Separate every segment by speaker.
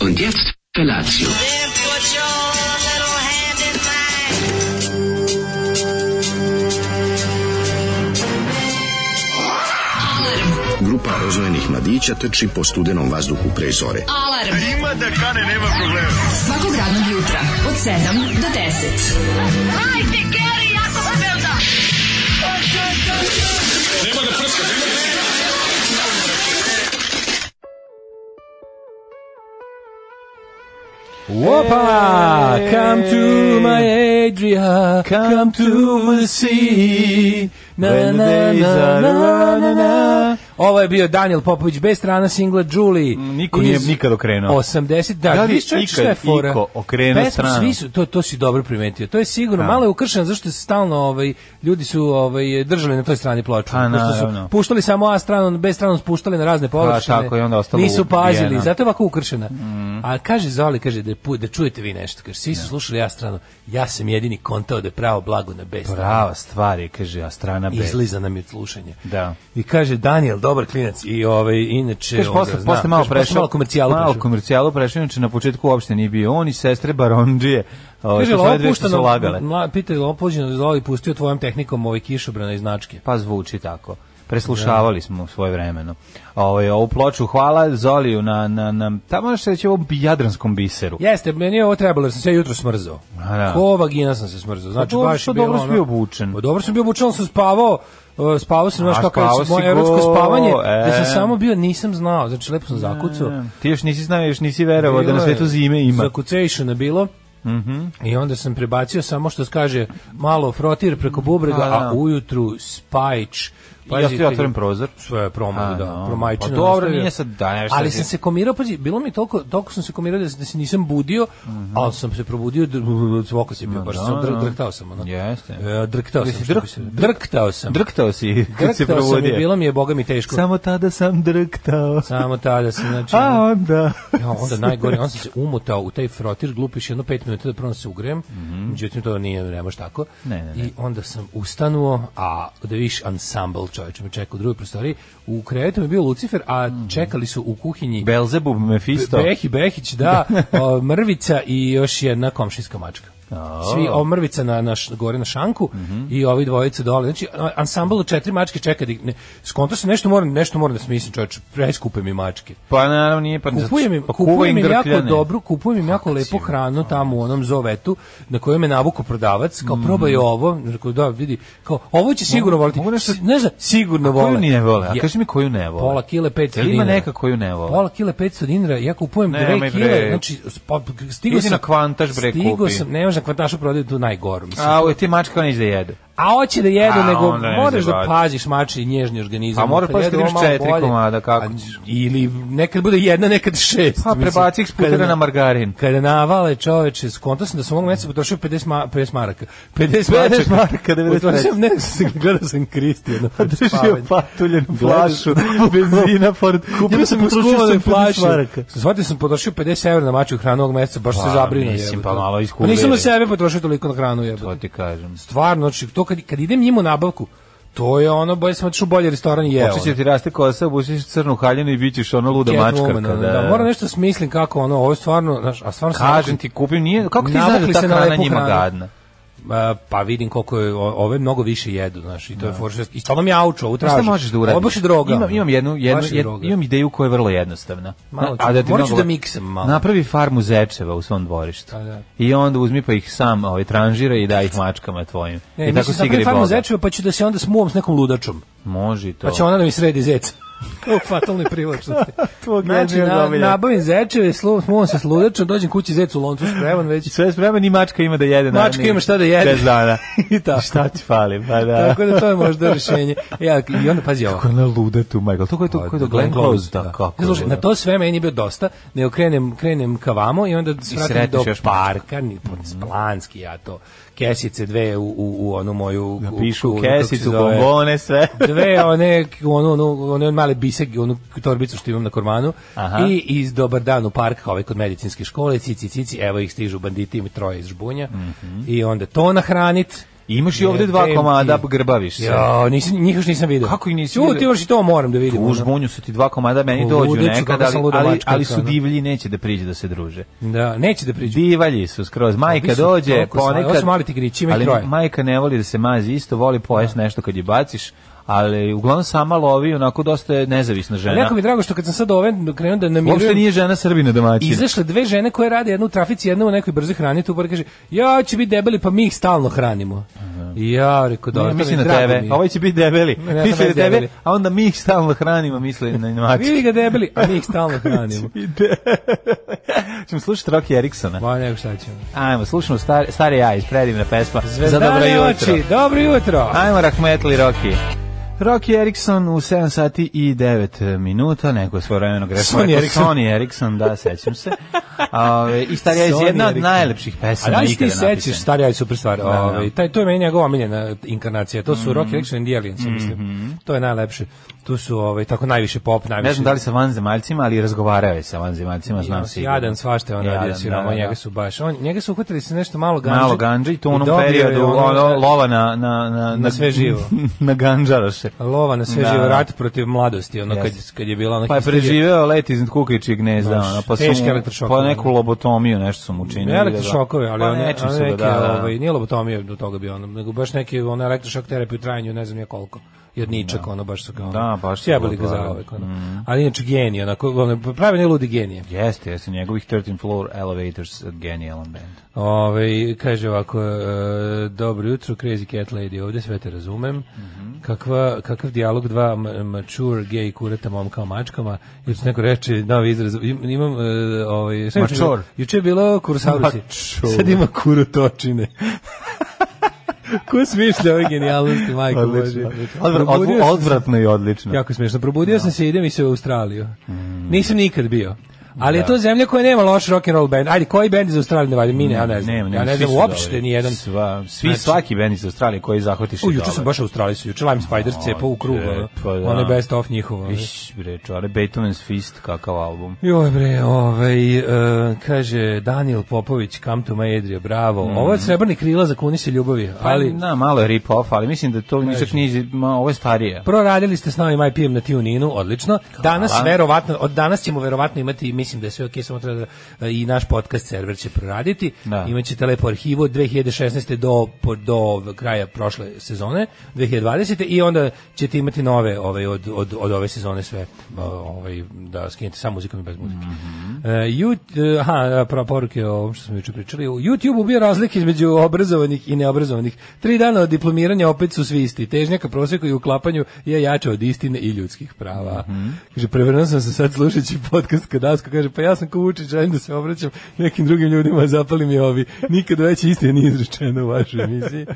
Speaker 1: Und jetzt Felatio.
Speaker 2: Then put your little hand in mine.
Speaker 3: Grupa rozvojenih mladića trči po studenom vazduhu pre zore.
Speaker 4: Alarm. Ima da kane, nema problema. Svakog radnog jutra, od 7 do 10.
Speaker 5: Opa! Come to my Adria, come to the sea. Na,
Speaker 6: When the
Speaker 5: na,
Speaker 6: days
Speaker 5: na,
Speaker 6: are
Speaker 5: na, na, na.
Speaker 6: running.
Speaker 5: Ovo je bio Daniel Popović bez strana singla Julie.
Speaker 6: Mm, niko nije nikad okrenuo.
Speaker 5: 80, da,
Speaker 6: Da li
Speaker 5: da
Speaker 6: je
Speaker 5: šta je
Speaker 6: ikad
Speaker 5: fora?
Speaker 6: iko okrenuo
Speaker 5: Pesmu
Speaker 6: stranu?
Speaker 5: Svi su, to, to si dobro primetio. To je sigurno,
Speaker 6: Da.
Speaker 5: malo je ukršeno zašto se stalno ovaj, ljudi su ovaj, držali na toj strani ploču.
Speaker 6: Pa,
Speaker 5: Pošto su
Speaker 6: naravno. Pa,
Speaker 5: puštali samo A stranu, B stranu spuštali na razne površine.
Speaker 6: tako, i onda ostalo
Speaker 5: Nisu pazili,
Speaker 6: ubijeno.
Speaker 5: zato je ovako ukršena.
Speaker 6: Mhm.
Speaker 5: A kaže Zoli, kaže da, je pu- da čujete vi nešto. Kaže, svi su slušali A stranu. Ja sam jedini kontao da je pravo blago na B stranu.
Speaker 6: Prava stvar je, kaže, a strana B.
Speaker 5: Izliza nam je od slušanja.
Speaker 6: Da.
Speaker 5: I kaže Daniel, dobar klinac i ovaj inače
Speaker 6: Kaže,
Speaker 5: onda,
Speaker 6: posle,
Speaker 5: zna.
Speaker 6: posle malo
Speaker 5: Kaže, posle
Speaker 6: prešao.
Speaker 5: malo komercijalu
Speaker 6: Malo
Speaker 5: prešao.
Speaker 6: komercijalu prešao, inače na početku uopšte nije bio. On i sestre Barondžije, ove,
Speaker 5: Kaže,
Speaker 6: što su
Speaker 5: ovo
Speaker 6: ove dve što su lagale.
Speaker 5: Mla, pita, ovo pođeno da ovo pustio tvojom tehnikom ovaj kišobrana iz značke.
Speaker 6: Pa zvuči tako. Preslušavali smo svoje vremeno. Ovaj, ovu ploču hvala Zoliju na, na, na tamo možeš reći ovom jadranskom biseru.
Speaker 5: Jeste, meni je ovo trebalo, jer sam se ja jutro smrzao.
Speaker 6: A, da. Pa
Speaker 5: Ko vagina sam se smrzao. Znači,
Speaker 6: dobro,
Speaker 5: baš je
Speaker 6: što
Speaker 5: bilo
Speaker 6: dobro si
Speaker 5: ono-
Speaker 6: bio obučen.
Speaker 5: Pa dobro sam bio obučen, ali sam spavao, e, spavao sam, znaš
Speaker 6: A,
Speaker 5: kako je
Speaker 6: spavao si
Speaker 5: moje erotsko
Speaker 6: go,
Speaker 5: spavanje,
Speaker 6: e.
Speaker 5: da sam samo bio, nisam znao, znači lepo sam zakucao.
Speaker 6: Da. Ti još nisi znao, još nisi verovao da na
Speaker 5: Bilo je-
Speaker 6: svetu zime ima. Mhm.
Speaker 5: Zakucejšana je bilo. I onda sam prebacio samo što kaže malo frotir preko bubrega,
Speaker 6: A,
Speaker 5: a,
Speaker 6: da. Pa
Speaker 5: ujutru spajč.
Speaker 6: ja ti otvorim prozor.
Speaker 5: Sve je promog,
Speaker 6: A,
Speaker 5: da,
Speaker 6: no.
Speaker 5: promajčino.
Speaker 6: Pa dobro,
Speaker 5: ostavio.
Speaker 6: nije sad- da, ne, šta
Speaker 5: Ali
Speaker 6: ti-
Speaker 5: sam se komirao, pazi, bilo mi toliko, toliko sam se komirao da, se- da se nisam budio,
Speaker 6: Mhm.
Speaker 5: ali sam se probudio, dr- svoko se bio, baš
Speaker 6: da,
Speaker 5: sam dr-
Speaker 6: da.
Speaker 5: drktao sam. Ono.
Speaker 6: Jeste.
Speaker 5: E, drktao
Speaker 6: Jesi
Speaker 5: sam. što bi
Speaker 6: drk-
Speaker 5: se- Drktao sam.
Speaker 6: Drktao si kad
Speaker 5: Drktao sam
Speaker 6: se
Speaker 5: i
Speaker 6: provodio.
Speaker 5: bilo mi je, boga mi, teško.
Speaker 6: Samo tada sam drktao.
Speaker 5: Samo tada sam, znači...
Speaker 6: A onda...
Speaker 5: Ja, onda najgore, on sam se umotao u taj frotir, glupiš jedno pet minuta da prvo se ugrem, međutim to nije, ne može tako.
Speaker 6: Mhm. Ne, ne, ne.
Speaker 5: I onda sam ustanuo, a da vidiš ansambl čovječ me čeka u drugoj prostoriji, u krevetu mi je bio Lucifer, a
Speaker 6: Mhm.
Speaker 5: čekali su u kuhinji
Speaker 6: Belzebub, Mefisto.
Speaker 5: Behi Behić, da, o, Mrvica i još jedna komšinska mačka. Svi, o, Mrvica na, na, š- gore na šanku
Speaker 6: Mhm.
Speaker 5: i ovi dvojice dole. Znači, a- ansambl od četiri mačke čeka da... ih- Ne, skonto se, nešto moram, nešto moram da smislim, čovječ, preskupe mi mačke.
Speaker 6: Pa naravno nije pa
Speaker 5: Kupujem im,
Speaker 6: pa kuva
Speaker 5: kupujem im jako
Speaker 6: grkljane.
Speaker 5: dobru, kupujem im jako lepu
Speaker 6: si,
Speaker 5: hranu tamo u onom zovetu na kojem me navuku prodavac, kao probaj ovo, rekao da vidi, kao ovo će sigurno voliti.
Speaker 6: Mm. mogu nešto-
Speaker 5: Si- Ne znam, sigurno vole.
Speaker 6: Koju ne vole? A
Speaker 5: Je-
Speaker 6: kaži mi koju ne vole.
Speaker 5: Pola kile 500
Speaker 6: Jel
Speaker 5: dinara.
Speaker 6: Ima neka koju ne vole.
Speaker 5: Pola kile 500 dinara, ja kupujem
Speaker 6: Nemoj,
Speaker 5: dve kile,
Speaker 6: bre.
Speaker 5: znači pa, stigo
Speaker 6: Idi
Speaker 5: sam...
Speaker 6: na kvantaž, bre,
Speaker 5: Stigo
Speaker 6: kupi.
Speaker 5: sam, ne može na kvantašu prodaju tu najgoru, mislim.
Speaker 6: A, ovo ti mačka neće da jedu.
Speaker 5: A hoće da jedu,
Speaker 6: A,
Speaker 5: nego
Speaker 6: onda ne
Speaker 5: moraš da
Speaker 6: zabavati.
Speaker 5: paziš mači i nježni organizam.
Speaker 6: A moraš
Speaker 5: Kad
Speaker 6: paziti
Speaker 5: jedu
Speaker 6: da
Speaker 5: ovo
Speaker 6: imaš
Speaker 5: malo
Speaker 6: četiri
Speaker 5: bolje.
Speaker 6: komada, kako
Speaker 5: A,
Speaker 6: ćeš?
Speaker 5: Ili nekad bude jedna, nekad šest.
Speaker 6: Pa
Speaker 5: mislim.
Speaker 6: prebaci ih s putera
Speaker 5: Kada-
Speaker 6: na margarin.
Speaker 5: Kada navale čoveče, skonto sam da sam ovog meseca potrošio 50, ma, 50 maraka. 50,
Speaker 6: 50
Speaker 5: mačaka.
Speaker 6: maraka, Pa, 93.
Speaker 5: Potrošio sam, ne, sam- gledao sam Kristijana. pred
Speaker 6: Držio
Speaker 5: spavanje.
Speaker 6: patuljenu flašu, benzina, pored
Speaker 5: Kupio da sam skuvane flaše.
Speaker 6: da maraka.
Speaker 5: Shvatio da sam potrošio 50 evra na mačju hranu ovog meseca, baš se
Speaker 6: Pa,
Speaker 5: zabrinuo.
Speaker 6: mislim,
Speaker 5: jebote.
Speaker 6: pa malo Pa iskuviri.
Speaker 5: Nisam na sebe potrošio toliko na hranu, jebote.
Speaker 6: To ti kažem.
Speaker 5: Stvarno, znači, to kad, kad idem njima u nabavku, to je ono, bolje sam otišao u bolji restoran i jeo.
Speaker 6: Oče će ti raste kosa, busiš crnu haljinu i bit ćeš ono luda
Speaker 5: Catwoman,
Speaker 6: mačka.
Speaker 5: ono, da, moram nešto smislim kako ono, ovo je stvarno, znaš, a stvarno sam-
Speaker 6: Kažem ti, kupim, nije, kako ti znaš
Speaker 5: Navukli
Speaker 6: da ta
Speaker 5: se na
Speaker 6: hrana
Speaker 5: lepu
Speaker 6: njima
Speaker 5: hranu.
Speaker 6: gadna?
Speaker 5: A, pa vidim koliko je, o- ove mnogo više jedu, znaš, i to je foršest. I stvarno mi je aučo, ovu tražim.
Speaker 6: Da. Šta možeš da uradiš?
Speaker 5: Ovo je baš droga.
Speaker 6: Imam, imam jednu, jednu,
Speaker 5: Baš je
Speaker 6: jed,
Speaker 5: droga.
Speaker 6: imam ideju koja je vrlo jednostavna.
Speaker 5: Malo
Speaker 6: Na-
Speaker 5: ću- morat ću
Speaker 6: mnogo-
Speaker 5: da miksam malo.
Speaker 6: Napravi farmu zečeva u svom dvorištu.
Speaker 5: A, da.
Speaker 6: I onda uzmi pa ih sam ovaj, tranžira i daj ih mačkama tvojim.
Speaker 5: Ne, E,
Speaker 6: I tako
Speaker 5: mislim, da
Speaker 6: si
Speaker 5: napravim
Speaker 6: igri
Speaker 5: farmu
Speaker 6: Boga.
Speaker 5: zečeva, pa ću da se onda smuvam s nekom ludačom.
Speaker 6: Može i to.
Speaker 5: Pa će ona da mi sredi zec. Kao u fatalnoj privlačnosti.
Speaker 6: Tvog
Speaker 5: znači,
Speaker 6: jednog
Speaker 5: na,
Speaker 6: omiljenog.
Speaker 5: nabavim zečeve, slum- smuvam se s ludačom, dođem kući zec u loncu spreman
Speaker 6: I
Speaker 5: već.
Speaker 6: sve je spreman i mačka ima da jede.
Speaker 5: Mačka
Speaker 6: naravno,
Speaker 5: ima šta da jede.
Speaker 6: 10 dana.
Speaker 5: I tako.
Speaker 6: Šta ti fali? Pa da.
Speaker 5: Tako da to je možda rješenje. Ja, I onda pazi ovo. Pa,
Speaker 6: Kako je ona luda tu, Michael. To ko je to, ko je to Glenn Close. Pa Da, kako je
Speaker 5: Slušaj,
Speaker 6: luda.
Speaker 5: na to sve meni je bio dosta, ne okrenem, krenem ka vamo i onda svratim
Speaker 6: sretneš
Speaker 5: do
Speaker 6: još Mhm.
Speaker 5: parka, ni pod planski ja to, kesice dve u, u, u onu moju... u-
Speaker 6: Pišu
Speaker 5: u-
Speaker 6: u
Speaker 5: kako se
Speaker 6: kesicu,
Speaker 5: zove,
Speaker 6: bombone, sve.
Speaker 5: Dve one, onu, onu, one male bisek, onu torbicu što imam na kormanu
Speaker 6: Aha.
Speaker 5: i iz Dobar dan u park, kao ovaj kod
Speaker 6: Mhm.
Speaker 5: medicinske škole, cici, cici, evo ih stižu banditi, im troje iz žbunja i onda to nahranit,
Speaker 6: I imaš i ovde dva
Speaker 5: Jebem
Speaker 6: komada pa
Speaker 5: ti.
Speaker 6: grbaviš se.
Speaker 5: Jo, nisi, njih još nisam vidio.
Speaker 6: Kako ih nisi
Speaker 5: vidio?
Speaker 6: vidio?
Speaker 5: Ti još i to moram da vidim. ono.
Speaker 6: Tužbunju su ti dva komada, meni
Speaker 5: Ludeću,
Speaker 6: dođu nekad,
Speaker 5: kako sam
Speaker 6: ali,
Speaker 5: luda
Speaker 6: ali,
Speaker 5: mačka,
Speaker 6: ali su
Speaker 5: ono.
Speaker 6: divlji, neće da priđe da se druže.
Speaker 5: Da, neće da priđu.
Speaker 6: Divalji su skroz. Majka
Speaker 5: Ovi su
Speaker 6: dođe,
Speaker 5: toliko slabi. Ovo
Speaker 6: ponekad...
Speaker 5: su mali tigrići, ima ih
Speaker 6: ali
Speaker 5: troje. Da.
Speaker 6: majka ne voli da se mazi isto, voli pojest nešto kad je baciš, ali uglavnom sama lovi, onako dosta je nezavisna
Speaker 5: Ali
Speaker 6: žena.
Speaker 5: jako mi je drago što kad sam sad ove krenuo da
Speaker 6: Uopšte
Speaker 5: namirujem
Speaker 6: nije žena Srbina domaćina.
Speaker 5: izašle dve žene koje rade jednu u trafici, jedna u nekoj brzoj hrani, tu bar kaže, ja ću biti debeli, pa mi ih stalno hranimo. I ja rekao, dobro,
Speaker 6: Ne,
Speaker 5: to
Speaker 6: misli
Speaker 5: mi je
Speaker 6: na
Speaker 5: drago
Speaker 6: tebe.
Speaker 5: mi je.
Speaker 6: Ovaj će biti debeli.
Speaker 5: Ne, ja sam
Speaker 6: Misli na
Speaker 5: već
Speaker 6: tebe,
Speaker 5: debeli.
Speaker 6: a onda mi ih stalno hranimo, misli na
Speaker 5: "Pa Vidi
Speaker 6: mačke.
Speaker 5: ga debeli, a mi ih stalno hranimo.
Speaker 6: Ćemo slušati Rocky Eriksona.
Speaker 5: Ma nego šta ćemo.
Speaker 6: Ajmo, slušamo stare, stare ja iz predivna pesma. Za dobro
Speaker 5: Zvezdane
Speaker 6: jutro.
Speaker 5: oči, dobro jutro.
Speaker 6: Ajmo Rahmetli Rocky. Rocky Eriksson u 7 sati i 9 minuta, neko je svoje vremeno grešno.
Speaker 5: Sony
Speaker 6: rekao,
Speaker 5: Eriksson.
Speaker 6: Sony Eriksson, da, sećam se. A, ove, I starija je
Speaker 5: Sony
Speaker 6: jedna od
Speaker 5: Eriksson.
Speaker 6: najlepših
Speaker 5: A
Speaker 6: pesama
Speaker 5: da li se ti
Speaker 6: ikada
Speaker 5: sećaš,
Speaker 6: napisana.
Speaker 5: starija je super stvar.
Speaker 6: da. Mhm.
Speaker 5: Ovaj, taj, to je meni njegova omiljena inkarnacija. To su Rocky Erickson and the Aliens, ja mislim. To je najlepše. Tu su ovaj, tako najviše pop, najviše...
Speaker 6: Ne znam da li sa vanzemaljcima, ali razgovarao je sa vanzemaljcima, znam
Speaker 5: Jadan,
Speaker 6: sigurno.
Speaker 5: Jadan svašta je on radio
Speaker 6: Jadan,
Speaker 5: siroma,
Speaker 6: da, da, da.
Speaker 5: njega su baš. On, njega su uhvatili se nešto malo ganđe.
Speaker 6: Malo ganđe i to u onom
Speaker 5: dobio je
Speaker 6: periodu
Speaker 5: ono-
Speaker 6: ono, lova na, na, na,
Speaker 5: Na sve živo.
Speaker 6: na ganđaroše.
Speaker 5: Lova na sve
Speaker 6: Da.
Speaker 5: živo rat protiv mladosti, ono kad,
Speaker 6: Jeste.
Speaker 5: kad je bila ona
Speaker 6: Pa je
Speaker 5: histerija.
Speaker 6: preživeo let iz kukavičijeg gnezda,
Speaker 5: Znaš,
Speaker 6: ono, pa su
Speaker 5: teški
Speaker 6: mu,
Speaker 5: elektrošokove.
Speaker 6: pa neku lobotomiju nešto su mu
Speaker 5: Ne
Speaker 6: učinili.
Speaker 5: elektrošokove, ali
Speaker 6: Pa
Speaker 5: one,
Speaker 6: nečim
Speaker 5: one
Speaker 6: su ga,
Speaker 5: neke,
Speaker 6: da, da.
Speaker 5: ovaj, nije lobotomija do toga bio ono, nego baš neki ona elektrošok terapiju u trajanju, ne znam ja koliko. Jedničak, ono baš su ga ono.
Speaker 6: Da, Mhm. baš su
Speaker 5: sjebali
Speaker 6: ga
Speaker 5: ga
Speaker 6: odvarali.
Speaker 5: zaovek, ono. Ali inače genije, onako, ono, pravi ne ludi genije.
Speaker 6: Jeste, jeste, njegovih 13 Floor Elevators genijalan band.
Speaker 5: Ove, Ovaj, kaže ovako, e, dobro jutro, Crazy Cat Lady, ovde sve te razumem. Kakva, kakav dijalog dva ma- mature gay kurata momka o mačkama, jer su neko reče, novi izraz, im- imam, e, ovaj, šta je juče
Speaker 6: Mačor.
Speaker 5: bilo? Juče je bilo kurosaurusi.
Speaker 6: Mačor.
Speaker 5: Sad ima kurotočine. Ko smišlja ove genijalnosti, majko Bože?
Speaker 6: Odvr-
Speaker 5: Probudio sam
Speaker 6: odv-
Speaker 5: se-
Speaker 6: odvratno i odlično.
Speaker 5: Jako smiješno. Probudio
Speaker 6: Da.
Speaker 5: sam se i idem i se u Australiju.
Speaker 6: Mm.
Speaker 5: Nisam nikad bio. Ali
Speaker 6: Da.
Speaker 5: je to zemlja koja nema loš rock and roll band. Ajde, koji band iz Australije ne valja? Mi ne, ja ne znam.
Speaker 6: Nema, nema,
Speaker 5: ja ne
Speaker 6: svi
Speaker 5: znam
Speaker 6: su
Speaker 5: uopšte
Speaker 6: dobri.
Speaker 5: ni jedan.
Speaker 6: Sva, svi,
Speaker 5: Znači-
Speaker 6: svaki band iz Australije koji zahvatiš
Speaker 5: U,
Speaker 6: je
Speaker 5: juče sam
Speaker 6: dobar.
Speaker 5: baš u Australiji su. Juče Lime Spider cepa u krug.
Speaker 6: bre,
Speaker 5: ono.
Speaker 6: pa da.
Speaker 5: Ono je best of njihovo. ono.
Speaker 6: Iš, bre, čare, Beethoven's Fist, kakav album.
Speaker 5: Joj bre, ovaj, e, kaže Daniel Popović, Come to my Adria, bravo.
Speaker 6: Mhm.
Speaker 5: Ovo je srebrni krila za kuni se ljubavi, Pa ali
Speaker 6: na, malo je rip-off, ali mislim da to ničak nije, ma, ovo je
Speaker 5: Pa-
Speaker 6: starije.
Speaker 5: Da. proradili ste s novim IPM na Tuninu, odlično. Danas verovatno, od danas ćemo verovatno imati, mislim da je sve okej, samo treba da e, i naš podcast server će proraditi.
Speaker 6: Da.
Speaker 5: Imaćete lepo arhivu od 2016. do po- do kraja prošle sezone, 2020. i onda ćete imati nove ovaj od od od ove sezone sve o, ovaj da skinete sa muzikom i bez muzike. E, Jut- e, aha, pro poruke o ovom što smo juče pričali. U YouTubeu bio razlike između obrazovanih i neobrazovanih. Tri dana od diplomiranja opet su svi isti. Težnja ka proseku i uklapanju je jača od istine i ljudskih prava. Kaže, prevrnuo sam se sad slušajući podcast Kadasko. Kaže, pa ja sam ko Vučić, želim da se obraćam nekim drugim ljudima, zapali mi ovi. Nikad veće istine nije izrečeno u vašoj emisiji.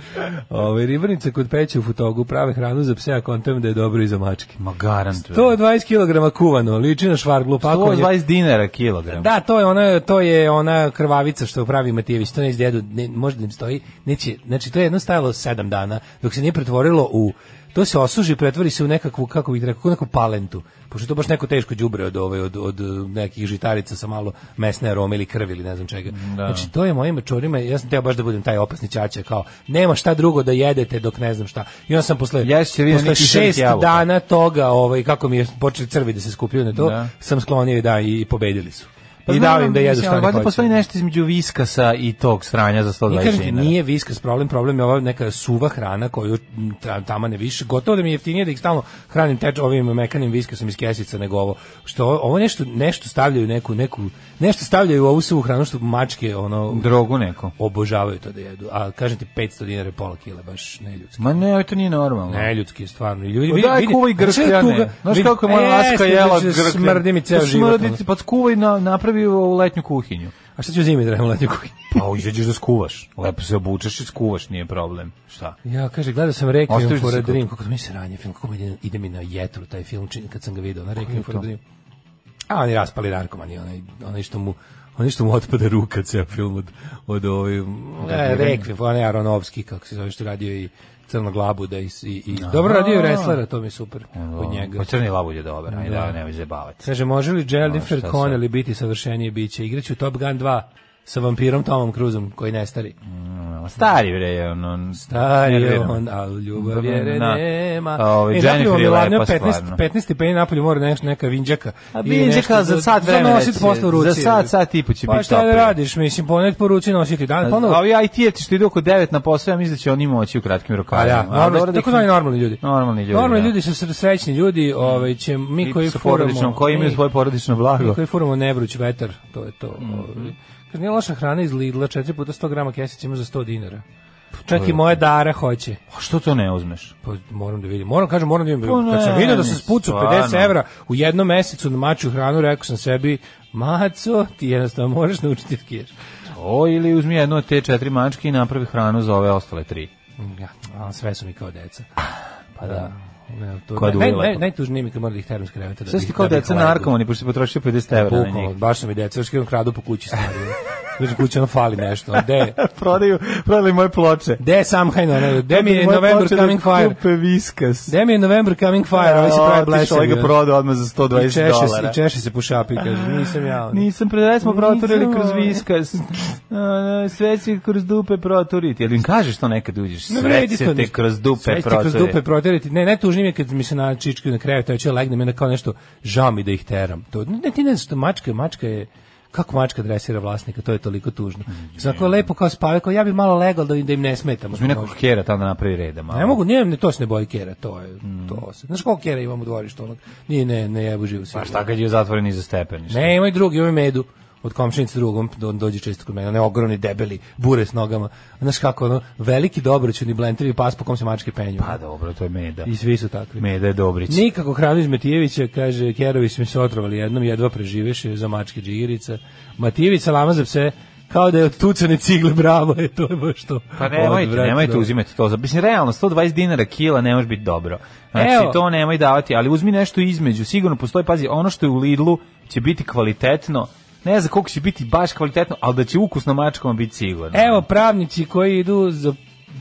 Speaker 5: Ove, ribarnice kod peće u futogu prave hranu za pse, a kontam da je dobro i za mačke.
Speaker 6: Ma, garant. bre.
Speaker 5: 120 kg kuvano, liči na švarglu pakovanje.
Speaker 6: 120 dinara kilogram.
Speaker 5: Da, to je ona to je ona krvavica što pravi Matijević, to neće dedu, ne, možda im stoji, neće, znači to je jedno stajalo 7 dana dok se nije pretvorilo u to se osuži, pretvori se u nekakvu kako bih rekao, u neku palentu. Pošto je to baš neko teško đubre od ove od, od e, nekih žitarica sa malo mesne arome ili krvi ili ne znam čega.
Speaker 6: Da.
Speaker 5: Znači to je mojim mačorima, ja sam teo baš da budem taj opasni ćaća kao nema šta drugo da jedete dok ne znam šta. I onda sam posle
Speaker 6: Ješće vi
Speaker 5: posle
Speaker 6: neki žrtvi
Speaker 5: šest
Speaker 6: jabuka.
Speaker 5: dana toga, ovaj kako mi je počeli crvi da se skupljaju na to,
Speaker 6: Da.
Speaker 5: sam sklonio i da i pobedili su.
Speaker 6: Pa
Speaker 5: I
Speaker 6: znam,
Speaker 5: dao im da jedu
Speaker 6: mislim, ali
Speaker 5: strane
Speaker 6: Valjda
Speaker 5: hoće.
Speaker 6: postoji nešto između viskasa i tog sranja za
Speaker 5: I
Speaker 6: 120
Speaker 5: kažem ti,
Speaker 6: dinara.
Speaker 5: nije viskas problem, problem je ova neka suva hrana koju ta, tama ne više. Gotovo da mi je jeftinije da ih stalno hranim teč ovim mekanim viskasom iz kesica nego ovo. Što ovo, ovo nešto, nešto stavljaju neku, neku, nešto stavljaju u ovu suvu hranu što mačke ono,
Speaker 6: Drogu neku.
Speaker 5: obožavaju to da jedu. A kažem ti 500 dinara je pola kile, baš neljudski.
Speaker 6: Ma ne, ovo to nije normalno.
Speaker 5: Ne, ljudski je stvarno. I Ljudi,
Speaker 6: Pa daj kuvaj grkljane. Znaš kako je
Speaker 5: E,
Speaker 6: moja laska jela grkljane?
Speaker 5: da Smrdi mi ceo
Speaker 6: Pa
Speaker 5: život.
Speaker 6: Smrdi, ti, pa skuvaj na, napravi u letnju kuhinju.
Speaker 5: ono. A šta ću zimi da radim u letnjoj kuhinji?
Speaker 6: Pa izađeš da skuvaš. Lepo se obučeš i skuvaš, nije problem. Šta?
Speaker 5: Ja, kaže, gledao sam Requiem
Speaker 6: Ostaviš
Speaker 5: for
Speaker 6: se
Speaker 5: a
Speaker 6: kod-
Speaker 5: Dream, kako to mi se ranje film, kako mi ide, ide mi na jetru taj film, čini kad sam ga video, na Requiem for a Dream. A oni raspali narkomani, onaj, onaj što mu onaj što mu otpada ruka ceo film od, od ovih... E, Requiem, onaj Aronovski, kako se zove, što je radio i Crnoglabu, da i, i, i dobro radio i Wrestlera, to mi je super od njega.
Speaker 6: Pa crni labulj je dobar, ajde,
Speaker 5: Da.
Speaker 6: da. nemoj zabavati.
Speaker 5: Kaže, može li
Speaker 6: Može,
Speaker 5: Jennifer
Speaker 6: šta sad?
Speaker 5: Connelly
Speaker 6: Mm.
Speaker 5: biti savršenije biće? Igraću Top Gun 2 sa vampirom Tomom Cruzom, koji nestari.
Speaker 6: tamo. Stari bre, ono...
Speaker 5: Stari je
Speaker 6: nervirano.
Speaker 5: on, ali ljubav je
Speaker 6: Na.
Speaker 5: nema.
Speaker 6: Ovo,
Speaker 5: E,
Speaker 6: Jennifer
Speaker 5: napolju vam
Speaker 6: je
Speaker 5: ladno,
Speaker 6: lepa
Speaker 5: 15,
Speaker 6: stvarno.
Speaker 5: 15 stepeni napolju mora neš, neka vinđaka.
Speaker 6: A
Speaker 5: i
Speaker 6: vinđaka
Speaker 5: nešto
Speaker 6: za
Speaker 5: da-
Speaker 6: sat vremena
Speaker 5: Za nosit
Speaker 6: će-
Speaker 5: posle u ruci.
Speaker 6: za sat, sat i po će
Speaker 5: Pa
Speaker 6: biti
Speaker 5: šta da
Speaker 6: toplije.
Speaker 5: radiš, mislim, ponet po ruci nositi dan, ponovo.
Speaker 6: A ovi IT-evci što idu oko 9 na posao, ja mislim da će oni moći u kratkim
Speaker 5: Pa
Speaker 6: rukavima.
Speaker 5: da, normalni, tako zvani normalni ljudi.
Speaker 6: Normalni ljudi,
Speaker 5: Normalni
Speaker 6: da.
Speaker 5: ljudi su sre- srećni ljudi, ovaj će mi koji
Speaker 6: porodičnom,
Speaker 5: furamo,
Speaker 6: koji imaju
Speaker 5: mi-
Speaker 6: svoje porodično
Speaker 5: mi
Speaker 6: blago.
Speaker 5: koji furamo ne vruć vetar, to je to.
Speaker 6: Mhm.
Speaker 5: ovaj. Kad nije loša hrana iz Lidla, 4 puta 100 grama kesica ima za 100 dinara.
Speaker 6: Pa
Speaker 5: Čak i moje dara hoće.
Speaker 6: A što to ne uzmeš?
Speaker 5: Pa moram da vidim. Moram kažem, moram da vidim.
Speaker 6: Pa
Speaker 5: Kad sam
Speaker 6: ne,
Speaker 5: video da se
Speaker 6: mislim,
Speaker 5: spucu
Speaker 6: stvarno.
Speaker 5: 50 evra u jednom mesecu na maču hranu, rekao sam sebi, maco, ti jednostavno možeš naučiti da skijaš.
Speaker 6: O, ili uzmi jednu od te četiri mačke i napravi hranu za ove ostale tri.
Speaker 5: Ja, a, sve su mi kao deca.
Speaker 6: Pa da.
Speaker 5: Ne, to,
Speaker 6: Koja
Speaker 5: naj,
Speaker 6: duva
Speaker 5: naj,
Speaker 6: lepa.
Speaker 5: naj, najtužnije mi kad moram da ih teram s kreveta. da
Speaker 6: da Sve
Speaker 5: bi-
Speaker 6: ste kao
Speaker 5: da bi
Speaker 6: deca
Speaker 5: ih hladili.
Speaker 6: narkomani, pošto si potrošio 50 evra na
Speaker 5: Bukvalno,
Speaker 6: njih.
Speaker 5: baš sam i deca, još kad imam kradu po kući stvari. Znači kući ono fali nešto. a Gde
Speaker 6: Prodaju, prodali moje ploče.
Speaker 5: Gde je Samhain? ono, Gde mi je November Coming Fire?
Speaker 6: Kupe viskas.
Speaker 5: Gde mi je November Coming Fire? Ovo se pravi blesavi.
Speaker 6: Ovo ga
Speaker 5: ono.
Speaker 6: prodao odmah za
Speaker 5: I
Speaker 6: 120
Speaker 5: češe, se,
Speaker 6: dolara.
Speaker 5: I češe se po šapi, kaže, nisam ja. ono.
Speaker 6: Nisam pre smo proturili
Speaker 5: Nisam,
Speaker 6: kroz
Speaker 5: ovaj.
Speaker 6: viskas. A, Sve će kroz dupe proturiti. Jel im kažeš to nekad uđeš?
Speaker 5: Ne
Speaker 6: Sve
Speaker 5: vredi to
Speaker 6: će te
Speaker 5: ništa.
Speaker 6: kroz
Speaker 5: Sve
Speaker 6: dupe
Speaker 5: će te kroz dupe
Speaker 6: proturiti.
Speaker 5: proterati. Ne, najtužnije mi je kad mi se načičkaju na krevet, ja ću ja legnem, i onda kao nešto, žao mi da ih teram. To, ne, ti ne znaš, što mačka, mačka je, kako mačka dresira vlasnika, to je toliko tužno. Zako lepo kao spave, kao ja bi malo legal da im, da im ne smetam. ako
Speaker 6: Mi nekog
Speaker 5: može.
Speaker 6: kjera tamo da napravi reda malo.
Speaker 5: Ne mogu, nije, ne, to se ne boji kera, to je, to se. Znaš koliko kera imam u dvorištu onog? Nije, ne, ne jebu živu
Speaker 6: Pa
Speaker 5: silu.
Speaker 6: šta kad je zatvoren iza stepeništa?
Speaker 5: Ne, ima i drugi, ima i medu. Od komšinice drugom do, dođe često kod mene, one ogromni, debeli, bure s nogama. Znaš kako, ono, veliki dobroćuni blentevi pas po kom se mačke penju.
Speaker 6: Pa dobro, to je meda.
Speaker 5: I svi su takvi.
Speaker 6: Meda je Dobrić.
Speaker 5: Nikako hranu iz Matijevića, kaže, Kerovi su mi se otrovali jednom, jedva preživeše za mačke džigirica. Matijević salama za pse, kao da je od tucane cigle, bravo, je to je baš to.
Speaker 6: Pa nemojte,
Speaker 5: Odvratno.
Speaker 6: nemojte uzimati to. za- Mislim, realno, 120 dinara kila ne može biti dobro. Znači,
Speaker 5: Evo.
Speaker 6: to nemoj davati, ali uzmi nešto između. Sigurno postoji, pazi, ono što je u Lidlu će biti kvalitetno. Ne znam koliko će biti baš kvalitetno, ali da će ukusno mačkama biti sigurno.
Speaker 5: Evo pravnici koji idu za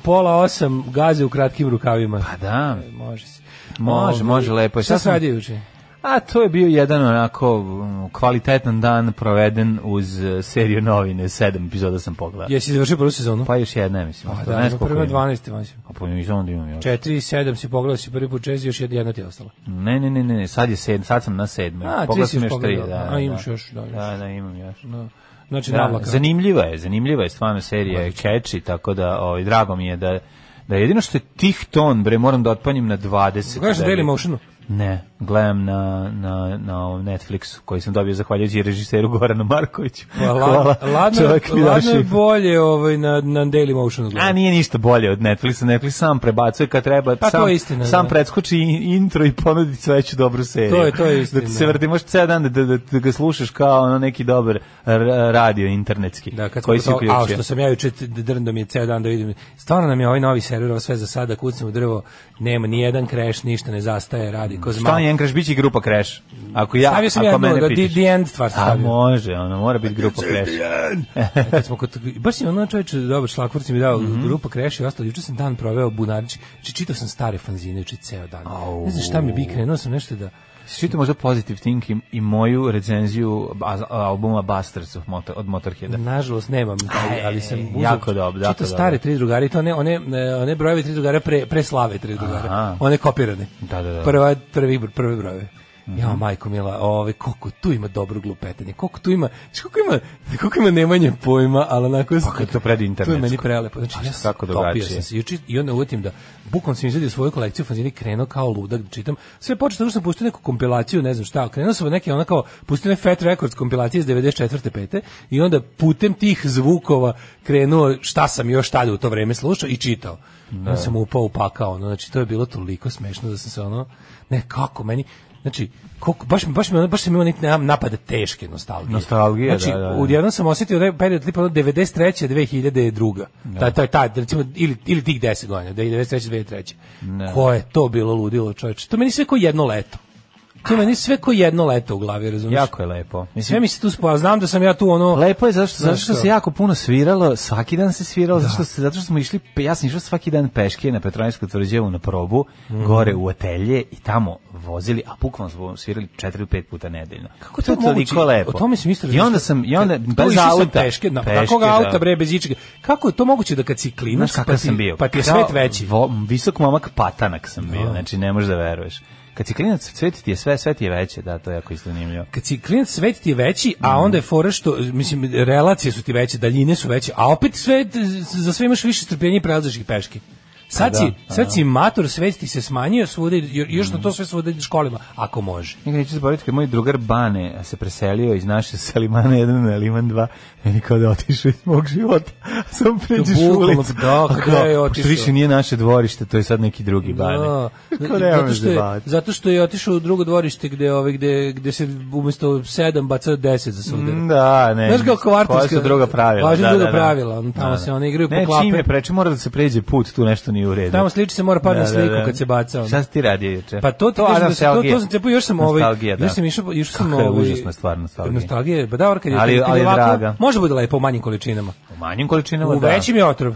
Speaker 5: pola osam gaze u kratkim rukavima.
Speaker 6: Pa da.
Speaker 5: Može se.
Speaker 6: Može, može, lepo je.
Speaker 5: Šta
Speaker 6: Sad
Speaker 5: se
Speaker 6: sam-
Speaker 5: radi juče?
Speaker 6: A to je bio jedan onako mm, kvalitetan dan proveden uz eh, seriju novine. Sedam epizoda sam pogledao.
Speaker 5: Jesi završio prvu sezonu?
Speaker 6: Pa još jedna, mislim.
Speaker 5: Pa
Speaker 6: to
Speaker 5: da,
Speaker 6: ne
Speaker 5: ima
Speaker 6: znam koliko
Speaker 5: prva
Speaker 6: ima.
Speaker 5: 12. mislim.
Speaker 6: A pa nisam onda imam još.
Speaker 5: 4 i 7 si pogledao si prvi put čez, još jedna ti je ostala.
Speaker 6: Ne, ne, ne, ne, sad je sedam, sad sam na sedmoj.
Speaker 5: A,
Speaker 6: Da, Pogledao
Speaker 5: ti si
Speaker 6: sam
Speaker 5: još
Speaker 6: još tri,
Speaker 5: pogledao.
Speaker 6: da,
Speaker 5: A,
Speaker 6: da.
Speaker 5: imaš još, da, još.
Speaker 6: Da, da, imam još.
Speaker 5: Da. Znači, da,
Speaker 6: Da,
Speaker 5: navlaka.
Speaker 6: zanimljiva je, zanimljiva je stvarno serija je catchy, tako da ovaj, drago mi je da da jedino što je tih ton, bre, moram da otpanjem na 20.
Speaker 5: Gledaš na
Speaker 6: da bi-
Speaker 5: Dailymotionu?
Speaker 6: Ne, gledam na, na, na ovom Netflixu koji sam dobio zahvaljujući režiseru Goranu Markoviću.
Speaker 5: Pa, la-
Speaker 6: Hvala,
Speaker 5: ladno,
Speaker 6: čovjek mi
Speaker 5: ladno
Speaker 6: daše-
Speaker 5: je bolje ovaj, na, na Daily Motionu.
Speaker 6: A nije ništa bolje od Netflixa, Netflix sam prebacuje kad treba,
Speaker 5: Da. Pa, to
Speaker 6: sam,
Speaker 5: je istina,
Speaker 6: sam
Speaker 5: da.
Speaker 6: preskoči in- intro i ponudi sve veću dobru seriju.
Speaker 5: To je- to je istina.
Speaker 6: Da ti se vrti, možeš ceo dan da, da, da, da ga slušaš kao ono neki dobar r- radio internetski
Speaker 5: Da, kad koji
Speaker 6: koji si
Speaker 5: A
Speaker 6: uključio.
Speaker 5: što sam ja juče t- drndo mi je ceo dan da vidim. Stvarno nam je ovaj novi server ovo sve za sada kucam u drvo. Nema ni jedan crash, ništa ne zastaje, radi ko
Speaker 6: Šta
Speaker 5: zma.
Speaker 6: je Enkraš, bit će grupa Crash. Ako ja,
Speaker 5: Stavio sam
Speaker 6: ako
Speaker 5: ja
Speaker 6: mene
Speaker 5: jednu, da,
Speaker 6: pitaš.
Speaker 5: the, the end stvar sam
Speaker 6: A
Speaker 5: stavio.
Speaker 6: može, ono, mora biti grupa Crash.
Speaker 5: E, kad smo kod, baš je ono čovječe dobar šlakvor si mi dao
Speaker 6: Mhm.
Speaker 5: grupa Crash i ostalo. Juče sam dan proveo bunarići. Znači, čitao sam stare fanzine juče ceo dan. Ne znam šta mi bi krenuo sam nešto da...
Speaker 6: Čito možda Positive Think i, i moju recenziju baz- albuma Bastards of Motor, od Motorheada.
Speaker 5: da, Nažalost nemam, ali, ali sam uzeo,
Speaker 6: jako dobro, jako
Speaker 5: čitao
Speaker 6: dobro.
Speaker 5: stare tri drugari, i to one, one, e, one brojeve tri drugara pre, pre slave tri drugara,
Speaker 6: Aha.
Speaker 5: one kopirane.
Speaker 6: Da, da, Mhm. da.
Speaker 5: Prva, prvi, br- prve brojeve. Ja, majko mila, ove, koliko tu ima dobro glupetanje, koliko tu ima, znaš, koliko ima, koliko ima nemanje pojma, ali onako...
Speaker 6: Pa kad to pred
Speaker 5: To je meni
Speaker 6: internetsko.
Speaker 5: prelepo. Znači, ja sam
Speaker 6: kako
Speaker 5: topio
Speaker 6: drugačije?
Speaker 5: sam se juče i onda uvetim da bukom sam izvedio svoju kolekciju fanzina i krenuo kao ludak da čitam. Sve počeo da sam pustio neku kompilaciju, ne znam šta, krenuo sam od neke ona kao pustio ne Fat Records kompilacije iz 94. pete i onda putem tih zvukova krenuo šta sam još tada u to vreme slušao i čitao. Onda sam upao u pakao, ono, znači to je bilo toliko smešno da sam se ono, ne kako meni, Znači, koliko, baš, baš, me, ono- baš sam imao neki napade teške nostalgije.
Speaker 6: Nostalgije,
Speaker 5: znači,
Speaker 6: da, da, da.
Speaker 5: u odjednom sam osetio onaj period tipa ono 93. 2002.
Speaker 6: Da.
Speaker 5: Taj taj taj recimo ili ili tih 10 godina, 1993. 2003. Ko je to bilo ludilo, čoveče? To meni sve kao jedno leto. To meni sve ko jedno leto u glavi, razumiješ?
Speaker 6: Jako je lepo.
Speaker 5: Sve
Speaker 6: Mislim,
Speaker 5: mi se tu spa, znam da sam ja tu ono...
Speaker 6: lepo je zato što, zato
Speaker 5: Znaš Da.
Speaker 6: što
Speaker 5: šta?
Speaker 6: se jako puno sviralo, svaki dan se sviralo, zato, što se, zato što smo išli, pe- ja sam išao svaki dan peške na Petrovinsku tvrđevu na probu,
Speaker 5: Mhm.
Speaker 6: gore u atelje i tamo vozili, a bukvalno smo svirali 4 ili 5 puta nedeljno.
Speaker 5: Kako
Speaker 6: to je toliko lepo.
Speaker 5: O tome sam isto
Speaker 6: I onda
Speaker 5: razmišljao.
Speaker 6: sam, i onda,
Speaker 5: Kad- tu
Speaker 6: bez
Speaker 5: išao sam
Speaker 6: auta.
Speaker 5: Peške, na,
Speaker 6: Peške,
Speaker 5: takvog
Speaker 6: da.
Speaker 5: auta, bre, bez ičega. Kako je to moguće da kad si klinac,
Speaker 6: Znaš
Speaker 5: pa
Speaker 6: kakav
Speaker 5: ti,
Speaker 6: sam bio?
Speaker 5: pa ti je
Speaker 6: Kao
Speaker 5: svet veći?
Speaker 6: vo- visok momak patanak sam bio,
Speaker 5: Da.
Speaker 6: znači ne možeš da veruješ. Kad si klinac, svet ti je sve, sve ti je veće, da, to je jako isto zanimljivo.
Speaker 5: kad si klinac svet ti je veći,
Speaker 6: Mhm.
Speaker 5: a onda je fora što, mislim, relacije su ti veće, daljine su veće, a opet sve, za sve imaš više strpljenja i prelaziš ih peške. Sad,
Speaker 6: Pa
Speaker 5: si,
Speaker 6: da, Mhm. pa
Speaker 5: sad si mator, svet ti se smanjio svuda, i jo- još na to sve svuda ideš školima, ako može.
Speaker 6: Nikad neću zaboraviti kad moj drugar Bane se preselio iz naše sa Limana 1 na Liman 2, meni kao da otišao iz mog života. Sam pređeš
Speaker 5: Bukvalno,
Speaker 6: ulicu.
Speaker 5: da,
Speaker 6: a kao,
Speaker 5: gde je
Speaker 6: pošto
Speaker 5: otišao?
Speaker 6: više nije naše dvorište, to je sad neki drugi Bane.
Speaker 5: Da.
Speaker 6: Kao Pa ne
Speaker 5: zato,
Speaker 6: možeš
Speaker 5: što je,
Speaker 6: zabavati.
Speaker 5: zato što je otišao u drugo dvorište gde, ove, gde, gde se umjesto sedam baca deset za sudar.
Speaker 6: Da, ne.
Speaker 5: Znaš kako kvartovska-
Speaker 6: Koja su druga pravila.
Speaker 5: Važe
Speaker 6: da,
Speaker 5: druga
Speaker 6: da, da.
Speaker 5: pravila, on tamo se oni igraju po
Speaker 6: ne,
Speaker 5: klape.
Speaker 6: čim je preče, mora da se pređe put, tu nešto nije u redu.
Speaker 5: Tamo sliči se mora padne
Speaker 6: Da,
Speaker 5: na
Speaker 6: da,
Speaker 5: sliku
Speaker 6: da.
Speaker 5: kad se baca. ono.
Speaker 6: Šta si ti radio juče?
Speaker 5: Pa to ti kažem da se, to,
Speaker 6: Dakle, nostalgija.
Speaker 5: to sam cepao, još sam ovaj,
Speaker 6: Nostalgija, da.
Speaker 5: još sam išao, išao sam
Speaker 6: Kakva je
Speaker 5: ovaj...
Speaker 6: užasna stvar nostalgija.
Speaker 5: Nostalgija, pa da, kad je,
Speaker 6: Ali-
Speaker 5: kad je
Speaker 6: ali je
Speaker 5: ovako,
Speaker 6: draga.
Speaker 5: može bude lepo u manjim količinama.
Speaker 6: U manjim količinama,
Speaker 5: U
Speaker 6: da.
Speaker 5: većim je otrov.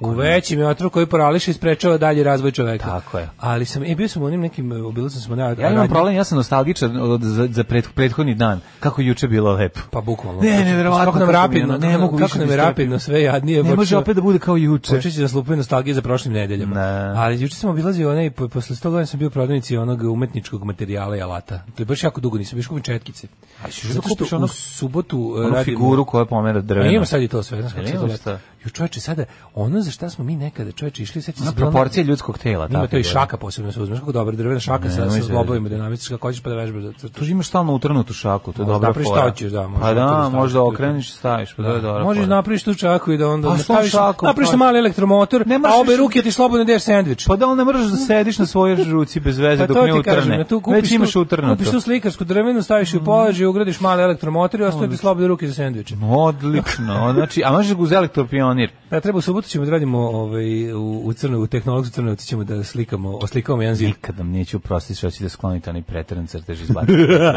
Speaker 5: u
Speaker 6: ne?
Speaker 5: većim je otrov koji parališe i sprečava dalji razvoj čoveka.
Speaker 6: Tako je.
Speaker 5: Ali sam, e, bio sam u onim nekim, e, obilazio sam na...
Speaker 6: Ja imam problem, ja sam nostalgičan od, za, za preth- prethodni dan. Kako je juče bilo lepo.
Speaker 5: Pa bukvalno.
Speaker 6: Ne,
Speaker 5: Kako-
Speaker 6: neverovatno
Speaker 5: Kako nam
Speaker 6: kako mi je
Speaker 5: rapidno,
Speaker 6: ono, ne
Speaker 5: kako-
Speaker 6: mogu
Speaker 5: kako
Speaker 6: više
Speaker 5: nam je
Speaker 6: da strpim.
Speaker 5: rapidno sve jadnije.
Speaker 6: Ne može
Speaker 5: počeo-
Speaker 6: opet da bude kao juče.
Speaker 5: Počeće da slupaju nostalgije za prošlim nedeljama.
Speaker 6: Ne.
Speaker 5: Ali juče sam obilazio onaj, po- posle 100 godina sam bio u prodavnici onog umetničkog materijala i alata. To je baš jako dugo, nisam bio kupim četkice.
Speaker 6: A ćeš da
Speaker 5: Zato
Speaker 6: kupiš
Speaker 5: što u
Speaker 6: onog-
Speaker 5: subotu e,
Speaker 6: Onu
Speaker 5: radimo-
Speaker 6: figuru koja pomera drveno.
Speaker 5: A imam E, sad i to sve, znaš kako se
Speaker 6: Jel
Speaker 5: to
Speaker 6: imaš
Speaker 5: lepo.
Speaker 6: šta?
Speaker 5: Ju čoveče, sada, ono za šta smo mi nekada čoveče išli, sećam se...
Speaker 6: Na
Speaker 5: bilo ono-
Speaker 6: proporcije ljudskog tela.
Speaker 5: Ima
Speaker 6: tako
Speaker 5: to i
Speaker 6: je.
Speaker 5: šaka posebno da se uzmeš, kako dobra drvena šaka sa,
Speaker 6: nemoj
Speaker 5: sa
Speaker 6: se-
Speaker 5: zglobovima dinamička, kako hoćeš pa da vežbaš za crtu.
Speaker 6: Tu imaš stalno utrnutu šaku, to je
Speaker 5: Možeš
Speaker 6: dobra
Speaker 5: napraviš
Speaker 6: fora.
Speaker 5: šta hoćeš, da, možeš
Speaker 6: Pa
Speaker 5: na to da
Speaker 6: da,
Speaker 5: staviš.
Speaker 6: možda okreniš i staviš, pa to je dobra
Speaker 5: Možeš
Speaker 6: fora.
Speaker 5: napraviš tu čaku i da onda
Speaker 6: Pa, s tom
Speaker 5: napraviš,
Speaker 6: šakom,
Speaker 5: napraviš
Speaker 6: pa-
Speaker 5: mali elektromotor,
Speaker 6: Ne možeš
Speaker 5: a obe
Speaker 6: više-
Speaker 5: ruke ti slobodno deš sendvič.
Speaker 6: Pa da li ne moraš da sediš na svojoj žuci bez veze dok
Speaker 5: Pa to
Speaker 6: ne
Speaker 5: ti kažem,
Speaker 6: utrne?
Speaker 5: na tu kupiš
Speaker 6: Već imaš
Speaker 5: tu-
Speaker 6: utrnuto.
Speaker 5: Kupiš tu slikarsku drvenu, staviš ju u položaj, ugradiš mali elektromotor i ostaje ti slobodne ruke za sendviče.
Speaker 6: Odlično. Znači, a možeš ga uz elektropionir.
Speaker 5: Da, treba u subotu ćemo da radimo ovaj, u, u crnoj, u tehnologu crnoj, ćemo da slikamo, oslikamo jedan zid.
Speaker 6: Nikad nam neću prostiti što ćete skloniti onaj preteran crtež iz blata.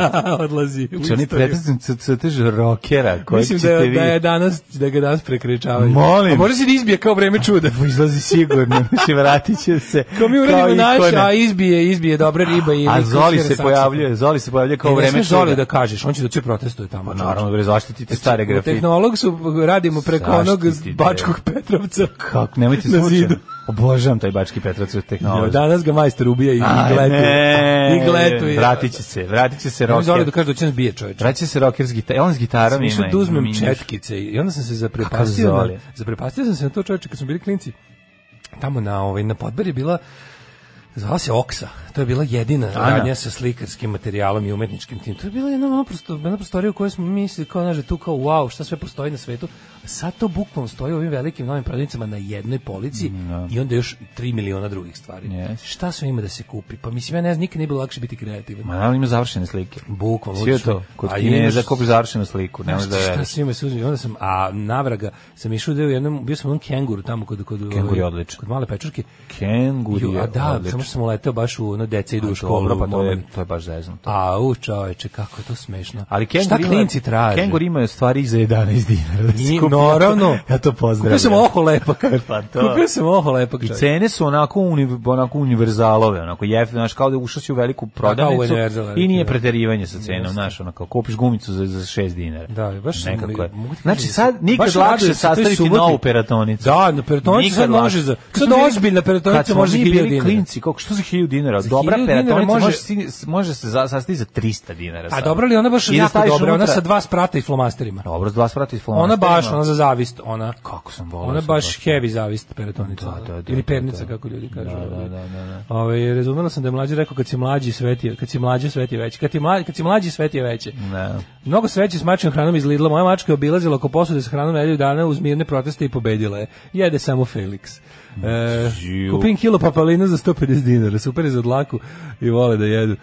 Speaker 5: Odlazi. u
Speaker 6: Znači, onaj
Speaker 5: istoriju.
Speaker 6: preteran cr- crtež rokera koji
Speaker 5: Mislim
Speaker 6: ćete
Speaker 5: da,
Speaker 6: vi...
Speaker 5: da je danas, da ga danas prekričavaju.
Speaker 6: Molim.
Speaker 5: A može se da izbije kao vreme čuda.
Speaker 6: da izlazi sigurno, znači vratit će se.
Speaker 5: Kao mi uradimo naš,
Speaker 6: ikona.
Speaker 5: a izbije, izbije dobra riba. I
Speaker 6: A
Speaker 5: lik
Speaker 6: Zoli
Speaker 5: svira
Speaker 6: se
Speaker 5: saksofon.
Speaker 6: pojavljuje, Zoli se pojavljuje kao
Speaker 5: E,
Speaker 6: u
Speaker 5: ne
Speaker 6: vreme
Speaker 5: smiješ Zoli
Speaker 6: čuda. Pa
Speaker 5: da kažeš, on će doći protestuje tamo.
Speaker 6: Naravno, bre, zaštitite stare
Speaker 5: U
Speaker 6: grafite.
Speaker 5: tehnolog su radimo preko onog
Speaker 6: Zaštiti, bre.
Speaker 5: Bačkog Petrovca.
Speaker 6: Kako, nemojte
Speaker 5: na
Speaker 6: slučajno.
Speaker 5: zidu.
Speaker 6: Obožavam taj bački Petrac u
Speaker 5: Evo,
Speaker 6: tehnologiji.
Speaker 5: danas ga majster ubija i, i gletu.
Speaker 6: Ovaj. ne,
Speaker 5: I gletu. i-
Speaker 6: Vratit će se, vratit će se
Speaker 5: Ja mi Zoli da
Speaker 6: roker.
Speaker 5: kaže da će nas bije čoveče.
Speaker 6: Vratit će se roker s gitarom. On s gitarom ima.
Speaker 5: Išao da uzmem
Speaker 6: ima-
Speaker 5: četkice i onda sam se zaprepastio.
Speaker 6: Kakav
Speaker 5: na-
Speaker 6: Zoli.
Speaker 5: Zaprepastio sam se na to čoveče kad smo bili klinci. Tamo na, ovaj, na podberi je bila Zvala se Oksa. To je bila jedina
Speaker 6: Ana.
Speaker 5: radnja sa slikarskim materijalom i umetničkim tim. To je bila jedna, ono prosto, jedna prostorija u kojoj smo mislili kao, znaš, da tu kao, wow, šta sve postoji na svetu. A sad to bukvalno stoji u ovim velikim novim prodavnicama na jednoj polici
Speaker 6: Mm, da.
Speaker 5: i onda još 3 miliona drugih stvari.
Speaker 6: Yes.
Speaker 5: Šta sve ima da se kupi? Pa mislim, ja ne znam, nikad nije bilo lakše biti kreativan.
Speaker 6: Ma naravno ima završene slike.
Speaker 5: Bukvalno.
Speaker 6: Sve je
Speaker 5: odeš
Speaker 6: to.
Speaker 5: u-
Speaker 6: Kod
Speaker 5: a
Speaker 6: Kineza
Speaker 5: imaš-
Speaker 6: kupiš završenu sliku. Ne možeš da
Speaker 5: Šta, šta
Speaker 6: veriš.
Speaker 5: se ima se uzme? Onda sam, a navraga, sam išao da je u jednom, bio sam u onom kenguru tamo kod, kod,
Speaker 6: Kenguru
Speaker 5: ovaj,
Speaker 6: je odličan.
Speaker 5: kod male pečurke.
Speaker 6: Kenguru
Speaker 5: Ju,
Speaker 6: je
Speaker 5: a da,
Speaker 6: odličan.
Speaker 5: samo što sam uletao baš u ono deca idu u školu.
Speaker 6: Dobro, pa to je,
Speaker 5: moment.
Speaker 6: to je baš zeznuto.
Speaker 5: Au, čoveče, kako je to smešno.
Speaker 6: Ali kengur
Speaker 5: Šta
Speaker 6: ima-
Speaker 5: klinci traže?
Speaker 6: Kengur ima stvari i za 11 dinara. Da se
Speaker 5: Ni-
Speaker 6: kupi.
Speaker 5: naravno.
Speaker 6: Ja to
Speaker 5: Kupio
Speaker 6: pozdravljam.
Speaker 5: sam oho lepak.
Speaker 6: Pa to.
Speaker 5: Kupio sam oho lepak,
Speaker 6: I
Speaker 5: čoveče.
Speaker 6: cene su onako, uni, onako univerzalove, onako jef, znaš, kao da ušao si u veliku
Speaker 5: kao u
Speaker 6: prodavnicu
Speaker 5: Univerzal,
Speaker 6: i nije
Speaker 5: da.
Speaker 6: preterivanje sa cenom, znaš, onako, kupiš gumicu za, za 6 dinara.
Speaker 5: Da, baš sam-
Speaker 6: Nekako je.
Speaker 5: mogu ti
Speaker 6: Znači,
Speaker 5: kažem da
Speaker 6: sad
Speaker 5: sam- baš
Speaker 6: nikad
Speaker 5: radujem
Speaker 6: lakše
Speaker 5: se toj
Speaker 6: sastaviti
Speaker 5: subotnji-
Speaker 6: novu peratonicu.
Speaker 5: Da, na peratonicu
Speaker 6: Nikad
Speaker 5: sad
Speaker 6: lakše.
Speaker 5: može za-
Speaker 6: Kad
Speaker 5: sad
Speaker 6: smo bili-
Speaker 5: ozbiljna peratonica
Speaker 6: kad smo
Speaker 5: može za
Speaker 6: mi
Speaker 5: 1000
Speaker 6: bili
Speaker 5: dinara.
Speaker 6: Klinci, koliko što za 1000 dinara?
Speaker 5: Za
Speaker 6: Dobra
Speaker 5: 1000 dinara
Speaker 6: peratonica može,
Speaker 5: može-
Speaker 6: si- može se za, sastaviti za 300 dinara.
Speaker 5: A
Speaker 6: sad.
Speaker 5: dobro li ona baš
Speaker 6: I da
Speaker 5: jako
Speaker 6: staviš
Speaker 5: dobra, ona
Speaker 6: unutra-
Speaker 5: sa dva sprata i flomasterima.
Speaker 6: Dobro, s dva sprati iz
Speaker 5: Ona
Speaker 6: flomasterima.
Speaker 5: baš, ona za zavist, ona.
Speaker 6: Kako sam volao.
Speaker 5: Ona
Speaker 6: sam
Speaker 5: baš
Speaker 6: baš-
Speaker 5: heavy zavist peratonica.
Speaker 6: Da, da, da,
Speaker 5: Ili
Speaker 6: da,
Speaker 5: pernica,
Speaker 6: da.
Speaker 5: kako ljudi kažu.
Speaker 6: Da, da, da, da, da.
Speaker 5: Ovaj razumela sam da je mlađi rekao kad si mlađi sveti, kad si mlađi sveti veći, kad ti mlađi, kad si mlađi sveti veći.
Speaker 6: Ne.
Speaker 5: Mnogo sreće s mačkom hranom iz Lidla. Moja mačka je obilazila oko posude sa hranom nedelju dana uz mirne proteste i pobedila je. Jede samo Felix. E,
Speaker 6: Ju.
Speaker 5: kupim kilo papalina za 150 dinara, super je za dlaku i vole da jedu.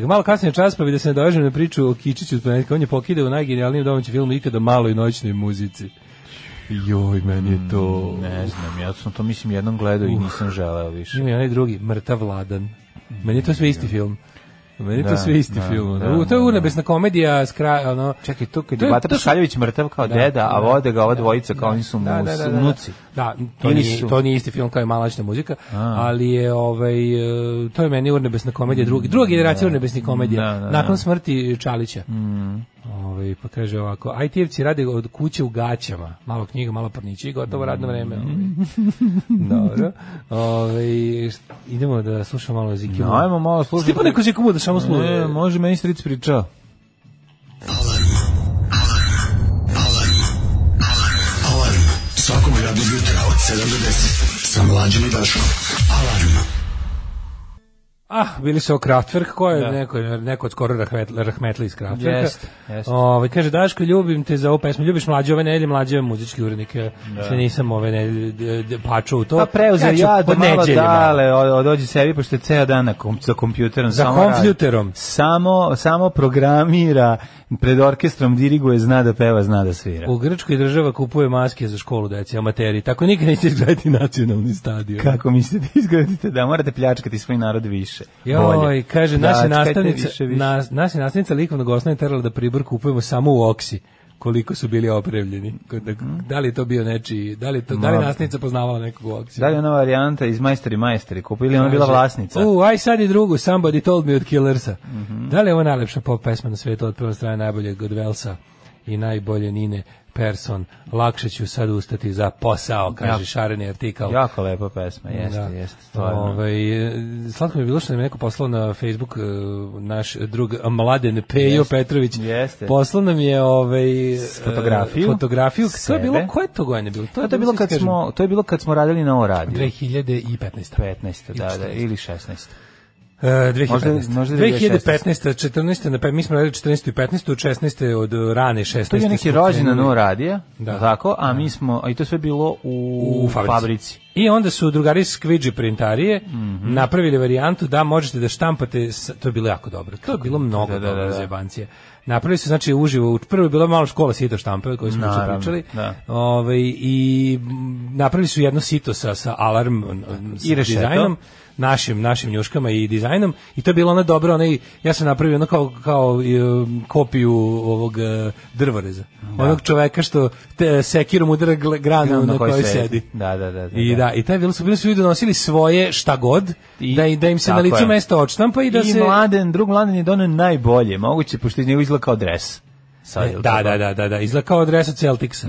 Speaker 5: E, malo kasnije čas pa bi da se ne dovežem na priču o Kičiću od planetka. On je pokidao u najgenijalnijem domaćem filmu ikada malo i noćnoj muzici. Joj, meni je to...
Speaker 6: Mm, Ne znam, ja sam to mislim jednom gledao i nisam želeo više.
Speaker 5: Ima i onaj drugi, Mrtav Vladan. Meni je to sve isti film. Meni to
Speaker 6: Da,
Speaker 5: sve isti
Speaker 6: da,
Speaker 5: film.
Speaker 6: da,
Speaker 5: ono. U, to je
Speaker 6: da,
Speaker 5: unebesna komedija, skra, ono...
Speaker 6: Čekaj, to kad
Speaker 5: To
Speaker 6: je
Speaker 5: je-
Speaker 6: Bata
Speaker 5: to su-
Speaker 6: Pašaljević mrtav kao deda, a vode ga ova dvojica kao oni su mu
Speaker 5: Da, da, da, da.
Speaker 6: unuci.
Speaker 5: Da,
Speaker 6: To
Speaker 5: to,
Speaker 6: nisu.
Speaker 5: nije, to nije isti film kao i Malačna muzika, ali je ovaj e, to je meni urnebesna komedija, drugi, druga generacija urnebesnih komedija
Speaker 6: Da, da, da. Mm.
Speaker 5: nakon smrti Čalića. Ovaj pa kaže ovako, IT-evci rade od kuće u gaćama, malo knjiga, malo pornići i gotovo radno vreme. Ovaj.
Speaker 6: Mm.
Speaker 5: Dobro. Ovaj št- idemo da slušamo malo Zikimu.
Speaker 6: No, ajmo malo slušati.
Speaker 5: Stipane Kozikumu da samo
Speaker 6: E,
Speaker 5: slušamo.
Speaker 6: može meni stric pričao.
Speaker 1: Svakog radnog jutra od 7 do 10 sa mlađom i Daškom. Alarm.
Speaker 5: Ah, bili su o Kraftwerk, ko je
Speaker 6: Da.
Speaker 5: neko, neko od skoro Rahmetli, rahmetli iz Kraftwerka.
Speaker 6: Jeste, jeste.
Speaker 5: Ovaj, kaže, Daško, ljubim te za ovu pesmu, ljubiš mlađe ove nedelje, mlađe muzički urednik, da. se nisam ove nedelje d- d- pačao u to.
Speaker 6: Pa preuzeo
Speaker 5: ću
Speaker 6: ja da
Speaker 5: pod
Speaker 6: malo
Speaker 5: nedeljama.
Speaker 6: dale, od- odođi sebi, pošto je ceo dan na kom, za kompjuterom.
Speaker 5: Za
Speaker 6: samo radi.
Speaker 5: kompjuterom.
Speaker 6: Samo, samo programira, pred orkestrom diriguje, zna da peva, zna da svira.
Speaker 5: U Grčkoj država kupuje maske za školu deci, amateri, tako nikad neće izgledati nacionalni stadion.
Speaker 6: Kako mislite da izgledite da morate pljačkati svoj narod više?
Speaker 5: Joj,
Speaker 6: bolje.
Speaker 5: kaže, naša
Speaker 6: Pljačkajte
Speaker 5: nastavnica,
Speaker 6: više, više.
Speaker 5: na- naša nastavnica likovnog osnovne terala da pribor kupujemo samo u oksi koliko su bili opremljeni. Kod- Da,
Speaker 6: Mm.
Speaker 5: da li je to bio nečiji, da li, je to, da li je
Speaker 6: Ma-
Speaker 5: nastavnica poznavala nekog u oksi?
Speaker 6: Da li je ona varijanta iz Majstori Majstori kupa ili je ona bila
Speaker 5: Kaže,
Speaker 6: vlasnica? Mhm.
Speaker 5: U, aj sad i drugu, Somebody Told Me od Killersa. Da li je ovo najlepša pop pesma na svetu od prve strane najboljeg od Velsa i najbolje Nine Person? Lakše ću sad ustati za posao, kaže
Speaker 6: Jako.
Speaker 5: šareni artikal.
Speaker 6: Jako lepa
Speaker 5: Da.
Speaker 6: pesma, jeste, jeste, stvarno.
Speaker 5: Ovaj, e, slatko mi je bilo što nam je neko poslao na Facebook e, naš drug Mladen Pejo
Speaker 6: Jeste,
Speaker 5: Petrović.
Speaker 6: jeste.
Speaker 5: Poslao nam je ovaj, e,
Speaker 6: fotografiju.
Speaker 5: fotografiju. To je
Speaker 6: Sebe.
Speaker 5: bilo, koje je to godine bilo?
Speaker 6: to, je bilo kad
Speaker 5: kažem,
Speaker 6: smo, to je bilo kad smo radili na ovo radio.
Speaker 5: 2015.
Speaker 6: 15. da, da, ili 16.
Speaker 5: E, 2015.
Speaker 6: Možda- možda
Speaker 5: 2015. 14. Na, pe- mi smo radili 14. i 15. 16. od e, rane 16.
Speaker 6: To je bio neki
Speaker 5: smo
Speaker 6: rođendan
Speaker 5: krenuli.
Speaker 6: na radija,
Speaker 5: Da.
Speaker 6: tako, a mi smo, a i to sve bilo u,
Speaker 5: U fabrici. I onda su drugari iz Squidgy printarije
Speaker 6: Mhm.
Speaker 5: napravili varijantu da možete da štampate, s- to je bilo jako dobro, to je bilo mnogo
Speaker 6: Da, da, da,
Speaker 5: dobro
Speaker 6: da.
Speaker 5: za jebancije. Napravili su, znači, uživo, u- prvo je bila malo škola sito štampe, o kojoj smo
Speaker 6: Naravno,
Speaker 5: učer pričali,
Speaker 6: da.
Speaker 5: Ovaj, i m, napravili su jedno sito sa, sa alarm m, sa
Speaker 6: I rešeto.
Speaker 5: dizajnom, našim našim njuškama i dizajnom i to je bilo ona dobro onaj ja sam napravio ono kao kao i, um, kopiju ovog e, drvoreza
Speaker 6: Da.
Speaker 5: onog čoveka što te, sekirom udara gle- granu na kojoj sedi
Speaker 6: Da, da, da. da
Speaker 5: i da, i taj bili su bili su ljudi donosili svoje šta god
Speaker 6: I-
Speaker 5: da i da im se na
Speaker 6: tako
Speaker 5: licu
Speaker 6: je.
Speaker 5: mesto odštampa i da
Speaker 6: I
Speaker 5: se
Speaker 6: mladen, drug mladen je donio najbolje, moguće, pošto je njegov izgleda kao dres. Sad, je li
Speaker 5: Da,
Speaker 6: tako? Mm.
Speaker 5: da, da, da, da, izgleda kao adresa Celticsa.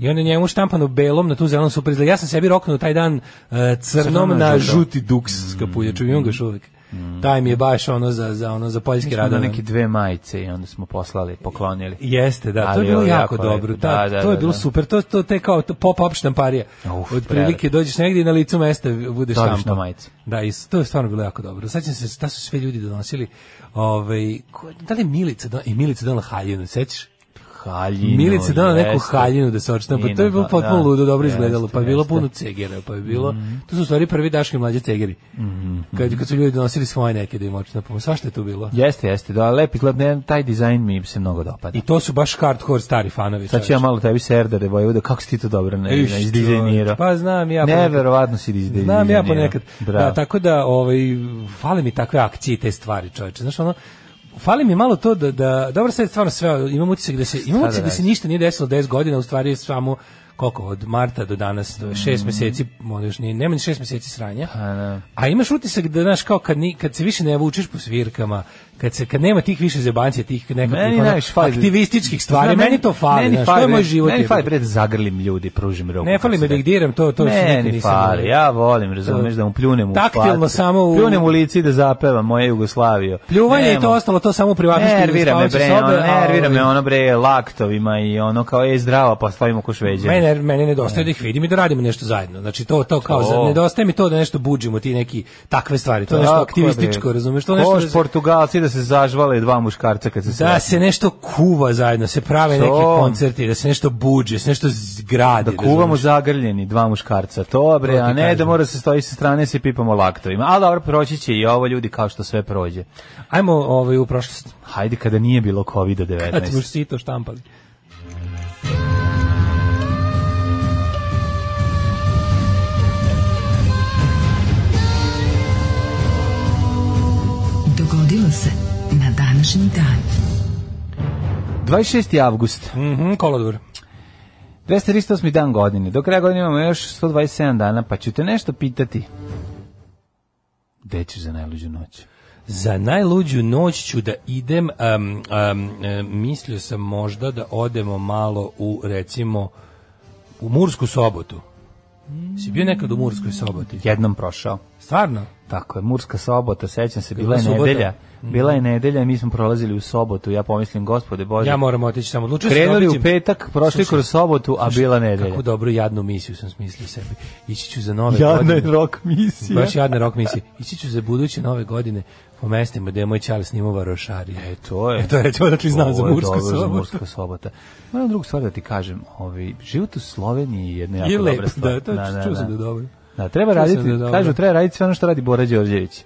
Speaker 5: I onda je njemu štampano belom na tu zelenu super izgleda. Ja sam sebi roknuo taj dan e, crnom
Speaker 6: Crno na
Speaker 5: na
Speaker 6: žuto. Mm.
Speaker 5: žuti duks mm. skapuljaču, imam ga još uvijek. Taj mi je baš ono za, za, ono, za poljski
Speaker 6: Smo
Speaker 5: radan.
Speaker 6: neke dve majice i onda smo poslali, poklonili.
Speaker 5: Jeste, da, to
Speaker 6: Ali
Speaker 5: je bilo
Speaker 6: ovo je
Speaker 5: jako
Speaker 6: jako
Speaker 5: dobro.
Speaker 6: lepo, da,
Speaker 5: Da,
Speaker 6: da,
Speaker 5: to je
Speaker 6: da,
Speaker 5: bilo
Speaker 6: da.
Speaker 5: super. To to te kao to pop-up štamparija.
Speaker 6: Uf,
Speaker 5: Od prilike
Speaker 6: prelepo.
Speaker 5: dođeš negdje i na licu mesta budeš
Speaker 6: Dobiš na
Speaker 5: štampa.
Speaker 6: majicu.
Speaker 5: Da, i s- to je stvarno bilo jako dobro. Sećam se da su sve ljudi donosili ovaj ko- da li je Milica da i Milica donela haljinu, sećaš?
Speaker 6: Haljinu.
Speaker 5: Milica donela neku
Speaker 6: jeste.
Speaker 5: haljinu da se odštampa.
Speaker 6: Nije
Speaker 5: To je
Speaker 6: na-
Speaker 5: bilo potpuno
Speaker 6: da,
Speaker 5: ludo, dobro
Speaker 6: jeste,
Speaker 5: izgledalo. Pa je bilo
Speaker 6: jeste. Mhm.
Speaker 5: puno cegera, pa je bilo to su u stvari prvi daški mlađi cegeri. Kad kad su ljudi donosili svoje neke da im odštampamo. Svašta je tu bilo.
Speaker 6: Jeste, jeste, da, lep izgled, ne, taj dizajn mi se mnogo dopada.
Speaker 5: I to su baš hardcore stari fanovi.
Speaker 6: Sad ću ja malo tebi se erdare, Vojvoda, kako si ti to dobro ne,
Speaker 5: Iš,
Speaker 6: ne, izdizajnirao.
Speaker 5: čovječ, pa znam ja ponekad.
Speaker 6: Neverovatno si izdizajnirao.
Speaker 5: Znam ja ponekad.
Speaker 6: Bravo.
Speaker 5: Da, tako da ovaj fale mi takve akcije i te stvari, čoveče. Znaš ono Fali mi malo to da da dobro sad stvarno sve imam utisak da se imam
Speaker 6: da
Speaker 5: utisak da se
Speaker 6: radiš?
Speaker 5: ništa nije desilo 10 godina, u stvari je samo koliko od marta do danas, to je 6 meseci, ono još nije, nema ni 6 meseci sranja.
Speaker 6: Mm. da.
Speaker 5: A imaš utisak da znaš kao kad ni, kad se više ne vučeš po svirkama, kad se kad nema tih više zebancija, tih
Speaker 6: Meni
Speaker 5: nekakvih ono,
Speaker 6: najviše fali-
Speaker 5: aktivističkih stvari,
Speaker 6: Znam,
Speaker 5: meni, to fali,
Speaker 6: meni
Speaker 5: znaš, to je moj
Speaker 6: bre-
Speaker 5: život.
Speaker 6: Meni fali,
Speaker 5: jebote.
Speaker 6: bre, da zagrlim ljudi, pružim ruku.
Speaker 5: Ne fali me da ih diram, to- to još nikad
Speaker 6: Meni
Speaker 5: nisam
Speaker 6: fali,
Speaker 5: volio.
Speaker 6: ja volim, razumeš, da mu pljunem u
Speaker 5: Taktilno
Speaker 6: facu.
Speaker 5: samo u-
Speaker 6: Pljunem u lici i da zapevam moje Jugoslavio.
Speaker 5: Pljuvanje i
Speaker 6: Nemo.
Speaker 5: to ostalo, to samo u privatnosti.
Speaker 6: Nervira me
Speaker 5: spavaće
Speaker 6: bre,
Speaker 5: sobe,
Speaker 6: ono,
Speaker 5: a,
Speaker 6: nervira me
Speaker 5: ovaj,
Speaker 6: ono bre laktovima i ono kao je zdravo, pa stojimo ko šveđani.
Speaker 5: Mene, mene nedostaje da ih vidim i da radimo nešto zajedno. Znači to to kao za-
Speaker 6: To.
Speaker 5: nedostaje mi to da nešto budžimo ti neki takve stvari. To je nešto
Speaker 6: Tako,
Speaker 5: aktivističko,
Speaker 6: bre.
Speaker 5: razumeš, to je nešto
Speaker 6: Koš
Speaker 5: da se-
Speaker 6: Portugalci da se zažvale dva muškarca kad se
Speaker 5: da
Speaker 6: sretnu.
Speaker 5: se nešto kuva zajedno, se prave
Speaker 6: To.
Speaker 5: neki koncerti, da se nešto budže, da se nešto zgradi.
Speaker 6: Da kuvamo
Speaker 5: razumeš?
Speaker 6: zagrljeni dva muškarca, to bre,
Speaker 5: To ti
Speaker 6: a ne
Speaker 5: kažem.
Speaker 6: da mora se stoji sa strane i se pipamo laktovima. Ali dobro, proći će i ovo ljudi kao što sve prođe.
Speaker 5: Ajmo ovaj u prošlost.
Speaker 6: Hajde kada nije bilo COVID-19.
Speaker 5: Kad smo sito štampali.
Speaker 4: Dogodilo se današnji dan.
Speaker 6: 26. avgust.
Speaker 5: Mhm, kolodvor.
Speaker 6: 238. dan godine. Do kraja godine imamo još 127 dana, pa ću te nešto pitati. Gde ćeš za najluđu noć?
Speaker 5: Za najluđu noć ću da idem, um, um, e, mislio sam možda da odemo malo u, recimo, u Mursku sobotu. Si bio nekad u Murskoj soboti?
Speaker 6: Jednom prošao.
Speaker 5: Stvarno?
Speaker 6: Tako je, Murska sobota, sećam se, bila je
Speaker 5: subota?
Speaker 6: nedelja.
Speaker 5: Mhm.
Speaker 6: Bila je nedelja, mi smo prolazili u sobotu, ja pomislim, gospode Bože.
Speaker 5: Ja moram otići samo odlučio sam da
Speaker 6: Pa da. Krenuli u
Speaker 5: otiđem-
Speaker 6: petak, prošli
Speaker 5: Slušaj,
Speaker 6: kroz sobotu, a
Speaker 5: slušaj,
Speaker 6: bila nedelja.
Speaker 5: Kako dobru jadnu misiju sam smislio sebi. Ići ću za nove
Speaker 6: Jadna je
Speaker 5: godine.
Speaker 6: rock misija.
Speaker 5: Baš jadna rock misija. Ići ću za buduće nove godine po mestima gde je moj čale snimao varošarije.
Speaker 6: E, to je.
Speaker 5: E, to je, recimo, odakle znam za
Speaker 6: Ovo je
Speaker 5: Mursku
Speaker 6: dobro za
Speaker 5: sobotu.
Speaker 6: Mursku sobota. Moram drugu stvar da ti kažem, ovi, život u Sloveniji je jedna jako
Speaker 5: Je
Speaker 6: dobra
Speaker 5: lep,
Speaker 6: stvar.
Speaker 5: da, to čuo sam da je dobro.
Speaker 6: Da, treba
Speaker 5: Čuo sam
Speaker 6: raditi,
Speaker 5: da je dobro.
Speaker 6: kažu, treba raditi sve ono što radi Bora Đorđević.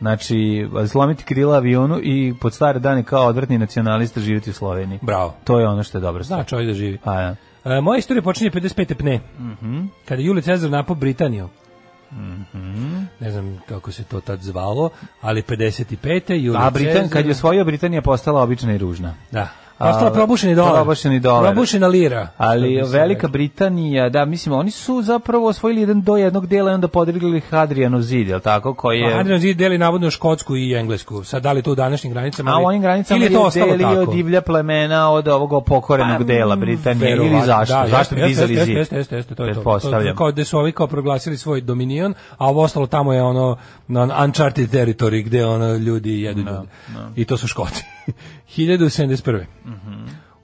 Speaker 6: Znači, slomiti krila avionu i pod stare dane kao odvrtni nacionalista živjeti u Sloveniji.
Speaker 5: Bravo.
Speaker 6: To je ono što je dobro.
Speaker 5: Zna čovjek da živi.
Speaker 6: Pa, ja.
Speaker 5: E, moja istorija počinje 55. pne.
Speaker 6: Mhm.
Speaker 5: Kada je Julij Cezar napao Britaniju.
Speaker 6: Mhm.
Speaker 5: Ne znam kako se to tad zvalo, ali 55. Julij
Speaker 6: A Britan,
Speaker 5: Cezar-
Speaker 6: kad je osvojio Britanija, postala obična i ružna.
Speaker 5: Da. Postala
Speaker 6: A,
Speaker 5: probušeni dolar.
Speaker 6: probušeni dolar.
Speaker 5: Probušena lira.
Speaker 6: Ali
Speaker 5: Što bi se
Speaker 6: Velika
Speaker 5: reklo.
Speaker 6: Britanija, da, mislim, oni su zapravo osvojili jedan do jednog dela i onda podrigli Hadrijanov zid, jel tako, koji je...
Speaker 5: A Adrian Zid deli navodno Škotsku i Englesku. Sad da li je to u današnjim granicama?
Speaker 6: A u
Speaker 5: ali-
Speaker 6: onim granicama
Speaker 5: ili je to ostalo
Speaker 6: delio
Speaker 5: tako? Pa,
Speaker 6: od divlja plemena od ovog opokorenog dela Britanije ili
Speaker 5: Verovatno,
Speaker 6: zašto?
Speaker 5: Da,
Speaker 6: zašto bi
Speaker 5: jeste,
Speaker 6: dizali
Speaker 5: jeste,
Speaker 6: zid?
Speaker 5: Jeste, jeste, jeste, to je to. to. je
Speaker 6: Pretpostavljam.
Speaker 5: Kao da su ovi kao proglasili svoj dominion, a ovo ostalo tamo je ono na uncharted territory gde ono ljudi jedu
Speaker 6: Da,
Speaker 5: ljudi. I to su Škoti. 1071.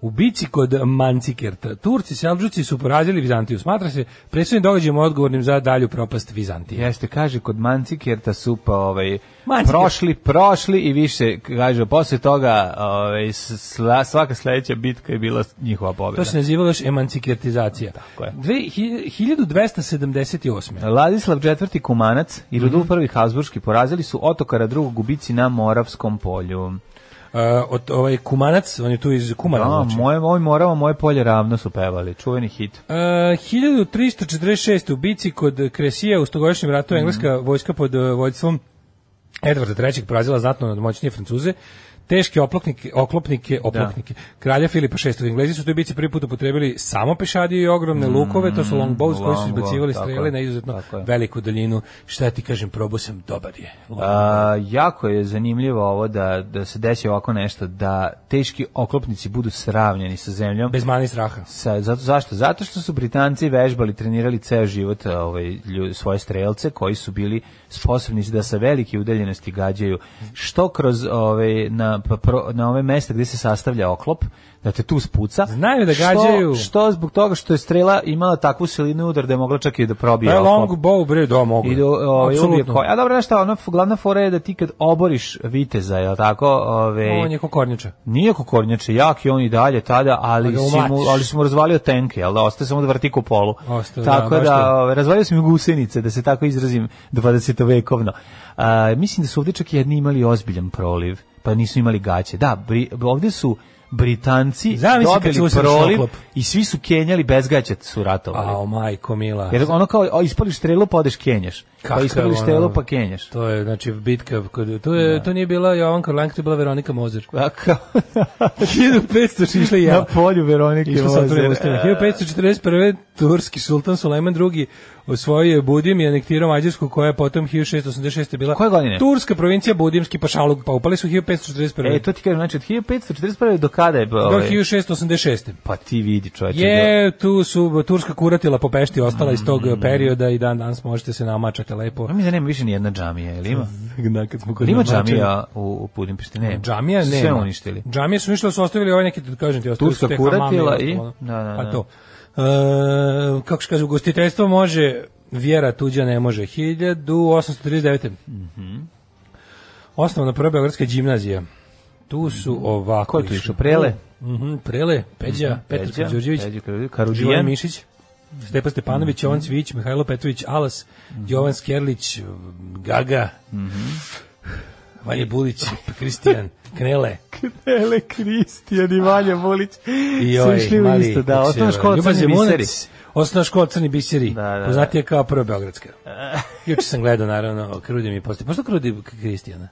Speaker 5: U bici kod Mancikerta, Turci i Selđuci su porazili Vizantiju. Smatra se presudnim događajem odgovornim za dalju propast Vizantije.
Speaker 6: Jeste, kaže, kod Mancikerta su pa ovaj,
Speaker 5: Manciker.
Speaker 6: prošli, prošli i više, kaže, posle toga ovaj, sla- svaka sledeća bitka je bila njihova pobjeda.
Speaker 5: To se nazivalo još emancikertizacija.
Speaker 6: da. Tako je.
Speaker 5: Dve- hi- 1278.
Speaker 6: Ladislav IV. Kumanac i
Speaker 5: Mhm.
Speaker 6: Rudolf I. Habsburški porazili su otokara drugog gubici na Moravskom polju.
Speaker 5: Uh, od, ovaj Kumanac, on je tu iz Kumana.
Speaker 6: Da,
Speaker 5: znači.
Speaker 6: moje, moj Morava, moje polje ravno su pevali, čuveni hit.
Speaker 5: E, 1346. u bici kod Kresija u stogodišnjem
Speaker 6: Mhm.
Speaker 5: ratu engleska vojska pod e, vođstvom Edvarda III. porazila znatno nadmoćnije Francuze. Teške oplopnike, oklopnike,
Speaker 6: Da.
Speaker 5: oplopnike. Kralja Filipa VI. Englezi su u toj bici prvi put upotrebili samo pešadiju i ogromne lukove, to su longbows koji su
Speaker 6: longbow,
Speaker 5: izbacivali
Speaker 6: Mm, tako
Speaker 5: strele
Speaker 6: je,
Speaker 5: na izuzetno
Speaker 6: tako je.
Speaker 5: veliku daljinu. Šta ti kažem, probao sam, dobar je.
Speaker 6: Da. A,
Speaker 5: da.
Speaker 6: jako je zanimljivo ovo da, da se desi ovako nešto, da teški oklopnici budu sravnjeni sa zemljom.
Speaker 5: Bez mani straha.
Speaker 6: Sa, zato, zašto? Zato što su Britanci vežbali, trenirali ceo život ovaj, lju- svoje strelce koji su bili sposobni da sa velike udaljenosti gađaju što kroz ovaj, na, pa pro- na ove mesta gde se sastavlja oklop, da te tu spuca.
Speaker 5: Znaju da
Speaker 6: Što-
Speaker 5: gađaju.
Speaker 6: Što, zbog toga što je strela imala takvu silinu udar da je mogla čak i da probije
Speaker 5: Pa je
Speaker 6: oklop.
Speaker 5: longbow, bre, da, mogu.
Speaker 6: I do, ovaj, ulije
Speaker 5: Apsolutno.
Speaker 6: koja. A dobro, znaš šta, ono, f- glavna fora je da ti kad oboriš viteza, je tako? ovaj, Ove,
Speaker 5: On je kokornjača.
Speaker 6: Nije kokornjače, jak je on i dalje tada, ali,
Speaker 5: Ali ga
Speaker 6: si mu,
Speaker 5: umlatiš.
Speaker 6: ali si mu razvalio tenke, jel da, ostaje samo da vrti ko polu.
Speaker 5: Ostao, da,
Speaker 6: tako
Speaker 5: baš
Speaker 6: da,
Speaker 5: to.
Speaker 6: ove, razvalio sam mu gusenice, da se tako izrazim 20 vekovno. A, mislim da su ovdje čak i jedni imali ozbiljan proliv, pa nisu imali gaće. Da, bri, ovdje su Britanci
Speaker 5: Zamisli kad se
Speaker 6: dobili
Speaker 5: usreš
Speaker 6: proliv
Speaker 5: oklop.
Speaker 6: i svi su kenjali bez gaća su ratovali.
Speaker 5: A, majko mila.
Speaker 6: Jer ono kao o, ispališ strelu pa odeš kenjaš.
Speaker 5: Kako
Speaker 6: Pa
Speaker 5: je
Speaker 6: ispališ
Speaker 5: ono-
Speaker 6: strelu pa kenjaš.
Speaker 5: To je znači bitka kod to je to nije bila Jovan Karlanka, to je bila Veronika Mozer.
Speaker 6: A kao-
Speaker 5: 1500 su išle
Speaker 6: na
Speaker 5: jela.
Speaker 6: polju Veronike E,
Speaker 5: Išla sam to
Speaker 6: Vozer.
Speaker 5: ustano. 1541. turski sultan Sulejman II osvojio je Budim i anektirao Mađarsku koja je potom 1686. bila
Speaker 6: Koje godine?
Speaker 5: turska provincija Budimski pašaluk, pa upali su 1541.
Speaker 6: E, to ti kažem, znači od 1541. do kada je...
Speaker 5: do
Speaker 6: Ovaj,
Speaker 5: 1686.
Speaker 6: pa ti vidi čovječe.
Speaker 5: Je, tu su turska kuratila po pešti ostala iz tog perioda i dan danas možete se namačate lepo.
Speaker 6: Da. Mi da nema više ni jedna džamija, ili ima?
Speaker 5: Da, kad smo kod
Speaker 6: Ili ima
Speaker 5: namačanja.
Speaker 6: džamija u, u Budimpešti? Ne.
Speaker 5: Džamija nema.
Speaker 6: Sve uništili.
Speaker 5: Džamije su ništa, su ostavili ovaj neki, kažem ti, ostavili
Speaker 6: Turska
Speaker 5: su te
Speaker 6: kuratila
Speaker 5: hamame
Speaker 6: i-
Speaker 5: ostalo,
Speaker 6: da, da,
Speaker 5: Pa
Speaker 6: da.
Speaker 5: to. E, kako se kaže, ugostiteljstvo može, vjera tuđa ne može. 1839.
Speaker 6: Mhm.
Speaker 5: Osnovna prva Beogradska gimnazija. Tu su ovako.
Speaker 6: Mhm. Ko je tu
Speaker 5: išli.
Speaker 6: išao? Prele?
Speaker 5: Mhm, Prele, Peđa, Petar
Speaker 6: Mhm, Peđa,
Speaker 5: Đorđević,
Speaker 6: Peđa Mhm. Đorđević,
Speaker 5: Živan
Speaker 6: Karuđijan.
Speaker 5: Mišić, Stepa Stepanović, Jovan Cvijić, Mihajlo Petrović, Alas,
Speaker 6: Mhm.
Speaker 5: Jovan Skerlić, Gaga, Vanje Bulić, Kristijan, Knele.
Speaker 6: Knele Kristijan i Vanja Volić
Speaker 5: I
Speaker 6: su
Speaker 5: ovaj,
Speaker 6: išli u
Speaker 5: mali,
Speaker 6: isto, da,
Speaker 5: kako se
Speaker 6: osnovna
Speaker 5: zove,
Speaker 6: škola
Speaker 5: Ljuba
Speaker 6: Crni
Speaker 5: Zemunac,
Speaker 6: Biseri.
Speaker 5: Osnovna škola Crni Biseri.
Speaker 6: Da, da, da.
Speaker 5: Poznatija kao prva Beogradska. Juče sam gledao, naravno, Krudi mi postoji. Pošto Krudi Kristijana?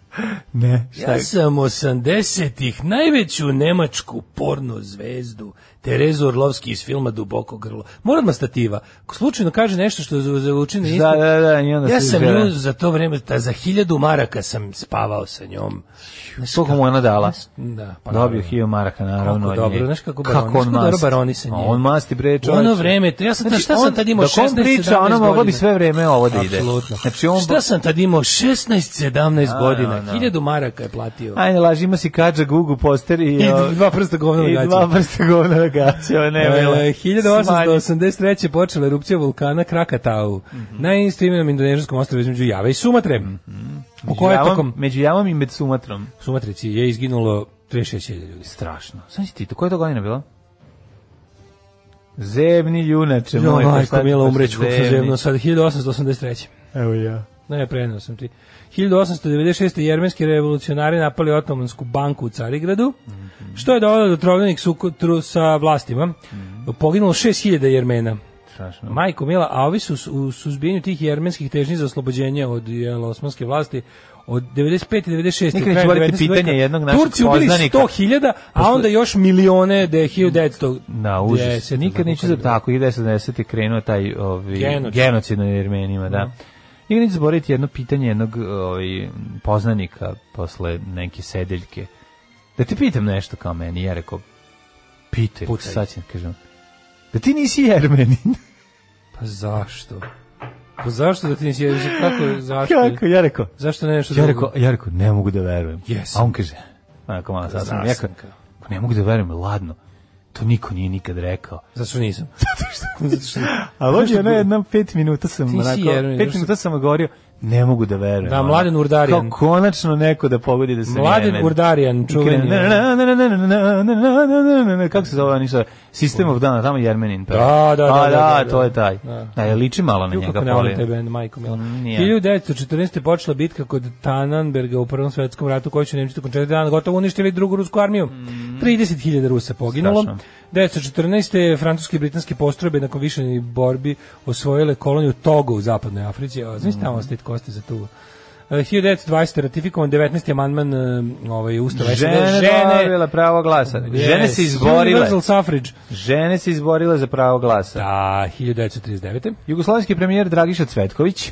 Speaker 6: Ne, šta
Speaker 5: Ja
Speaker 6: je?
Speaker 5: sam 80-ih najveću nemačku porno zvezdu Terezu Orlovski iz filma Duboko grlo. Moram na stativa. Ko slučajno kaže nešto što zvu- zvuči na isto.
Speaker 6: Da, da, da, i onda
Speaker 5: ja
Speaker 6: se
Speaker 5: sam
Speaker 6: izgleda.
Speaker 5: nju za to vreme, ta, za hiljadu maraka sam spavao sa njom. Znaš
Speaker 6: Koliko
Speaker 5: kako-
Speaker 6: mu ona dala?
Speaker 5: Da, pa
Speaker 6: Dobio
Speaker 5: naravno.
Speaker 6: Hio Maraka,
Speaker 5: Kako
Speaker 6: naravno. od
Speaker 5: dobro,
Speaker 6: nje.
Speaker 5: znaš kako baroni- znaš kako dobro baroni sa
Speaker 6: A
Speaker 5: njim.
Speaker 6: On masti bre
Speaker 5: U
Speaker 6: čovječe.
Speaker 5: ono vreme, to ja sam,
Speaker 6: Znači,
Speaker 5: šta sam
Speaker 6: on-
Speaker 5: tad imao
Speaker 6: dok on
Speaker 5: 16, 17
Speaker 6: priča, ona mogla
Speaker 5: godina.
Speaker 6: bi sve vreme ovo da ide.
Speaker 5: Apsolutno.
Speaker 6: Znači, on-
Speaker 5: Šta sam tad imao? 16, 17
Speaker 6: A,
Speaker 5: godina.
Speaker 6: da, da.
Speaker 5: Hiljadu maraka je platio.
Speaker 6: Ajde, laži, ima si kađa, gugu, poster i...
Speaker 5: I
Speaker 6: o,
Speaker 5: dva prsta govna na
Speaker 6: I
Speaker 5: gaći.
Speaker 6: dva vrsta govna na gaće, ovo ne vele.
Speaker 5: E, 1883. počela erupcija vulkana Krakatau
Speaker 6: Mhm.
Speaker 5: na istoimenom indonežanskom ostrovu između Jave i Sumatre. U kojoj je tokom
Speaker 6: Među javom i med Sumatrom.
Speaker 5: Sumatrici je izginulo 36.000 ljudi.
Speaker 6: Strašno. Sam si ti, to koja je to godina bila? Zemni junače,
Speaker 5: Jo,
Speaker 6: moj. pa šta
Speaker 5: majko,
Speaker 6: ti
Speaker 5: mila
Speaker 6: baš
Speaker 5: umreću, kako sam
Speaker 6: zemni?
Speaker 5: zemno, sad 1883.
Speaker 6: Evo ja.
Speaker 5: Ne, prenao sam ti. 1896. jermenski revolucionari napali Otomansku banku u Carigradu,
Speaker 6: Mhm.
Speaker 5: što je dovoljno do trovanih sukotru sa vlastima.
Speaker 6: Mhm.
Speaker 5: Poginulo 6000 jermena.
Speaker 6: Strašno.
Speaker 5: Majko Mila, a ovi su s- u suzbijanju tih jermenskih težnji za oslobođenje od jel, osmanske vlasti od 95 i 96
Speaker 6: Nikad neću voliti pitanje jednog našeg
Speaker 5: Turci ubili
Speaker 6: poznanika.
Speaker 5: 100.000, a onda još milione da je 1900.
Speaker 6: Da, užas.
Speaker 5: 10,
Speaker 6: Nikad
Speaker 5: tako
Speaker 6: neću
Speaker 5: kad je
Speaker 6: za tako, i 1090 je krenuo taj ovi,
Speaker 5: Genocid.
Speaker 6: genocid. na Jermenima, da. Nikad neću zaboraviti jedno pitanje jednog ovi, poznanika posle neke sedeljke. Da ti pitam nešto kao meni, ja rekao, pitaj,
Speaker 5: Pucaj.
Speaker 6: sad ću, kažem, da ti nisi Jermenin.
Speaker 5: Pa zašto? Pa zašto da ti nisi jeziš? Kako, zašto?
Speaker 6: Kako? Ja rekao,
Speaker 5: Zašto ne nešto
Speaker 6: ja
Speaker 5: drugo?
Speaker 6: rekao, ja rekao, ne mogu da verujem.
Speaker 5: Jesam.
Speaker 6: A on kaže, onako malo sad sam,
Speaker 5: Zna
Speaker 6: ja
Speaker 5: sam
Speaker 6: kao,
Speaker 5: kao.
Speaker 6: "Pa ne mogu da verujem, ladno, to niko nije nikad rekao.
Speaker 5: Zato što nisam. Zato što...
Speaker 6: A lođe
Speaker 5: Zašto
Speaker 6: je na
Speaker 5: bi-
Speaker 6: jednom pet minuta sam
Speaker 5: Ti si
Speaker 6: onako,
Speaker 5: Jermin,
Speaker 6: pet
Speaker 5: zašto-
Speaker 6: minuta sam govorio, ne mogu da verujem.
Speaker 5: Da,
Speaker 6: ono.
Speaker 5: Mladen Urdarjan.
Speaker 6: Kao konačno neko da pogodi da se
Speaker 5: Mladen Urdarjan, čuveni.
Speaker 6: Kako se zove ništa? System of Down, tamo je Jermenin. pa.
Speaker 5: Da, da, da,
Speaker 6: A,
Speaker 5: da,
Speaker 6: da,
Speaker 5: da.
Speaker 6: to je taj.
Speaker 5: Da.
Speaker 6: Da, je liči malo na
Speaker 5: Ju,
Speaker 6: njega.
Speaker 5: kako ne volim
Speaker 6: poli.
Speaker 5: taj band, majko mila.
Speaker 6: Mm, nije.
Speaker 5: 1914. je počela bitka kod Tannenberga u Prvom svetskom ratu, koju su Nemci tokom četiri dana gotovo uništili drugu rusku armiju. 30.000 Rusa poginulo.
Speaker 6: Mm. Strašno.
Speaker 5: 1914. je francuske i britanske postrojbe nakon više borbi osvojile koloniju Togo u zapadnoj Africi. A, Znaš
Speaker 6: Mm.
Speaker 5: tamo stit kosti za tu... E, 1920. je ratifikovan 19. amandman e, ovaj, Ustava
Speaker 6: Žene,
Speaker 5: SAD.
Speaker 6: dobile pravo glasa. Žene
Speaker 5: Yes,
Speaker 6: se izborile.
Speaker 5: Universal suffrage.
Speaker 6: Žene se izborile za pravo glasa.
Speaker 5: Da, 1939.
Speaker 6: Jugoslovenski premijer Dragiša Cvetković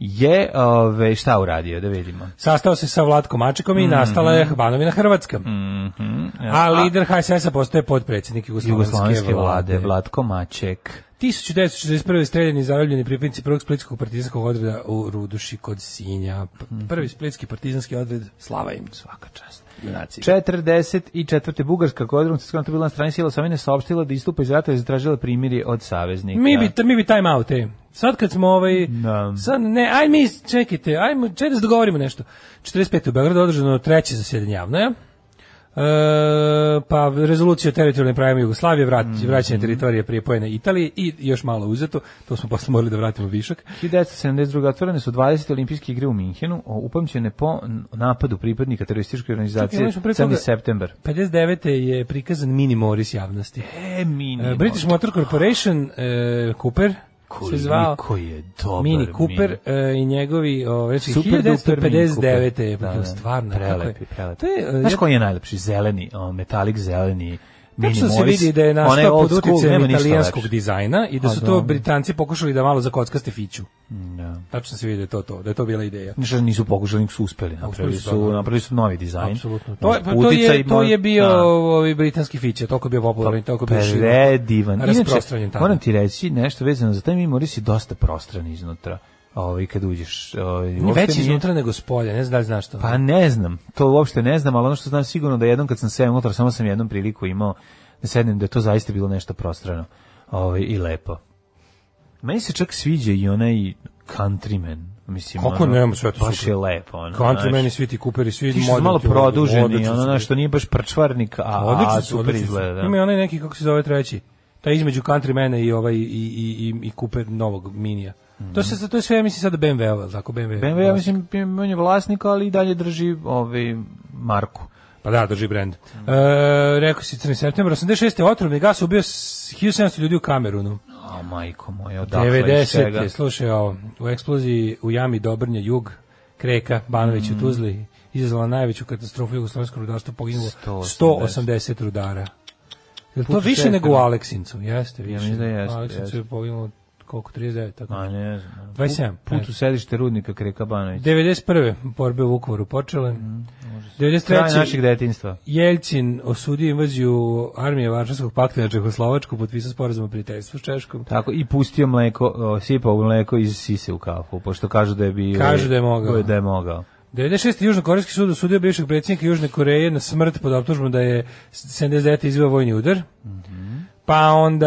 Speaker 6: je ove, šta uradio, da vidimo.
Speaker 5: Sastao se sa Vlatkom Mačekom i nastala je Banovina Hrvatska. Mhm. A lider HSS-a postaje podpredsjednik Jugoslovenske
Speaker 6: Jugoslovenske vlade,
Speaker 5: vlade.
Speaker 6: Vlatko Maček.
Speaker 5: 1941. streljeni i zarobljeni pripadnici prvog splitskog partizanskog odreda u Ruduši kod Sinja. P- Prvi splitski partizanski odred, slava im svaka čast. Junaci.
Speaker 6: 44. Bugarska koja je u drugom svjetskom ratu bila na strani sila Savine saopštila da istupa iz rata i zatražila primirje od saveznika.
Speaker 5: Mi bi, mi bi time out, e. Sad kad smo ovaj...
Speaker 6: Da.
Speaker 5: Sad, ne, aj mi, čekajte, ajmo, čekajte da se dogovorimo nešto. 45. u Beogradu održano treće zasjedanje javno, ja? E, pa rezolucija o teritorijalnim pravima Jugoslavije, vrat,
Speaker 6: Mhm.
Speaker 5: vraćanje teritorije prije pojene Italije i još malo uzeto, to smo posle morali da vratimo višak.
Speaker 6: 1972. otvorene su 20. olimpijske igre u Minhenu, o- upamćene po n- napadu pripadnika terorističke organizacije
Speaker 5: imali smo pre
Speaker 6: 7.
Speaker 5: toga-
Speaker 6: september.
Speaker 5: 59. je prikazan mini Morris javnosti.
Speaker 6: E, mini.
Speaker 5: E, British Motor Corporation, e, Cooper, se zvao.
Speaker 6: Koliko je dobar
Speaker 5: Mini Cooper e, i njegovi ovaj
Speaker 6: Super duper Mini Cooper.
Speaker 5: 1959. je pa
Speaker 6: Da, da,
Speaker 5: stvarno
Speaker 6: prelepi, prelepi.
Speaker 5: To je, e,
Speaker 6: Znaš
Speaker 5: ja-
Speaker 6: koji je najlepši? Zeleni, o, metalik zeleni. Mini
Speaker 5: Tačno se
Speaker 6: Morris.
Speaker 5: vidi da je
Speaker 6: Onaj
Speaker 5: nastao
Speaker 6: old
Speaker 5: pod
Speaker 6: school,
Speaker 5: uticajem
Speaker 6: nema ništa
Speaker 5: italijanskog
Speaker 6: lepše.
Speaker 5: dizajna i da
Speaker 6: A,
Speaker 5: su to
Speaker 6: da.
Speaker 5: Britanci pokušali da malo zakockaste fiću.
Speaker 6: Da.
Speaker 5: Tačno se vidi da je to to, da je to bila ideja.
Speaker 6: Ništa nisu pokušali, nego su uspeli.
Speaker 5: uspeli
Speaker 6: Napravili
Speaker 5: su,
Speaker 6: su,
Speaker 5: da.
Speaker 6: napravili su novi dizajn.
Speaker 5: Apsolutno. To, je- pa to,
Speaker 6: Uticaj
Speaker 5: je, to je
Speaker 6: mo-
Speaker 5: bio
Speaker 6: da. Pa
Speaker 5: ovaj, britanski fić, je toliko bio popularan i toliko bio širom.
Speaker 6: predivan.
Speaker 5: rasprostranjen
Speaker 6: Inače,
Speaker 5: tada.
Speaker 6: moram ti reći nešto vezano za taj mi Morris je dosta prostran iznutra. Ovaj kad uđeš, ovaj
Speaker 5: Ni
Speaker 6: uopšte
Speaker 5: Veći
Speaker 6: nije-
Speaker 5: iznutra nego spolja, ne znam da li znaš to.
Speaker 6: Pa ne znam, to uopšte ne znam, ali ono što znam sigurno da jednom kad sam sedem unutra, samo sam jednom priliku imao da sednem, da je to zaista bilo nešto prostrano ovaj, i lepo. Meni se čak sviđa i onaj countryman. Mislim,
Speaker 5: Kako
Speaker 6: ono,
Speaker 5: ne, sve to
Speaker 6: Baš
Speaker 5: super.
Speaker 6: je lepo. Ono,
Speaker 5: Country
Speaker 6: znaš.
Speaker 5: meni svi ti kuperi, svi
Speaker 6: Ti što su malo
Speaker 5: moderni,
Speaker 6: produženi,
Speaker 5: odlični
Speaker 6: ono
Speaker 5: su.
Speaker 6: znaš, što nije baš prčvarnik, a, a
Speaker 5: Odlični su,
Speaker 6: super
Speaker 5: odlični su.
Speaker 6: izgleda.
Speaker 5: Ima i
Speaker 6: Da.
Speaker 5: onaj neki, kako se zove treći, taj između country mene i, ovaj, i, i, i, i Cooper novog minija.
Speaker 6: Mhm.
Speaker 5: To, se, to je sve, ja mislim, sada BMW-a, tako BMW. da.
Speaker 6: BMW, ja mislim, on je vlasnik, ali i dalje drži ovaj, marku.
Speaker 5: Pa da, drži brend.
Speaker 6: Mhm.
Speaker 5: E, rekao si 14. septembra 86. otrovni gas ubio s- 1700 ljudi u Kamerunu.
Speaker 6: A majko moja, odakle
Speaker 5: 90. je, slušaj ovo, u eksploziji u jami Dobrnja Jug, Kreka, Banović
Speaker 6: Mm.
Speaker 5: u Tuzli, izazvala najveću katastrofu jugoslovenskog rudarstva, poginulo
Speaker 6: 180.
Speaker 5: 180 rudara. Je li to
Speaker 6: Put
Speaker 5: više
Speaker 6: šest,
Speaker 5: nego u
Speaker 6: jel?
Speaker 5: Aleksincu? Jeste, više.
Speaker 6: mislim da jeste,
Speaker 5: U Aleksincu
Speaker 6: jeste.
Speaker 5: je poginulo koliko, 39? Tako.
Speaker 6: A ne znam.
Speaker 5: 27,
Speaker 6: Put, put
Speaker 5: ajde.
Speaker 6: u sedište rudnika Kreka Banović.
Speaker 5: 91. da. borbe u Vukovaru počele. 93.
Speaker 6: Mm, Kraj našeg detinjstva.
Speaker 5: Jelcin osudio invaziju armije Varšavskog pakta na Čehoslovačku, potpisao sporazum o prijateljstvu s Češkom.
Speaker 6: Tako, i pustio mleko, o, sipao mleko iz sise u kafu, pošto kažu da je bio...
Speaker 5: Kažu da je mogao.
Speaker 6: Da je mogao.
Speaker 5: 96. Južnokorejski sud osudio bivšeg predsjednika Južne Koreje na smrt pod optužbom da je 79. izveo vojni udar. Pa onda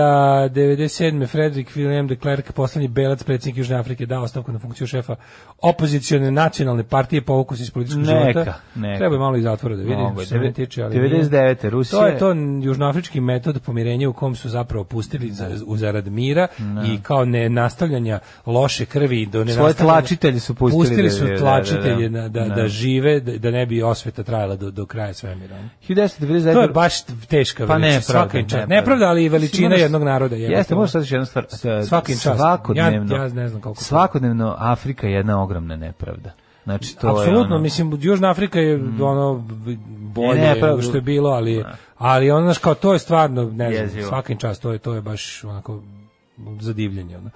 Speaker 5: 97. Frederik William de Klerk, poslednji belac predsjednik Južne Afrike, dao ostavku na funkciju šefa opozicione nacionalne partije po okusu iz političkog
Speaker 6: Neka,
Speaker 5: života.
Speaker 6: neka.
Speaker 5: Treba je malo iz zatvora da vidi.
Speaker 6: Mogu je.
Speaker 5: što se mene tiče, ali nije.
Speaker 6: 99. Rusija...
Speaker 5: To je to južnoafrički metod pomirenja u kom su zapravo pustili za, u zarad mira i kao ne nastavljanja loše krvi do ne
Speaker 6: Svoje tlačitelje su pustili da-
Speaker 5: Pustili su
Speaker 6: da- da- da.
Speaker 5: tlačitelje da, da, da,
Speaker 6: Da.
Speaker 5: žive, da, da ne bi osveta trajala do, do kraja svemira.
Speaker 6: 1999.
Speaker 5: To je baš teška
Speaker 6: Da, Pa
Speaker 5: veličina,
Speaker 6: ne,
Speaker 5: svaka im čast. Nepravda, ali i veličina jednog naroda. jebote.
Speaker 6: Jeste, možeš sad još jednu stvar.
Speaker 5: svaka im čast.
Speaker 6: Svakodnevno.
Speaker 5: Ja- ja ne znam koliko to-
Speaker 6: Svakodnevno Afrika je jedna ogromna nepravda. Znači, to je
Speaker 5: Apsolutno,
Speaker 6: ono- Mm.
Speaker 5: mislim, Južna Afrika je ono bolje
Speaker 6: Ne, ne, pa-
Speaker 5: nego što je bilo, ali, ali ono, znaš, kao to je stvarno, ne znam,
Speaker 6: Da. Jezivo.
Speaker 5: svakim čast, to je, to je baš onako zadivljenje. Ono.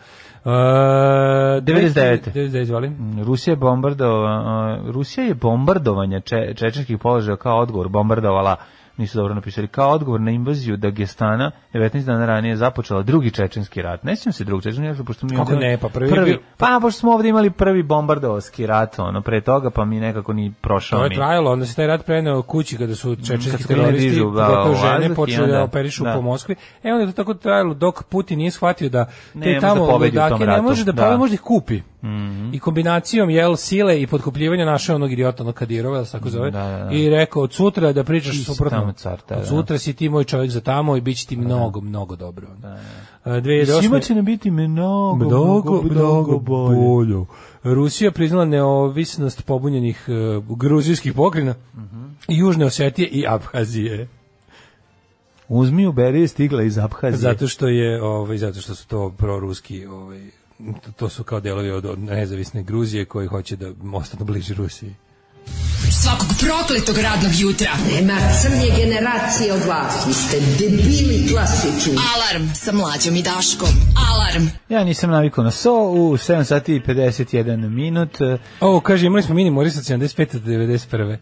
Speaker 5: E,
Speaker 6: 99..
Speaker 5: 99, izvolim.
Speaker 6: Mm, Rusija je bombardova, uh, Rusija je bombardovanje če, čečenskih položaja kao odgovor bombardovala nisu dobro napisali, kao odgovor na invaziju Dagestana 19 dana ranije započela drugi čečenski rat. Ne sjećam se drugog čečenskog rata, pošto mi...
Speaker 5: Kako
Speaker 6: ovdje-
Speaker 5: ne, pa prvi je bio-
Speaker 6: Pa, pošto smo ovdje imali prvi bombardovski rat, ono, pre toga, pa mi nekako ni prošao
Speaker 5: To je
Speaker 6: mi. Mhm.
Speaker 5: trajalo, onda se taj rat preneo kući kada su
Speaker 6: Kad
Speaker 5: čečenski
Speaker 6: su krenuli
Speaker 5: teroristi,
Speaker 6: dižu, da,
Speaker 5: pogotovo
Speaker 6: vazduh
Speaker 5: žene,
Speaker 6: i
Speaker 5: počeli da
Speaker 6: onda-
Speaker 5: operišu
Speaker 6: da.
Speaker 5: po Moskvi. E onda je to tako trajalo dok Putin nije shvatio da
Speaker 6: Ne
Speaker 5: te
Speaker 6: može
Speaker 5: tamo
Speaker 6: da pobedi u tom
Speaker 5: ludake ne
Speaker 6: ratu,
Speaker 5: može da
Speaker 6: da. Mhm.
Speaker 5: pobedi, može da ih kupi. I kombinacijom jel sile i podkupljivanja našao onog idiota onog Kadirova, da se tako zove,
Speaker 6: Da, da, da.
Speaker 5: i rekao od sutra da pričaš
Speaker 6: Ti si
Speaker 5: suprotno.
Speaker 6: tamo car, da,
Speaker 5: od
Speaker 6: da.
Speaker 5: sutra si ti moj čovjek za tamo i bit će ti mnogo, mnogo dobro. Da, da.
Speaker 6: Svima će nam biti mnogo,
Speaker 5: Mnogo, mnogo
Speaker 6: bolje.
Speaker 5: bolje. Rusija priznala neovisnost pobunjenih e, gruzijskih pokrina
Speaker 6: Mhm.
Speaker 5: i Južne Osetije i Abhazije.
Speaker 6: Uzmi uberi je stigla iz Abhazije.
Speaker 5: Zato što je, ovaj, zato što su to proruski, ovaj, to, to su kao delovi od, od nezavisne Gruzije koji hoće da ostanu bliži Rusiji.
Speaker 4: Svakog prokletog radnog jutra.
Speaker 7: Nema crnje generacije od vas. Vi ste debili klasični.
Speaker 4: Alarm sa mlađom i Daškom. Alarm.
Speaker 6: Ja nisam navikao na so u 7 sati i 51 minut. eh,
Speaker 5: Ovo, kaže, imali smo mini Morisa od 75. do 91.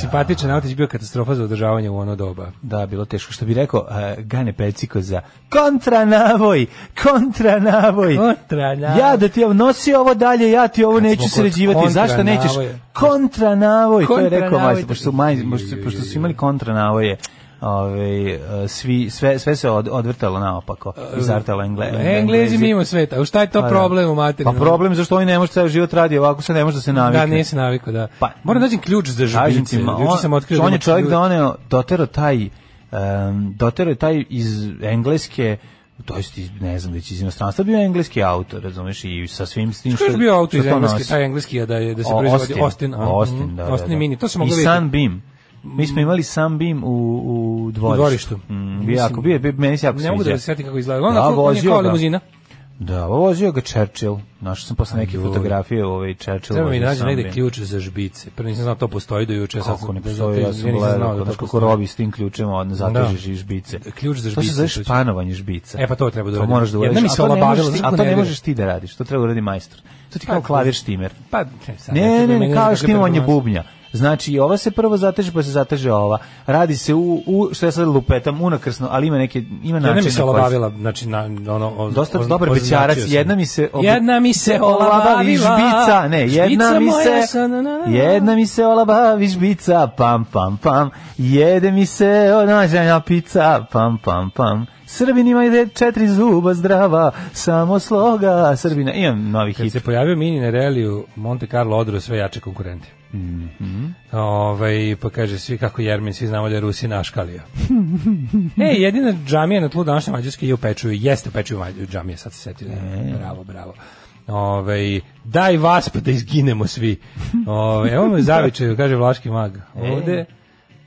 Speaker 5: Simpatičan autić bio katastrofa za održavanje u ono doba.
Speaker 6: Da, bilo teško. Što bi rekao eh, Gane Peciko za kontranavoj, kontranavoj.
Speaker 5: Kontranavoj.
Speaker 6: Ja da ti ovo- nosi ovo dalje, ja ti ovo neću
Speaker 5: kod
Speaker 6: sređivati. Zašto nećeš?
Speaker 5: kontranavoja.
Speaker 6: Kontranavoj, to je rekao
Speaker 5: Kontranavoj.
Speaker 6: majstor, pošto, su maj, pošto, pošto su imali kontranavoje. Ove, eh, svi, sve, sve se od, odvrtalo naopako. Izartalo engle,
Speaker 5: Eh, Englezi mimo sveta. U šta je to
Speaker 6: E, Pa da.
Speaker 5: problem u materinu?
Speaker 6: Pa problem je zašto oni ne može ceo život radi ovako, sad ne može da se navikne.
Speaker 5: Da, nije se navikao, da.
Speaker 6: Pa-
Speaker 5: Moram naći ključ za
Speaker 6: Kažem ti,
Speaker 5: žubice.
Speaker 6: ma,
Speaker 5: Juče sam
Speaker 6: on,
Speaker 5: otkrio da
Speaker 6: on
Speaker 5: ima
Speaker 6: je čovjek
Speaker 5: ključ.
Speaker 6: doneo, dotero taj, um, dotero je taj iz Engleske, to jest iz, ne znam, već iz inostranstva bio je engleski autor, razumeš, i sa svim s tim
Speaker 5: Što je bio auto iz
Speaker 6: što to
Speaker 5: engleski,
Speaker 6: nosi.
Speaker 5: taj engleski je da je da se
Speaker 6: O,
Speaker 5: proizvodi Austin,
Speaker 6: Austin,
Speaker 5: a,
Speaker 6: Austin,
Speaker 5: mhm,
Speaker 6: da, da,
Speaker 5: Austin i
Speaker 6: da.
Speaker 5: Mini, to se moglo
Speaker 6: I
Speaker 5: vidjeti. Mm.
Speaker 6: Sunbeam. Mi smo imali Sunbeam u, u dvorištu.
Speaker 5: dvorištu.
Speaker 6: Mm, bio
Speaker 5: Mislim-
Speaker 6: jako, bio, je- bio, meni se jako
Speaker 5: Ne mogu da
Speaker 6: sviđa.
Speaker 5: se setim kako izgleda. Ona
Speaker 6: Da,
Speaker 5: da, je
Speaker 6: vozio
Speaker 5: kao
Speaker 6: ga.
Speaker 5: limuzina.
Speaker 6: Da, vozio ga Churchill. Našao sam posle neke fotografije ovaj Churchill.
Speaker 5: Treba mi
Speaker 6: vozio
Speaker 5: nađe negde
Speaker 6: Sunbeam.
Speaker 5: ključ za žbice. Prvo nisam znao to postoji do juče, sad
Speaker 6: Kako
Speaker 5: sam
Speaker 6: ne
Speaker 5: da
Speaker 6: postoji, ja sam
Speaker 5: nisam znao
Speaker 6: gledao,
Speaker 5: da
Speaker 6: da
Speaker 5: to
Speaker 6: kako
Speaker 5: postoji.
Speaker 6: robi s tim ključem, on zatežeš i žbice.
Speaker 5: Ključ za
Speaker 6: To
Speaker 5: žbice.
Speaker 6: se zove
Speaker 5: to ću-
Speaker 6: španovanje žbica.
Speaker 5: E, pa to treba da
Speaker 6: To
Speaker 5: uradim.
Speaker 6: moraš da
Speaker 5: Jedna
Speaker 6: uradiš.
Speaker 5: mi se
Speaker 6: a to ne
Speaker 5: olabavila,
Speaker 6: možeš ti-
Speaker 5: znaš kako
Speaker 6: A to
Speaker 5: ne
Speaker 6: ne
Speaker 5: radi?
Speaker 6: možeš ti da radiš, to treba da uradi majstor. To ti kao
Speaker 5: Pa,
Speaker 6: klavir štimer.
Speaker 5: Pa, ne, sad
Speaker 6: Ne, ne,
Speaker 5: treba
Speaker 6: ne,
Speaker 5: meni
Speaker 6: kao
Speaker 5: nekakve
Speaker 6: štimanje
Speaker 5: performanse.
Speaker 6: bubnja. Znači, i ova se prvo zateže, pa se zateže ova. Radi se u, u što ja sad lupetam, unakrsno, ali ima neke, ima način.
Speaker 5: Jedna mi se
Speaker 6: na koji
Speaker 5: olabavila, znači na, ono... O,
Speaker 6: Dosta
Speaker 5: o-
Speaker 6: dobar
Speaker 5: označio
Speaker 6: bećarac,
Speaker 5: sam.
Speaker 6: jedna mi se ob-
Speaker 5: Jedna mi se
Speaker 6: olabavi
Speaker 5: olabavila.
Speaker 6: žbica, ne, jedna
Speaker 5: Žbica
Speaker 6: mi
Speaker 5: moja
Speaker 6: se
Speaker 5: sa- na- na- na-
Speaker 6: jedna mi se olabavi žbica, pam pam pam, jede mi se onažanja pica, pam pam pam. Srbin ima ide četiri zuba zdrava, samo sloga Srbina. Imam novi
Speaker 5: Kad
Speaker 6: hit.
Speaker 5: se pojavio mini na reliju, Monte Carlo odro sve jače konkurente. Ovaj, pa kaže, svi kako Jermin, svi znamo da je Rusi naškalija. e, jedina džamija na tlu današnje Mađarske je u Pečuju. Jeste u Pečuju Mađu- džamija, sad se setio.
Speaker 6: E.
Speaker 5: Bravo, bravo. Ove, daj Ovaj, vas pa da izginemo svi. Ove, evo me zavičaju, kaže Vlaški mag. Ovde,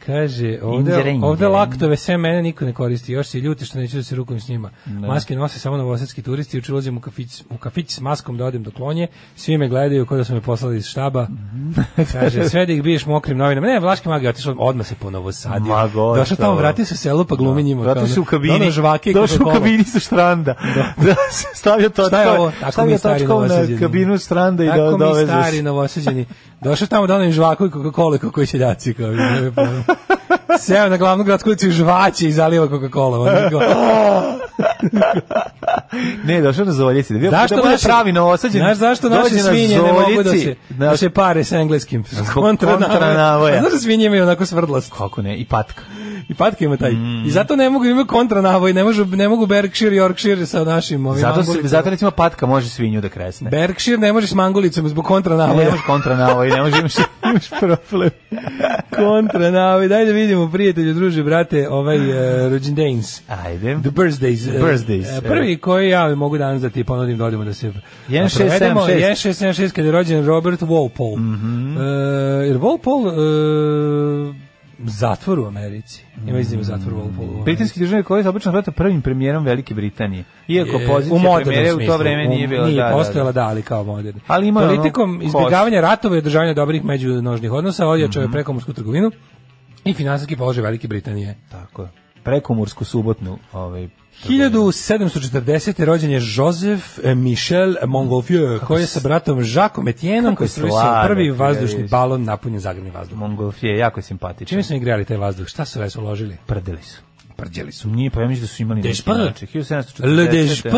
Speaker 5: Kaže, ovde,
Speaker 6: E. Inđerenje.
Speaker 5: ovde laktove sve mene niko ne koristi, još se ljute što neću da se rukujem s njima. Maske nose samo novosadski turisti, učer ulazim u kafić, u kafić s maskom da odem do klonje, svi me gledaju kao da su me poslali iz štaba.
Speaker 6: Mhm.
Speaker 5: Kaže, sve da ih biješ mokrim novinama. Ne, Vlaški mag je otišao, odmah se po novosadio.
Speaker 6: Ma, gotovo.
Speaker 5: Došao tamo, vratio se u selu, pa glumi njima.
Speaker 6: Vratio
Speaker 5: kao
Speaker 6: se u
Speaker 5: ono,
Speaker 6: kabini.
Speaker 5: dono žvake i
Speaker 6: Došao u
Speaker 5: Coca-Cola.
Speaker 6: kabini sa štranda. Da. stavio točkom,
Speaker 5: Šta je ovo? Tako mi
Speaker 6: stavio
Speaker 5: je stari
Speaker 6: točkom na
Speaker 5: novosađeni.
Speaker 6: kabinu štranda i da
Speaker 5: Tako
Speaker 6: do,
Speaker 5: mi
Speaker 6: dovezu
Speaker 5: stari novosađeni. Došao tamo da onim žvaku i Coca-Cola kako koji seljaci. Kao, nemam pojma. pa. Seo na glavnu gradsku ulicu i žvaće i zaliva Coca-Cola. Ono, kao,
Speaker 6: Da, Ne, došao na Zoljici. Da bio,
Speaker 5: Zašto
Speaker 6: da bude
Speaker 5: naši-
Speaker 6: pravi novosađen?
Speaker 5: Znaš zašto naše
Speaker 6: dođe na
Speaker 5: svinje ne mogu da
Speaker 6: Zoljici,
Speaker 5: se, da se pare sa engleskim?
Speaker 6: kontra navoja.
Speaker 5: A Znaš da svinje imaju onako svrdlast?
Speaker 6: Kako ne, i patka.
Speaker 5: I patke ima taj.
Speaker 6: Mm.
Speaker 5: I zato ne mogu imaju kontra navoj, ne, možu, ne mogu Berkshire i Yorkshire sa našim ovim
Speaker 6: Zato, se,
Speaker 5: mangulicama.
Speaker 6: zato recimo patka može svinju da kresne.
Speaker 5: Berkshire ne može s mangulicom zbog kontra
Speaker 6: Ne
Speaker 5: navoja.
Speaker 6: možeš kontra na ovo i ne možeš imaš, imaš problem.
Speaker 5: kontra navoj. Daj da vidimo, prijatelju, druže, brate, ovaj uh, rođendejns.
Speaker 6: Ajde.
Speaker 5: The birthdays. eh,
Speaker 6: Birthdays,
Speaker 5: eh,
Speaker 6: evo.
Speaker 5: Prvi koji ja mogu danas da ti ponudim da odemo da se
Speaker 6: 1676.
Speaker 5: provedemo. 1676 kada je rođen Robert Walpole. Mm jer Walpole eh, zatvor u Americi. Ima izdivu zatvor Walpole. u Americi.
Speaker 6: Britanski državni koji je obično vrata prvim premijerom Velike Britanije. Iako
Speaker 5: Je, u
Speaker 6: pozicija
Speaker 5: modernom
Speaker 6: premijera u to
Speaker 5: smislu.
Speaker 6: vreme
Speaker 5: U-
Speaker 6: nije bila.
Speaker 5: Nije
Speaker 6: da, da, da.
Speaker 5: postojala, da, ali kao moderni.
Speaker 6: Ali ima ono,
Speaker 5: Politikom
Speaker 6: kost.
Speaker 5: izbjegavanja ratova i održavanja dobrih međunožnih odnosa ojačao
Speaker 6: Mhm.
Speaker 5: je prekomorsku trgovinu i finansijski položaj Velike Britanije.
Speaker 6: Tako je. Prekomursku subotnu. Ovaj,
Speaker 5: 1740. rođen je Joseph eh, Michel Montgolfier, koji je sa bratom Jacques Etienneom
Speaker 6: kako je
Speaker 5: konstruisao
Speaker 6: sladak,
Speaker 5: prvi
Speaker 6: ja
Speaker 5: vazdušni
Speaker 6: vidiš.
Speaker 5: balon napunjen zagrenim vazduhom.
Speaker 6: Mongolfije, jako je simpatičan.
Speaker 5: Čime su igrali taj vazduh? Šta su resu uložili?
Speaker 6: prdeli su?
Speaker 5: Prđeli su.
Speaker 6: Nije, pa ja mislim da su imali
Speaker 5: Dešpa?
Speaker 6: način. 1740.
Speaker 5: Le Dešpr!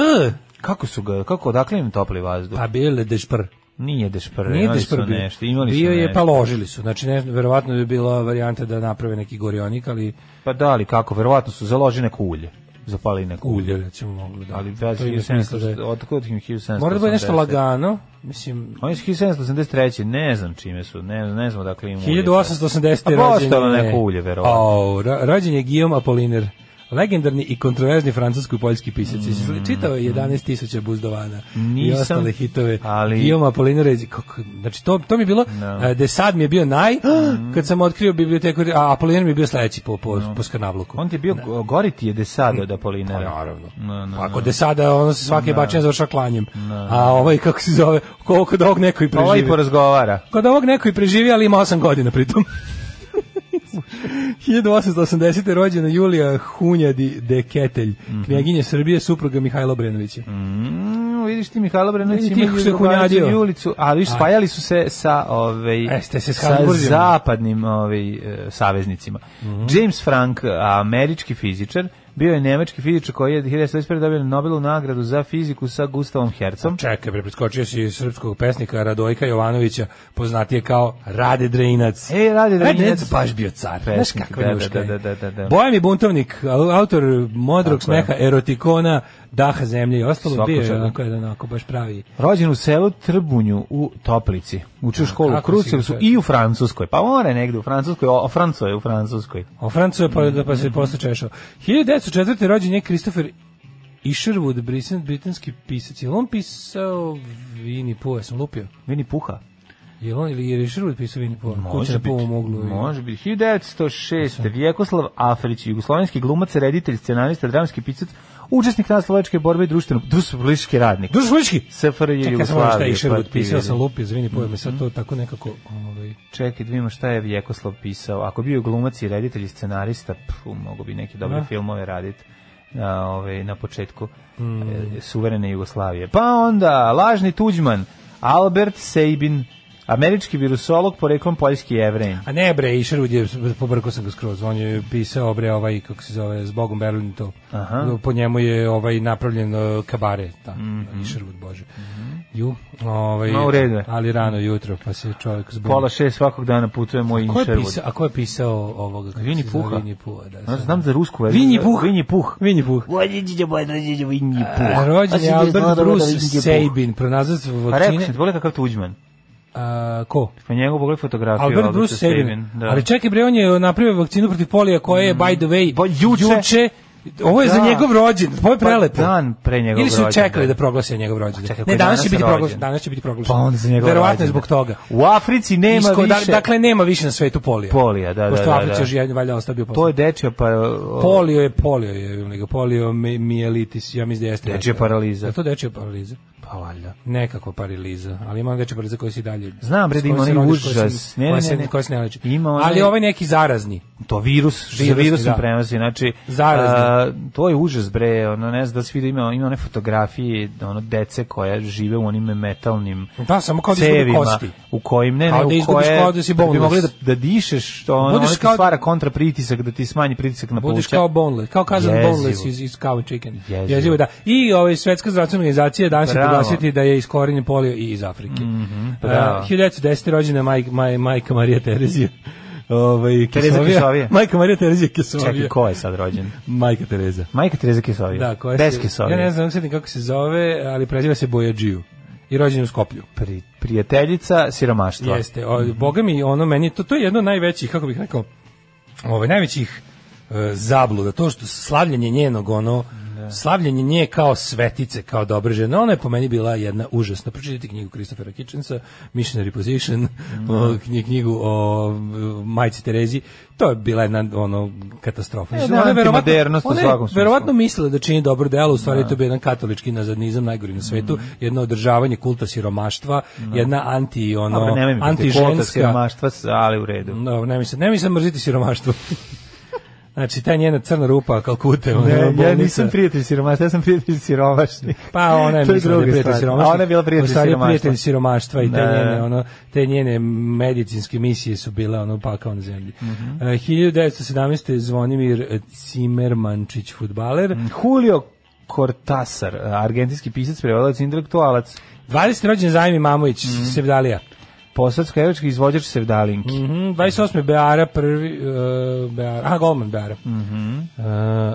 Speaker 6: Kako su ga, kako, odakle im topli vazduh?
Speaker 5: Pa bio je Le Dešpr.
Speaker 6: Nije dešpr,
Speaker 5: Nije
Speaker 6: imali
Speaker 5: Dešpr
Speaker 6: su
Speaker 5: bio.
Speaker 6: nešto, imali su
Speaker 5: bio je,
Speaker 6: nešto.
Speaker 5: pa ložili su. Znači, ne, verovatno je bila varijanta da naprave neki gorionik, ali
Speaker 6: Pa da, ali kako, verovatno su založi neko ulje. Zapali neko ulje.
Speaker 5: ulje, recimo, moglo da.
Speaker 6: Ali
Speaker 5: To
Speaker 6: bez
Speaker 5: ima smisla da je-
Speaker 6: 1700, otkud im 1780?
Speaker 5: Mora da bude nešto lagano, mislim,
Speaker 6: Oni su 1783. Ne znam čime su, ne, ne znam dakle im ulje.
Speaker 5: 1880.
Speaker 6: A
Speaker 5: rođen
Speaker 6: postalo
Speaker 5: je-
Speaker 6: neko ulje, verovatno.
Speaker 5: Au, ro- rođen je Guillaume Apollinaire, legendarni i kontroverzni francuski i poljski pisac. Mm. Čitao je 11.000 buzdovana
Speaker 6: Nisam,
Speaker 5: i ostale hitove.
Speaker 6: ali- Da.
Speaker 5: Guillaume Apollinaire, je- kako, znači to, to mi je bilo, no. de sad mi je bio naj, kad sam otkrio biblioteku, a Apollinaire mi je bio sledeći po, po, po skanavluku.
Speaker 6: On ti je bio, go- gori ti je desado da od Apolinera.
Speaker 5: Pa, naravno.
Speaker 6: No, no,
Speaker 5: Ako de sada ono se svake bačine završava klanjem. A ovaj kako se zove, koliko da ovog neko i
Speaker 6: Pa Ovaj
Speaker 5: preživi.
Speaker 6: porazgovara.
Speaker 5: Kod ovog neko i preživi, ali ima 8 godina pritom. 1880. rođena Julija Hunjadi de Ketelj, knjaginja Srbije, supruga Mihajla Obrenovića.
Speaker 6: Mm, vidiš ti Mihajlo Brenović
Speaker 5: Vidi
Speaker 6: ima
Speaker 5: ti kako se hunjadio.
Speaker 6: Julicu, ali viš, spajali su se sa ovaj
Speaker 5: E, ste se
Speaker 6: sa
Speaker 5: Habsburzima.
Speaker 6: zapadnim ovaj e, saveznicima.
Speaker 5: Mhm.
Speaker 6: James Frank, američki fizičar, bio je nemački fizičar koji je 1921 dobio Nobelovu nagradu za fiziku sa Gustavom Hercom.
Speaker 5: Čekaj, bre, preskočio si srpskog pesnika Radojka Jovanovića, poznatije kao Rade Drejinac.
Speaker 6: Ej, Rade Drejinac.
Speaker 5: E, baš bio car. Znaš
Speaker 6: Pesnik,
Speaker 5: kakva
Speaker 6: da,
Speaker 5: njuška
Speaker 6: da, da,
Speaker 5: je.
Speaker 6: da, da, da.
Speaker 5: Bojan i buntovnik, au- autor modrog
Speaker 6: Tako je.
Speaker 5: smeha, erotikona, daha zemlje i ostalo.
Speaker 6: Svako
Speaker 5: bio je
Speaker 6: čega.
Speaker 5: onako jedan, onako baš pravi.
Speaker 6: Rođen u selu Trbunju u Toplici. Učio školu u
Speaker 5: kako si ga
Speaker 6: Krucevcu
Speaker 5: sve-
Speaker 6: i u Francuskoj. Pa mora negde u Francuskoj, o, o Franco je u Francuskoj.
Speaker 5: O Francu je pa, pa
Speaker 6: Mm.
Speaker 5: se posle češao. 1904. rođen je Christopher Isherwood, brisan- britanski pisac. Je li on pisao Vini Pooh? Ja sam lupio.
Speaker 6: Vini Puha.
Speaker 5: Je li on ili je Isherwood pisao Vini Pooh? Kuća
Speaker 6: Može
Speaker 5: na
Speaker 6: biti.
Speaker 5: Pooh moglu.
Speaker 6: Može biti. 1906. Vjekoslav Afrić, jugoslovenski glumac, reditelj, scenarista, dramski pisac, učesnik naslovačke borbe i društveno, društveno radnik.
Speaker 5: Duš Vučki!
Speaker 6: SFRJ
Speaker 5: Čekaj, sam ono šta je
Speaker 6: Jugoslavije.
Speaker 5: Isherwood
Speaker 6: pa ti
Speaker 5: pisao,
Speaker 6: vidi. Mhm.
Speaker 5: sam lupio za Vini Pooh, me sad to tako nekako... Ovaj,
Speaker 6: Čekaj, da vidimo šta je Vjekoslav pisao. Ako bio glumac i reditelj i scenarista, pfu, mogu bi neke dobre
Speaker 5: Da.
Speaker 6: filmove raditi na, ovaj, na početku
Speaker 5: Mm.
Speaker 6: e, suverene Jugoslavije. Pa onda, lažni Tuđman, Albert Sabin, američki virusolog, poreklom poljski jevrejn.
Speaker 5: a ne bre, Isherwood je, pobrkao sam ga skroz, on je pisao bre ovaj, kako se zove, s Bogom Berlin to.
Speaker 6: Aha.
Speaker 5: Po njemu je ovaj napravljen eh, kabare, ta, Isherwood, bože. Ju, ovaj,
Speaker 6: Mhm. Ma, u redu je.
Speaker 5: ali rano jutro, pa se čovjek zbuni.
Speaker 6: Pola šest svakog dana putuje moj
Speaker 5: Ko je
Speaker 6: Inšervud.
Speaker 5: pisao, a ko je pisao ovoga? kako
Speaker 6: Vinnie
Speaker 5: se zove,
Speaker 6: Puha.
Speaker 5: Vinnie Puha, da.
Speaker 6: Ja
Speaker 5: sad.
Speaker 6: znam za rusku verziju.
Speaker 5: Vinji Puh.
Speaker 6: Vinji Puh.
Speaker 5: Vinnie Puh.
Speaker 6: Vinji
Speaker 5: A, Rođen je Albert
Speaker 6: da
Speaker 5: Bruce Sabin, pronalazac
Speaker 6: Pa rekao
Speaker 5: vakcine.
Speaker 6: sam, bolje kakav Tuđman.
Speaker 5: A, ko?
Speaker 6: Pa njegov pogledaj fotografiju.
Speaker 5: Albert
Speaker 6: Alberta
Speaker 5: Bruce Sabin.
Speaker 6: Da.
Speaker 5: Ali čekaj bre, on je napravio vakcinu protiv polija koja je, by the way,
Speaker 6: Pa juče-
Speaker 5: juče Ovo je za
Speaker 6: Da.
Speaker 5: njegov rođen, ovo je
Speaker 6: Pa
Speaker 5: prelepo.
Speaker 6: dan pre njegovog
Speaker 5: Ili su
Speaker 6: rođendana.
Speaker 5: čekali da proglase njegov rođendan.
Speaker 6: A čekaj, koji
Speaker 5: ne, danas,
Speaker 6: danas
Speaker 5: će biti
Speaker 6: rođen?
Speaker 5: proglašen, danas će biti proglašen.
Speaker 6: Pa onda za njegov
Speaker 5: Verovatno je
Speaker 6: rođendan.
Speaker 5: zbog toga.
Speaker 6: U Africi nema
Speaker 5: Isko- da-
Speaker 6: više.
Speaker 5: dakle, nema više na svetu polija.
Speaker 6: Polija, da, da,
Speaker 5: Pošto
Speaker 6: da,
Speaker 5: Africi
Speaker 6: da.
Speaker 5: još jedan valjda ostao bio
Speaker 6: To
Speaker 5: posle.
Speaker 6: je dečja pa
Speaker 5: Polio je polio, je ga polio mi- mijelitis, ja mislim da jeste.
Speaker 6: Dečja paraliza.
Speaker 5: Da to dečija paraliza.
Speaker 6: pa valjda.
Speaker 5: Nekako paraliza, ali ima dečija paraliza koja se i dalje.
Speaker 6: Znam, bre, da
Speaker 5: s kojom
Speaker 6: ima
Speaker 5: se
Speaker 6: onaj
Speaker 5: rodiš, koja se-
Speaker 6: užas. Ne,
Speaker 5: koja
Speaker 6: ne,
Speaker 5: se-
Speaker 6: ne, ne.
Speaker 5: koja se ne leči.
Speaker 6: Ima onaj-
Speaker 5: Ali ovaj neki zarazni.
Speaker 6: To virus, virus
Speaker 5: Virusni,
Speaker 6: virusom
Speaker 5: da.
Speaker 6: prenosi, znači
Speaker 5: Zarazni.
Speaker 6: a, to je užas bre, ono ne znam da se vidi ima ima one fotografije ono dece koja žive u onim metalnim
Speaker 5: Da, samo kao da izgube
Speaker 6: cevima
Speaker 5: kosti.
Speaker 6: u kojim ne, ne
Speaker 5: Kao da
Speaker 6: u
Speaker 5: izgubiš
Speaker 6: koje
Speaker 5: kao da si
Speaker 6: bi
Speaker 5: boneless.
Speaker 6: mogli da, da dišeš, to ono, ono
Speaker 5: Budeš
Speaker 6: ti
Speaker 5: kao-
Speaker 6: stvara kontrapritisak da ti smanji pritisak na pluća.
Speaker 5: Budeš kao boneless, kao kazan
Speaker 6: Jezivo.
Speaker 5: boneless iz, iz cow chicken.
Speaker 6: Jezivo.
Speaker 5: Jezivo. da. I ovaj, Svetska zdravstvena organizacija danas će
Speaker 6: Bravo. Mhm,
Speaker 5: proglasiti da je iskorenjen polio i iz Afrike. Mm
Speaker 6: bravo.
Speaker 5: 1910. rođena maj, maj, majka Marija Terezija. Ovaj,
Speaker 6: Tereza
Speaker 5: Kesovija.
Speaker 6: Kesovija.
Speaker 5: Majka Marija Terezija Kesovija.
Speaker 6: Čekaj, ko je sad rođen?
Speaker 5: Majka Tereza.
Speaker 6: Majka Tereza Kesovija.
Speaker 5: Da, koja
Speaker 6: Bez
Speaker 5: se,
Speaker 6: Kesovije.
Speaker 5: Ja ne znam sad ni kako se zove, ali preziva se Bojađiju. I rođen je u Skoplju.
Speaker 6: Pri, prijateljica siromaštva.
Speaker 5: Jeste. O, boga mi, ono meni, to, to je jedno od najvećih, kako bih rekao, ovaj, najvećih e, zabluda. To što slavljenje njenog, ono,
Speaker 6: Da.
Speaker 5: slavljenje nje kao svetice, kao dobre žene, ona je po meni bila jedna užasna. Pročitajte knjigu Christophera Kitchensa, Missionary Position,
Speaker 6: Mhm.
Speaker 5: o, knji- knjigu o e, majci Terezi. To je bila jedna ono, katastrofa.
Speaker 6: Jedna E, da, antimodernost u
Speaker 5: ona je
Speaker 6: svakom smislu.
Speaker 5: verovatno mislila da čini dobro delo, u stvari to je bio jedan katolički nazadnizam najgori na svetu,
Speaker 6: Mhm.
Speaker 5: jedno održavanje kulta siromaštva, jedna anti ono
Speaker 6: Da. Dobro, nemoj mi biti kvota
Speaker 5: antiženska. Da,
Speaker 6: siromaštva, ali u redu.
Speaker 5: No, ne mislim, ne mislim mrziti siromaštvo. znači ta njena crna rupa Kalkute, ona
Speaker 6: Ne, ja
Speaker 5: bolnica.
Speaker 6: nisam prijatelj siromaštva, ja sam prijatelj siromašnih.
Speaker 5: Pa ona je
Speaker 6: To je
Speaker 5: mislila da je
Speaker 6: druga
Speaker 5: prijatelj
Speaker 6: stvar.
Speaker 5: siromaštva.
Speaker 6: A ona je bila prijatelj
Speaker 5: U stvari je
Speaker 6: siromaštva.
Speaker 5: prijatelj siromaštva i te,
Speaker 6: Da.
Speaker 5: njene, ono, te njene medicinske misije su bile ono pakao na zemlji. Mm
Speaker 6: Mhm.
Speaker 5: 1917. Zvonimir Cimermančić, futbaler.
Speaker 6: Mhm. Julio Cortázar, argentinski pisac, prevodilac, intelektualac,
Speaker 5: 20. rođen Zajmi Mamović,
Speaker 6: Mhm.
Speaker 5: Sevdalija.
Speaker 6: posavsko-evački izvođač Sevdalinki.
Speaker 5: Mhm, 28. Beara prvi uh, Beara, aha, golman Beara.
Speaker 6: Mhm.
Speaker 5: E,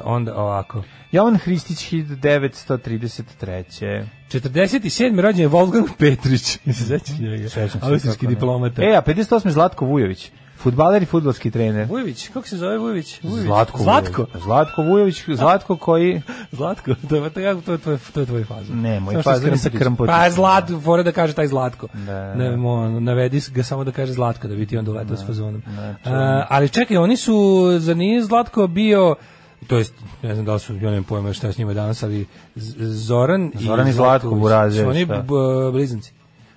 Speaker 5: onda ovako.
Speaker 6: Jovan Hristić, 1933.
Speaker 5: 47. rođen je Wolfgang Petrić. Se sećaš njega?
Speaker 6: Sećam se,
Speaker 5: Austrijski
Speaker 6: kako ne.
Speaker 5: diplomata.
Speaker 6: E, a 58. Zlatko Vujović, futbaler i futbolski trener.
Speaker 5: Vujović, kako se zove Vujović? Vujović.
Speaker 6: Zlatko,
Speaker 5: Zlatko.
Speaker 6: Vujović. Zlatko Vujović, Zlatko koji...
Speaker 5: Zlatko, to je to je to je tvoj to je tvoj fazon.
Speaker 6: Ne, moj
Speaker 5: Samo što je
Speaker 6: fazon je sa
Speaker 5: Krmpotić.
Speaker 6: Krmpotićem.
Speaker 5: Pa Zlat, fora da kaže taj Zlatko.
Speaker 6: Da.
Speaker 5: Ne, mo, navedi ga samo da kaže Zlatko da bi ti on doletao s fazonom.
Speaker 6: da,
Speaker 5: A, ali čekaj, oni su za nije Zlatko bio to jest ne znam da li su ja nemam pojma šta je s njima danas, ali Z- Zoran,
Speaker 6: Zoran i Zlatko
Speaker 5: Vujić.
Speaker 6: Burazević, da.
Speaker 5: Su oni
Speaker 6: šta?
Speaker 5: b- blizanci.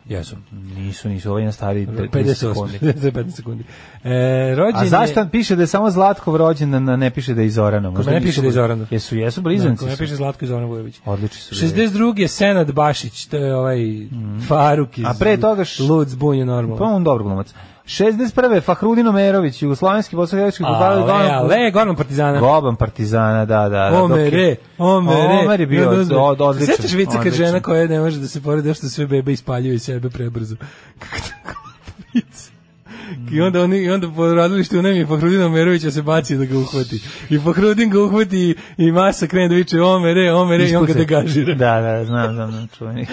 Speaker 5: Jesu.
Speaker 6: Nisu, nisu, ovaj je na stari
Speaker 5: 58.
Speaker 6: 50 sekundi.
Speaker 5: Za 15 sekundi. E, rođen
Speaker 6: A
Speaker 5: je-
Speaker 6: zašto piše da je samo Zlatkov rođendan, a ne piše da je i Zoranov? Možda
Speaker 5: mene
Speaker 6: nisu
Speaker 5: piše da je
Speaker 6: bli-
Speaker 5: Zoranov.
Speaker 6: Jesu, jesu
Speaker 5: Blizanci.
Speaker 6: blizanci.
Speaker 5: Ne
Speaker 6: su.
Speaker 5: piše Zlatko i Zoran Vujović.
Speaker 6: Odlični su. bili.
Speaker 5: 62. je Senad Bašić, to je ovaj Faruk iz...
Speaker 6: Mhm. A pre toga š-
Speaker 5: Lud zbunje
Speaker 6: Pa
Speaker 5: normalno.
Speaker 6: on dobar glumac. 61. Fahrudin Omerović, jugoslovenski bosanski fudbaler,
Speaker 5: Ale,
Speaker 6: Goban,
Speaker 5: ale, Goran Partizana.
Speaker 6: Goban Partizana, da, da. da, dok je-
Speaker 5: Omere, omere.
Speaker 6: Omer je bio
Speaker 5: Jedan uzme-
Speaker 6: od, odličan.
Speaker 5: Da, Sećaš vica kad
Speaker 6: odličan.
Speaker 5: žena koja ne može da se poredi što sve bebe ispaljuju iz sebe prebrzo. Kako tako vic.
Speaker 6: Mhm.
Speaker 5: I onda oni i onda po radilištu nam je Fahrudin Omerovića se baci da ga uhvati. I Fahrudin ga uhvati i, i masa krene da viče omere, omere i on ga
Speaker 6: Ispucaj.
Speaker 5: degažira.
Speaker 6: Da, da, znam, znam, znam, čuveni.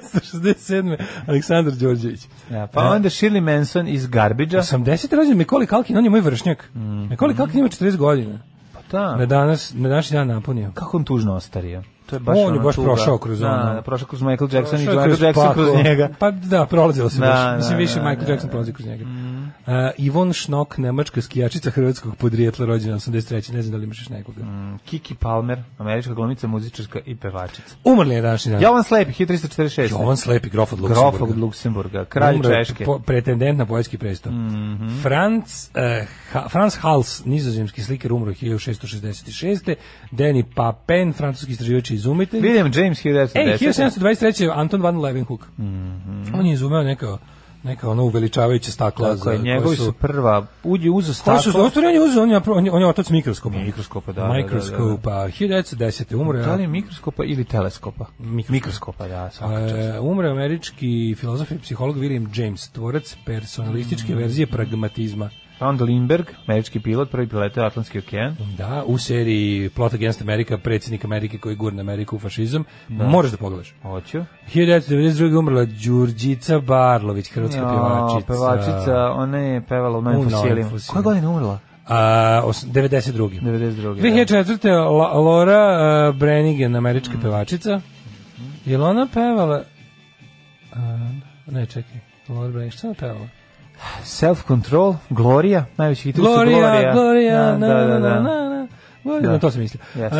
Speaker 5: 1967. Aleksandar Đorđević.
Speaker 6: Da, pa onda Shirley Manson iz Garbidža.
Speaker 5: 80. rođen Mikoli Kalkin, on je moj vršnjak.
Speaker 6: Mhm.
Speaker 5: Mikoli Kalkin ima 40 godina. Na
Speaker 6: Da,
Speaker 5: danas, na današnji dan napunio.
Speaker 6: kako on tužno ostario. To je
Speaker 5: On je
Speaker 6: ono
Speaker 5: baš
Speaker 6: tuga.
Speaker 5: prošao kroz
Speaker 6: Da,
Speaker 5: ono.
Speaker 6: Da, prošao kroz Michael Jackson i
Speaker 5: Prošao je
Speaker 6: Michael Jackson kroz
Speaker 5: paklo.
Speaker 6: njega.
Speaker 5: Pa da, prolazilo se
Speaker 6: Da, da,
Speaker 5: više. Mislim, više
Speaker 6: da,
Speaker 5: Michael
Speaker 6: da, Mhm.
Speaker 5: Jackson prolazi kroz njega. Uh, Ivon Šnok, nemačka skijačica hrvatskog podrijetla, rođena 83. Ne znam da li imaš još nekoga.
Speaker 6: Mhm. Kiki Palmer, američka glumica, muzičarka i pevačica.
Speaker 5: Umrli je današnji dan.
Speaker 6: Jovan Slepi, 1346.
Speaker 5: Jovan Slepi, grof od
Speaker 6: Grof od
Speaker 5: Luksemburga.
Speaker 6: Luksemburga, kralj
Speaker 5: Umro je
Speaker 6: Češke. Mhm.
Speaker 5: po- pretendent na poljski presto. Franz, eh, Ha- Franz Hals, nizozemski slikar, umro 1666. Deni Papen, francuski istraživač i izumitelj.
Speaker 6: William James, 1910.
Speaker 5: Ej, 1723. Anton van Leeuwenhoek. On je izumeo neka, neka ono uveličavajuća stakla.
Speaker 6: Mhm. Tako je,
Speaker 5: za-
Speaker 6: njegovi
Speaker 5: koje
Speaker 6: su prva, uđe uzo
Speaker 5: Koji su,
Speaker 6: staklo.
Speaker 5: ostvari, on je uzeo, on je, napra- on je, on je otac mikroskopa.
Speaker 6: Mikroskopa, da, da, da, da.
Speaker 5: Mikroskopa. 1910. umro je
Speaker 6: Da li je mikroskopa ili teleskopa? Mikroskopa, da, svaka čast.
Speaker 5: E, umre američki filozof i psiholog William James, tvorac personalističke
Speaker 6: Mm.
Speaker 5: verzije pragmatizma.
Speaker 6: Ron Lindberg, američki pilot, prvi pilot u Atlantski okean.
Speaker 5: Da, u seriji Plot Against America, predsjednik Amerike koji gurne Ameriku u fašizam, moraš da pogledaš.
Speaker 6: Hoću.
Speaker 5: 1992. umrla Đurđica Barlović, hrvatska
Speaker 6: Ja,
Speaker 5: pjevačica.
Speaker 6: pevačica, ona je pevala u novim
Speaker 5: U Novim
Speaker 6: fosilima.
Speaker 5: fosilima.
Speaker 6: Koja godina je umrla? da.
Speaker 5: A, os- 92.
Speaker 6: 92.,
Speaker 5: 2004. La- Laura uh, Branigan,
Speaker 6: Mm.
Speaker 5: američka pevačica.
Speaker 6: Mhm.
Speaker 5: Je li ona pevala... A, ne, čekaj. Laura Branigan, šta je ona pevala?
Speaker 6: Self Control, Gloria, najveći hit
Speaker 5: Gloria, Gloria,
Speaker 6: da,
Speaker 5: na,
Speaker 6: da,
Speaker 5: na, na,
Speaker 6: da.
Speaker 5: na, Gloria,
Speaker 6: Da.
Speaker 5: na to sam mislio. Uh,
Speaker 6: Jeste.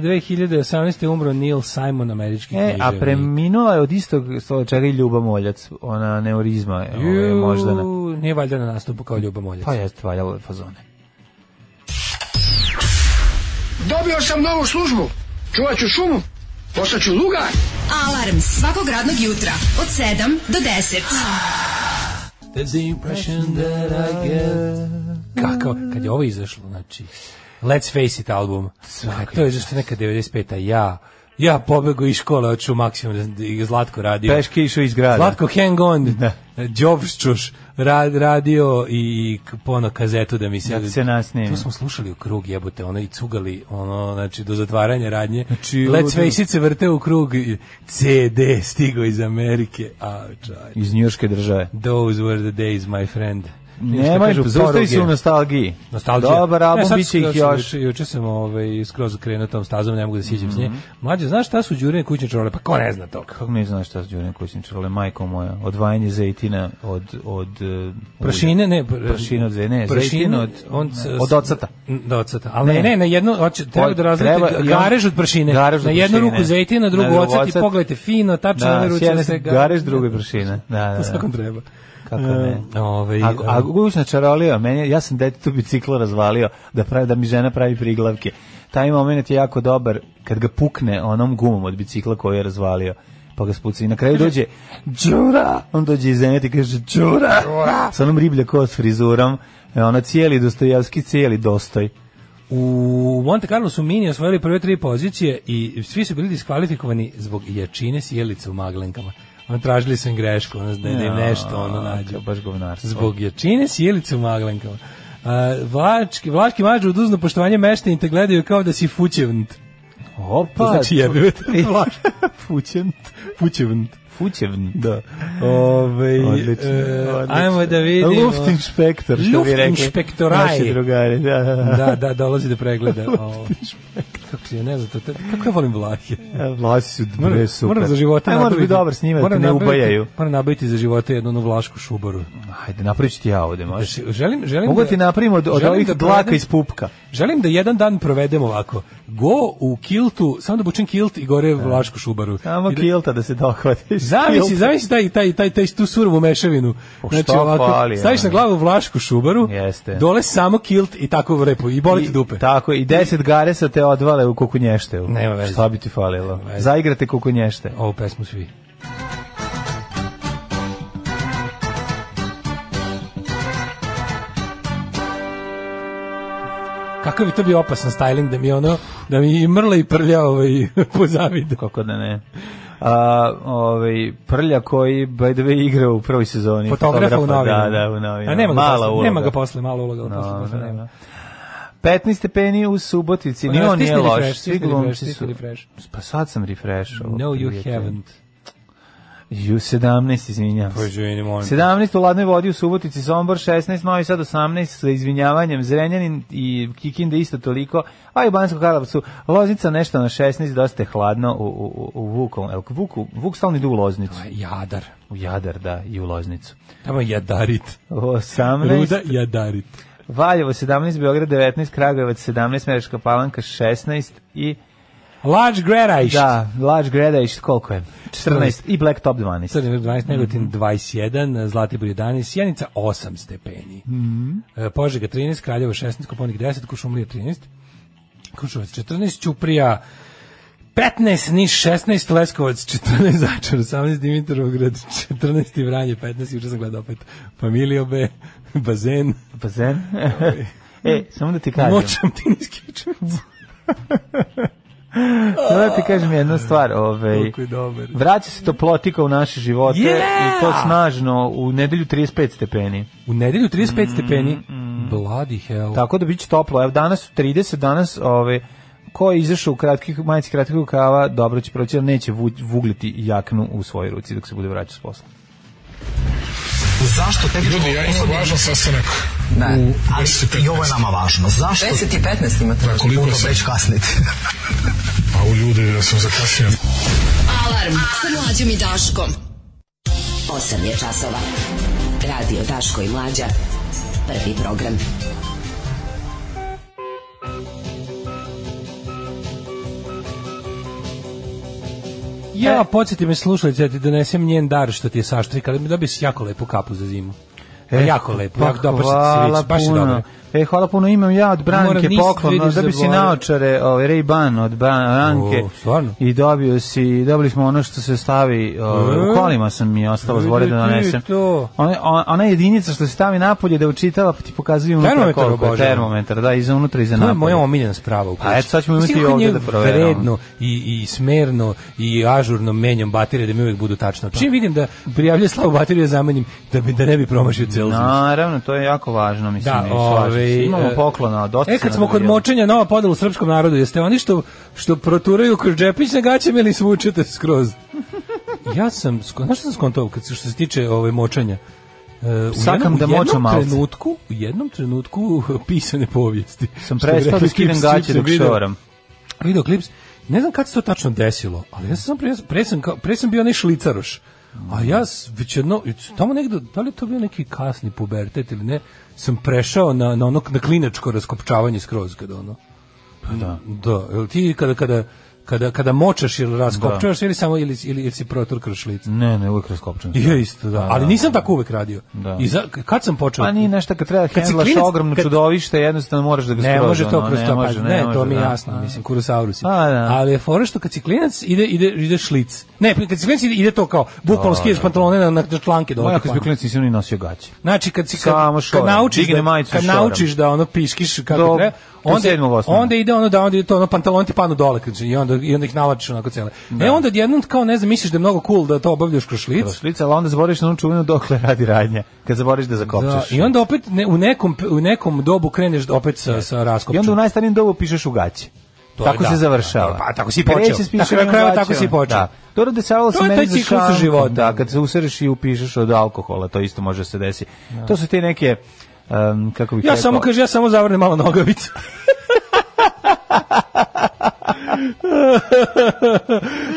Speaker 5: 2018. je umro Neil Simon, američki
Speaker 6: E, a
Speaker 5: književnik.
Speaker 6: preminula je od istog stola čega i Ljuba Moljac, ona neurizma, ovaj,
Speaker 5: Ju,
Speaker 6: moždana.
Speaker 5: Nije valjda na nastupu kao Ljuba Moljac.
Speaker 6: Pa jeste, valjalo je fazone.
Speaker 1: Dobio sam novu službu. Čuvat ću šumu. Postaću lugar.
Speaker 4: Alarm svakog radnog jutra od 7 do 10.
Speaker 5: That's the impression that I get. Kako, kad je ovo izašlo, znači, Let's Face It album, Svaki. to je zašto neka 95-a, ja, ja pobegu iz škole, hoću maksimum da i Zlatko radio.
Speaker 6: Peške išao iz grada.
Speaker 5: Zlatko Hang On, Đovščuš, rad, radio i k- pono kazetu da mi se...
Speaker 6: Da se nasnimi.
Speaker 5: To smo slušali u krug, jebote, ono i cugali, ono, znači, do zatvaranja radnje.
Speaker 6: Znači,
Speaker 5: Let's
Speaker 6: ludilo.
Speaker 5: Face It se vrte u krug, i CD stigo iz Amerike, a čaj.
Speaker 6: Iz njurške države.
Speaker 5: Those were the days, my friend.
Speaker 6: Nemoj, zaustavi se u nostalgiji.
Speaker 5: Nostalgija.
Speaker 6: Dobar
Speaker 5: E,
Speaker 6: album,
Speaker 5: sad
Speaker 6: bit će ih
Speaker 5: juče-
Speaker 6: još.
Speaker 5: Juče, juče sam ovaj, skroz krenuo tom stazom, ne mogu da siđem s
Speaker 6: Mhm.
Speaker 5: nje. Mlađe, znaš šta su đurine kućne čorole? Pa ko ne zna to?
Speaker 6: Kako ne znaš šta su Đurine kućne čarole, majko moja, odvajanje zejtina od... od e,
Speaker 5: Prašine, ne. pr-
Speaker 6: Prašine od zejtina, ne,
Speaker 5: prašine
Speaker 6: zejtina od,
Speaker 5: on s-
Speaker 6: od ocata.
Speaker 5: Da, od cata. Ali ne,
Speaker 6: Ne.
Speaker 5: ne, na jednu, hoće, treba
Speaker 6: Od-
Speaker 5: da razlite
Speaker 6: treba- i on-
Speaker 5: garež od prašine.
Speaker 6: garež od
Speaker 5: na jednu
Speaker 6: prašine.
Speaker 5: ruku zejtina, na drugu
Speaker 6: Na drugu
Speaker 5: ocat i
Speaker 6: ocet.
Speaker 5: pogledajte fino, tačno na
Speaker 6: Da,
Speaker 5: ove
Speaker 6: s
Speaker 5: ruci
Speaker 6: jedne
Speaker 5: ostaje
Speaker 6: gareš, druge prašine. Da, da,
Speaker 5: To
Speaker 6: da.
Speaker 5: svakom treba.
Speaker 6: Kako ne?
Speaker 5: E, Ovaj,
Speaker 6: A, a
Speaker 5: e,
Speaker 6: gugušna čarolija, meni, ja sam detetu biciklo razvalio da, pravi, da mi žena pravi priglavke. Taj moment je jako dobar kad ga pukne onom gumom od bicikla koji je razvalio pa ga spuca i na kraju dođe Đura, on dođe iz zemlje i kaže Đura, sa onom riblja kost frizurom E, ono cijeli Dostojevski cijeli dostoj
Speaker 5: U Monte Carlo su Mini osvojili prve tri pozicije i svi su bili diskvalifikovani zbog jačine sjelice u maglenkama. Ono, tražili su im grešku, ono, da, da im nešto ono nađu.
Speaker 6: kao baš govnarstvo.
Speaker 5: Zbog jačine sjelice u maglenkama. A, vlački, vlaški mađu uz dužno poštovanje mešte te gledaju kao da si fućevnt.
Speaker 6: opa
Speaker 5: To znači jebivet.
Speaker 6: Fućevnt.
Speaker 5: fućevnt.
Speaker 6: Fućevnt.
Speaker 5: Da. Ove,
Speaker 6: Odlično, odlično.
Speaker 5: Ajmo da vidimo.
Speaker 6: Luftinspektor, što bi rekli.
Speaker 5: Luftinspektoraj.
Speaker 6: Naši drugari, da, da, da.
Speaker 5: Da, da, dolazi da pregleda. ovo. Kako je, ne znam, to, to- kako ja volim vlahe.
Speaker 6: E, Vlasi su
Speaker 5: Moram,
Speaker 6: bre super.
Speaker 5: moram za života
Speaker 6: E, moram biti dobar s njima, da te
Speaker 5: moram
Speaker 6: ne
Speaker 5: nabaviti-
Speaker 6: ubajaju.
Speaker 5: Moram nabaviti za života jednu onu vlašku šubaru.
Speaker 6: Ajde, napravit ću ti ja ovde, možeš.
Speaker 5: Ž- Želim, želim
Speaker 6: Mogu
Speaker 5: da-
Speaker 6: ti napravim od, od
Speaker 5: želim
Speaker 6: ovih
Speaker 5: da
Speaker 6: dlaka
Speaker 5: provedem-
Speaker 6: iz pupka.
Speaker 5: Želim da jedan dan provedem ovako. Go u kiltu, samo da bučem kilt i gore vlašku šubaru.
Speaker 6: Samo
Speaker 5: I da-
Speaker 6: kilta da se dohvatiš.
Speaker 5: Zamisli,
Speaker 6: Kilta.
Speaker 5: zamisli taj, taj, taj, taj, tu surovu mešavinu. Znači
Speaker 6: Pa šta fali,
Speaker 5: staviš na
Speaker 6: ono.
Speaker 5: glavu vlašku šubaru,
Speaker 6: Jeste.
Speaker 5: dole samo kilt i tako lepo, i boli ti
Speaker 6: I-
Speaker 5: dupe.
Speaker 6: Tako, i deset garesa te odvale u kukunješteu.
Speaker 5: Nema veze.
Speaker 6: Šta bi ti falilo?
Speaker 5: Nema veze.
Speaker 6: Zaigrate kukunješte.
Speaker 5: Ovu pesmu svi. Kakav bi to bio opasan styling da mi ono, da mi i mrla i prlja ovaj, pozavide.
Speaker 6: Kako da ne. A, ovaj, prlja koji, by the way, igra u prvoj sezoni.
Speaker 5: Fotografa u novinama.
Speaker 6: Da, da, u novinama.
Speaker 5: A nema ga,
Speaker 6: Mala
Speaker 5: posle,
Speaker 6: uloga.
Speaker 5: nema ga posle, malo uloga.
Speaker 6: No,
Speaker 5: posle, posle
Speaker 6: da,
Speaker 5: nema.
Speaker 6: da. 15 stepeni u Subotici,
Speaker 5: Pa
Speaker 6: ni
Speaker 5: ne,
Speaker 6: on nije
Speaker 5: stisni
Speaker 6: loš.
Speaker 5: refresh,
Speaker 6: Svi
Speaker 5: stisni
Speaker 6: glumci
Speaker 5: refresh,
Speaker 6: su...
Speaker 5: stisni refresh.
Speaker 6: Pa sad sam refreshao.
Speaker 5: No, you
Speaker 6: prijatelj.
Speaker 5: haven't.
Speaker 6: Ju, 17, izvinjam se. 17 u Ladnoj vodi u Subotici, Sombor 16, Novi Sad 18 sa izvinjavanjem, Zrenjanin i Kikinda isto toliko, a i u Bansko Karlovcu, Loznica nešto na 16, dosta je hladno u, u, u- u Vukom. El, Vuku, Vuk stalno ide u Loznicu,
Speaker 5: Jadar.
Speaker 6: u Jadar, da, i u Loznicu.
Speaker 5: Tamo je jadarit.
Speaker 6: 18,
Speaker 5: Ruda jadarit.
Speaker 6: Valjevo 17, Beograd 19, Kragujevac 17, Mereška Palanka 16 i
Speaker 5: Large Gradajšt.
Speaker 6: da, Lač Gredajš koliko je? 14 i Black Top 12.
Speaker 5: Crni vrh 12, Negotin 21, Zlatibor 11, Sjenica 8 stepeni. E, Požega 13, Kraljevo 16, Koponik 10, Kušumlija 13, Krušovac 14, Ćuprija 15, Niš 16, Leskovac 14, Začar 18, Dimitrovgrad 14 i Vranje 15, juče sam gledao opet Familio B, Bazen,
Speaker 6: Pa zen? e, samo da ti kažem.
Speaker 5: Močam ti niski
Speaker 6: Sada da ti kažem jednu stvar, ovaj,
Speaker 5: Kako je dobar.
Speaker 6: vraća se toplotika u naše živote
Speaker 5: Yeah!
Speaker 6: i to snažno u nedelju 35 stepeni.
Speaker 5: U nedelju 35 stepeni, bloody hell.
Speaker 6: Tako da biće toplo. Evo danas su 30, danas ovaj, ko je izašao u kratkih, majici kratkih rukava, dobro će proći, jer neće vu- vugliti jaknu u svojoj ruci dok se bude vraćao s posla.
Speaker 1: Zašto tek Ljudi, ja imam važan sastanak.
Speaker 8: Ne. Ali i ovo je nama važno. Zašto?
Speaker 9: 10 i 15 imate.
Speaker 8: Pa koliko se već kasnite?
Speaker 10: A u ljudi da sam zakasnio.
Speaker 4: Alarm sa mlađom i Daškom.
Speaker 7: 8 je časova. Radio Daško i Mlađa. Prvi program.
Speaker 5: Ja, podsjeti me slušalice, da ti donesem njen dar što ti je saštrikala, da bi si jako lepu kapu za zimu. E, jako lepo, jako dobro što ti se
Speaker 6: pa hvala
Speaker 5: vidiš, baš je
Speaker 6: puno.
Speaker 5: dobro.
Speaker 6: E, hvala puno, imam ja od
Speaker 5: Moram
Speaker 6: Branke
Speaker 5: ništa
Speaker 6: poklon,
Speaker 5: vidiš
Speaker 6: da bi si
Speaker 5: zaboravio.
Speaker 6: naočare, ovaj, Ray-Ban od Bran- Branke.
Speaker 5: O, stvarno?
Speaker 6: I dobio si, dobili smo ono što se stavi, ovaj,
Speaker 5: E?
Speaker 6: u kolima sam mi ostalo zbore da
Speaker 5: Vidi ti
Speaker 6: donesem.
Speaker 5: to.
Speaker 6: Ona, ona- ona jedinica što se stavi napolje da učitava, pa ti pokazuje unutra
Speaker 5: Termometar,
Speaker 6: koliko je,
Speaker 5: obožavam.
Speaker 6: termometar, da, iza unutra, iza
Speaker 5: To je
Speaker 6: napolje.
Speaker 5: moja omiljena sprava u kući.
Speaker 6: A eto, sad ćemo
Speaker 5: Mislim,
Speaker 6: imati i
Speaker 5: kako
Speaker 6: ovdje
Speaker 5: nje
Speaker 6: da proveramo.
Speaker 5: Vredno i, i smerno i ažurno menjam baterije da mi uvijek budu tačno. Čim vidim da prijavljaju slavu bateriju, ja zamenim da, bi, da ne bi promašio celu zimu.
Speaker 6: Naravno, to je jako važno, mislim, i slažem
Speaker 5: ovaj,
Speaker 6: se. imamo
Speaker 5: e,
Speaker 6: poklona od oca.
Speaker 5: E, kad smo kod
Speaker 6: dobijali.
Speaker 5: močenja, nova podela u srpskom narodu, jeste oni što, što proturaju kroz džepić na gaćem ili svučete skroz? ja sam, sko- znaš što sam skontao kad, se- što se tiče ove močanja? E, u
Speaker 6: Sakam
Speaker 5: jednom,
Speaker 6: da
Speaker 5: u jednom
Speaker 6: močam malce.
Speaker 5: trenutku, u jednom trenutku pisane povijesti.
Speaker 6: Sam
Speaker 5: Što bi
Speaker 6: prestao da
Speaker 5: rekli,
Speaker 6: skidam
Speaker 5: Clips,
Speaker 6: gaće
Speaker 5: Clips
Speaker 6: dok
Speaker 5: video.
Speaker 6: šoram.
Speaker 5: Pa Video klips. Ne znam kad se to tačno desilo, ali ja sam pre, pre, sam, kao- pre sam bio onaj šlicaroš. A ja s- već jedno, tamo negde, da li je to bio neki kasni pubertet ili ne, sam prešao na, na ono, na klinačko raskopčavanje skroz kada ono. Da. Da, jel ti kada, kada, kada, kada močaš ili raskopčavaš ili samo ili, ili, ili si proturkaš šlic.
Speaker 6: Ne, ne, uvijek raskopčan.
Speaker 5: I Ja isto, da. Ali nisam tako uvek radio.
Speaker 6: Da.
Speaker 5: I za, kad sam počeo...
Speaker 6: Pa nije nešto kad treba
Speaker 5: si
Speaker 6: hendlaš
Speaker 5: klinac,
Speaker 6: ogromno
Speaker 5: kad-
Speaker 6: čudovište, jednostavno moraš da ga skroz.
Speaker 5: Ne može to
Speaker 6: ono,
Speaker 5: kroz to,
Speaker 6: može,
Speaker 5: pa ne, to
Speaker 6: može,
Speaker 5: mi je
Speaker 6: da.
Speaker 5: jasno,
Speaker 6: Da.
Speaker 5: mislim, kurosaurusi.
Speaker 6: Pa, da.
Speaker 5: Ali je fora što kad si klinac ide, ide, ide šlic. Ne, kad si klinac ide, ide to kao,
Speaker 6: Da,
Speaker 5: bukvalno skidaš pantalone na, na članke dole.
Speaker 6: Moja kad
Speaker 5: pa.
Speaker 6: sam bio klinac nisam ni nosio gaće.
Speaker 5: Znači kad si kad,
Speaker 6: Samo
Speaker 5: kad
Speaker 6: šoram.
Speaker 5: naučiš
Speaker 6: Digne
Speaker 5: da,
Speaker 6: majicu
Speaker 5: kad
Speaker 6: šoram.
Speaker 5: naučiš da ono piškiš kako
Speaker 6: Do-
Speaker 5: treba,
Speaker 6: do
Speaker 5: onda
Speaker 6: sedmog osnovne.
Speaker 5: onda ide ono da onda ide to ono pantalon ti panu dole kad i onda i onda ih navlačiš onako cele. E onda odjednom kao ne znam misliš da je mnogo cool da to obavljaš kroz šlic.
Speaker 6: Šlica, ali onda zaboriš na onu čuvenu dokle radi radnja. Kad zaboriš da
Speaker 5: Da,
Speaker 6: zakopčaš.
Speaker 5: I onda opet ne, u nekom u nekom dobu kreneš opet sa sa raskopčom.
Speaker 6: I onda u najstarijem dobu pišeš u gaće.
Speaker 5: To je
Speaker 6: tako
Speaker 5: da.
Speaker 6: se završava.
Speaker 5: Da, pa tako si i počeo.
Speaker 6: Kreće s pisanjem
Speaker 5: Tako na kraju
Speaker 6: u
Speaker 5: tako si i
Speaker 6: gaćama.
Speaker 5: počeo.
Speaker 6: Da. Dobro, dešavalo
Speaker 5: To
Speaker 6: se
Speaker 5: je taj
Speaker 6: meni za
Speaker 5: ciklus
Speaker 6: šankom,
Speaker 5: života.
Speaker 6: Da, kad se usereš i upišeš od alkohola, to isto može se desi. To su te neke, um, kako bih
Speaker 5: Da. Ja
Speaker 6: rekao,
Speaker 5: samo kaže ja samo zavrnem malo nogavicu.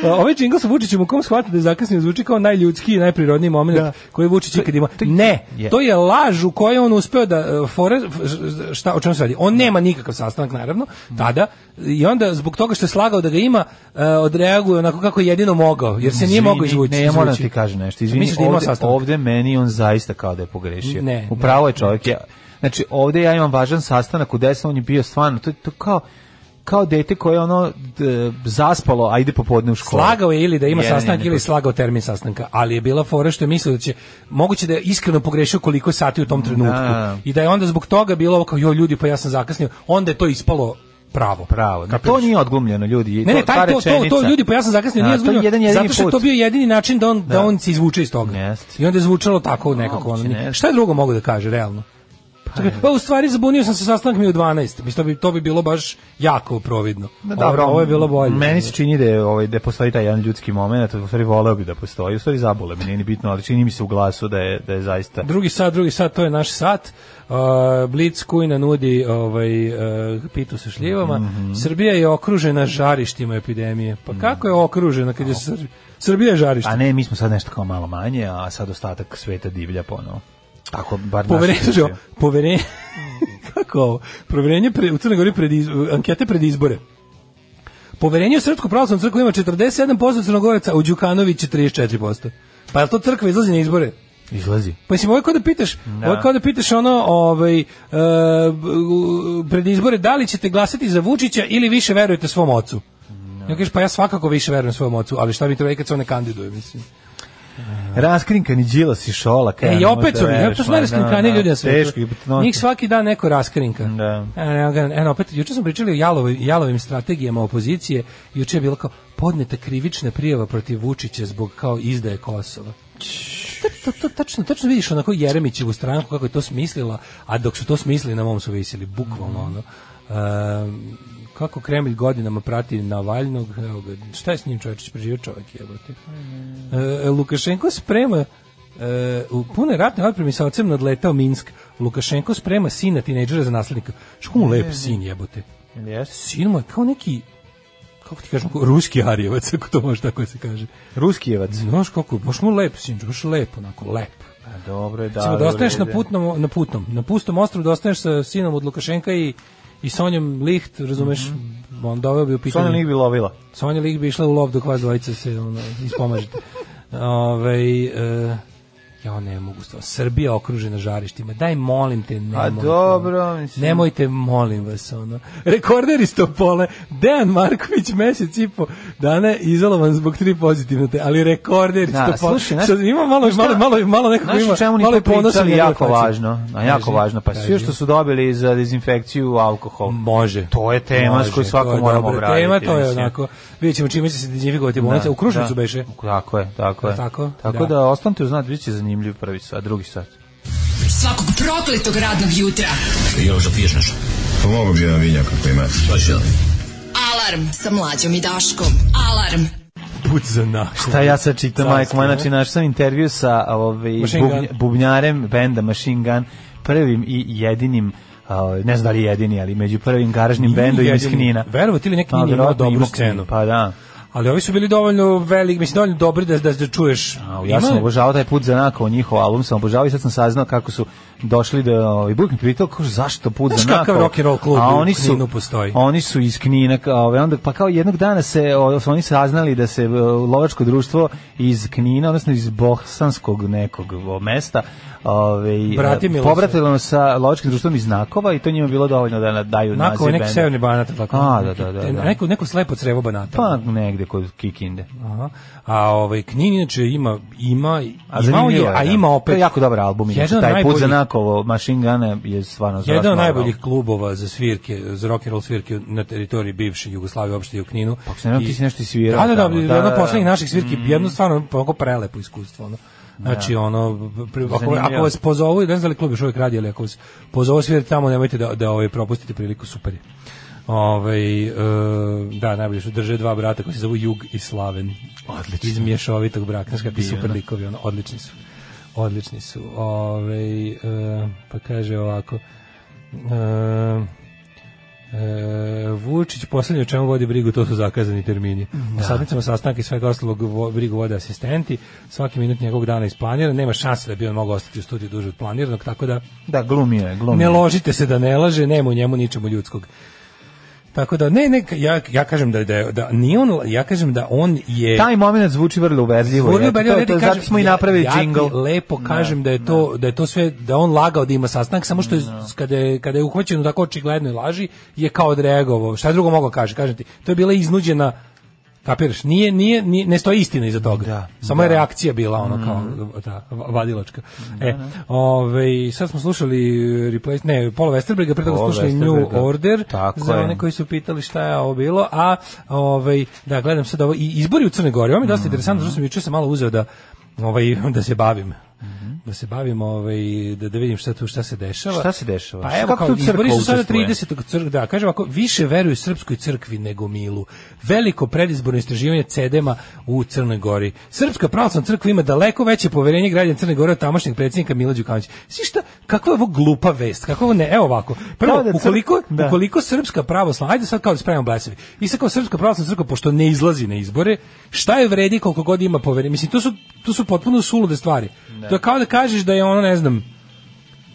Speaker 5: Ovaj džingl sa Vučićem u kom shvata da je zakasnio zvuči kao najljudski i najprirodniji moment koji Vučić ikad ima. Ne,
Speaker 6: Da. je-
Speaker 5: to je laž u kojoj je on uspeo da uh, fore, f- šta, o čemu se radi? On nema nikakav sastanak, naravno, tada, i onda zbog toga što je slagao da ga ima, uh, odreaguje onako kako je jedino mogao, jer se nije
Speaker 6: Izvini,
Speaker 5: mogao izvući.
Speaker 6: Ne, ja moram da
Speaker 5: izvući.
Speaker 6: ti kažem nešto. Izvini,
Speaker 5: Misliš da ima
Speaker 6: ovde,
Speaker 5: sastanak?
Speaker 6: ovde meni on zaista kao da je pogrešio.
Speaker 5: Ne,
Speaker 6: Upravo je čovjek. Ja, znači, ovde ja imam važan sastanak u deset, on je bio stvarno, to, to kao, kao dete koje je ono d, zaspalo, a ide popodne u školu.
Speaker 5: Slagao je ili da ima
Speaker 6: Ne, ne,
Speaker 5: sastanak
Speaker 6: ne,
Speaker 5: ili
Speaker 6: ne.
Speaker 5: je slagao termin sastanka, ali je bila fora što je mislio da će moguće da je iskreno pogrešio koliko je sati u tom trenutku.
Speaker 6: Da.
Speaker 5: I da je onda zbog toga bilo ovo kao jo ljudi pa ja sam zakasnio, onda je to ispalo pravo.
Speaker 6: Pravo. Na Znači, to nije odglumljeno, ljudi.
Speaker 5: Ne, ne,
Speaker 6: To-
Speaker 5: taj,
Speaker 6: ta
Speaker 5: to, to, to
Speaker 6: rečenica.
Speaker 5: ljudi, pa ja sam zakasnio,
Speaker 6: Da,
Speaker 5: nije
Speaker 6: to je
Speaker 5: zbunio,
Speaker 6: jedan jedini
Speaker 5: zato što je to
Speaker 6: put.
Speaker 5: bio jedini način da on, da. on se izvuče iz toga.
Speaker 6: Jest.
Speaker 5: I onda je zvučalo tako nekako.
Speaker 6: Moguće,
Speaker 5: Ono,
Speaker 6: ne.
Speaker 5: šta je drugo mogu da kaže, realno? Pa, pa u stvari zabunio sam se sastanak mi u 12. Mislim, to bi, to bi bilo baš jako providno.
Speaker 6: Ma dobro,
Speaker 5: ovo, ovo je bilo bolje.
Speaker 6: Meni se čini da je ovaj da postoji taj jedan ljudski momenat, u stvari voleo bi da postoji, u stvari zabole mi, nije ni bitno, ali čini mi se u glasu da je da je zaista
Speaker 5: Drugi sat, drugi sat, to je naš sat. Uh, Blitz Kujna nudi ovaj, uh, pitu sa šljivama. Srbija je okružena žarištima epidemije. Pa kako je okružena kad je Srb- Srbija je žarište?
Speaker 6: A Pa ne, mi smo sad nešto kao malo manje, a sad ostatak sveta divlja ponovo. Tako, bar
Speaker 5: Poverenje,
Speaker 6: naši
Speaker 5: jo, poverenje, kako ovo? Poverenje pre, u Crnoj Gori pred iz, ankete pred izbore. Poverenje u Srpsku pravoslavnu crkvu ima 47% Crnogoraca, u Đukanović 44%. Pa je li to crkva izlazi na izbore?
Speaker 6: Izlazi.
Speaker 5: Pa mislim, ovo je kao da pitaš, ovo je kao da pitaš ono, ovaj, e, b- u- pred izbore, da li ćete glasati za Vučića ili više verujete svom ocu? Ja kažeš, pa ja svakako više verujem svom ocu, ali šta mi to rekao kad se on ne kandiduje, mislim.
Speaker 6: Raskrinkani Đilas i Šolak.
Speaker 5: E,
Speaker 6: ja,
Speaker 5: i
Speaker 6: ne
Speaker 5: opet
Speaker 6: mogu
Speaker 5: su,
Speaker 6: da
Speaker 5: ja,
Speaker 6: veruješ,
Speaker 5: to su
Speaker 6: ma,
Speaker 5: najraskrinkaniji
Speaker 6: da,
Speaker 5: ljudi na
Speaker 6: da,
Speaker 5: svetu.
Speaker 6: Teško, hipnotično.
Speaker 5: Njih svaki dan neko raskrinka.
Speaker 6: Da.
Speaker 5: Eno, ga- eno, opet, juče smo pričali o jalovoj, jalovim strategijama opozicije, juče je bilo kao podneta krivična prijava protiv Vučića zbog kao izdaje Kosova. To, to, to, tačno, tačno vidiš onako Jeremićevu stranku kako je to smislila, a dok su to smislili na mom su visili, bukvalno ono. Ehm, kako Kremlj godinama prati Navalnog, evo ga, šta je s njim čovječić preživio čovjek jebote. E, Lukašenko e, sprema E, u pune ratne opreme sa ocem nadletao Minsk. Lukašenko sprema sina tinejdžera za naslednika. Što mu lep sin jebote.
Speaker 6: Yes.
Speaker 5: Sin mu je kao neki kako ti kažem, ko- ruski arijevac, ako to može tako da se kaže.
Speaker 6: Ruskijevac.
Speaker 5: Znaš kako, baš mu lep sin, baš lep, onako, lep.
Speaker 6: A, dobro je, da.
Speaker 5: Recimo, da,
Speaker 6: dobro
Speaker 5: ostaneš
Speaker 6: je,
Speaker 5: na
Speaker 6: da.
Speaker 5: putnom, na putnom, na pustom ostrovu, da ostaneš sa sinom od Lukašenka i, i Sonjom Liht, razumeš, on doveo bi u pitanje.
Speaker 6: Mhm. Sonja nije bi lovila.
Speaker 5: Sonja Lig bi išla u lov dok vas dvojica se ono, ispomažete. Ove, e, ja ne mogu stvarno. Srbija okružena žarištima. Daj, molim te, nemojte.
Speaker 6: A Pa dobro, mislim.
Speaker 5: Nemojte, molim vas, ono. Rekorder iz Topole, Dejan Marković, mesec i po dana izolovan zbog tri pozitivne, te, ali rekorder iz
Speaker 6: Da,
Speaker 5: Topole.
Speaker 6: slušaj, znaš-
Speaker 5: Sad ima malo, malo, malo, malo nekako
Speaker 6: Znaš
Speaker 5: ima,
Speaker 6: o čemu
Speaker 5: malo je
Speaker 6: nismo
Speaker 5: ponosa
Speaker 6: pričali
Speaker 5: na
Speaker 6: jako
Speaker 5: njegove faci.
Speaker 6: važno, a jako
Speaker 5: Kaži,
Speaker 6: važno, pa sve
Speaker 5: kaži.
Speaker 6: što su dobili za dezinfekciju alkohol.
Speaker 5: Može.
Speaker 6: To je tema s kojoj svako
Speaker 5: to je
Speaker 6: moramo
Speaker 5: dobra
Speaker 6: obraditi,
Speaker 5: Tema, to je
Speaker 6: mislim.
Speaker 5: onako. Vidjet ćemo čime će se identifikovati bolnica. u Krušnicu beše.
Speaker 6: Da, Tako je, tako je.
Speaker 5: Tako?
Speaker 6: tako
Speaker 5: Da.
Speaker 6: da, ostanite uz znat, bit će zanimljiv prvi sat, drugi sat.
Speaker 4: Svakog prokletog radnog jutra.
Speaker 3: Pomogu Pa bi jedan vinjak ako ima.
Speaker 4: Alarm sa mlađom i Daškom. Alarm.
Speaker 5: Put za nas.
Speaker 6: Šta ja sad čitam,
Speaker 5: Carski,
Speaker 6: majko moja, znači
Speaker 5: ne?
Speaker 6: našao sam intervju sa ovaj,
Speaker 5: Machine Gun.
Speaker 6: bubnj- bubnjarem benda Machine Gun, prvim i jedinim ovaj, ne znam da li jedini, ali među prvim garažnim
Speaker 5: Nije
Speaker 6: bendovima iz
Speaker 5: jedini.
Speaker 6: Knina.
Speaker 5: Verovati ili neki
Speaker 6: Pa,
Speaker 5: Knin je imao
Speaker 6: verovatno
Speaker 5: dobru
Speaker 6: imao
Speaker 5: scenu.
Speaker 6: Knin, Pa da.
Speaker 5: Ali ovi su bili dovoljno veliki, mislim dovoljno dobri da da, da čuješ.
Speaker 6: A, ja sam
Speaker 5: Ima-
Speaker 6: obožavao taj put za nakon njihov album, sam obožavao i sad sam saznao kako su došli do ovaj Buknik pitao kako zašto put
Speaker 5: Znaš
Speaker 6: za nakon.
Speaker 5: kakav rock and roll klub
Speaker 6: A
Speaker 5: u
Speaker 6: oni su
Speaker 5: Kninu postoji?
Speaker 6: Oni su iz Knina, ka- ovaj onda pa kao jednog dana se o, su oni saznali da se e, lovačko društvo iz Knina, odnosno iz bosanskog nekog o, mesta, ovaj e,
Speaker 5: Bratimilo se.
Speaker 6: pobratilo sa lovačkim društvom iz Nakova i to njima bilo dovoljno da na- daju
Speaker 5: Nako
Speaker 6: naziv
Speaker 5: neki
Speaker 6: benda.
Speaker 5: severni banat tako.
Speaker 6: A, da, da, da, da.
Speaker 5: Neko neko slepo crevo banata.
Speaker 6: Pa negde kod Kikinde.
Speaker 5: Aha. A ovaj Knin inače ima ima imao
Speaker 6: A
Speaker 5: je,
Speaker 6: zanimljivo
Speaker 5: a
Speaker 6: da.
Speaker 5: ima opet.
Speaker 6: To je jako dobar album, inače,
Speaker 5: Jedan od
Speaker 6: taj put za
Speaker 5: najboljih-
Speaker 6: Nakovo, Machine Gun je stvarno završno.
Speaker 5: Jedan od najboljih klubova za svirke, za rock and roll svirke na teritoriji bivše Jugoslavije, uopšte i u Kninu.
Speaker 6: Pa, Ako se ne varam,
Speaker 5: I-
Speaker 6: ti si nešto i svirao
Speaker 5: Da, da,
Speaker 6: tamo.
Speaker 5: da,
Speaker 6: Da,
Speaker 5: jedno
Speaker 6: da,
Speaker 5: poslednjih
Speaker 6: da.
Speaker 5: naših svirki, jedno stvarno onako prelepo iskustvo, ono. Znači, ono, pri- ako,
Speaker 6: Da. Zanimljivo.
Speaker 5: ako vas pozovu, ne znam da li klub još uvijek radi, ali ako vas pozovu svirati tamo, nemojte da, da ovaj, propustite priliku, super je. Ovaj, e, da, najbolje su drže dva brata koji se zovu Jug i Slaven. Odlično. Iz mješovitog braka, znaš kakvi super likovi, ono, odlični su. Odlični su. Ovaj, e, pa kaže ovako, e, E, Vučić poslednje o čemu vodi brigu, to su zakazani termini. Da. O sadnicama sastanka i svega ostalog vo, brigu vode asistenti, svaki minut njegovog dana isplaniran, nema šanse da bi on mogao ostati u studiju duže od planiranog, tako da
Speaker 6: Da, glumio je, glumio.
Speaker 5: ne
Speaker 6: je.
Speaker 5: ložite se da ne laže, nema u njemu ničemu ljudskog. Tako da, ne, ne, ja, ja kažem da, da, da nije on, ja kažem da on je...
Speaker 6: Taj moment zvuči vrlo uverljivo.
Speaker 5: Volio
Speaker 6: eto,
Speaker 5: bih
Speaker 6: to je
Speaker 5: da ti
Speaker 6: to,
Speaker 5: kažem,
Speaker 6: zato smo i
Speaker 5: ja-
Speaker 6: napravili
Speaker 5: ja ti
Speaker 6: jingle.
Speaker 5: lepo kažem da je to da je to sve da je on lagao da ima sastanak samo što je, kada je kada je uhvaćen u tako očiglednoj laži je kao odreagovao. Šta drugo mogu kaže, kažem ti. To je bila iznuđena Kapiraš, nije, nije, nije, ne stoji istina iza toga.
Speaker 6: Da, Mhm. Da,
Speaker 5: Samo je reakcija bila ono kao ta va- vadilačka. E, ovaj sad smo slušali e, replace, ne, Paula Westerberga, pre toga smo
Speaker 6: Paula
Speaker 5: slušali New
Speaker 6: Westerberga.
Speaker 5: Order
Speaker 6: Tako
Speaker 5: za
Speaker 6: je.
Speaker 5: one koji su pitali šta je ovo bilo, a ovaj da gledam sad ovo i izbori u Crnoj Gori. Ovo mi je
Speaker 6: Mhm.
Speaker 5: dosta interesantno, što sam juče se malo uzeo da ovaj da se bavim. Da se bavim ovaj da da vidim šta tu šta se dešava.
Speaker 6: Mhm. Šta se dešava?
Speaker 5: Pa evo
Speaker 6: Kako
Speaker 5: kao
Speaker 6: tu crkva
Speaker 5: izbori su sada
Speaker 6: učestvuje?
Speaker 5: 30. crk, da, kaže ovako, više veruju srpskoj crkvi nego milu. Veliko predizborno istraživanje cedema u Crnoj Gori. Srpska pravoslavna crkva ima daleko veće poverenje građana Crne Gore od tamošnjeg predsjednika Mila Đukanovića. Svi šta, kako je ovo glupa vest? Kako je ovo ne, evo ovako. Prvo,
Speaker 6: Kao da crk-
Speaker 5: ukoliko,
Speaker 6: da.
Speaker 5: ukoliko ukoliko srpska pravoslavna, ajde sad kao da spravimo blesavi, i sad kao srpska pravoslavna crkva, pošto ne izlazi na izbore, šta je vredi koliko god ima poverenje? Mislim, to su, to su potpuno sulude stvari. To je kao da kažeš da je ono, ne znam,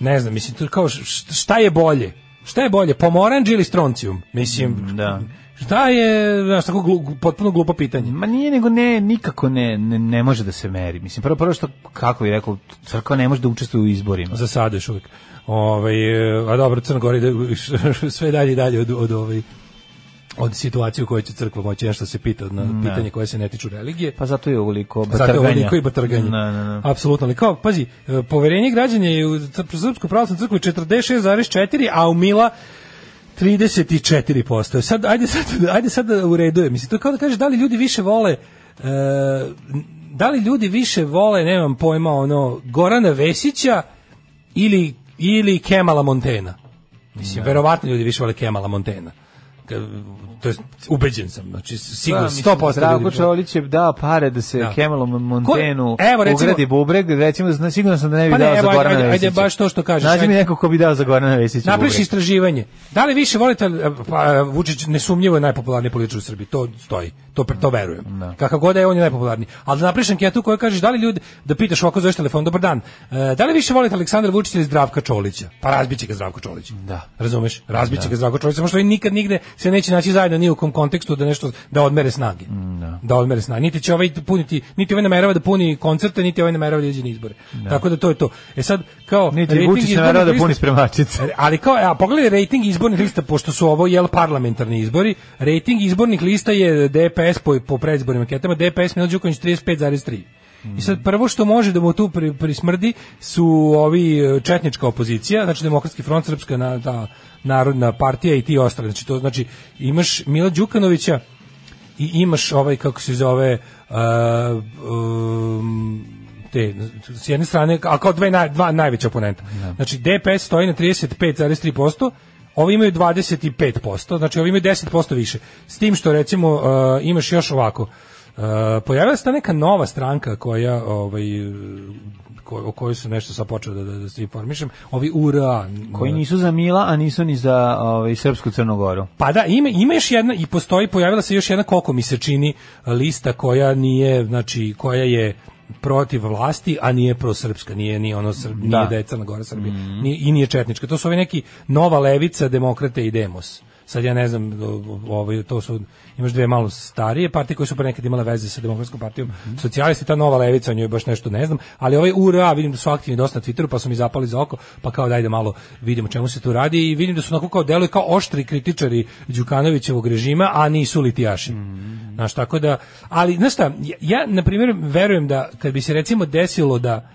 Speaker 5: ne znam, mislim, to je kao š- šta je bolje? Šta je bolje, pomoranđ ili stroncijum? Mislim,
Speaker 6: da.
Speaker 5: šta je, znaš, tako glu- potpuno glupo pitanje.
Speaker 6: Ma nije, nego ne, nikako ne, ne, ne može da se meri. Mislim, prvo, prvo što, kako je rekao, crkva ne može da učestvuje u izborima.
Speaker 5: Za sada još uvijek. Ovaj, e, a dobro, Crna Gora ide sve dalje i dalje od, od, ovaj, od situacije u kojoj će crkva moći nešto se pita na pitanje koje se ne tiču religije.
Speaker 6: Pa zato je ovoliko
Speaker 5: Zato je
Speaker 6: batrganja. Da,
Speaker 5: ovoliko i batrganje.
Speaker 6: Na, na, na.
Speaker 5: Apsolutno. Ali kao, pazi, e, poverenje građana je u Cr- Srpsku pravoslavnu crkvu 46,4, a u Mila 34%. E, Sad, ajde sad, ajde sad da ureduje. Mislim, to je kao da kažeš da li ljudi više vole e, da li ljudi više vole, nemam pojma, ono, Gorana Vesića
Speaker 6: Da.
Speaker 5: ili, ili Kemala Montena. Mislim, verovatno ljudi više vole Kemala Montena. ka- to jest ubeđen sam, znači sigurno
Speaker 6: Da,
Speaker 5: 100%
Speaker 6: mislim, Zdravko
Speaker 5: ljudi-
Speaker 6: Čolić je dao pare da se
Speaker 5: Da.
Speaker 6: da. Kemalom Montenu
Speaker 5: Ko- evo, recimo-
Speaker 6: ugradi bubreg, recimo, zna, siguran sam da ne bi
Speaker 5: Pa ne,
Speaker 6: dao
Speaker 5: evo,
Speaker 6: za
Speaker 5: ajde,
Speaker 6: Gorana
Speaker 5: ajde,
Speaker 6: Vesića.
Speaker 5: ajde, baš to što kažeš,
Speaker 6: Nađi
Speaker 5: ajde.
Speaker 6: mi neko ko bi dao za Gorana Vesića
Speaker 5: Napraviš
Speaker 6: bubreg.
Speaker 5: istraživanje. Da li više volite pa, Vučić nesumnjivo je najpopularniji političar u Srbiji. To stoji. To pre- to verujem. Kakav god da je on je najpopularniji. Ali da napraviš anketu koja kažeš da li ljudi da pitaš ovako zoveš telefon dobar dan. E, da li više volite Aleksandra Vučića ili Zdravka Čolića? Pa razbiće ga Zdravko Čolić. Da. Razumeš? Razbiće ga Zdravko Čolić, samo što oni nikad nigde se neće naći zajedno ni u kom kontekstu da nešto da odmere snage. Da. odmere snage. Niti će ovaj puniti, niti ovaj namerava da puni koncerte, niti ovaj namerava da ide na izbore. Tako da to je to. E sad kao
Speaker 6: Niti
Speaker 5: rating
Speaker 6: Vučić ne
Speaker 5: izbornih
Speaker 6: verao da
Speaker 5: lista-
Speaker 6: puni spremačice.
Speaker 5: ali kao, a pogledaj rating izbornih lista, pošto su ovo jel parlamentarni izbori, rating izbornih lista je DPS po, po predizbornim anketama, DPS Milo Đukanović 35,3. I sad prvo što može da mu tu pri, prismrdi su ovi e, četnička opozicija, znači Demokratski front, Srpska na, ta narodna partija i ti ostali. Znači, to, znači imaš Mila Đukanovića i imaš ovaj, kako se zove, a, um, te s jedne strane a kao dve naj, dva najveća oponenta. Znači DPS stoji na 35,3%, ovi imaju 25%, znači ovi imaju 10% više. S tim što recimo uh, imaš još ovako uh, pojavila se ta neka nova stranka koja ovaj uh, ko, o kojoj su nešto sad počeo da, da, da se informišem, ovi URA.
Speaker 6: Koji nisu za Mila, a nisu ni za ovaj, Srpsku Crnogoru.
Speaker 5: Pa da, ima, ima još jedna i postoji, pojavila se još jedna, koliko mi se čini, lista koja nije, znači, koja je protiv vlasti, a nije prosrpska, nije, nije ono, srb, nije da je Crna Gora Srbija, nije, i nije četnička. To su ovi neki nova levica, demokrate i demos. Sad ja ne znam, o- ovaj, to su, imaš dve malo starije partije koje su pre nekad imale veze sa demokratskom partijom, socijalisti, ta nova levica, o njoj baš nešto ne znam, ali ovaj URA, vidim da su aktivni dosta na Twitteru, pa su mi zapali za oko, pa kao dajde malo vidimo čemu se tu radi i vidim da su onako kao deluju kao oštri kritičari Đukanovićevog režima, a nisu litijaši. Znaš, tako da, ali, znaš šta, ja, ja na primjer, verujem da kad bi se recimo desilo da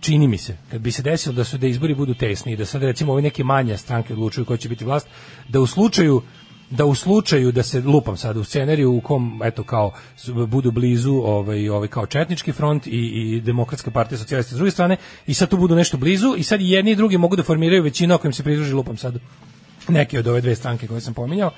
Speaker 5: čini mi se, kad bi se desilo da su da izbori budu tesni i da sad recimo ove neke manje stranke odlučuju ko će biti vlast, da u slučaju da u slučaju da se lupam sad u scenariju u kom eto kao s- budu blizu ovaj ovaj kao četnički front i i demokratska partija socijalista s druge strane i sad tu budu nešto blizu i sad i jedni i drugi mogu da formiraju većinu ako im se pridruži lupam sad neke od ove dve stranke koje sam pominjao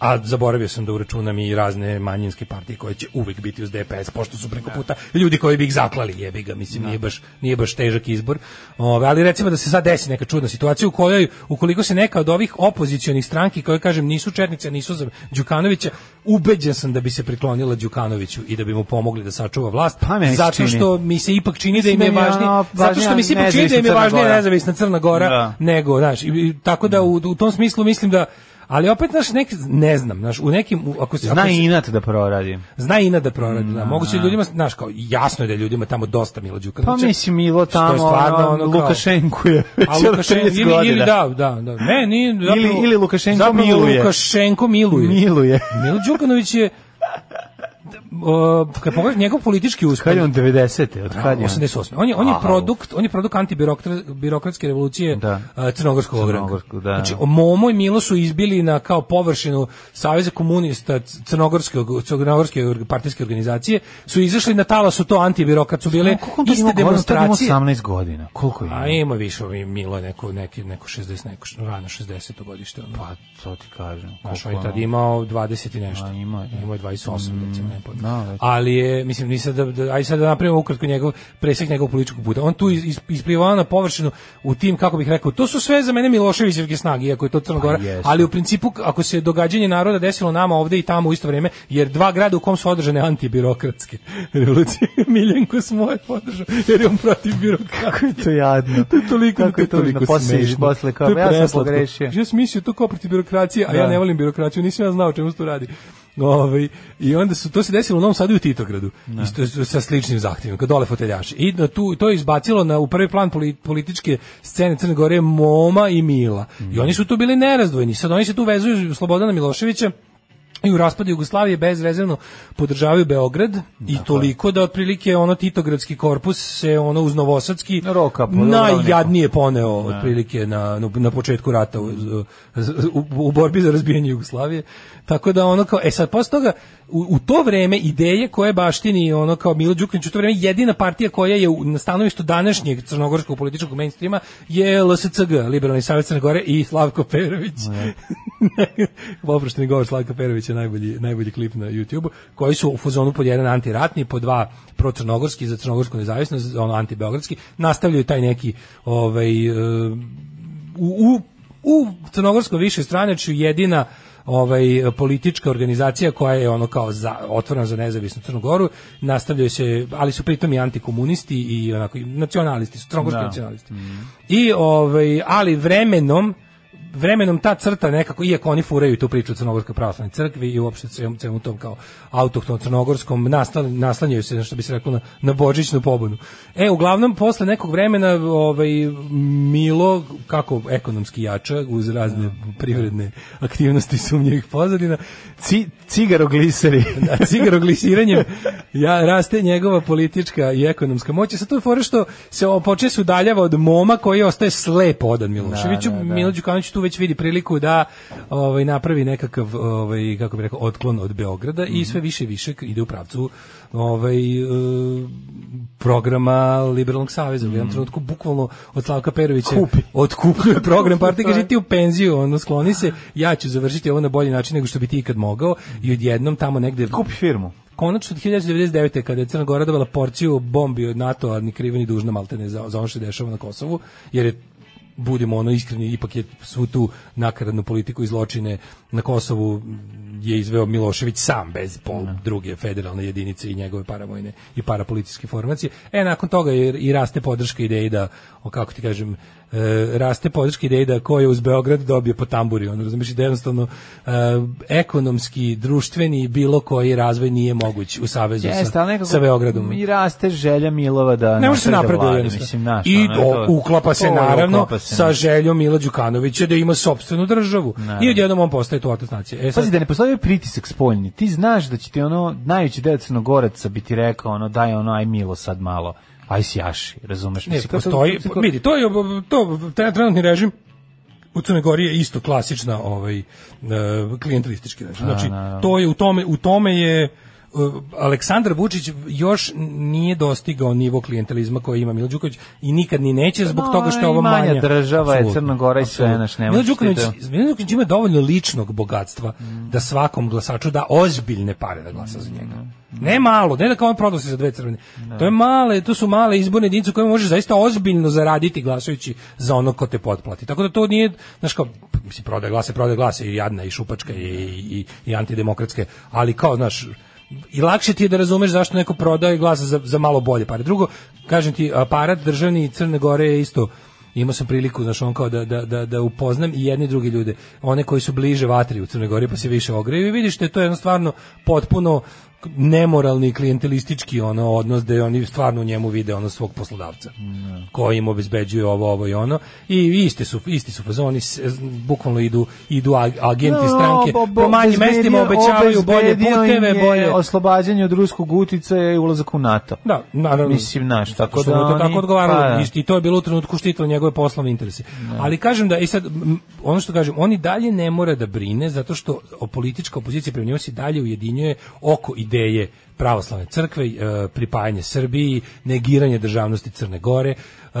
Speaker 5: a zaboravio sam da uračunam i razne manjinske partije koje će uvek biti uz DPS pošto su
Speaker 6: Da.
Speaker 5: preko puta ljudi koji bi ih zaklali jebi ga mislim nije baš nije baš težak izbor Ove, ali recimo da se sad desi neka čudna situacija u kojoj ukoliko se neka od ovih opozicionih stranki koje kažem nisu četnice nisu za Đukanovića ubeđen sam da bi se priklonila Đukanoviću i da bi mu pomogli da sačuva vlast
Speaker 6: Pa meni se
Speaker 5: zato
Speaker 6: čini.
Speaker 5: što mi se ipak čini da im je
Speaker 6: Mislim da mi je
Speaker 5: važnije
Speaker 6: ono
Speaker 5: zato što mi se ipak
Speaker 6: važnija
Speaker 5: čini da im je
Speaker 6: nezavisna Crna
Speaker 5: važnije
Speaker 6: Gora.
Speaker 5: nezavisna Crna Gora
Speaker 6: Da.
Speaker 5: nego, znaš, i- i- tako da u, u tom smislu mislim da ali opet znaš neki ne znam, znaš, u nekim u- ako se ako
Speaker 6: Zna
Speaker 5: se-
Speaker 6: i inat da proradi.
Speaker 5: zna i da proradi, da. Moguće je ljudima, znaš, kao jasno je da je ljudima tamo dosta Milo
Speaker 6: Pa
Speaker 5: Đukanovića.
Speaker 6: mislim Milo
Speaker 5: što je
Speaker 6: tamo,
Speaker 5: stvarno
Speaker 6: ono,
Speaker 5: ono kao-
Speaker 6: Lukašenko je već
Speaker 5: A Lukašenko
Speaker 6: 14
Speaker 5: ili, ili
Speaker 6: godina.
Speaker 5: da, da, da. Ne, nije, zapravo,
Speaker 6: Ili- ili Lukašenko
Speaker 5: zapravo
Speaker 6: miluje.
Speaker 5: Lukašenko miluje.
Speaker 6: Miluje.
Speaker 5: Milo Đukanović je o, kad pogledaš njegov politički uspeh.
Speaker 6: Kad je on 90. Od kad je on?
Speaker 5: 88. On je on je
Speaker 6: Aha.
Speaker 5: produkt, on je produkt antibirokratske revolucije
Speaker 6: Da.
Speaker 5: a, crnogorskog ogranka.
Speaker 6: Crnogorskog, da.
Speaker 5: Znači, Momo i Milo su izbili na kao površinu Saveza komunista c- crnogorskog crnogorske org- partijske organizacije, su izašli na talasu to antibirokrat su bile
Speaker 6: Koliko da on to
Speaker 5: iste
Speaker 6: ima godina? Tad ima
Speaker 5: demonstracije.
Speaker 6: 18 godina. Koliko ima?
Speaker 5: A ima više, ovi Milo je neko neki neko 60 neko š- rano 60 godište. Ono.
Speaker 6: Pa, to ti kažem.
Speaker 5: Znaš, on
Speaker 6: koliko
Speaker 5: je tad
Speaker 6: ono-
Speaker 5: imao 20 i nešto.
Speaker 6: A, ima, da.
Speaker 5: Imao je 28, recimo, ne pojma.
Speaker 6: da, već.
Speaker 5: Ali je, mislim, nisam da, da, aj sad da napravimo ukratko njegov, presek njegovog političkog puta. On tu iz, is, isplivao na površinu u tim, kako bih rekao, to su sve za mene Miloševićevke snage, iako je to Crna Gora,
Speaker 6: Pa jesu.
Speaker 5: ali u principu, ako se događanje naroda desilo nama ovde i tamo u isto vrijeme, jer dva grada u kom su održane antibirokratske revolucije, Miljenko smo je podržao, jer je on protiv birokrata.
Speaker 6: To je jadno.
Speaker 5: To je toliko,
Speaker 6: Kako je
Speaker 5: to je toliko
Speaker 6: jadno. Posle,
Speaker 5: smešno.
Speaker 6: posle kao,
Speaker 5: To je
Speaker 6: ja sam
Speaker 5: preslatko.
Speaker 6: pogrešio.
Speaker 5: Ja pa sam mislio to kao protiv birokracije, a ja
Speaker 6: Da.
Speaker 5: ne volim birokraciju, nisam ja znao čemu se to radi. Ovaj, I onda su, to se desilo u Novom Sadu i u Titogradu, isto, s- sa sličnim zahtjevima, kad dole foteljaši. I na tu, to je izbacilo na, u prvi plan poli- političke scene Crne Gore Mhm. Moma i Mila. I oni su tu bili nerazdvojni. Sad oni se tu vezuju Slobodana Miloševića, i u raspadu Jugoslavije bezrezervno podržavaju Beograd i toliko da otprilike ono Titogradski korpus se ono uz Novosadski
Speaker 6: Na Da. roka, po-
Speaker 5: najjadnije poneo otprilike na, na- na početku rata u, u, u borbi za razbijanje Jugoslavije. Tako da ono kao, e sad posle toga u, u to vreme ideje koje baštini ono kao Milo Đukanić u to vreme jedina partija koja je u, na stanovištu današnjeg crnogorskog političkog mainstreama je LSCG, Liberalni savjet Crne Gore i Slavko Perović. Oprošteni govor Slavka Perovića je najbolji, najbolji klip na YouTube-u, koji su u fuzonu pod jedan antiratni, pod dva procrnogorski, za crnogorsku nezavisnost, ono antibeogradski, nastavljaju taj neki ovaj, e, u, u, u crnogorskom više stranačju jedina ovaj politička organizacija koja je ono kao za, otvorena za nezavisnu Crnu Goru, nastavljaju se, ali su pritom i antikomunisti i onako i nacionalisti, su crnogorski nacionalisti. I ovaj ali vremenom vremenom ta crta nekako, iako oni furaju tu priču o Crnogorskoj pravoslavnoj crkvi i uopšte svemu, svemu tom kao autohtonom crnogorskom, naslan- naslanjaju se, što bi se reklo, na, na božićnu pobunu. E, uglavnom, posle nekog vremena ovaj, Milo, kako ekonomski jača, uz razne privredne aktivnosti sumnjivih pozadina,
Speaker 6: Ci, cigarogliseri.
Speaker 5: da, cigaroglisiranje ja, raste njegova politička i ekonomska moć. Sad to je fora što se o- počeo se udaljava od moma koji ostaje slep odan Miloševiću.
Speaker 6: Da, da, da.
Speaker 5: Milo Đukanović tu već vidi priliku da ovaj, napravi nekakav, ovaj, kako bi rekao, otklon od Beograda i
Speaker 6: Mhm.
Speaker 5: sve više i više ide u pravcu ovaj, e, programa Liberalnog saveza. U
Speaker 6: Mhm.
Speaker 5: jednom trenutku bukvalno od Slavka Perovića otkupljuje program partije, kaže ti u penziju, ono, skloni se, ja ću završiti ovo na bolji način nego što bi ti ikad mogao i odjednom tamo negde
Speaker 6: Kupi firmu.
Speaker 5: konačno od 1999. kada je Crna Gora dobila porciju bombi od NATO-a, ni kriva ni dužna maltene za, za ono što se dešava na Kosovu, jer je budimo ono iskreni, ipak je svu tu nakaradnu politiku i zločine na Kosovu je izveo Milošević sam bez pol druge federalne jedinice i njegove paravojne i parapolicijske formacije. E, nakon toga je i raste podrška ideji da, o kako ti kažem, e, raste podrška ideji da ko je uz Beograd dobije po tamburi, on razumiješ da jednostavno e, ekonomski, društveni i bilo koji razvoj nije moguć u savezu
Speaker 6: Jeste,
Speaker 5: sa,
Speaker 6: ali nekako
Speaker 5: sa Beogradom.
Speaker 6: I raste želja Milova da
Speaker 5: Ne može se
Speaker 6: napravi
Speaker 5: napreduje
Speaker 6: vladu,
Speaker 5: jednostavno.
Speaker 6: mislim, naš,
Speaker 5: I
Speaker 6: ono,
Speaker 5: do,
Speaker 6: to-
Speaker 5: uklapa se
Speaker 6: to je
Speaker 5: naravno
Speaker 6: uklapa se,
Speaker 5: sa
Speaker 6: ne.
Speaker 5: željom Mila Đukanovića da ima sopstvenu državu. I odjednom on postaje tu otac nacije. E, sad-
Speaker 6: Pazi da ne postoji pritisak spoljni. Ti znaš da će ti ono najveći deo Crnogoraca bi ti rekao ono daj ono aj Milo sad malo. Aj sjaši, razumeš?
Speaker 5: Ne,
Speaker 6: Znači, Mislim, kako-
Speaker 5: postoji,
Speaker 6: kako-
Speaker 5: vidi, to je to taj trenutni režim u Crnoj Gori je isto klasična ovaj e, klijentelistički režim.
Speaker 6: Da,
Speaker 5: Znači to je u tome u tome je e, Aleksandar Vučić još nije dostigao nivo klijentelizma koji ima Milo Đukanović i nikad ni neće zbog
Speaker 6: Ma,
Speaker 5: toga što je
Speaker 6: i
Speaker 5: ovo
Speaker 6: manja
Speaker 5: manja
Speaker 6: država je,
Speaker 5: Apsolutno,
Speaker 6: Crna Gora i sve,
Speaker 5: apsolutno.
Speaker 6: znaš, ne
Speaker 5: Milo
Speaker 6: možeš ti
Speaker 5: Đukanović,
Speaker 6: to-
Speaker 5: Milo Đukanović ima dovoljno ličnog bogatstva da svakom glasaču da ozbiljne pare da glasa za njega. Ne malo, ne da kao on prodao se za dve crvene. To je male, to su male izborne jedinice koje možeš zaista ozbiljno zaraditi glasajući za ono ko te potplati. Tako da to nije, znaš kao, mislim, prodaje glase, prodaje glase i jadna i šupačka i, i, i antidemokratske, ali kao, znaš, i lakše ti je da razumeš zašto neko prodaje glasa za, za malo bolje pare. Drugo, kažem ti, aparat državni Crne Gore je isto imao sam priliku, znaš, on kao da, da, da, da upoznam i jedne i druge ljude, one koji su bliže vatri u Crnoj Gori pa se više ogreju i vidiš da je to jedno stvarno potpuno nemoralni klijentelistički ono odnos da oni stvarno u njemu vide ono svog poslodavca
Speaker 6: Da.
Speaker 5: koji im obezbeđuje ovo ovo i ono i iste su isti su fazoni s- bukvalno idu idu ag- agenti
Speaker 6: No,
Speaker 5: stranke
Speaker 6: Da, ob- ob-
Speaker 5: po manjim
Speaker 6: obezbedio-
Speaker 5: mestima obećavaju bolje
Speaker 6: obezbedio im
Speaker 5: puteve
Speaker 6: je
Speaker 5: bolje
Speaker 6: oslobađanje od ruskog uticaja i ulazak u NATO.
Speaker 5: da, naravno.
Speaker 6: Mislim, znaš, tako
Speaker 5: Što
Speaker 6: da
Speaker 5: mu je to
Speaker 6: oni-
Speaker 5: tako odgovaralo.
Speaker 6: pa da.
Speaker 5: I što- I to je bilo u trenutku štitilo njegove poslovne interese. Ali kažem da, i sad, m, ono što kažem, oni dalje ne mora da brine, zato što o- politička opozicija prema njemu se i dalje ujedinjuje oko ideje pravoslavne crkve, e, pripajanje Srbiji, negiranje državnosti Crne Gore, e,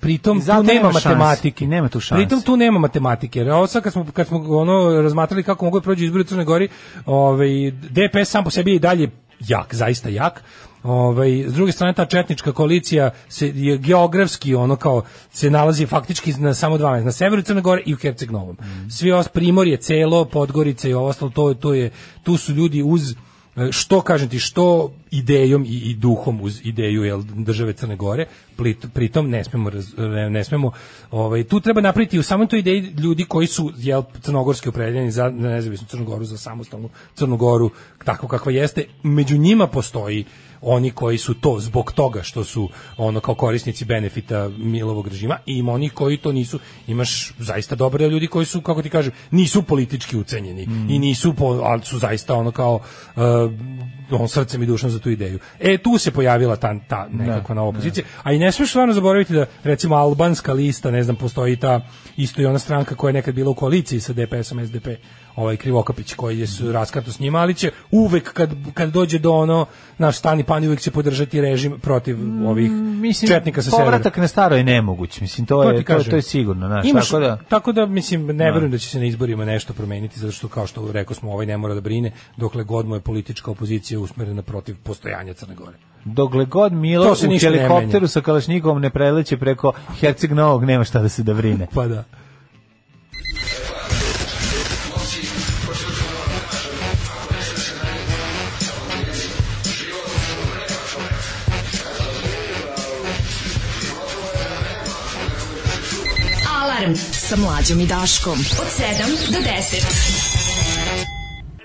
Speaker 5: pritom
Speaker 6: I zato
Speaker 5: tu nema
Speaker 6: nema šanse.
Speaker 5: matematike.
Speaker 6: I nema tu šanse.
Speaker 5: Pritom tu nema matematike. Jer ovo sad kad smo, kad smo ono razmatrali kako mogu da prođu izbori u Crnoj Gori, ovaj, DPS sam po sebi je i dalje jak, zaista jak. Ovaj, s druge strane, ta četnička koalicija se, je geografski ono kao se nalazi faktički na samo dva mesta, na severu Crne Gore i u Herceg Novom.
Speaker 6: Mm.
Speaker 5: Svi os Primorje, celo, Podgorica i ovo ostalo, to, je- to je, tu su ljudi uz E, što kažem ti, što idejom i, i duhom uz ideju jel, države Crne Gore, plit- pritom ne smemo, raz- ne, ne smemo ovaj, tu treba napraviti u samoj toj ideji ljudi koji su jel, crnogorski opredeljeni za nezavisnu Crnu Goru, za samostalnu Crnu Goru tako kakva jeste, među njima postoji oni koji su to zbog toga što su ono kao korisnici benefita Milovog režima i ima oni koji to nisu imaš zaista dobre ljudi koji su kako ti kažem nisu politički ucenjeni i nisu po, ali su zaista ono kao uh, on srcem i dušom za tu ideju e tu se pojavila ta, ta nekakva nova opozicija a i ne smiješ stvarno zaboraviti da recimo albanska lista ne znam postoji ta isto i ona stranka koja je nekad bila u koaliciji sa DPS-om SDP ovaj Krivokapić koji je su raskarto s njima ali će uvek kad, kad dođe do ono naš stani pani uvek će podržati režim protiv
Speaker 6: Mm.
Speaker 5: ovih četnika sa severa
Speaker 6: povratak na staro je nemoguć, mislim, to,
Speaker 5: ti
Speaker 6: Pa je, to,
Speaker 5: kažem.
Speaker 6: to je sigurno, znaš,
Speaker 5: Imaš-
Speaker 6: tako da...
Speaker 5: tako da, mislim, ne verujem da će se na izborima nešto promeniti, zato što, kao što rekao smo, ovaj ne mora da brine, dokle god mu je politička opozicija usmerena protiv postojanja Crne Gore.
Speaker 6: Dokle god Milo
Speaker 5: To se
Speaker 6: u
Speaker 5: ništa ne menja.
Speaker 6: helikopteru sa kalašnjikom ne preleće preko Herceg Novog, nema šta da se da brine.
Speaker 5: Pa da.
Speaker 4: Alarm sa mlađom i Daškom. Od 7 do 10.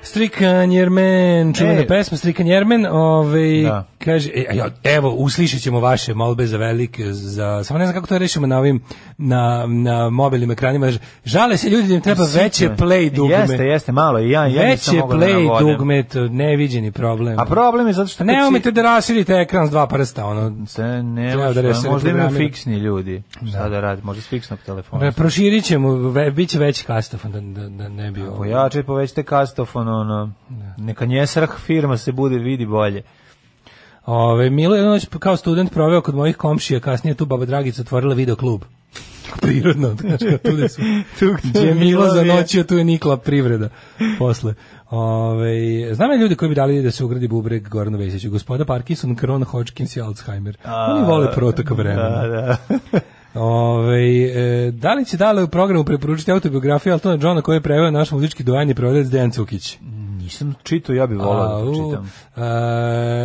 Speaker 5: Strikan Jermen, čuvena
Speaker 6: E.
Speaker 5: pesma Strikan Jermen, ovaj,
Speaker 6: Da.
Speaker 5: kaže, e, a ja, evo, uslišit ćemo vaše molbe za velike, za, samo ne znam kako to rešimo na ovim, na, na mobilnim ekranima, žale se ljudi da im treba veće play dugme.
Speaker 6: Jeste, jeste, malo i ja, ja
Speaker 5: Veće
Speaker 6: nisam mogao da
Speaker 5: play
Speaker 6: navodem.
Speaker 5: dugme, to neviđeni problem.
Speaker 6: A problem je zato što... kad
Speaker 5: Ne
Speaker 6: si-
Speaker 5: umete da rasirite ekran s dva prsta, ono.
Speaker 6: Se ne,
Speaker 5: Treba da
Speaker 6: može,
Speaker 5: resere
Speaker 6: možda imaju
Speaker 5: programira.
Speaker 6: fiksni ljudi. Šta da radi, možda s fiksnog telefona.
Speaker 5: Re, Proširit ćemo, ve, bit će veći kastafon da, da, da ne bi ovo.
Speaker 6: Pojačaj, povećajte kastofon, ono,
Speaker 5: Da.
Speaker 6: neka njesrah firma se bude, vidi bolje.
Speaker 5: Ove, Milo je noć kao student proveo kod mojih komšija, kasnije je tu baba Dragica otvorila video klub. Prirodno, znaš, kao tu gde su.
Speaker 6: Tu
Speaker 5: Gde je Milo za noćio, tu je nikla privreda posle. Ove, znam ja ljudi koji bi dali da se ugradi bubreg Goranu Vesiću. Gospoda Parkinson, Kron, Hodgkins i Alzheimer. Oni vole protok vremena.
Speaker 6: Da, da.
Speaker 5: Ove, e, da li će dale u programu preporučiti autobiografiju Altona Johna koji je preveo naš muzički dojanje prodavac Dejan Cukić?
Speaker 6: Nisam čitao, ja bih volao da
Speaker 5: Au.
Speaker 6: čitam.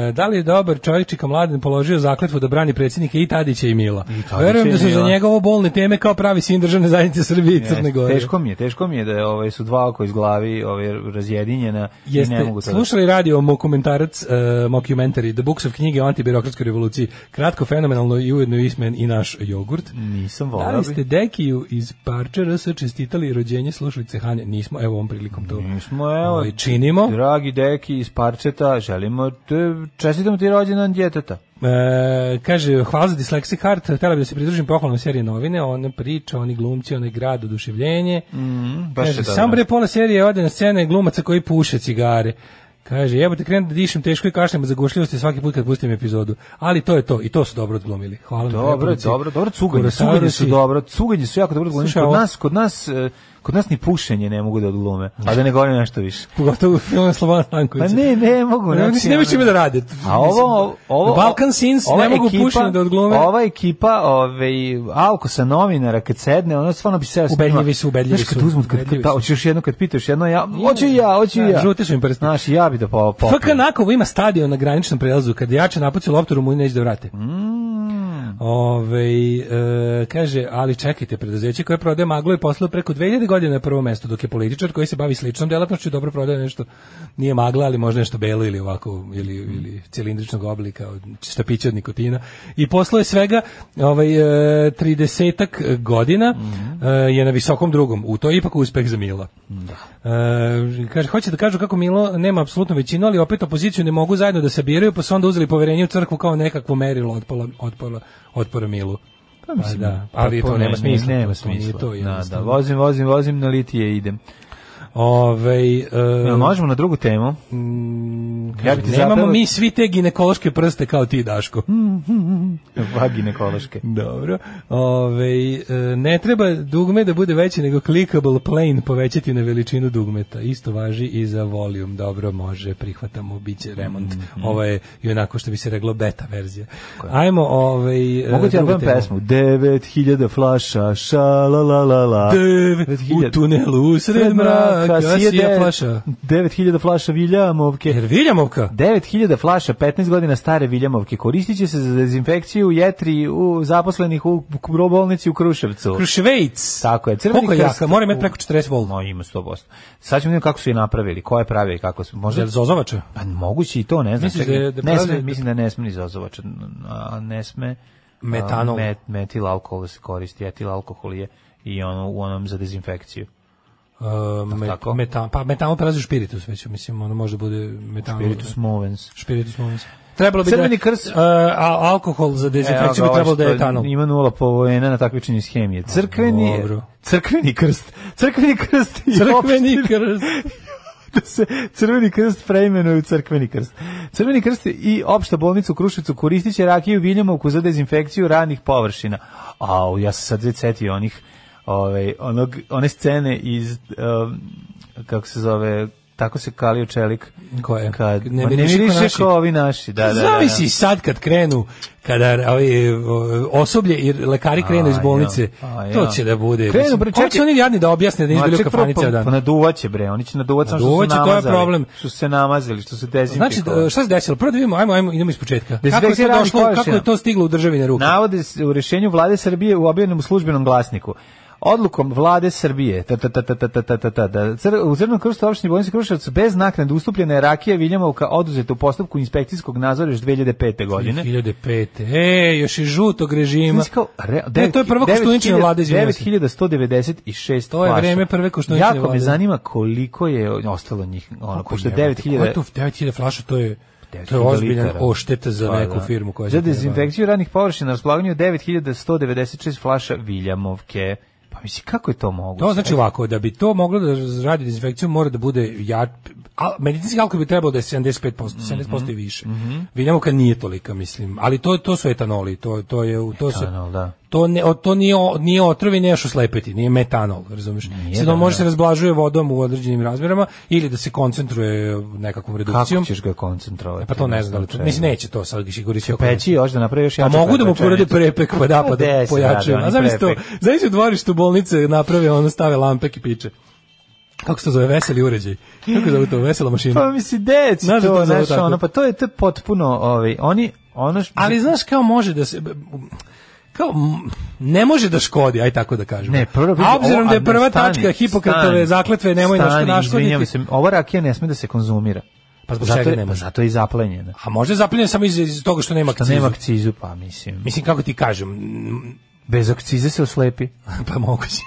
Speaker 5: E, da li je dobar čovječika mladen položio zakletvu da brani predsjednika i Tadića i Mila?
Speaker 6: Tadića
Speaker 5: Verujem
Speaker 6: i
Speaker 5: da su za
Speaker 6: Mila.
Speaker 5: njega ovo bolne teme kao pravi sin državne zajednice Srbije i Crne
Speaker 6: Jeste,
Speaker 5: Gore.
Speaker 6: Teško mi je, teško mi je da je, ovaj, su dva oko iz glavi ovaj, razjedinjena i ne
Speaker 5: Jeste
Speaker 6: mogu to da-
Speaker 5: slušali radio mokumentarac, uh, mockumentary, The Books of knjige o antibirokratskoj revoluciji, kratko, fenomenalno i ujedno ismen i naš jogurt.
Speaker 6: Nisam
Speaker 5: Da
Speaker 6: volao
Speaker 5: li
Speaker 6: bi.
Speaker 5: ste Dekiju iz Parče RS čestitali rođenje slušalice Hanje? Nismo, evo ovom prilikom to.
Speaker 6: Nismo, evo.
Speaker 5: Ovaj, činimo.
Speaker 6: Dragi deki iz parčeta, želimo te, čestitamo ti rođendan djeteta.
Speaker 5: E, kaže, hvala za Dyslexic Heart, htjela bi da se pridružim pohvalnom serije novine, ona priča, oni glumci, onaj grad, oduševljenje.
Speaker 6: baš
Speaker 5: kaže,
Speaker 6: je da- dobro.
Speaker 5: samo bre pola serije ode na scene glumaca koji puše cigare. Kaže, jebote, krenem da dišem teško i kašljem od zagušljivosti svaki put kad pustim epizodu. Ali to je to, i to su dobro odglumili. Hvala na
Speaker 6: Dobro,
Speaker 5: preporuci.
Speaker 6: dobro, dobro, cuganje,
Speaker 5: Kurosaurusi.
Speaker 6: cuganje su dobro, cuganje su jako dobro, odglumili.
Speaker 5: Slušaj,
Speaker 6: kod
Speaker 5: ovo-
Speaker 6: nas, kod nas, e, kod nas ni pušenje ne mogu da odglume, a da ne govorim nešto više.
Speaker 5: Pogotovo film Slobana Stankovića.
Speaker 6: Pa ne, ne mogu.
Speaker 5: Ne,
Speaker 6: znači,
Speaker 5: mislim, nemaju čime da rade.
Speaker 6: A ovo, ovo
Speaker 5: Balkan Sins
Speaker 6: ova
Speaker 5: ne mogu
Speaker 6: ekipa-
Speaker 5: pušiti da odglume.
Speaker 6: Ova ekipa, ovaj Alko sa novinara kad sedne, ona stvarno bi se
Speaker 5: Ubedljivi su, ubedljivi
Speaker 6: Znaš, kad
Speaker 5: su,
Speaker 6: uzmu, kad,
Speaker 5: ubedljivi
Speaker 6: kad, ta,
Speaker 5: su.
Speaker 6: hoćeš još jedno, kad pitaš jedno, ja, hoću i ja, hoću i
Speaker 5: Da,
Speaker 6: ja.
Speaker 5: žuti su im prsti.
Speaker 6: Znaš, i ja bi da po, popio.
Speaker 5: FK Nakovo ima stadion na graničnom prelazu, kad jače napuci loptu Rumuni neće da vrate. Ove, e, kaže, ali čekajte, preduzeće koje prodaje maglu je poslao preko 2000 godina na prvo mesto, dok je političar koji se bavi sličnom delatnošću i dobro prodaje nešto, nije magla, ali možda nešto belo ili ovako, ili, ili cilindričnog oblika, od štapića od nikotina. I poslao je svega ovaj, e, 30 godina
Speaker 6: Mhm.
Speaker 5: e, je na visokom drugom. U to je ipak uspeh za Mila.
Speaker 6: Da.
Speaker 5: E, kaže, hoće da kažu kako Milo nema apsolutno većinu, ali opet opoziciju ne mogu zajedno da se biraju, pa su onda uzeli poverenje u crkvu kao nekakvo merilo otpola, otpora, otpora Milu. Pa mislim, da, ali to nema smisla. to-
Speaker 6: Nema
Speaker 5: to nije
Speaker 6: smisla.
Speaker 5: To,
Speaker 6: da, da,
Speaker 5: jednostavno.
Speaker 6: vozim, vozim, vozim, na litije idem.
Speaker 5: Ovaj, e,
Speaker 6: Jel možemo na drugu temu?
Speaker 5: mm,
Speaker 6: ja bi ti
Speaker 5: nemamo
Speaker 6: zapela-
Speaker 5: mi svi te ginekološke prste kao ti, Daško.
Speaker 6: Vaginekološke.
Speaker 5: Dobro. Ove, e, ne treba dugme da bude veći nego clickable plane povećati na veličinu dugmeta. Isto važi i za volume. Dobro, može, prihvatamo, bit će remont.
Speaker 6: Mhm.
Speaker 5: Ovo je i onako što bi se reglo beta verzija. Ajmo, ovaj... e,
Speaker 6: Mogu ti ja
Speaker 5: druga
Speaker 6: pevam
Speaker 5: tema.
Speaker 6: pesmu? 9000 flaša, šalalalala.
Speaker 5: Devet u tunelu usred mraka, sija flaša.
Speaker 6: 9000 flaša Viljamovke.
Speaker 5: Jer Viljam Viljamovka.
Speaker 6: 9000 flaša 15 godina stare Viljamovke koristit će se za dezinfekciju jetri u zaposlenih u k- bolnici u Kruševcu.
Speaker 5: Kruševejc.
Speaker 6: Tako je. Crveni
Speaker 5: Koliko je
Speaker 6: krst
Speaker 5: jaka? Mora imati
Speaker 6: u-
Speaker 5: preko 40 vol.
Speaker 6: No, ima 100%. Sad ćemo vidjeti kako su je napravili, ko je pravio i kako su. Možda
Speaker 5: Jel zozovača? E,
Speaker 6: Pa moguće i to, ne znam.
Speaker 5: Misliš
Speaker 6: čekaj,
Speaker 5: da je- da
Speaker 6: ne sme,
Speaker 5: pravi-
Speaker 6: mislim da ne sme ni zozovač, a ne sme...
Speaker 5: Metanol.
Speaker 6: a, metil alkohol da se koristi, etil alkohol je i ono, u onom za dezinfekciju.
Speaker 5: Uh, me,
Speaker 6: tako?
Speaker 5: metan, pa metan prelazi u špiritus već, mislim, ono može da bude metan.
Speaker 6: Spiritus movens.
Speaker 5: Špiritus movens. Trebalo bi
Speaker 6: Crveni
Speaker 5: da,
Speaker 6: krst.
Speaker 5: Uh, a, alkohol za dezinfekciju bi
Speaker 6: Evo ga,
Speaker 5: trebalo da je
Speaker 6: E, ovaj što
Speaker 5: etanol.
Speaker 6: Ima nula povojena na takmičenju s hemije. Crkveni,
Speaker 5: Dobro.
Speaker 6: crkveni krst. Crkveni krst. i
Speaker 5: Crkveni krst.
Speaker 6: da se Crveni krst preimenuje u Crkveni krst. Crveni krst i opšta bolnica u Kruševcu koristit će rakiju Viljamovku za dezinfekciju radnih površina. Au, ja sam sad već setio onih, ovaj, onog, one scene iz, um, kako se zove, tako se kalio čelik.
Speaker 5: Koje?
Speaker 6: Kad,
Speaker 5: Ne
Speaker 6: ne, ne
Speaker 5: miriše ko
Speaker 6: miriše
Speaker 5: naši.
Speaker 6: ko ovi naši. Da, da, da, da.
Speaker 5: Zavisi sad kad krenu, kada ovi, o, osoblje i lekari krenu iz
Speaker 6: A,
Speaker 5: bolnice,
Speaker 6: ja. A,
Speaker 5: to
Speaker 6: ja.
Speaker 5: će da bude.
Speaker 6: pa Krenu,
Speaker 5: mislim,
Speaker 6: bre,
Speaker 5: Ko će
Speaker 6: čekaj.
Speaker 5: oni jadni da objasne da
Speaker 6: Ma,
Speaker 5: izbili u
Speaker 6: čekaj,
Speaker 5: kafani
Speaker 6: prvo,
Speaker 5: ceo
Speaker 6: pa- Pa
Speaker 5: dan?
Speaker 6: naduvaće bre, oni će naduvat samo što su
Speaker 5: Naduvaće, to je
Speaker 6: namazali.
Speaker 5: problem.
Speaker 6: Što su se namazili, što su dezinfikovali.
Speaker 5: Znači, e, šta se desilo? Prvo da vidimo, ajmo, ajmo, idemo iz početka. Kako je
Speaker 6: Dezinfekcija
Speaker 5: to
Speaker 6: radnih
Speaker 5: došlo, kako je
Speaker 6: površina.
Speaker 5: to stiglo u državine ruke?
Speaker 6: Navode se u rješenju vlade Srbije u objavljenom službenom glasniku. Odlukom vlade Srbije ta, ta, ta, ta, ta, ta, ta, ta, ta, da cr, u Crnom krstu opštini Bojnici Kruševac bez naknade ustupljena je rakija Viljamovka oduzeta u postupku inspekcijskog nadzora još 2005. godine.
Speaker 5: 2005. E, još i žutog režima.
Speaker 6: Znači kao, re-
Speaker 5: ne, to je prva
Speaker 6: 9.000
Speaker 5: koštuničina vlada, izvinjavam se.
Speaker 6: 9196
Speaker 5: To je
Speaker 6: flaša.
Speaker 5: vreme prve Koštuničine
Speaker 6: jako
Speaker 5: vlade.
Speaker 6: me zanima koliko je ostalo njih, ono,
Speaker 5: Kako
Speaker 6: pošto
Speaker 5: Pa jebote,
Speaker 6: 9000...
Speaker 5: kako je to 9000 flaša, to je, to je
Speaker 6: 9.000
Speaker 5: ozbiljan
Speaker 6: litara.
Speaker 5: oštet za
Speaker 6: Pa,
Speaker 5: neku
Speaker 6: da.
Speaker 5: firmu koja
Speaker 6: Za
Speaker 5: se time bavi.
Speaker 6: dezinfekciju radnih površina na raspolaganju je 9196 flaša Viljamovke. Pa misli, kako je to moguće?
Speaker 5: To znači ovako, da bi to moglo da radi dezinfekciju, mora da bude ja, al, medicinski alkohol bi trebalo da je 75%,
Speaker 6: Mhm,
Speaker 5: 70% i više. Vidimo kad nije tolika, mislim. Ali to to su etanoli, to to je u- to se
Speaker 6: Etanol, da.
Speaker 5: To ne o, to nije o- nije otrov i nije još oslepeti, nije metanol, razumiješ? Sve
Speaker 6: da,
Speaker 5: može
Speaker 6: da.
Speaker 5: se razblažuje vodom u određenim razmjerama ili da se koncentruje nekakvom redukcijom.
Speaker 6: Kako ćeš ga koncentrovati? Znači,
Speaker 5: Pa to ne znam, da li to- mislim neće to sad giši koristiti.
Speaker 6: Peći još da napravi još
Speaker 5: Pa
Speaker 6: jače.
Speaker 5: mogu da mu
Speaker 6: pečenicu.
Speaker 5: porade prepek pa da pa da
Speaker 6: Gde se
Speaker 5: pojačaju.
Speaker 6: radi
Speaker 5: A
Speaker 6: oni
Speaker 5: zamisli to,
Speaker 6: prepek?
Speaker 5: zamisli da u dvorištu bolnice naprave ono stave lampek i piče. Kako se to zove veseli uređaj? Kako se zove to vesela
Speaker 6: Pa
Speaker 5: mašina?
Speaker 6: misli, deć
Speaker 5: Znaš da to zove
Speaker 6: to, znaš,
Speaker 5: tako?
Speaker 6: ono, pa to je, to je potpuno, ovaj, oni, ono što...
Speaker 5: Ali znaš kao može da se kao m, ne može da škodi, aj tako da kažem.
Speaker 6: Ne, prvo,
Speaker 5: A obzirom da je prva
Speaker 6: stani,
Speaker 5: tačka Hipokratove
Speaker 6: stani,
Speaker 5: zakletve nemoj naš
Speaker 6: stani, izvinjavam
Speaker 5: naškoditi.
Speaker 6: se, ova rakija ne sme da se konzumira.
Speaker 5: Pa zbog
Speaker 6: zato
Speaker 5: čega
Speaker 6: je,
Speaker 5: ne
Speaker 6: pa
Speaker 5: može?
Speaker 6: zato je i zaplenjena.
Speaker 5: A možda je zapljeno samo iz, iz toga što nema
Speaker 6: Da
Speaker 5: akcizu.
Speaker 6: nema akcizu, pa mislim.
Speaker 5: Mislim kako ti kažem, m,
Speaker 6: Bez akcize se oslepi.
Speaker 5: pa moguće.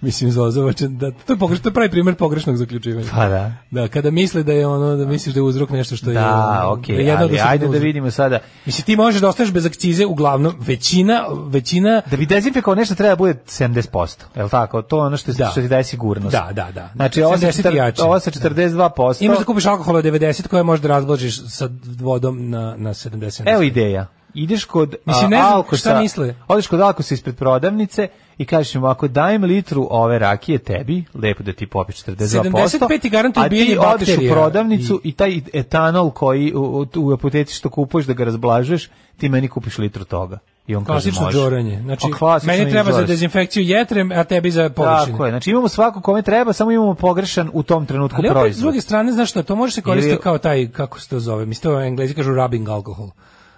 Speaker 5: Mislim zozovačan da to je pogrešno, to je pravi primer pogrešnog zaključivanja.
Speaker 6: Pa da.
Speaker 5: Da, kada misle da je ono, da misliš da je uzrok nešto što je...
Speaker 6: Da,
Speaker 5: ono,
Speaker 6: okej,
Speaker 5: da jedno
Speaker 6: ali
Speaker 5: se
Speaker 6: ajde da
Speaker 5: uzrok.
Speaker 6: vidimo sada.
Speaker 5: Mislim, ti možeš da ostaneš bez akcize, uglavnom, većina, većina...
Speaker 6: Da bi dezinfekovao nešto treba da bude 70%, je li tako? To je ono što,
Speaker 5: Da.
Speaker 6: što ti daje sigurnost.
Speaker 5: Da, da, da.
Speaker 6: Znači, ovo sa
Speaker 5: 70 i jače.
Speaker 6: 40 ovo sa 42%.
Speaker 5: Imaš da kupiš alkohol od 90 koje možeš da razblažiš sa vodom na, na 70.
Speaker 6: Evo ideja. Ideš kod
Speaker 5: Mislim,
Speaker 6: Mislim,
Speaker 5: ne znam
Speaker 6: Alkosa,
Speaker 5: šta misle.
Speaker 6: odeš kod Alkosa ispred prodavnice i kažeš im ovako, dajem litru ove rakije tebi, lepo da ti popiš 42%,
Speaker 5: 75 ti garantuje
Speaker 6: a ti
Speaker 5: ubijanje
Speaker 6: odeš
Speaker 5: bakterija.
Speaker 6: u prodavnicu i... taj etanol koji u, u, u apoteci što kupuješ da ga razblažuješ, ti meni kupiš litru toga. I on kaže,
Speaker 5: Klasično
Speaker 6: može.
Speaker 5: džoranje. Znači,
Speaker 6: Pa, klasično
Speaker 5: meni treba za
Speaker 6: džoranje.
Speaker 5: dezinfekciju jetrem, a tebi za površine.
Speaker 6: Tako je, znači imamo svako kome treba, samo imamo pogrešan u tom trenutku
Speaker 5: Ali opet, s
Speaker 6: proizvod.
Speaker 5: druge strane, znaš šta, to može se koristiti
Speaker 6: Ili-
Speaker 5: kao taj, kako se to zove, mislim, to englezi kažu rubbing alkohol.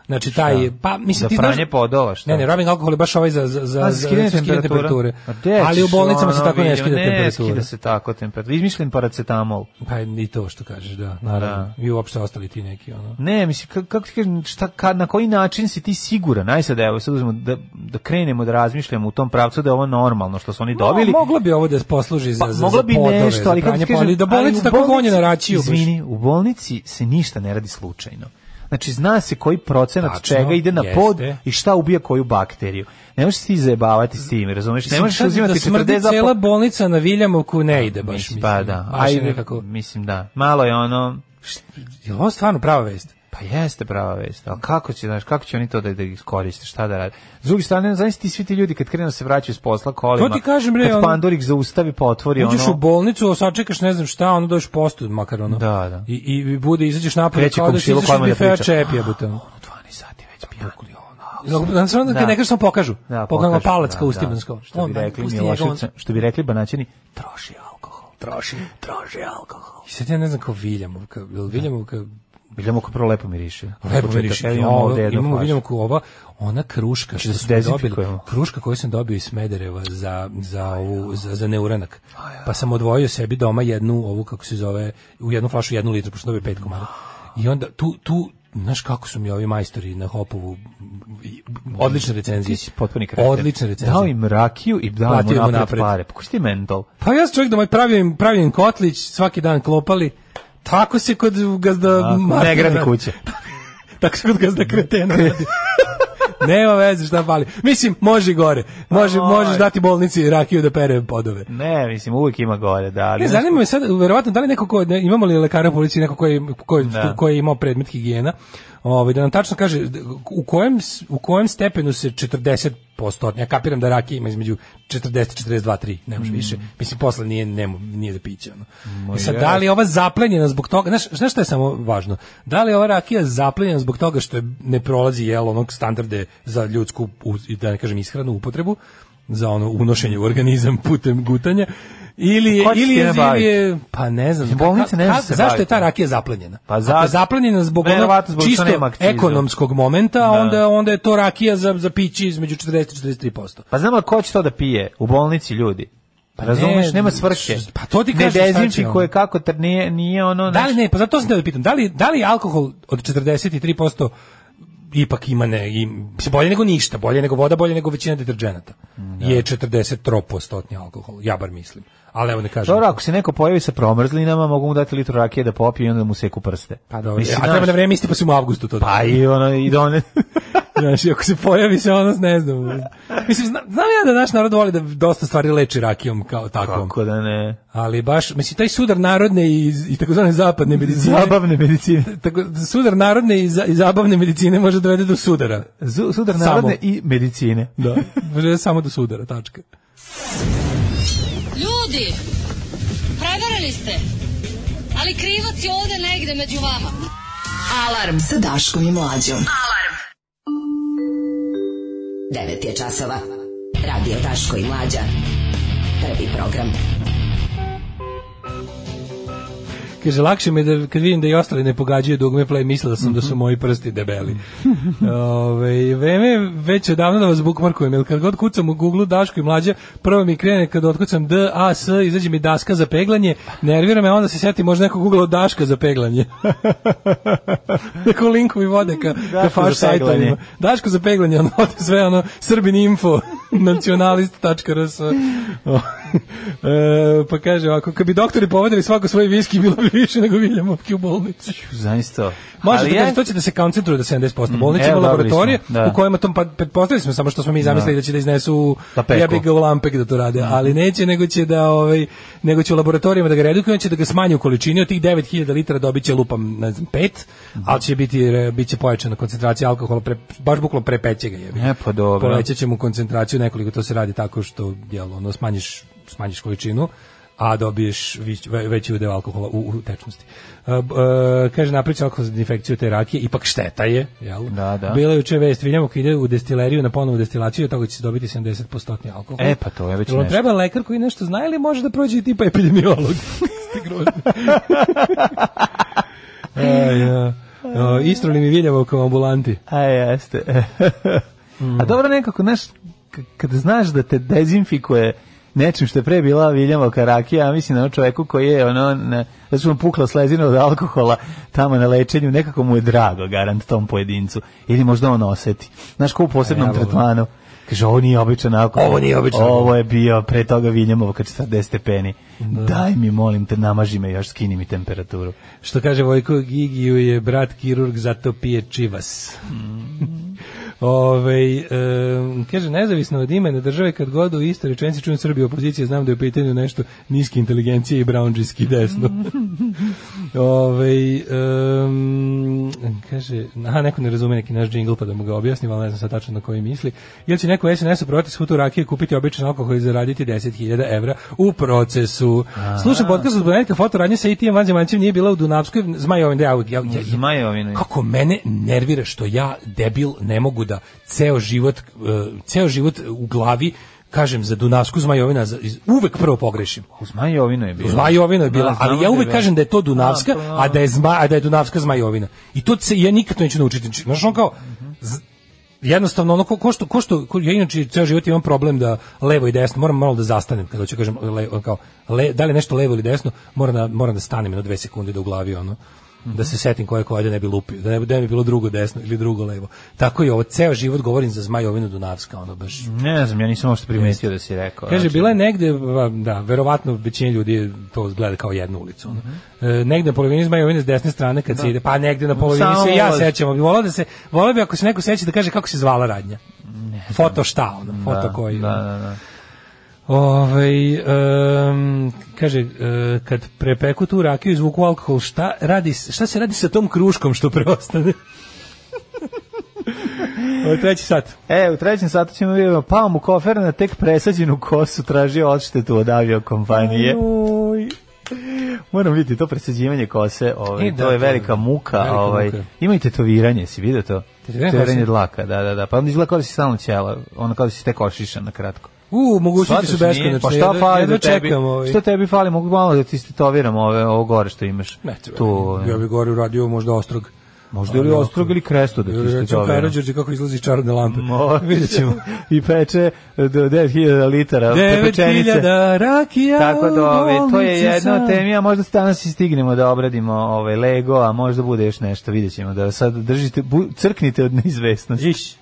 Speaker 5: Znači, taj, pa, mislim,
Speaker 6: Za
Speaker 5: ti znaš...
Speaker 6: pranje podova, šta?
Speaker 5: Ne, ne, rubbing alkohol je baš ovaj za, za, za,
Speaker 6: A,
Speaker 5: za
Speaker 6: skidanje
Speaker 5: skidanje temperature.
Speaker 6: A gde
Speaker 5: Ali u
Speaker 6: ćeš,
Speaker 5: bolnicama
Speaker 6: ono,
Speaker 5: se tako ne
Speaker 6: vidim,
Speaker 5: skida
Speaker 6: Ne
Speaker 5: temperatura.
Speaker 6: skida se tako temperatura. Izmišljen paracetamol.
Speaker 5: Pa i to što kažeš, da, naravno. I uopšte ostali ti neki, ono.
Speaker 6: Ne, mislim, ka- kako ti kažem, šta, ka- na koji način si ti siguran? Aj sad, evo, sad uzmemo da, da krenemo, da razmišljamo u tom pravcu da je ovo normalno što su oni dobili.
Speaker 5: Ma, moglo bi ovo da posluži za,
Speaker 6: Pa,
Speaker 5: za,
Speaker 6: moglo
Speaker 5: za
Speaker 6: bi
Speaker 5: podove,
Speaker 6: nešto, ali
Speaker 5: za
Speaker 6: kako ti
Speaker 5: pranje
Speaker 6: kažem,
Speaker 5: podova. I da
Speaker 6: ali
Speaker 5: bolnice
Speaker 6: u
Speaker 5: tako
Speaker 6: bolnici-
Speaker 5: gonje na rakiju. baš.
Speaker 6: Izvini, u bolnici se ništa ne radi slučajno. Znači, zna se koji procenat
Speaker 5: Tačno,
Speaker 6: čega ide na
Speaker 5: jeste.
Speaker 6: pod i šta ubija koju bakteriju. Ne možeš se ti zajebavati s tim, razumeš? Ne
Speaker 5: Mislim,
Speaker 6: možeš
Speaker 5: sad
Speaker 6: uzimati
Speaker 5: da smrdi
Speaker 6: 40
Speaker 5: cela bolnica na Viljamovku ne ide baš, mislim.
Speaker 6: Mislim, pa da,
Speaker 5: Baš je
Speaker 6: ajde,
Speaker 5: nekako...
Speaker 6: mislim da. Malo je ono,
Speaker 5: Je li ovo stvarno prava vest?
Speaker 6: Pa jeste prava vest, ali kako će, znaš, kako će oni to da, da iskoriste, šta da rade? S druge strane, znaš ti svi ti ljudi kad krenu da se vraćaju s posla kolima,
Speaker 5: To ti kažem, bre, ono-
Speaker 6: kad Pandorik zaustavi pa otvori
Speaker 5: Uđeš u
Speaker 6: ono,
Speaker 5: bolnicu, sačekaš ne znam šta, onda dođeš postu, makar ono.
Speaker 6: Da, da.
Speaker 5: I, i bude, izađeš napolje,
Speaker 6: Kreće
Speaker 5: kao da si
Speaker 6: komšiluk
Speaker 5: izašao iz
Speaker 6: odmah da
Speaker 5: bifeja
Speaker 6: priča.
Speaker 5: čep, jebote. ono.
Speaker 6: 12 sati već
Speaker 5: Pa
Speaker 6: pijani.
Speaker 5: Znaš onda kad
Speaker 6: Da.
Speaker 5: ne kažeš, samo pokažu.
Speaker 6: Da,
Speaker 5: Pokažu
Speaker 6: pokažu,
Speaker 5: palac
Speaker 6: da,
Speaker 5: kao u
Speaker 6: da.
Speaker 5: Stibansko.
Speaker 6: Što bi rekli Miloševca, što bi rekli Banaćani, troši alkohol.
Speaker 5: troši, troši alkohol. I sad ja ne znam kao Viljamovka, jel Viljamovka
Speaker 6: Biljamo kao prvo lepo miriše.
Speaker 5: Lepo miriše.
Speaker 6: Pa Početak,
Speaker 5: Imamo,
Speaker 6: ovde jednu
Speaker 5: imamo
Speaker 6: flašu.
Speaker 5: vidimo ko ova ona kruška što
Speaker 6: Znači,
Speaker 5: smo dobili,
Speaker 6: dezinfikujemo.
Speaker 5: kruška koju sam dobio iz Smedereva za za ovu za, za neuranak. Pa sam odvojio sebi doma jednu ovu kako se zove, u jednu flašu jednu litru, pošto sam dobio pet komada. I onda tu tu Znaš kako su mi ovi majstori na Hopovu i- odlične recenzije.
Speaker 6: Ti si potpuni kreter.
Speaker 5: Odlične recenzije.
Speaker 6: Dao im rakiju i dao
Speaker 5: Platio
Speaker 6: mu
Speaker 5: mu
Speaker 6: napred,
Speaker 5: napred.
Speaker 6: pare. Pa ko si ti mental?
Speaker 5: Pa ja sam čovjek da moj pravio im, pravio im kotlić, svaki dan klopali. Tako se kod gazda...
Speaker 6: Tako,
Speaker 5: Martina
Speaker 6: ne gradi
Speaker 5: radi.
Speaker 6: kuće.
Speaker 5: Tako se kod gazda kretena radi. Nema veze šta fali. Mislim, može i gore. Može,
Speaker 6: Aj.
Speaker 5: možeš dati bolnici rakiju da pere podove.
Speaker 6: Ne, mislim, uvijek ima gore, da. Ali,
Speaker 5: Ne, zanima me sad, verovatno, da li neko ko, ne, imamo li lekara u policiji, neko ko je, ko, je-
Speaker 6: Da.
Speaker 5: ko je imao predmet higijena, ovaj, da nam tačno kaže d- u kojem, s- u kojem stepenu se 40%, ja kapiram da rakija ima između 40, 42, 3, nemaš više. Mislim, posle nije, nema, nije za piće. Ono. I sad, da li je ova zaplenjena zbog toga, znaš, znaš šta je samo važno? Da li je ova rakija zaplenjena zbog toga što je, ne prolazi jel, onog standarde za ljudsku, uz- i da ne kažem, ishranu, upotrebu, za ono unošenje u organizam putem gutanja, ili je,
Speaker 6: Ko će
Speaker 5: ili
Speaker 6: se
Speaker 5: je,
Speaker 6: time baviti?
Speaker 5: ili je, pa ne znam.
Speaker 6: Iz bolnice ne može
Speaker 5: ka-
Speaker 6: se
Speaker 5: Zašto je ta
Speaker 6: baviti.
Speaker 5: rakija zaplenjena?
Speaker 6: Pa
Speaker 5: Ako
Speaker 6: zato-
Speaker 5: je zaplenjena zbog onog
Speaker 6: Verovatno zbog što
Speaker 5: čisto
Speaker 6: nema akciza. Da.
Speaker 5: ekonomskog momenta, onda, onda je to rakija za, za pići između 40 i 43%.
Speaker 6: Pa znamo ko će to da pije? U bolnici ljudi. Pa razumeš,
Speaker 5: ne,
Speaker 6: nema svrhe.
Speaker 5: pa to ti kažem šta
Speaker 6: Ne
Speaker 5: će
Speaker 6: dezinfikuje
Speaker 5: ono.
Speaker 6: kako, tr, nije, nije ono...
Speaker 5: Da li ne, pa zato sam te da pitam, da li, da li alkohol od 43% ipak ima ne, im, mislim, bolje nego ništa, bolje nego voda, bolje nego većina deterđenata.
Speaker 6: Da.
Speaker 5: Je 43% alkohol, ja bar mislim. Ali evo ne kažem.
Speaker 6: Dobro, ako se neko pojavi sa promrzlinama, mogu mu dati litru rakije da popije i onda mu seku prste.
Speaker 5: Pa dobro,
Speaker 6: Mislim,
Speaker 5: a treba
Speaker 6: znaš,
Speaker 5: na vreme isti pa se u avgustu to
Speaker 6: Pa i ono, i done...
Speaker 5: Znaš, i ako se pojavi se ono, ne znam. Mislim, zna, znam ja da naš narod voli da dosta stvari leči rakijom kao takvom.
Speaker 6: Kako da ne...
Speaker 5: Ali baš, mislim, taj sudar narodne i, i takozvane zapadne medicine,
Speaker 6: Zabavne medicine.
Speaker 5: tako, sudar narodne i, za, i zabavne medicine može da dovede do sudara.
Speaker 6: Zu- Sudar
Speaker 5: Samo.
Speaker 6: narodne i medicine.
Speaker 5: Da, može samo do sudara, tačka.
Speaker 4: Ljudi, prevarili ste. Ali krivac je ovde negde među vama.
Speaker 7: Alarm sa Daškom i Mlađom. Alarm. 9 je časova. Radio Daško i Mlađa. Prvi program.
Speaker 5: Kaže, lakše mi je da kad vidim da i ostali ne pogađaju dugme play, mislila sam da su moji prsti debeli. Ove, vreme je već odavno da vas bukmarkujem, jer kad god kucam u Google Daško i mlađe, prvo mi krene kad otkucam D, A, S, izađe mi daska za peglanje, nervira me, onda se sjeti možda neko Google Daška za peglanje. Neko linku mi vode ka, ka
Speaker 6: Daško
Speaker 5: faš
Speaker 6: za peglanje.
Speaker 5: sajtovima. Daško za peglanje, ono, ode sve ono, srbininfo, nacionalist.rs. O, e, pa kaže ovako, kad bi doktori povedali svako svoj viski, bilo bi više nego Viljamovki u bolnici.
Speaker 6: Zaista.
Speaker 5: Može
Speaker 6: Ali
Speaker 5: da
Speaker 6: ja-
Speaker 5: kaže, to će da se koncentruje da 70% bolnice
Speaker 6: evo,
Speaker 5: ima
Speaker 6: dobili
Speaker 5: laboratorije
Speaker 6: smo, da.
Speaker 5: u kojima to pa pretpostavili smo samo što smo mi zamislili da, će da iznesu
Speaker 6: Da Mm. peku.
Speaker 5: jebi ga u lampek da to rade, ali neće nego će da ovaj nego će u laboratorijima da ga redukuju, on će da ga smanje u količini od tih 9000 litara dobiće lupam ne znam 5,
Speaker 6: Mm.
Speaker 5: ali će biti e, biće pojačana koncentracija alkohola pre, baš bukvalno prepeće ga jebi.
Speaker 6: E, pa dobro.
Speaker 5: Povećat ćemo koncentraciju nekoliko to se radi tako što jel ono smanjiš smanjiš količinu a dobiješ vić- ve- veći udeo alkohola u, u tečnosti. E, b- e, kaže, napravit će alkohol za infekciju te rakije, ipak šteta je, jel?
Speaker 6: Da, da.
Speaker 5: Bila je juče vest, Viljamuk ide u destileriju na ponovu destilaciju, od toga će se dobiti 70% alkohol.
Speaker 6: E, pa to je već
Speaker 5: Jel vam
Speaker 6: nešto.
Speaker 5: treba lekar koji nešto zna ili može da prođe i tipa epidemiolog? Ste grozni. E, ja. E, Istroli mi Viljamo kao ambulanti.
Speaker 6: A E, jeste.
Speaker 5: Mm.
Speaker 6: A dobro nekako, znaš, k- kada znaš da te dezinfikuje nečim što je pre bila Viljamo Karakija, a mislim na onom čoveku koji je ono, na, da su mu pukla slezina od alkohola tamo na lečenju, nekako mu je drago garant tom pojedincu. Ili možda on oseti. Znaš, ko u posebnom
Speaker 5: Evo ga.
Speaker 6: tretmanu. Kaže, ovo nije običan alkohol.
Speaker 5: E, Ovo nije običan alkohol. Da.
Speaker 6: Ovo je bio pre toga Viljamova kad 40 stepeni. Daj mi, molim te, namaži me još, skini mi temperaturu.
Speaker 5: Što kaže Vojko Gigiju je brat kirurg, zato pije čivas. Ove, Ovaj, kaže, nezavisno od imena države, kad god u istoj rečenici čujem Srbije opozicije, znam da je u pitanju nešto niske inteligencije i brownđijski desno. Ove, kaže, aha, neko ne razume neki naš džingl, pa da mu ga objasnim, ali ne znam sad tačno na koji misli. Ili će neko u SNS-u prodati svu tu rakiju, kupiti običan alkohol i zaraditi 10.000 evra u procesu. Slušam podcast od Bonetka, fotoradnje sa ITM vanzemancem nije bila u Dunavskoj, zmajovim, da ja, uvijek- ja, ja, ja,
Speaker 6: Zmajovine.
Speaker 5: kako mene nervira što ja debil ne mogu da ceo život e, ceo život u glavi kažem za Dunavsku Zmajovina za- iz- uvek prvo pogrešim.
Speaker 6: Zmajovino je bilo.
Speaker 5: Zmajovina je bila,
Speaker 6: Da, znamo
Speaker 5: ali ja
Speaker 6: je
Speaker 5: uvek
Speaker 6: bila.
Speaker 5: kažem da je to Dunavska, a da je zma, a da je Dunavska Zmajovina. I to se ja nikad to neću naučiti. Znači, Znaš, on kao z- jednostavno ono ko, ko što ko što ko, ja inače ceo život imam problem da levo i desno moram malo da zastanem kada hoću kažem le, ono kao le, da li je nešto levo ili desno moram da moram da stanem na dve sekunde da u glavi ono da se setim koje koje da ne bi lupio, da ne bi, da ne bi bilo drugo desno ili drugo levo. Tako i ovo, ceo život govorim za Zmajovinu Dunavska, ono baš
Speaker 6: Ne znam, ja nisam uopšte primetio da si rekao.
Speaker 5: Kaže,
Speaker 6: znači.
Speaker 5: bila je negde, va- da, verovatno većina ljudi to gleda kao jednu ulicu. ono.
Speaker 6: Mhm.
Speaker 5: E, negde na polovini Zmajovine s desne strane kad se ide, pa negde na polovini
Speaker 6: Da. Samo
Speaker 5: se i ja
Speaker 6: ulaz.
Speaker 5: sećam. Volao da se, volao bi ako se neko seća da kaže kako se zvala radnja. Foto šta, ono, foto koji.
Speaker 6: Da, da, da.
Speaker 5: Ovaj, em, kaže, e, kad prepeku tu rakiju i izvuku alkohol, šta, radi, s- šta se radi sa tom kruškom što preostane? Ovo je treći sat.
Speaker 6: E, u trećem satu ćemo vidjeti, pao mu kofer na tek presađenu kosu, tražio odštetu od avio kompanije.
Speaker 5: Joj.
Speaker 6: Moram vidjeti to presađivanje kose, ovaj,
Speaker 5: E, da,
Speaker 6: to je
Speaker 5: to je
Speaker 6: velika muka.
Speaker 5: velika
Speaker 6: ovaj.
Speaker 5: muka.
Speaker 6: Ima i tetoviranje, si vidio to?
Speaker 5: Tetoviranje
Speaker 6: Tetoviranje
Speaker 5: kose?
Speaker 6: dlaka, da, da, da. Pa onda izgleda kao da si stalno ćela, ono kao da si tek ošišan na kratko.
Speaker 5: U, mogućnosti su
Speaker 6: Shvataš, nije?
Speaker 5: beskonačne.
Speaker 6: Pa
Speaker 5: Jedva-
Speaker 6: šta fali
Speaker 5: jedva
Speaker 6: da tebi?
Speaker 5: čekam, ovaj.
Speaker 6: Šta tebi fali? Mogu malo da ti stetoviram ove, ovo gore što imaš.
Speaker 5: Ne treba.
Speaker 6: Tu, ovaj.
Speaker 5: ja bih gore uradio možda ostrog.
Speaker 6: Možda ili ostrog ili kresto da ti Mm,
Speaker 5: Ili recimo
Speaker 6: stetoviram.
Speaker 5: Karadžorđe kako izlazi iz čarobne lampe.
Speaker 6: Mo-
Speaker 5: Vidjet ćemo.
Speaker 6: I peče do 9000 litara pečenice.
Speaker 5: 9000 rakija
Speaker 6: Tako da, ovaj,
Speaker 5: u
Speaker 6: to je
Speaker 5: bolnici
Speaker 6: jedna
Speaker 5: sam.
Speaker 6: od temi, a možda danas i stignemo da obradimo ovaj Lego, a možda bude još nešto, vidjet ćemo da sad držite, bu, crknite od neizvesnosti. Iš.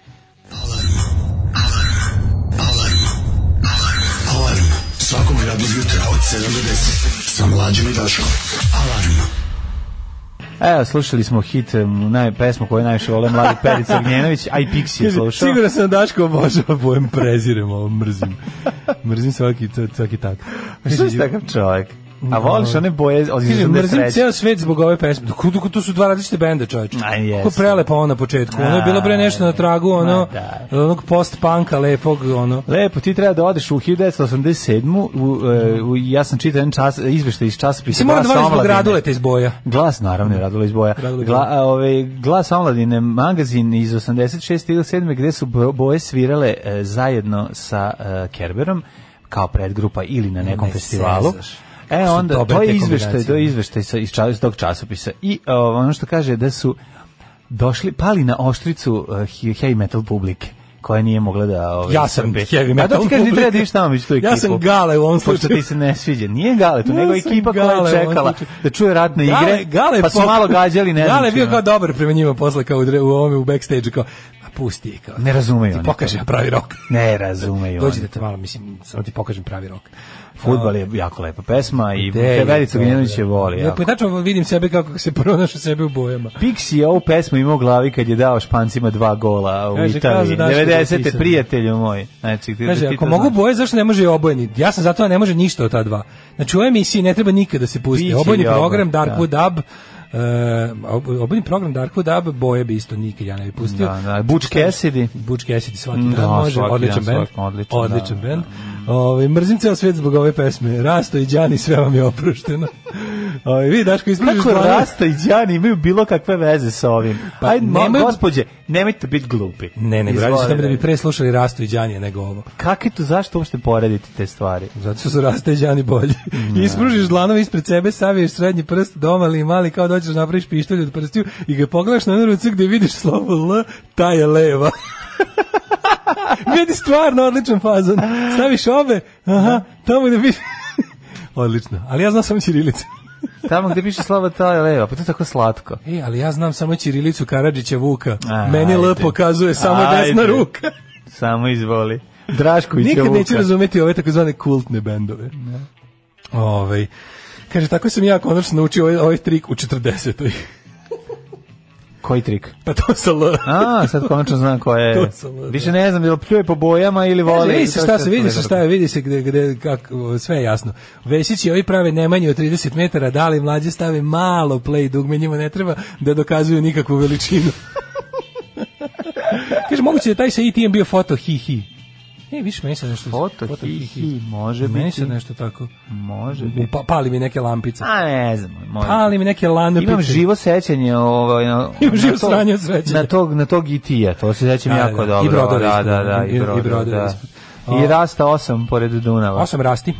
Speaker 10: Alarm. Svakog radnog jutra od 7 do 10. Sa mlađom i Daškom. Alarm.
Speaker 6: Evo, slušali smo hit, m, naj, pesmu koju najviše vole mladi Perica Gnjenović, a i Pixi je
Speaker 5: Kaže,
Speaker 6: slušao.
Speaker 5: Siguran sam da Daško obožava bojem prezirem, ovo mrzim. mrzim svaki, svaki tak.
Speaker 6: Što si takav da čovjek? A voliš one boje od
Speaker 5: Kaže,
Speaker 6: izuzne
Speaker 5: mrzim
Speaker 6: sreće?
Speaker 5: ceo svet zbog ove pesme. Dok, dok, to su dva različite benda, čovječe.
Speaker 6: A, jesu.
Speaker 5: Kako prelepa ona na početku. Ono je bilo bre nešto na tragu, ono,
Speaker 6: Ma, da.
Speaker 5: onog post-punka lepog, ono.
Speaker 6: Lepo, ti treba da odeš u 1987. U, e, u, ja sam čitao jedan čas, izveštaj iz časopisa.
Speaker 5: Se mora
Speaker 6: Glasa
Speaker 5: da voliš zbog
Speaker 6: omladine.
Speaker 5: raduleta iz boja.
Speaker 6: Glas naravno je radilo iz boja.
Speaker 5: Radilo iz
Speaker 6: Gla,
Speaker 5: boja.
Speaker 6: a, ovaj, glas omladine magazin iz 86. ili 7. gde su bo- boje svirale e, zajedno sa e, Kerberom kao predgrupa ili na nekom
Speaker 5: Ne
Speaker 6: festivalu.
Speaker 5: zezaš.
Speaker 6: E
Speaker 5: Su
Speaker 6: onda
Speaker 5: dobre
Speaker 6: to je
Speaker 5: te
Speaker 6: izveštaj,
Speaker 5: kombinacije.
Speaker 6: to je izveštaj sa iz, ča- iz tog časopisa. I e, ono što kaže da su došli pali na oštricu e, he- heavy metal publike koja nije mogla da ovaj
Speaker 5: Ja sam
Speaker 6: trpi.
Speaker 5: heavy
Speaker 6: A da
Speaker 5: metal
Speaker 6: ti kažeš ti treba da
Speaker 5: publika.
Speaker 6: ideš tamo među tu ekipu.
Speaker 5: Ja sam Gale u ovom
Speaker 6: Pošto
Speaker 5: slučaju.
Speaker 6: ti se ne sviđa. Nije Gale tu,
Speaker 5: Ja
Speaker 6: nego
Speaker 5: sam
Speaker 6: ekipa koja
Speaker 5: Gale u
Speaker 6: je
Speaker 5: ovom
Speaker 6: čekala
Speaker 5: slučaju.
Speaker 6: da čuje radne igre,
Speaker 5: Gale
Speaker 6: pa su
Speaker 5: pok-
Speaker 6: malo gađali, ne znam.
Speaker 5: Gale je bio
Speaker 6: čime.
Speaker 5: kao dobar prema njima posle kao u, dre- u ovome u backstage kao, a pusti je kao.
Speaker 6: Ne razumeju
Speaker 5: Ti
Speaker 6: oni
Speaker 5: pokaže
Speaker 6: to.
Speaker 5: pravi rok.
Speaker 6: Ne razumeju
Speaker 5: Dođi
Speaker 6: Dođi
Speaker 5: da te malo, mislim, samo ti pokažem pravi rok.
Speaker 6: Futbal je jako lepa pesma i
Speaker 5: Gde je
Speaker 6: Federica
Speaker 5: to,
Speaker 6: Gnjenović
Speaker 5: bre?
Speaker 6: je voli.
Speaker 5: Ja,
Speaker 6: jako.
Speaker 5: pa tačno vidim sebe kako se pronašao sebe u bojama.
Speaker 6: Pixi je ovu pesmu imao u glavi kad je dao Špancima dva gola u
Speaker 5: Kaže, kao za
Speaker 6: Italiji.
Speaker 5: Daška da je
Speaker 6: 90.
Speaker 5: pisan.
Speaker 6: prijatelju moj. Znači, ti,
Speaker 5: Kaže,
Speaker 6: ti
Speaker 5: ako
Speaker 6: to
Speaker 5: mogu
Speaker 6: znaš.
Speaker 5: boje, zašto ne može i obojeni? Ja sam zato, a ne može ništa od ta dva. Znači, u ovoj emisiji ne treba nikada se pusti.
Speaker 6: Biće
Speaker 5: Obojeni
Speaker 6: i oboj,
Speaker 5: program,
Speaker 6: da.
Speaker 5: Darkwood Dub, Uh, ob- obojni program Darkwood Dub boje bi isto nikad ja ne bi pustio.
Speaker 6: Da, da, Butch Cassidy.
Speaker 5: Butch Cassidy svaki
Speaker 6: Da,
Speaker 5: dan može,
Speaker 6: svaki
Speaker 5: odličan
Speaker 6: dan,
Speaker 5: band.
Speaker 6: svaki- odličan, da,
Speaker 5: band. Ovaj, mrzim ceo svet zbog ove pesme. Rasto i Đani, sve vam je oprošteno. Ovaj, vidi, Daško, ispraviš
Speaker 6: Kako Rasta i Đani imaju bilo kakve veze sa ovim?
Speaker 5: Pa,
Speaker 6: Ajde, ma,
Speaker 5: nemaju-
Speaker 6: gospođe, nemojte biti glupi.
Speaker 5: Ne, ne, radi se o
Speaker 6: Izvolite.
Speaker 5: tome da bi pre slušali Rasto i Đani nego ovo.
Speaker 6: Kako je to, zašto uopšte porediti te stvari?
Speaker 5: Zato što su Rasta i Đani bolji. Ispružiš dlanove ispred sebe, saviješ srednji prst doma ali i mali, kao dođeš da napraviš pištolj od prstiju i ga pogledaš na jednu rucu gde vidiš slovo L, ta je leva. Vidi stvarno odličan fazon. Staviš obe, aha, tamo gde vidiš. Odlično, ali ja znam samo ćirilicu.
Speaker 6: Tamo gde piše slava ta je leva, pa to je tako slatko.
Speaker 5: E, ali ja znam samo ćirilicu Karadžića Vuka.
Speaker 6: Ajde.
Speaker 5: Meni L pokazuje samo desna
Speaker 6: Ajde.
Speaker 5: ruka.
Speaker 6: Samo izvoli. Drašković je
Speaker 5: Nikad neću
Speaker 6: Vuka.
Speaker 5: razumeti ove takozvane kultne bendove. Ne. Ovaj kaže tako sam ja konačno naučio ovaj, ovaj trik u 40.
Speaker 6: Koji trik?
Speaker 5: Pa to sa L.
Speaker 6: A, sad konačno znam ko je.
Speaker 5: To sam, da.
Speaker 6: Više ne znam, je li pljuje po bojama ili voli.
Speaker 5: Ali vidi se šta se vidi se šta je, vidi se gde gde kako sve je jasno. Vesić i ovi prave nemanje od 30 metara, da li mlađe stave malo play dugme njima ne treba da dokazuju nikakvu veličinu. kaže moguće da je taj sa ITM bio foto hi hi. E, više meni se nešto...
Speaker 6: Foto, hi, hi, može
Speaker 5: Meni
Speaker 6: biti.
Speaker 5: se nešto tako...
Speaker 6: Može biti. Pa,
Speaker 5: Pa, pali mi neke lampice.
Speaker 6: A, ne znam, može.
Speaker 5: pali mi neke lampice.
Speaker 6: Imam živo sećanje ovaj na,
Speaker 5: Imam živo
Speaker 6: na tog-
Speaker 5: sranje od sećanja.
Speaker 6: Na tog na tog IT-a, to se sećam
Speaker 5: Da,
Speaker 6: jako
Speaker 5: da, da.
Speaker 6: dobro.
Speaker 5: I brodova
Speaker 6: da,
Speaker 5: ispod,
Speaker 6: da, da, i brodova,
Speaker 5: brodova
Speaker 6: da.
Speaker 5: ispod.
Speaker 6: I rasta 8 pored Dunava.
Speaker 5: Osam rasti.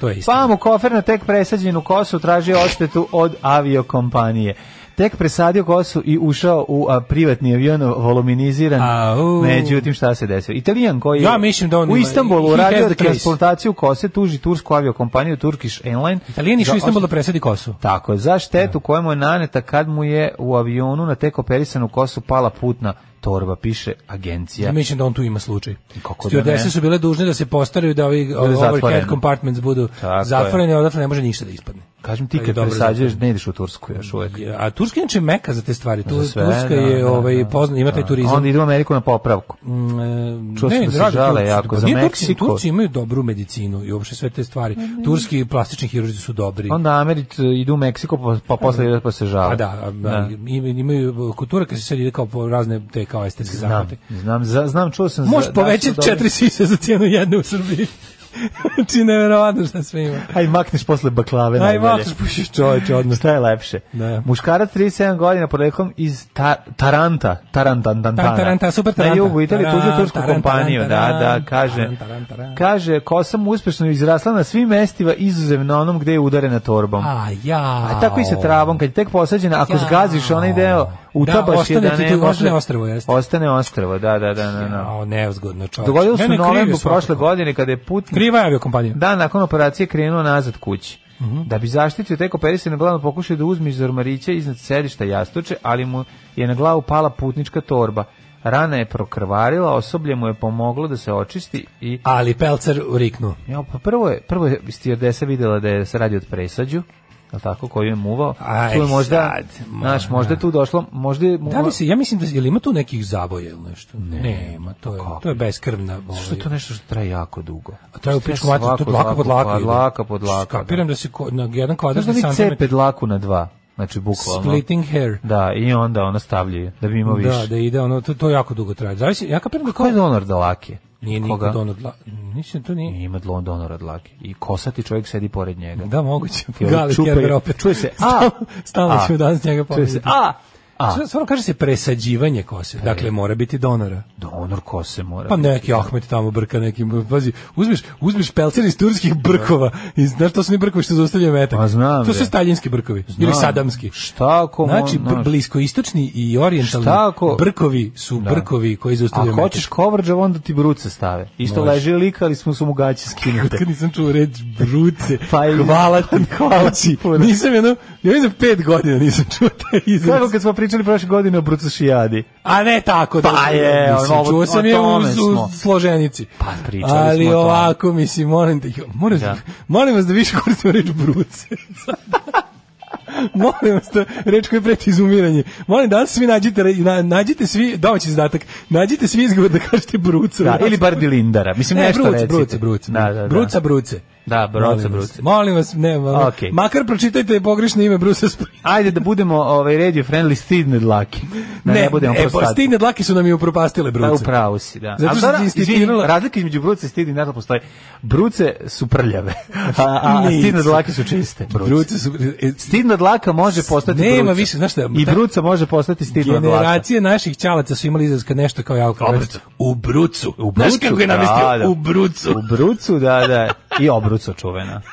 Speaker 5: To je isto.
Speaker 6: Pa mu kofer na tek presađenu kosu tražio odštetu od aviokompanije. Tek presadio kosu i ušao u a, privatni avion voluminiziran.
Speaker 5: Au.
Speaker 6: Međutim, šta se desilo? Italijan koji je
Speaker 5: Ja mislim da on
Speaker 6: u
Speaker 5: ima-
Speaker 6: Istanbulu
Speaker 5: he has
Speaker 6: uradio
Speaker 5: the case.
Speaker 6: transplantaciju kose, tuži tursku aviokompaniju Turkish Airlines.
Speaker 5: Italijan išao
Speaker 6: Za
Speaker 5: u Da. Istanbul da presadi kosu.
Speaker 6: Tako je, za štetu kojemu je naneta kad mu je u avionu na tek operisanu kosu pala putna torba, piše agencija.
Speaker 5: Ja mislim da on tu ima slučaj.
Speaker 6: Kako da
Speaker 5: Stewardesse
Speaker 6: ne?
Speaker 5: su bile dužne da se postaraju da ovi
Speaker 6: je
Speaker 5: overhead
Speaker 6: zatvoreno.
Speaker 5: compartments budu
Speaker 6: Tako je.
Speaker 5: zatvoreni, a odatle ne može ništa da ispadne.
Speaker 6: Kažem ti
Speaker 5: Ali
Speaker 6: kad
Speaker 5: dobro
Speaker 6: presađuješ, ne ideš u Tursku još uvek.
Speaker 5: Je, A Turska je inače meka za te stvari. Tu,
Speaker 6: Za sve,
Speaker 5: Turska
Speaker 6: da,
Speaker 5: je
Speaker 6: da,
Speaker 5: ovaj,
Speaker 6: da.
Speaker 5: pozna, ima taj turizam.
Speaker 6: Onda idu u Ameriku na popravku.
Speaker 5: Mm, e,
Speaker 6: Čuo sam da se
Speaker 5: drago,
Speaker 6: žale
Speaker 5: Turci-
Speaker 6: jako
Speaker 5: pa
Speaker 6: za
Speaker 5: nije, Turci-
Speaker 6: Meksiko.
Speaker 5: Turci imaju dobru medicinu i uopšte sve te stvari. Turski plastični hirurzi su dobri.
Speaker 6: Onda Amerit idu u Meksiko, pa, pa posle idu pa se žale.
Speaker 5: Pa da, a- a- im- imaju kultura kad se sad ide kao po razne te kao estetske
Speaker 6: Znam,
Speaker 5: zahvate.
Speaker 6: znam, za- znam, čuo sam... za-
Speaker 5: Možeš
Speaker 6: da su
Speaker 5: povećati
Speaker 6: dobri-
Speaker 5: četiri sise za cijenu jedne u Srbiji.
Speaker 6: Znači,
Speaker 5: Či nevjerovatno šta sve ima.
Speaker 6: Aj, makneš posle baklave.
Speaker 5: Aj,
Speaker 6: najbolje.
Speaker 5: makneš, pušiš čoveče, odmah.
Speaker 6: Šta je lepše?
Speaker 5: Da.
Speaker 6: Muškarac 37 godina poreklom iz ta, Taranta. Tarantan,
Speaker 5: Tan, taranta, super taranta.
Speaker 6: Na jugu Italije
Speaker 5: Taran,
Speaker 6: tužio tursku
Speaker 5: taran,
Speaker 6: kompaniju.
Speaker 5: taran,
Speaker 6: Da, da,
Speaker 5: taran,
Speaker 6: kaže.
Speaker 5: taran, taran, taran.
Speaker 6: Kaže, kosa mu uspešno izrasla na svim mestiva izuzev na onom gde je udarena torbom.
Speaker 5: A, ja.
Speaker 6: A tako i sa travom, kad je tek posađena, ako
Speaker 5: Jao.
Speaker 6: zgaziš onaj deo, utabaš je
Speaker 5: ostane
Speaker 6: da
Speaker 5: ti
Speaker 6: ne
Speaker 5: tu-
Speaker 6: može-
Speaker 5: ostane ostrvo, jeste.
Speaker 6: Ostane ostrvo, da, da, da, da. da.
Speaker 5: Jao, neuzgodno čoveče.
Speaker 6: Dogodilo
Speaker 5: Ne,
Speaker 6: se u
Speaker 5: ne, kriv je
Speaker 6: novembru
Speaker 5: svakako.
Speaker 6: prošle Da. godine kada je putnik
Speaker 5: Kriva je aviokompanija.
Speaker 6: dan nakon operacije krenuo nazad kući.
Speaker 5: Mhm.
Speaker 6: Da bi zaštitio tek operisane glavno pokušao da uzme iz ormarića iznad sedišta jastuče, ali mu je na glavu pala putnička torba. Rana je prokrvarila, osoblje mu je pomoglo da se očisti i
Speaker 5: Ali Pelcer uriknuo.
Speaker 6: ja, pa prvo je prvo je stewardesa videla da je se radi od presađu. Je li tako koju je muvao?
Speaker 5: Aj,
Speaker 6: tu je možda,
Speaker 5: sad, ma-
Speaker 6: znaš, možda je tu došlo, možda je
Speaker 5: Da
Speaker 6: muvao-
Speaker 5: li se, ja mislim da je li ima tu nekih zavoja ili nešto? Ne, Nema, to je, to je beskrvna.
Speaker 6: Što je
Speaker 5: ovaj,
Speaker 6: to nešto što traje jako dugo?
Speaker 5: A to je u pičku
Speaker 6: Svako
Speaker 5: mater, to dlaka pod
Speaker 6: dlaku,
Speaker 5: laku. ide.
Speaker 6: Dlaka pod laka.
Speaker 5: Kapiram da se ko- na jedan
Speaker 6: Znaš
Speaker 5: kvadratni
Speaker 6: da vi cepe
Speaker 5: santimetar
Speaker 6: dlaku na dva? Znači, bukvalno.
Speaker 5: splitting hair.
Speaker 6: Da, i onda ona stavljaju, da bi imao više.
Speaker 5: Da, da ide ono, to, to jako dugo traje. Zavisi, ja kapiram da
Speaker 6: Ko je
Speaker 5: kao...
Speaker 6: donor dlake?
Speaker 5: Nije
Speaker 6: Koga?
Speaker 5: niko donor dla... Mislim, da to nije...
Speaker 6: Ima dlon donora dlake. I kosati čovjek sedi pored njega.
Speaker 5: Da, moguće.
Speaker 6: I ovi
Speaker 5: Gali
Speaker 6: čupaju.
Speaker 5: Kerber opet.
Speaker 6: Čuje se, a,
Speaker 5: Stalno- Stalno
Speaker 6: a.
Speaker 5: ćemo danas njega
Speaker 6: Čuje
Speaker 5: pomisliti.
Speaker 6: se, a, a. E.
Speaker 5: Stvarno kaže se presađivanje kose. Dakle, mora biti donora.
Speaker 6: Donor kose mora.
Speaker 5: Pa
Speaker 6: biti.
Speaker 5: neki Ahmet tamo brka nekim, pazi, uzmeš, uzmeš pelcer iz turskih brkova, iz, znaš to su oni brkovi što zaustavljaju metak?
Speaker 6: Da. Pa znam,
Speaker 5: To su
Speaker 6: bre.
Speaker 5: staljinski brkovi, ili
Speaker 6: Znam.
Speaker 5: sadamski.
Speaker 6: Šta ako...
Speaker 5: Znači,
Speaker 6: mo- znaš,
Speaker 5: br- bliskoistočni i orijentalni
Speaker 6: Šta ako- Da.
Speaker 5: brkovi su brkovi koji zaustavljaju
Speaker 6: Ako
Speaker 5: metak.
Speaker 6: hoćeš kovrđav, onda ti bruce stave. Isto
Speaker 5: Može.
Speaker 6: leži lik, ali smo su mu gaće skinute.
Speaker 5: Kad nisam čuo reč bruce,
Speaker 6: Pa i-
Speaker 5: hvala ti,
Speaker 6: Hvala
Speaker 5: znači,
Speaker 6: ti puno.
Speaker 5: nisam jedno, ja mislim da pet godina nisam čuo taj
Speaker 6: Kako
Speaker 5: izraz.
Speaker 6: kad smo pričali prošle godine o brucošijadi.
Speaker 5: A ne tako da.
Speaker 6: Pa je,
Speaker 5: mislim,
Speaker 6: ovo-
Speaker 5: čuo sam
Speaker 6: o
Speaker 5: je u,
Speaker 6: tome
Speaker 5: u
Speaker 6: smo.
Speaker 5: složenici.
Speaker 6: Pa, pričali
Speaker 5: Ali
Speaker 6: smo o tome.
Speaker 5: ovako, mislim, molim, te, jo, moram,
Speaker 6: Da.
Speaker 5: molim vas da više koristimo reč bruce. molim vas da reč koja je preti izumiranje. Molim da svi nađite, re- na, nađite svi, domaći zadatak, nađite svi izgovor da kažete bruce.
Speaker 6: Da, ili bar dilindara. Mislim,
Speaker 5: Ne,
Speaker 6: nešto
Speaker 5: bruce,
Speaker 6: recite.
Speaker 5: bruce, bruce.
Speaker 6: Da, da, da.
Speaker 5: Bruca, bruce.
Speaker 6: Da, bruca,
Speaker 5: Molim vas.
Speaker 6: bruce.
Speaker 5: Molim vas, ne, ma-
Speaker 6: Okej.
Speaker 5: makar pročitajte pogrešno ime Bruce Springsteen.
Speaker 6: Ajde da budemo ovaj radio friendly stidne dlake. Da ne, budemo
Speaker 5: e, pa
Speaker 6: prostati.
Speaker 5: stidne dlake su nam i upropastile Bruce.
Speaker 6: Da, upravo si, da.
Speaker 5: Zato
Speaker 6: Ali
Speaker 5: što
Speaker 6: dobra,
Speaker 5: si
Speaker 6: izvini,
Speaker 5: insistirala-
Speaker 6: Razlika između bruce i stidne naravno postoji. Bruce su prljave, a, a, a
Speaker 5: Nisu.
Speaker 6: stidne dlake su čiste. Bruce.
Speaker 5: Bruce su... e,
Speaker 6: Stidna dlaka može postati
Speaker 5: Nema
Speaker 6: bruca.
Speaker 5: više, znaš šta,
Speaker 6: I
Speaker 5: ta-
Speaker 6: bruca može postati stidna dlaka.
Speaker 5: Generacije naših ćalaca su imali izraz kad nešto kao ja kao
Speaker 6: Obrucu.
Speaker 5: u brucu.
Speaker 6: U
Speaker 5: Znaš
Speaker 6: brucu,
Speaker 5: kako je namestio?
Speaker 6: da, da.
Speaker 5: U brucu.
Speaker 6: U brucu, da, da. I obrucu čuvena.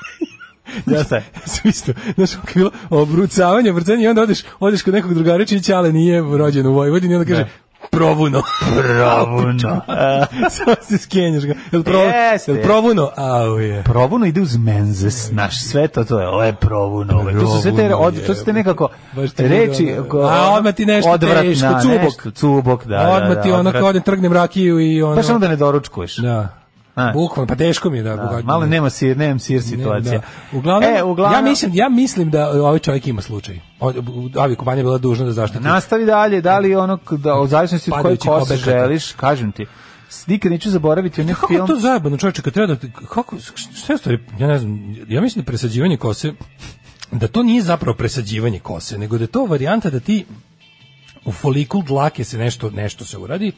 Speaker 6: Ja se.
Speaker 5: Da, Sve isto. Znaš kako je bilo obrucavanje, obrucavanje i onda odeš, odeš kod nekog drugarića i ćale nije rođen u Vojvodini i onda kaže provuno.
Speaker 6: Provuno.
Speaker 5: Samo se skenješ ga. Jel, pro,
Speaker 6: Jeste.
Speaker 5: jel provuno? Au je.
Speaker 6: Provuno ide uz menzes, naš sve to, to je, ovo je provuno, ovo je- to su sve te,
Speaker 5: Provuno,
Speaker 6: od, to su te nekako
Speaker 5: Baš to
Speaker 6: reči,
Speaker 5: je ono.
Speaker 6: ko-
Speaker 5: A, odmah ti nešto
Speaker 6: odvratna,
Speaker 5: teško, cubok.
Speaker 6: nešto, cubok, da, da,
Speaker 5: Pa Odmah
Speaker 6: da,
Speaker 5: ti ono
Speaker 6: odvratno.
Speaker 5: kao odem trgnem rakiju i ono...
Speaker 6: Baš samo da ne doručkuješ.
Speaker 5: Da.
Speaker 6: A.
Speaker 5: Bukvalno, pa teško mi je da.
Speaker 6: Da,
Speaker 5: bogat-
Speaker 6: malo nema sir, nemam sir
Speaker 5: Ne,
Speaker 6: situacija.
Speaker 5: Da. Uglavnom,
Speaker 6: E, uglavnom-
Speaker 5: ja mislim, ja mislim da e, ovaj čovjek ima slučaj. O- u- Avio kompanija je bila dužna da zaštiti.
Speaker 6: Nastavi dalje, da li ono, k- da, u zavisnosti od koje
Speaker 5: Padajućih
Speaker 6: kose
Speaker 5: objekata.
Speaker 6: želiš, kažem ti, s- nikad neću zaboraviti onaj
Speaker 5: Kako je
Speaker 6: film...
Speaker 5: to zajebano, čovječe, kad treba da, kako, šta je stvari, ja ne znam, ja mislim da presađivanje kose, da to nije zapravo presađivanje kose, nego da je to varijanta da ti u folikul dlake se nešto, nešto se uradi,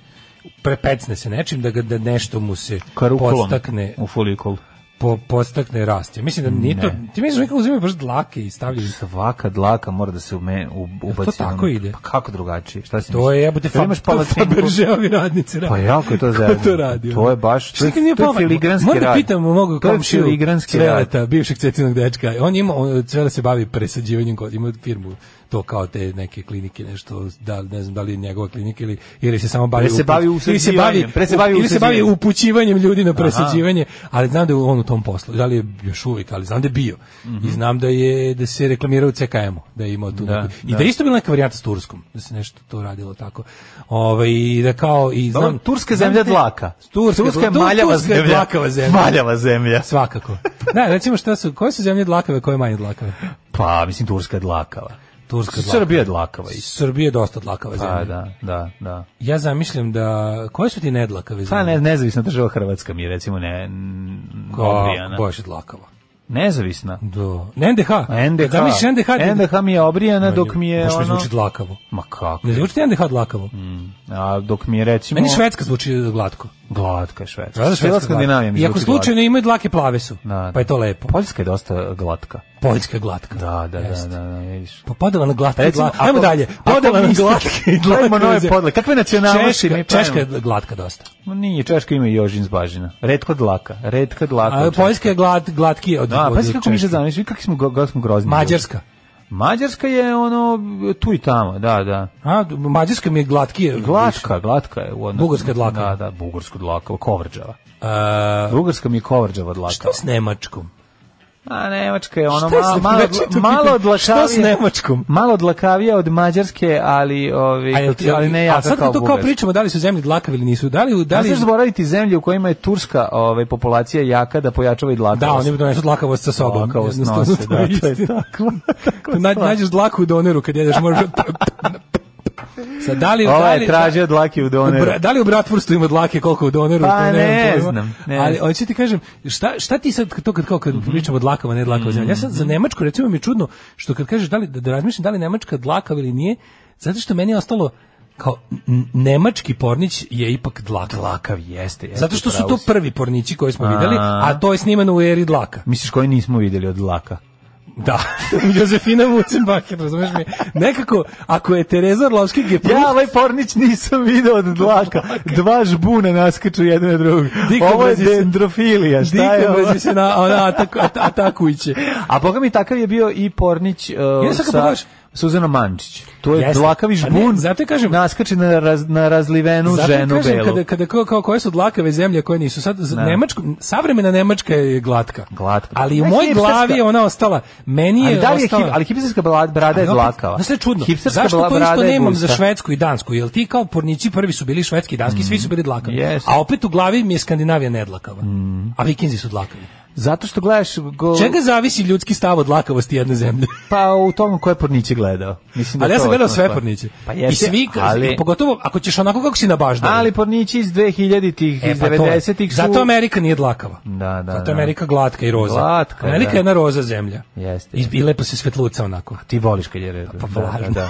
Speaker 5: prepecne se nečim, da ga da nešto mu se
Speaker 6: Karukulom
Speaker 5: podstakne.
Speaker 6: u folikul.
Speaker 5: po, postakne rast. Ja mislim da nije to, ti misliš da nekako uzimaju baš dlake i stavljaju
Speaker 6: Svaka dlaka mora da se ume, u, ubaci.
Speaker 5: to tako
Speaker 6: ono-
Speaker 5: ide?
Speaker 6: Pa kako drugačije? Šta si
Speaker 5: To
Speaker 6: misliš?
Speaker 5: je jebote
Speaker 6: Jel imaš palatinku?
Speaker 5: Faberžeovi radnici. rade.
Speaker 6: Pa jako je to
Speaker 5: Ko
Speaker 6: zajebano.
Speaker 5: to radi?
Speaker 6: To je baš-
Speaker 5: Što
Speaker 6: to je-
Speaker 5: nikad nije
Speaker 6: to je
Speaker 5: palo?
Speaker 6: filigranski
Speaker 5: Moram da
Speaker 6: rad.
Speaker 5: pitam mogu
Speaker 6: To je
Speaker 5: komšiju
Speaker 6: filigranski
Speaker 5: Cveleta, bivšeg cetinog dečka. On ima on, Cvele se bavi presađivanjem, kod- ima firmu to kao te neke klinike nešto da ne znam da li je njegova klinika ili ili se samo bavi
Speaker 6: Pre se
Speaker 5: upu-
Speaker 6: bavi
Speaker 5: ili se bavi-
Speaker 6: usađivanjem, pre se bavi
Speaker 5: ili se bavi
Speaker 6: usađivanjem.
Speaker 5: upućivanjem ljudi na presađivanje ali znam da je on u tom poslu da li je još uvijek ali znam da je bio i znam da je da se reklamirao u CKM-u da je imao tu
Speaker 6: Mhm. Da,
Speaker 5: neku- i
Speaker 6: da.
Speaker 5: da je isto bila neka varijanta s Turskom da se nešto to radilo tako ovaj i da kao i
Speaker 6: Dobro,
Speaker 5: znam
Speaker 6: Turska zemlja
Speaker 5: znam-
Speaker 6: dlaka.
Speaker 5: Turska,
Speaker 6: Turska je
Speaker 5: tu-
Speaker 6: maljava
Speaker 5: Turska je
Speaker 6: zemlja.
Speaker 5: dlakava zemlja.
Speaker 6: Maljava zemlja.
Speaker 5: Svakako. Da, recimo šta su, koje su zemlje dlakave, koje manje dlakave?
Speaker 6: Pa, mislim, Turska je dlakava.
Speaker 5: Turska je dlakava.
Speaker 6: Srbija je dlakava. i-
Speaker 5: Srbija je dosta dlakava
Speaker 6: Pa,
Speaker 5: zemlja.
Speaker 6: da, da, da.
Speaker 5: Ja zamišljam da, koje su ti nedlakave zemlje?
Speaker 6: Pa ne, nezavisna država Hrvatska mi je recimo ne n- obrijana.
Speaker 5: Da. Kako, baš je dlakava.
Speaker 6: Nezavisna.
Speaker 5: Do. Ne, NDH.
Speaker 6: NDH.
Speaker 5: Pa Zamisliš NDH. ti-
Speaker 6: NDH mi je obrijana dok mi je
Speaker 5: Baš mi
Speaker 6: ono... Mhm.
Speaker 5: zvuči dlakavo.
Speaker 6: Ma kako?
Speaker 5: Ne zvuči ti NDH dlakavo.
Speaker 6: A dok mi je recimo...
Speaker 5: Meni Švedska zvuči glatko.
Speaker 6: Glatka je Da, Švedska.
Speaker 5: Razumeš,
Speaker 6: Švedska
Speaker 5: Švedska
Speaker 6: Skandinavija mi
Speaker 5: I ako
Speaker 6: zvuči glatka.
Speaker 5: slučajno imaju dlake plave su,
Speaker 6: Da, da.
Speaker 5: pa je to lepo.
Speaker 6: Poljska je dosta glatka.
Speaker 5: Poljska je glatka.
Speaker 6: Da, da, da,
Speaker 5: Jeste.
Speaker 6: da, da, vidiš.
Speaker 5: Pa podela na glatke i
Speaker 6: Recimo,
Speaker 5: glatke. Ajmo
Speaker 6: ako-
Speaker 5: dalje.
Speaker 6: ako
Speaker 5: Podela na
Speaker 6: niste-
Speaker 5: glatke i
Speaker 6: Pravimo
Speaker 5: glatke.
Speaker 6: nove
Speaker 5: zemlje.
Speaker 6: podele. Kakve nacionalnosti
Speaker 5: Češka,
Speaker 6: mi
Speaker 5: Češka je
Speaker 6: pravimo?
Speaker 5: glatka dosta.
Speaker 6: Ma Nije, Češka ima i Jožin zbažina. Redko dlaka, redka dlaka.
Speaker 5: A
Speaker 6: od Češke.
Speaker 5: Poljska je glad, glatkije od,
Speaker 6: Da,
Speaker 5: od
Speaker 6: pa si kako mi se
Speaker 5: Češke.
Speaker 6: zamišljaš, vidi kako smo, go- kako smo grozni. ljudi.
Speaker 5: Mađarska.
Speaker 6: Mađarska je ono tu i tamo, da, da.
Speaker 5: A, Mađarska mi je glatkije.
Speaker 6: Glatka, glatka je u odnosu.
Speaker 5: Bugarska je dlaka.
Speaker 6: Da, da, bugarska dlaka, kovrđava.
Speaker 5: A,
Speaker 6: Bugarska mi je kovrđava dlaka.
Speaker 5: šta s Nemačkom?
Speaker 6: A Nemačka je ono
Speaker 5: Šta je
Speaker 6: malo
Speaker 5: s-
Speaker 6: malo
Speaker 5: znači, to
Speaker 6: malo
Speaker 5: pitam,
Speaker 6: odlakavije.
Speaker 5: šta s Nemačkom?
Speaker 6: Malo odlakavije od Mađarske, ali ovi
Speaker 5: A, jel ti,
Speaker 6: E, ali ne ja
Speaker 5: a sad kad to kao pričamo, da li su zemlje dlakavi ili nisu? Da li, u- da
Speaker 6: Da li
Speaker 5: li,
Speaker 6: zaboraviti zemlje u kojima je turska ovaj populacija jaka da pojačava i dlakavost?
Speaker 5: da, oni donesu dlakavost sa sobom.
Speaker 6: Dlakavost
Speaker 5: Jednostavno,
Speaker 6: nose,
Speaker 5: to je
Speaker 6: da, to je
Speaker 5: istina.
Speaker 6: tako. tako
Speaker 5: Na,
Speaker 6: stvar.
Speaker 5: nađeš dlaku u doneru kad jedeš, moraš... Sad, da li, da
Speaker 6: Ovaj
Speaker 5: li,
Speaker 6: je tražio dlake u
Speaker 5: U
Speaker 6: doneru.
Speaker 5: bra- da li u Bratwurstu ima dlake koliko u doneru?
Speaker 6: Pa
Speaker 5: to nemam
Speaker 6: ne
Speaker 5: pojma.
Speaker 6: znam, ne
Speaker 5: Ali
Speaker 6: znam. Mhm.
Speaker 5: hoću ti kažem, šta, šta ti sad, to kad, kao, kad pričamo o dlakama, ne dlakama zemlja, ja sad za Nemačku recimo mi je čudno, što kad kažeš da li, da, da razmišljam da li je Nemačka dlakava ili nije, zato što meni je ostalo kao n- nemački pornić je ipak dlakav.
Speaker 6: Dlakav jeste, jeste.
Speaker 5: Zato što su
Speaker 6: pravo
Speaker 5: to
Speaker 6: si.
Speaker 5: prvi pornići koje smo videli,
Speaker 6: A.
Speaker 5: a to je snimano u eri dlaka.
Speaker 6: Misliš koji nismo vidjeli od dlaka?
Speaker 5: Da, Josefina Mucenbacher, razumeš mi? Nekako, ako je Tereza Orlovski gepruf,
Speaker 6: Ja ovaj pornić nisam video od dlaka. Dva žbuna naskaču jedno na drugo.
Speaker 5: Diko
Speaker 6: Ovo je
Speaker 5: bazi se-
Speaker 6: dendrofilija. Šta je ovo?
Speaker 5: dikobezi se na, ona ataku, at- atakujuće.
Speaker 6: A boga mi takav je bio i pornić uh,
Speaker 5: Ja sad kad
Speaker 6: sa
Speaker 5: pogledaš-
Speaker 6: Suzanom Mančić. To je
Speaker 5: Jeste.
Speaker 6: dlakavi
Speaker 5: Pa ne,
Speaker 6: žbun.
Speaker 5: zato i kažem-
Speaker 6: Naskači na, raz, na razlivenu
Speaker 5: Zato
Speaker 6: ženu
Speaker 5: kažem,
Speaker 6: belu.
Speaker 5: Kada, kada kao, kao koje su dlakave zemlje, a koje nisu. Sad, za
Speaker 6: Da.
Speaker 5: Nemačku, savremena Nemačka je glatka.
Speaker 6: Glatka.
Speaker 5: Ali u
Speaker 6: Ne,
Speaker 5: mojoj
Speaker 6: hipsterska.
Speaker 5: glavi je ona ostala. Meni je
Speaker 6: Ali da li je hip,
Speaker 5: ostala...
Speaker 6: ali hipsterska bla- brada je
Speaker 5: Ali opet,
Speaker 6: dlakava.
Speaker 5: znaš šta je čudno?
Speaker 6: Hipsterska
Speaker 5: Zašto
Speaker 6: bla-
Speaker 5: to
Speaker 6: brada
Speaker 5: isto
Speaker 6: je
Speaker 5: nemam za
Speaker 6: gusta.
Speaker 5: Švedsku i Dansku? Jel ti kao pornici prvi su bili švedski i danski, svi su
Speaker 6: Mm.
Speaker 5: bili dlakavi.
Speaker 6: Jeste.
Speaker 5: A opet u glavi mi je Skandinavija nedlakava.
Speaker 6: Mm.
Speaker 5: A vikinzi su dlakavi.
Speaker 6: Zato što gledaš... Go...
Speaker 5: Čega zavisi ljudski stav od lakavosti jedne zemlje?
Speaker 6: Pa u tom ko je porniće gledao. Mislim da
Speaker 5: ali
Speaker 6: je
Speaker 5: ja
Speaker 6: to
Speaker 5: sam gledao
Speaker 6: osnovna
Speaker 5: sve
Speaker 6: stvar.
Speaker 5: porniće.
Speaker 6: Pa jeste,
Speaker 5: I svi,
Speaker 6: ali...
Speaker 5: pogotovo ako ćeš onako kako si na baždari.
Speaker 6: Ali pornići iz 2000-ih, iz
Speaker 5: pa to je.
Speaker 6: 90-ih su...
Speaker 5: Zato Amerika nije dlakava.
Speaker 6: Da, da,
Speaker 5: Zato
Speaker 6: da.
Speaker 5: je Amerika glatka i roza.
Speaker 6: Glatka,
Speaker 5: Amerika
Speaker 6: da.
Speaker 5: je jedna roza zemlja.
Speaker 6: Jeste.
Speaker 5: I, I lepo se svetluca onako.
Speaker 6: Ti voliš kad je red.
Speaker 5: Pa
Speaker 6: Da,
Speaker 5: važno.
Speaker 6: Da, da.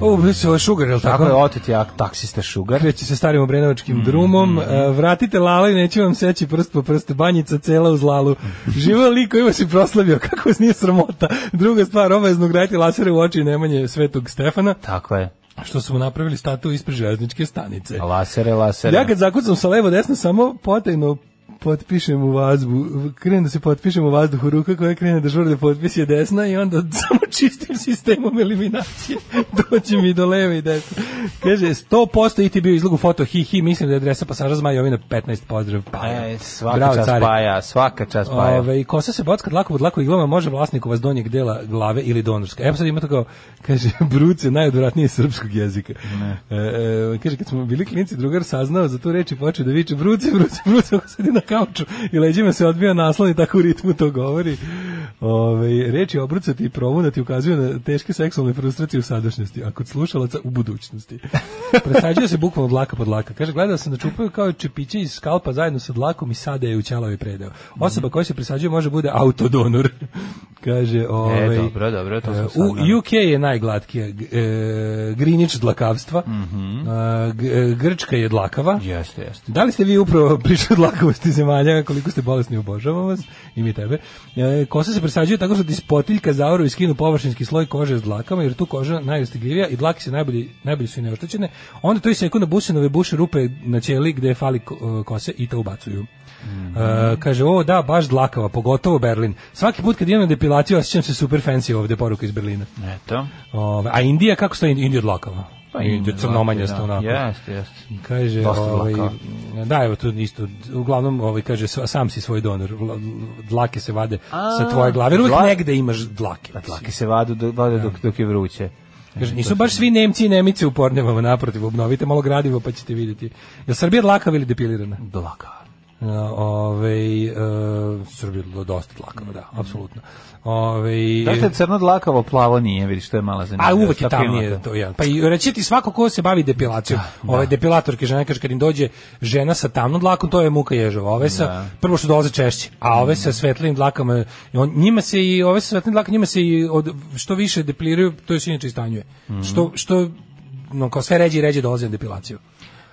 Speaker 5: O, bio se ovaj šugar, jel
Speaker 6: Tako
Speaker 5: tako?
Speaker 6: je Mm, otet jak taksista Šugar.
Speaker 5: Kreće se starim obrenovačkim drumom, e, vratite lala i neću vam seći prst po prstu, banjica cela uz lalu. Živo lik koji vas je proslavio, kako vas nije sramota. Druga stvar, obavezno graditi lasere u oči Nemanje Svetog Stefana,
Speaker 6: Tako je.
Speaker 5: što su mu napravili statu ispred železničke stanice.
Speaker 6: Lasere, lasere.
Speaker 5: Ja kad zakucam sa levo desno samo potajno potpišem u vazbu, krenem da se potpišem u vazduhu, ruka koja krene da žurde potpis je desna i onda samo čistim sistemom eliminacije dođe mi do leve i desne. Kaže, 100% i ti bio izlogu foto, hi hi, mislim da je adresa pasaža Zmaja Jovina 15, pozdrav, pa.
Speaker 6: E, svaka čast Paja, svaka čast Paja.
Speaker 5: Ove, i kosa se bocka dlakom od dlaku iglama može vlasniku vas donjeg dela glave ili donorska. Evo sad ima to kao, kaže, bruce najodvratnije srpskog jezika. E, e, kaže, kad smo bili klinci, drugar saznao za tu reč i počeo da viče bruce, bruce, bruce, ako sedi na kauču i leđima se odbija naslon i tako u ritmu to govori. Ove, reči obrucati i provunati ukazuju na teške seksualne frustracije u sadašnjosti, a kod slušalaca u budućnosti. Presađuje se bukvalno dlaka pod dlaka. Kaže, gledao sam da čupaju kao čepiće iz skalpa zajedno sa dlakom i sada je u ćelavi predeo.
Speaker 6: Mhm.
Speaker 5: Osoba koja se presađuje može bude autodonor. Kaže, ovaj,
Speaker 6: E, dobro, dobro, to sam
Speaker 5: e,
Speaker 6: saznao.
Speaker 5: U UK je najglatkija g- e, grinič dlakavstva,
Speaker 6: Mhm.
Speaker 5: e, g- e, Grčka je dlakava.
Speaker 6: Jeste, jeste.
Speaker 5: Da li ste vi upravo pričali o dlakavosti zemalja, koliko ste bolesni, obožavam vas i mi tebe. E, Kosa se presađuje tako što ti spotiljka zaoru i skinu površinski sloj kože s dlakama, jer tu koža najostigljivija i dlake se najbolje, najbolje su i neoštećene. Onda to iseku na businove buše rupe na ćeli gde fali ko- e, kose i to ubacuju. E, kaže, o da, baš dlakava, pogotovo Berlin. Svaki put kad idem na depilaciju osjećam se super fancy ovde, poruka iz Berlina.
Speaker 6: Eto.
Speaker 5: Ove, a Indija, kako stoji Indija od dlakava? Pa Indija crnomanjasta onako.
Speaker 6: da. Jeste, jeste.
Speaker 5: Kaže,
Speaker 6: Dosta
Speaker 5: ovaj,
Speaker 6: dlaka.
Speaker 5: da, evo tu isto, uglavnom, ovaj, kaže, sva- sam si svoj donor, Vla- dlake se vade sa tvoje glave, jer uvijek
Speaker 6: Dla-
Speaker 5: negde imaš Da, dlake. Da,
Speaker 6: Pa dlake se vadu, do, vade dok, dok je vruće.
Speaker 5: Kaže, nisu baš svi Nemci i Nemice u Pornevama, naprotiv, obnovite malo gradivo pa ćete vidjeti. Je Srbija dlakava ili depilirana?
Speaker 6: Dlaka.
Speaker 5: Uh, Ovaj uh, Srbija je dosta dlakava, da, apsolutno. Ovaj
Speaker 6: Zašto da je crno dlakavo, plavo nije, vidiš, to je da. mala zanimljiva.
Speaker 5: A uvek je
Speaker 6: Šta
Speaker 5: tamnije
Speaker 6: primate?
Speaker 5: Da, to jedan. Pa i reći ti svako ko se bavi depilacijom,
Speaker 6: Da,
Speaker 5: ove depilatorke žene kaže kad im dođe žena sa tamnom dlakom, to je muka ježova. Ove sa
Speaker 6: Da.
Speaker 5: prvo što dolaze češće, a ove sa svetlim dlakama, on, njima se i ove sa svetlim dlakama, njima se i od, što više depiliraju, to se inače i stanjuje.
Speaker 6: Mhm.
Speaker 5: Što što no, kao sve ređe i ređe dolaze na depilaciju.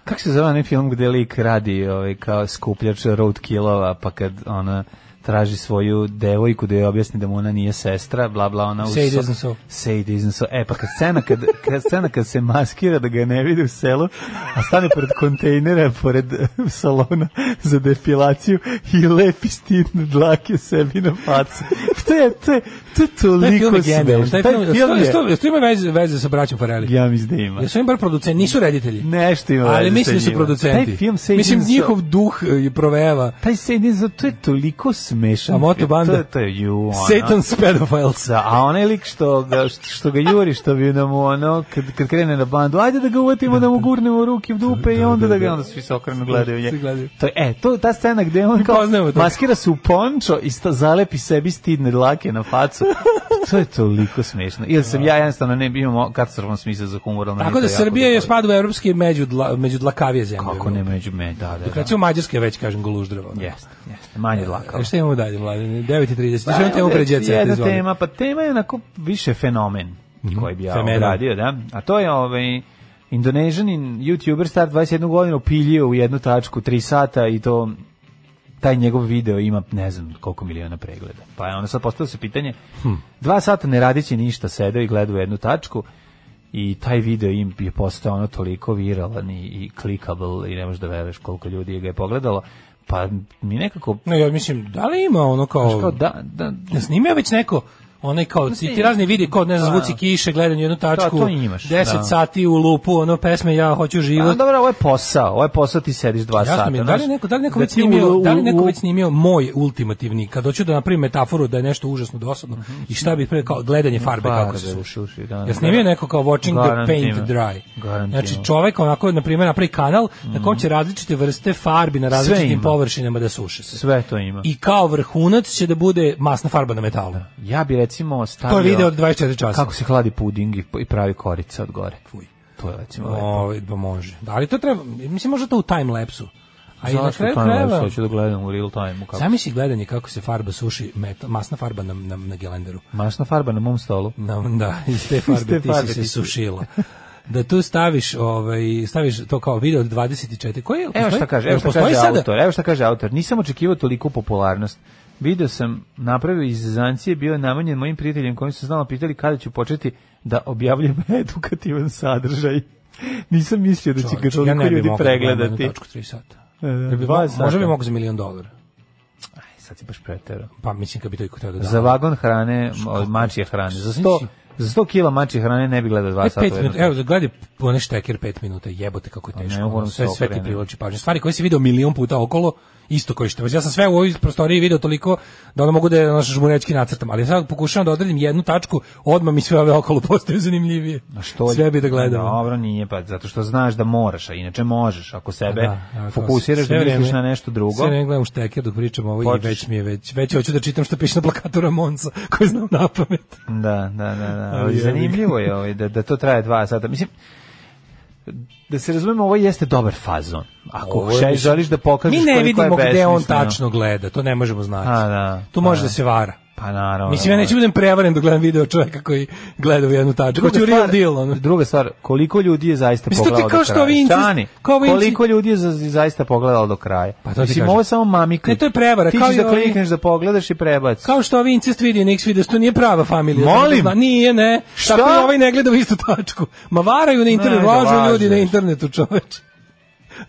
Speaker 6: Kako se zove onaj film gde lik radi ovaj, kao skupljač roadkillova, pa kad ona traži svoju devojku da joj objasni da mu ona nije sestra, bla bla, ona... u
Speaker 5: Say it
Speaker 6: so-
Speaker 5: isn't so.
Speaker 6: Say it isn't so. E, pa kad scena kad, kad, scena kad se maskira da ga ne vidi u selu, a stane pred kontejnera, pored eh, salona za depilaciju i lepi stidne dlake sebi na facu. To je, to je, to je
Speaker 5: Taj film je
Speaker 6: toliko
Speaker 5: genijalan.
Speaker 6: smešno.
Speaker 5: Taj film, jel to- jel to- jel to ima veze, veze sa braćom Fareli?
Speaker 6: Ja mislim da ima.
Speaker 5: Jesu im bar producenti, nisu reditelji.
Speaker 6: Nešto ima
Speaker 5: Ali
Speaker 6: veze
Speaker 5: mislim da
Speaker 6: sa
Speaker 5: su
Speaker 6: njima.
Speaker 5: producenti.
Speaker 6: Taj film Say it
Speaker 5: mislim,
Speaker 6: isn't so.
Speaker 5: njihov duh e, provejava.
Speaker 6: Taj Satan za to je toliko smešan.
Speaker 5: A Moto
Speaker 6: film.
Speaker 5: Banda?
Speaker 6: To je, to je ju, ona.
Speaker 5: Satan's pedophiles.
Speaker 6: Da, a onaj lik što ga, što ga juri, što bi nam ono, kad, kad krene na bandu, ajde da ga uvatimo, da mu gurnemo ruke u dupe i onda da ga, onda svi se okrenu gledaju
Speaker 5: Svi gledaju.
Speaker 6: nje. To, je- e, to, ta scena gde on kao
Speaker 5: poznajemo to.
Speaker 6: maskira se u pončo i sta, zalepi sebi stidne dlake na facu. to je toliko smešno. Ili sam ja jednostavno ne imamo katastrofan smisla za humor. ali meni
Speaker 5: Tako
Speaker 6: Pa to
Speaker 5: da
Speaker 6: jako
Speaker 5: Srbija je
Speaker 6: dopada.
Speaker 5: spada u evropski među, dla, među dlakavije zemlje.
Speaker 6: Kako ne među me, da, da, da.
Speaker 5: Recimo Mađarska je već, kažem, goluždrava. ono.
Speaker 6: Jeste, jeste, manje dlakava.
Speaker 5: E, Šta imamo dalje, mladine? 9.30. Pa,
Speaker 6: Pa,
Speaker 5: Želim temu
Speaker 6: ovdje
Speaker 5: pre djece.
Speaker 6: Jedna tema, pa tema je onako više fenomen
Speaker 5: Mhm.
Speaker 6: koji bi ja
Speaker 5: Fenomen.
Speaker 6: obradio, da. A to je ovaj Indonežanin youtuber star 21 godina upiljio u jednu tačku 3 sata i to taj njegov video ima ne znam koliko miliona pregleda. Pa je onda sad postavilo se pitanje,
Speaker 5: Hm.
Speaker 6: dva sata ne radići ništa, sedeo i gledao u jednu tačku i taj video im je postao ono toliko viralan i, i clickable i ne možeš da veruješ koliko ljudi ga je pogledalo. Pa mi nekako,
Speaker 5: No, ja mislim, da li ima ono kao...
Speaker 6: znaš kao da, da,
Speaker 5: Ja snimio već neko onaj kao ti, ti razni vidi kod ne znam
Speaker 6: Da.
Speaker 5: zvuci kiše gledanje u jednu tačku
Speaker 6: to imaš,
Speaker 5: 10
Speaker 6: da.
Speaker 5: sati u lupu ono pesme ja hoću
Speaker 6: Pa
Speaker 5: život
Speaker 6: dobro, ovo je posao, ovo je posao ti sediš dva
Speaker 5: Jasno
Speaker 6: sata.
Speaker 5: mi, je, da
Speaker 6: znaš.
Speaker 5: li neko, da li neko
Speaker 6: Da
Speaker 5: već
Speaker 6: ti u-
Speaker 5: snimio, da li
Speaker 6: u-
Speaker 5: neko
Speaker 6: u-
Speaker 5: već snimio moj ultimativni, kad hoću da napravim metaforu da je nešto užasno dosadno i šta bi pre kao gledanje farbe
Speaker 6: Farbe,
Speaker 5: kako se suši.
Speaker 6: uši, uši, Mhm. Pa, da, da,
Speaker 5: ja snimio
Speaker 6: da.
Speaker 5: neko kao watching the
Speaker 6: Garantim.
Speaker 5: paint dry.
Speaker 6: Garantim.
Speaker 5: Znači čovek onako na primjer napravi kanal na kom će različite vrste farbi na različitim
Speaker 6: Mhm. ima.
Speaker 5: površinama da suše se.
Speaker 6: Sve to ima.
Speaker 5: I kao vrhunac će da bude masna farba na metalu.
Speaker 6: Ja bi recimo stavio...
Speaker 5: To je video od 24 časa.
Speaker 6: Kako se hladi puding i, i pravi korica od gore.
Speaker 5: Fuj.
Speaker 6: To je recimo lepo.
Speaker 5: Ovaj pa može. Da ali to treba, mislim može to u time lapsu. A i na
Speaker 6: Zašto
Speaker 5: kraju
Speaker 6: to ne
Speaker 5: krajeva,
Speaker 6: hoću da gledam u real time-u kako...
Speaker 5: zamisli gledanje kako se farba suši, meta, masna farba na, na, na gelenderu.
Speaker 6: Mašna farba na mom stolu.
Speaker 5: Na, da, iz te farbe,
Speaker 6: te
Speaker 5: ti
Speaker 6: farbe
Speaker 5: si se
Speaker 6: ti si.
Speaker 5: sušila. Da tu staviš, ovaj, staviš to kao video od 24. Koji je?
Speaker 6: Evo šta kaže, evo šta
Speaker 5: postoji
Speaker 6: kaže
Speaker 5: sada?
Speaker 6: autor, evo šta kaže autor. Nisam očekivao toliku popularnost. Video sam, napravio iz Zancije, bio je namenjen mojim prijateljima koji su se znalo pitali kada ću početi da objavljam edukativan sadržaj. Nisam mislio da će ga
Speaker 5: Čovječe, ja
Speaker 6: toliko
Speaker 5: ne bi
Speaker 6: ljudi
Speaker 5: mogao da gledam
Speaker 6: pregledati.
Speaker 5: jednu Tačku 3 sata.
Speaker 6: E, da,
Speaker 5: Ja bi
Speaker 6: dva
Speaker 5: mo-
Speaker 6: sata.
Speaker 5: možda bi mogao za milion dolara.
Speaker 6: Aj, sad si baš preterao.
Speaker 5: Pa mislim kad bi to i kuteo da da.
Speaker 6: Za vagon hrane, od mačije hrane. Za 100, za 100 kila mačije hrane ne bi gledao dva
Speaker 5: E,
Speaker 6: sata. u
Speaker 5: pet
Speaker 6: jednom
Speaker 5: minuta, evo, gledaj onaj štekir pet minuta, jebote kako je teško.
Speaker 6: ne mogu
Speaker 5: ono,
Speaker 6: da se
Speaker 5: sve, sve ti
Speaker 6: okrenem.
Speaker 5: privlači pažnju. Stvari koje si video milion puta okolo, isto koji što. Ja sam sve u ovoj prostoriji video toliko da ono mogu da je naš žmurečki nacrtam, ali sad pokušavam da odredim jednu tačku, odmah mi sve ove okolo postaju zanimljivije.
Speaker 6: A što je-
Speaker 5: Sve bi da gledam.
Speaker 6: Dobro, nije pa zato što znaš da moraš, a inače možeš ako sebe
Speaker 5: Da, da,
Speaker 6: fokusiraš
Speaker 5: sve
Speaker 6: da misliš
Speaker 5: vreme-
Speaker 6: na nešto drugo.
Speaker 5: Sve ne gledam štekir dok pričam ovo i
Speaker 6: Počeš.
Speaker 5: već mi je već, već hoću da čitam što piše na plakatu Ramonca, koji znam na pamet.
Speaker 6: Da, da, da, da.
Speaker 5: Ali
Speaker 6: Ali
Speaker 5: je-
Speaker 6: zanimljivo je ovaj, da, da to traje dva sata. Mislim, da se razumemo, ovo jeste dobar fazon. Ako
Speaker 5: Ovo je,
Speaker 6: še,
Speaker 5: mislim,
Speaker 6: želiš da pokažeš
Speaker 5: Mi ne
Speaker 6: koliko je
Speaker 5: vidimo gde on
Speaker 6: besmisleno.
Speaker 5: tačno gleda, to ne možemo znati.
Speaker 6: A, da.
Speaker 5: tu
Speaker 6: Pa,
Speaker 5: može da
Speaker 6: da.
Speaker 5: se vara.
Speaker 6: Pa naravno.
Speaker 5: Mislim, ja neću budem prevaren da gledam video čoveka koji gleda u jednu tačku. Hoću real deal, ono.
Speaker 6: Druga stvar, koliko ljudi je zaista
Speaker 5: Mislim, to ti
Speaker 6: pogledalo
Speaker 5: kao
Speaker 6: do
Speaker 5: što
Speaker 6: kraja?
Speaker 5: ovi inci-
Speaker 6: Stani,
Speaker 5: kao ovi inci-
Speaker 6: koliko ljudi je za- zaista pogledalo do kraja?
Speaker 5: Pa to ti
Speaker 6: Mislim,
Speaker 5: kažem.
Speaker 6: ovo je samo mami klik.
Speaker 5: Ne, to je prevara,
Speaker 6: Ti
Speaker 5: kao
Speaker 6: ćeš
Speaker 5: i
Speaker 6: da
Speaker 5: ovi-
Speaker 6: klikneš, da pogledaš i prebaciš.
Speaker 5: Kao što ovi incest vidi Nix vidi, to nije prava familija. samo da
Speaker 6: Molim?
Speaker 5: zna. Nije, ne.
Speaker 6: Šta?
Speaker 5: Tako i ovaj ne gleda u istu tačku. Ma varaju na internetu,
Speaker 6: Ne, da
Speaker 5: lažu ljudi na
Speaker 6: lažeš.
Speaker 5: internetu, čoveče.